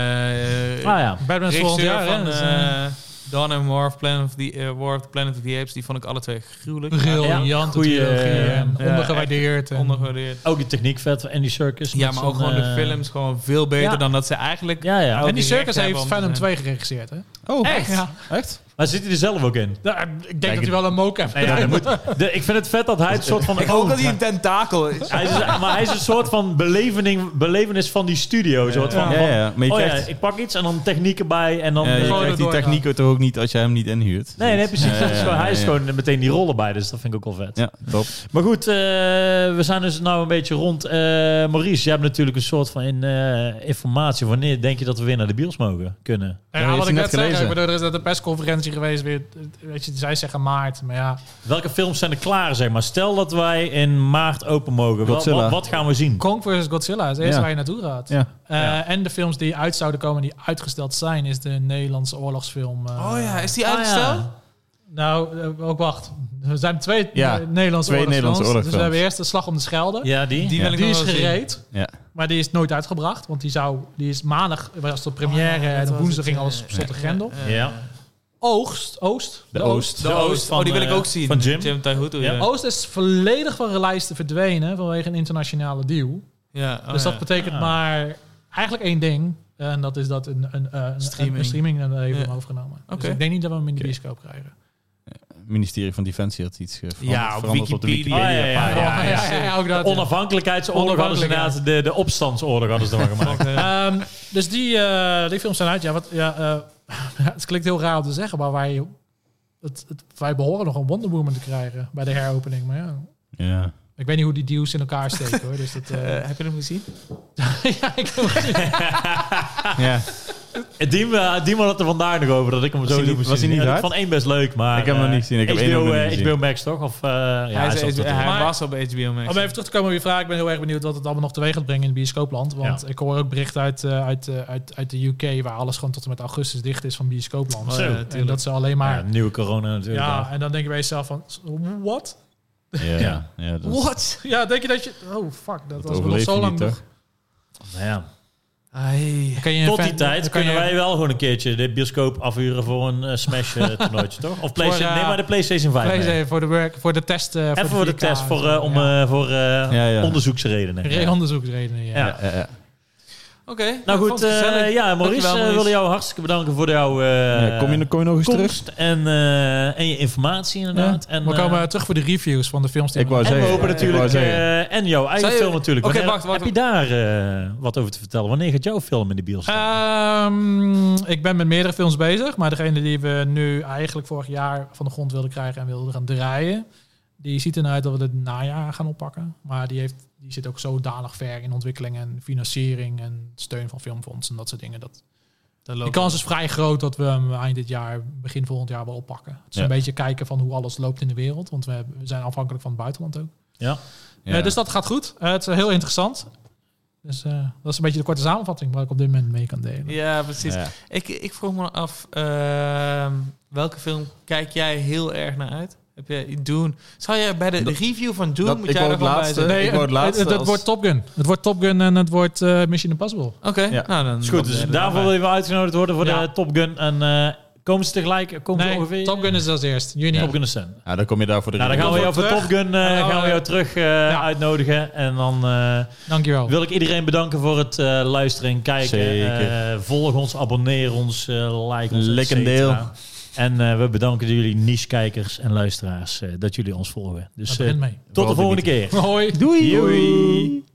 [SPEAKER 3] eh
[SPEAKER 2] Ah ja.
[SPEAKER 4] Batman is volgend
[SPEAKER 3] regisseur
[SPEAKER 4] jaar, hè,
[SPEAKER 3] van
[SPEAKER 4] dus, eh,
[SPEAKER 3] eh, Dawn and War of, Planet of the, eh, War of the Planet of the Apes. Die vond ik alle twee gruwelijk.
[SPEAKER 4] briljant,
[SPEAKER 2] goeie, eh,
[SPEAKER 4] en
[SPEAKER 3] ja,
[SPEAKER 4] ondergewaardeerd. en-
[SPEAKER 3] Ondergewaardeerd.
[SPEAKER 2] Ook die techniek vet en die circus.
[SPEAKER 3] Ja,
[SPEAKER 2] met
[SPEAKER 3] maar ook
[SPEAKER 2] zo'n,
[SPEAKER 3] gewoon de
[SPEAKER 2] eh,
[SPEAKER 3] films gewoon veel beter
[SPEAKER 2] ja.
[SPEAKER 3] dan dat ze eigenlijk...
[SPEAKER 2] Ja, ja.
[SPEAKER 4] en die
[SPEAKER 3] Ook
[SPEAKER 4] circus
[SPEAKER 3] direct
[SPEAKER 4] heeft
[SPEAKER 3] hebben om
[SPEAKER 4] Venom
[SPEAKER 3] te
[SPEAKER 4] 2 geregisseerd, hè?
[SPEAKER 1] Oh,
[SPEAKER 4] Echt? Ja.
[SPEAKER 1] echt?
[SPEAKER 2] Maar zit hij er zelf ook in?
[SPEAKER 4] Nou, ik denk dat
[SPEAKER 1] het-
[SPEAKER 4] hij wel een mocap
[SPEAKER 2] Nou ja, hij moet- de- ik vind het vet dat hij het soort van...
[SPEAKER 3] Ik hoop dat hij een tentakel is.
[SPEAKER 2] Hij is, maar hij is een soort van belevening, belevenis van die studio. Een soort van,
[SPEAKER 1] Ja, ja, maar je
[SPEAKER 2] oh ja,
[SPEAKER 1] krijgt-
[SPEAKER 2] ik pak iets en dan technieken bij en dan...
[SPEAKER 1] Ja,
[SPEAKER 2] eh,
[SPEAKER 1] je
[SPEAKER 4] Gewoon
[SPEAKER 1] krijgt die
[SPEAKER 4] erdoor gaan.
[SPEAKER 1] techniek toch ook niet als je hem niet inhuurt.
[SPEAKER 2] nee, nee, precies.
[SPEAKER 1] Ja,
[SPEAKER 2] Dat is
[SPEAKER 1] ja,
[SPEAKER 2] gewoon- hij is
[SPEAKER 1] ja, ja.
[SPEAKER 2] gewoon meteen die rollen bij, dus dat vind ik ook wel vet.
[SPEAKER 1] Ja, top.
[SPEAKER 2] Maar goed, eh, we zijn dus nou een beetje rond. Eh, Maurice, jij hebt natuurlijk een soort van in, eh, informatie. Wanneer denk je dat we weer naar de bios mogen kunnen?
[SPEAKER 4] Ja,
[SPEAKER 1] Ja, die
[SPEAKER 4] wat
[SPEAKER 1] is
[SPEAKER 4] ik
[SPEAKER 1] net
[SPEAKER 4] net zei,
[SPEAKER 1] gelezen.
[SPEAKER 4] ik bedoel, er is net een persconferentie geweest. Weer, weet je, zij zeggen maart, maar ja.
[SPEAKER 2] Welke films zijn er klaar, zeg maar? Stel dat wij in maart open mogen. Wat,
[SPEAKER 1] Godzilla.
[SPEAKER 2] wat, wat gaan we zien?
[SPEAKER 4] Kong vs. Godzilla is het eerste
[SPEAKER 1] Ja.
[SPEAKER 4] waar je naartoe gaat.
[SPEAKER 1] Ja.
[SPEAKER 4] Eh,
[SPEAKER 2] Ja.
[SPEAKER 4] En de films die uit zouden komen, die uitgesteld zijn, is de Nederlandse oorlogsfilm. eh,
[SPEAKER 3] Oh ja, is die
[SPEAKER 2] Ah,
[SPEAKER 3] uitgesteld?
[SPEAKER 2] ja.
[SPEAKER 4] Nou, eh, ook wacht. Er zijn twee
[SPEAKER 1] Ja,
[SPEAKER 4] eh, Nederlandse
[SPEAKER 1] twee
[SPEAKER 4] oorlogsfilms.
[SPEAKER 1] Nederlandse
[SPEAKER 4] Dus
[SPEAKER 1] oorlogsfilms.
[SPEAKER 4] we hebben eerst de Slag om de Schelde.
[SPEAKER 2] Ja, die?
[SPEAKER 3] Die
[SPEAKER 1] Ja.
[SPEAKER 3] wil ik
[SPEAKER 4] Die
[SPEAKER 3] nog
[SPEAKER 4] is
[SPEAKER 3] wel zien.
[SPEAKER 4] gereed,
[SPEAKER 1] Ja.
[SPEAKER 4] maar die is nooit uitgebracht. Want die, zou, die is maandag, was de première
[SPEAKER 3] Oh, ja, dat
[SPEAKER 4] en op
[SPEAKER 3] was
[SPEAKER 4] woensdag
[SPEAKER 3] het,
[SPEAKER 4] ging
[SPEAKER 3] ja.
[SPEAKER 4] alles op slot de
[SPEAKER 3] Ja,
[SPEAKER 4] grendel.
[SPEAKER 3] ja, ja.
[SPEAKER 2] Ja.
[SPEAKER 4] Oost, Oost.
[SPEAKER 1] De Oost.
[SPEAKER 3] De Oost,
[SPEAKER 2] van,
[SPEAKER 3] oh, die wil ik
[SPEAKER 2] eh,
[SPEAKER 3] ook zien.
[SPEAKER 2] van Jim.
[SPEAKER 3] Jim Taihutu,
[SPEAKER 2] Ja.
[SPEAKER 3] ja.
[SPEAKER 4] Ja. Oh. Oost is volledig van de lijsten verdwenen vanwege een internationale deal.
[SPEAKER 3] Ja, oh
[SPEAKER 4] dus dat
[SPEAKER 3] ja.
[SPEAKER 4] betekent
[SPEAKER 2] Ah.
[SPEAKER 4] maar eigenlijk één ding. En dat is dat een, een, eh, een
[SPEAKER 3] Streaming.
[SPEAKER 4] streaming, een streaming en dat heeft
[SPEAKER 3] Ja.
[SPEAKER 4] hem overgenomen.
[SPEAKER 3] Oké.
[SPEAKER 4] Dus ik denk niet dat we hem in de
[SPEAKER 1] Oké.
[SPEAKER 4] bioscoop krijgen.
[SPEAKER 1] ministerie van Defensie had iets eh, veranderd,
[SPEAKER 3] Ja, op
[SPEAKER 1] veranderd op de
[SPEAKER 3] Wikipedia.
[SPEAKER 1] Wikipedia.
[SPEAKER 2] Oh, ja, ja, ja.
[SPEAKER 4] Oh, ook dat. ja.
[SPEAKER 2] Onafhankelijkheidsoorlog hadden ze
[SPEAKER 4] Onafhankelijkheid.
[SPEAKER 2] inderdaad de, de opstandsoorlog hadden ze dan gemaakt.
[SPEAKER 4] Ehm, dus die, eh, die films zijn uit. Ja, wat, ja, eh, het klinkt heel raar om te zeggen, maar wij, het, het- wij behoren nog een Wonder Woman te krijgen bij de heropening. Maar ja,
[SPEAKER 1] Ja.
[SPEAKER 4] ik weet niet hoe die deals in elkaar steken hoor. Dus dat, eh,
[SPEAKER 3] Eh, heb je hem gezien?
[SPEAKER 4] ja, ik heb hem gezien.
[SPEAKER 1] Ja.
[SPEAKER 2] Dima, Dima eh, had er vandaag nog over dat ik hem
[SPEAKER 1] Was
[SPEAKER 2] zo
[SPEAKER 1] hij
[SPEAKER 2] niet
[SPEAKER 1] niet- was hij niet
[SPEAKER 2] Ik
[SPEAKER 1] hard?
[SPEAKER 2] vond één best leuk, maar...
[SPEAKER 1] Ik heb hem nog niet gezien. Ik heb
[SPEAKER 2] HBO,
[SPEAKER 1] één ook nog niet
[SPEAKER 2] eh,
[SPEAKER 1] gezien.
[SPEAKER 2] HBO Max toch? Of, eh, ja,
[SPEAKER 3] hij
[SPEAKER 2] hij
[SPEAKER 3] is-
[SPEAKER 2] zat
[SPEAKER 3] is-
[SPEAKER 2] er toch?
[SPEAKER 3] hij
[SPEAKER 4] Maar-
[SPEAKER 3] was op HBO Max.
[SPEAKER 4] Om even terug te komen op je vraag, ik ben heel erg benieuwd wat het allemaal nog teweeg gaat brengen in bioscoopland. Want
[SPEAKER 2] Ja.
[SPEAKER 4] ik hoor ook berichten uit, eh, uit, eh, uit, uit de UK, waar alles gewoon tot en met augustus dicht is van bioscoopland.
[SPEAKER 3] Oh,
[SPEAKER 2] Zo.
[SPEAKER 3] ja,
[SPEAKER 4] en
[SPEAKER 3] tuurlijk.
[SPEAKER 4] dat ze alleen
[SPEAKER 2] Ja,
[SPEAKER 4] maar...
[SPEAKER 2] nieuwe corona
[SPEAKER 4] Ja,
[SPEAKER 2] natuurlijk. ja.
[SPEAKER 4] en dan denk je bij jezelf van, what?
[SPEAKER 1] Ja.
[SPEAKER 2] Ja.
[SPEAKER 1] Ja. dat,
[SPEAKER 4] What? Ja, denk je dat je... Oh, fuck, dat,
[SPEAKER 1] dat
[SPEAKER 4] was nog
[SPEAKER 1] overleef
[SPEAKER 4] zo
[SPEAKER 1] je
[SPEAKER 4] lang
[SPEAKER 1] niet,
[SPEAKER 4] nog.
[SPEAKER 1] toch?
[SPEAKER 2] Nou ja.
[SPEAKER 3] Ai.
[SPEAKER 4] Kan je
[SPEAKER 2] Tot
[SPEAKER 4] een
[SPEAKER 2] die
[SPEAKER 4] fan-
[SPEAKER 2] tijd
[SPEAKER 4] dan
[SPEAKER 2] kunnen
[SPEAKER 4] je-
[SPEAKER 2] wij wel gewoon een keertje de bioscoop afhuren voor een eh, Smash eh, toernooitje, toch? Of PlayStation,
[SPEAKER 3] eh,
[SPEAKER 2] nee, maar de PlayStation 5. mee.
[SPEAKER 4] Lees even voor de, work, voor de test. eh,
[SPEAKER 2] Even voor de
[SPEAKER 4] 4K
[SPEAKER 2] test,
[SPEAKER 4] en
[SPEAKER 2] voor,
[SPEAKER 4] zo,
[SPEAKER 2] eh, om,
[SPEAKER 4] ja.
[SPEAKER 2] eh, voor eh,
[SPEAKER 1] Ja, ja.
[SPEAKER 2] onderzoeksredenen.
[SPEAKER 4] Re- Onderzoeksredenen, ja.
[SPEAKER 2] Ja.
[SPEAKER 1] Ja, ja, ja.
[SPEAKER 3] Oké,
[SPEAKER 2] Nou
[SPEAKER 3] ik
[SPEAKER 2] goed,
[SPEAKER 3] vond het
[SPEAKER 2] eh,
[SPEAKER 3] gezellig.
[SPEAKER 2] ja, Maurice,
[SPEAKER 3] Dankjewel,
[SPEAKER 2] eh,
[SPEAKER 3] Maurice.
[SPEAKER 2] wilde jou hartstikke bedanken voor jouw eh,
[SPEAKER 1] Ja, kom, je, kom je nog eens terug?
[SPEAKER 2] komst en, eh, en je informatie inderdaad. En,
[SPEAKER 4] we komen
[SPEAKER 2] eh,
[SPEAKER 4] terug voor de reviews van de films die
[SPEAKER 1] Ik wou
[SPEAKER 4] we-
[SPEAKER 2] en we
[SPEAKER 1] zeggen,
[SPEAKER 2] hopen
[SPEAKER 1] ik
[SPEAKER 2] natuurlijk,
[SPEAKER 1] wou zeggen.
[SPEAKER 2] eh, en jouw eigen
[SPEAKER 3] Zou je-
[SPEAKER 2] film natuurlijk.
[SPEAKER 3] Oké,
[SPEAKER 2] Wanneer-
[SPEAKER 3] wacht, wacht.
[SPEAKER 2] Heb je daar eh, wat over te vertellen? Wanneer gaat jouw film in de bios? staan?
[SPEAKER 4] Ehm, ik ben met meerdere films bezig, maar degene die we nu eigenlijk vorig jaar van de grond wilden krijgen en wilden gaan draaien, die ziet ernaar uit dat we het najaar gaan oppakken. Maar die, heeft, die zit ook zodanig ver in ontwikkeling en financiering en steun van filmfondsen en dat soort dingen. Dat
[SPEAKER 3] Daar
[SPEAKER 4] de
[SPEAKER 3] lopen
[SPEAKER 4] kans
[SPEAKER 3] we.
[SPEAKER 4] is vrij groot dat we hem eind dit jaar, begin volgend jaar wel oppakken. Het is
[SPEAKER 1] Ja.
[SPEAKER 4] een beetje kijken van hoe alles loopt in de wereld, want we, hebben- we zijn afhankelijk van het buitenland ook.
[SPEAKER 2] Ja.
[SPEAKER 1] Ja.
[SPEAKER 4] Eh, dus dat gaat goed. Eh, het is heel interessant. Dus eh, dat is een beetje de korte samenvatting wat ik op dit moment mee kan delen.
[SPEAKER 3] Ja, precies.
[SPEAKER 1] Ja.
[SPEAKER 3] Ik, ik vroeg me af, ehm, welke film kijk jij heel erg naar uit? Heb jij Doen? Zou jij bij de
[SPEAKER 1] Dat-
[SPEAKER 3] review van
[SPEAKER 1] dat-
[SPEAKER 3] Doen moet
[SPEAKER 1] ik
[SPEAKER 3] jij
[SPEAKER 1] wou
[SPEAKER 3] er
[SPEAKER 1] het
[SPEAKER 3] gewoon bij
[SPEAKER 1] laatste.
[SPEAKER 3] zijn?
[SPEAKER 1] Ik wou het
[SPEAKER 4] het,
[SPEAKER 1] laatste
[SPEAKER 4] het- het
[SPEAKER 1] als-
[SPEAKER 4] wordt Top Gun. Het wordt Top Gun en het wordt eh, Mission Impossible.
[SPEAKER 3] Oké,
[SPEAKER 1] Ja.
[SPEAKER 3] nou dan.
[SPEAKER 2] Is goed, dus daarvoor wil je wel uitgenodigd worden voor
[SPEAKER 4] Ja.
[SPEAKER 2] de Top Gun. En eh, komen ze tegelijk? Komen ze
[SPEAKER 4] Nee,
[SPEAKER 2] ongeveer?
[SPEAKER 4] Top Gun is als eerst. Juni.
[SPEAKER 2] Top Gun is cent.
[SPEAKER 1] Ja, dan kom je daar voor de
[SPEAKER 2] Nou, dan gaan
[SPEAKER 1] review.
[SPEAKER 2] we jou voor
[SPEAKER 4] terug.
[SPEAKER 2] Top Gun eh,
[SPEAKER 4] gaan
[SPEAKER 2] gaan we
[SPEAKER 4] we-
[SPEAKER 2] jou terug eh, uitnodigen. En dan eh,
[SPEAKER 4] Dankjewel.
[SPEAKER 2] wil ik iedereen bedanken voor het eh, luisteren en kijken.
[SPEAKER 1] Zeker.
[SPEAKER 2] Eh, volg ons, abonneer ons, eh, like ons,
[SPEAKER 1] Lik een
[SPEAKER 2] et cetera.
[SPEAKER 1] deel.
[SPEAKER 2] En eh, we bedanken jullie niche-kijkers en luisteraars eh, dat jullie ons volgen. Dus
[SPEAKER 4] Dat
[SPEAKER 2] eh,
[SPEAKER 4] begint mee.
[SPEAKER 2] tot de
[SPEAKER 1] Vooral
[SPEAKER 2] volgende keer.
[SPEAKER 4] Hoi.
[SPEAKER 2] Doei.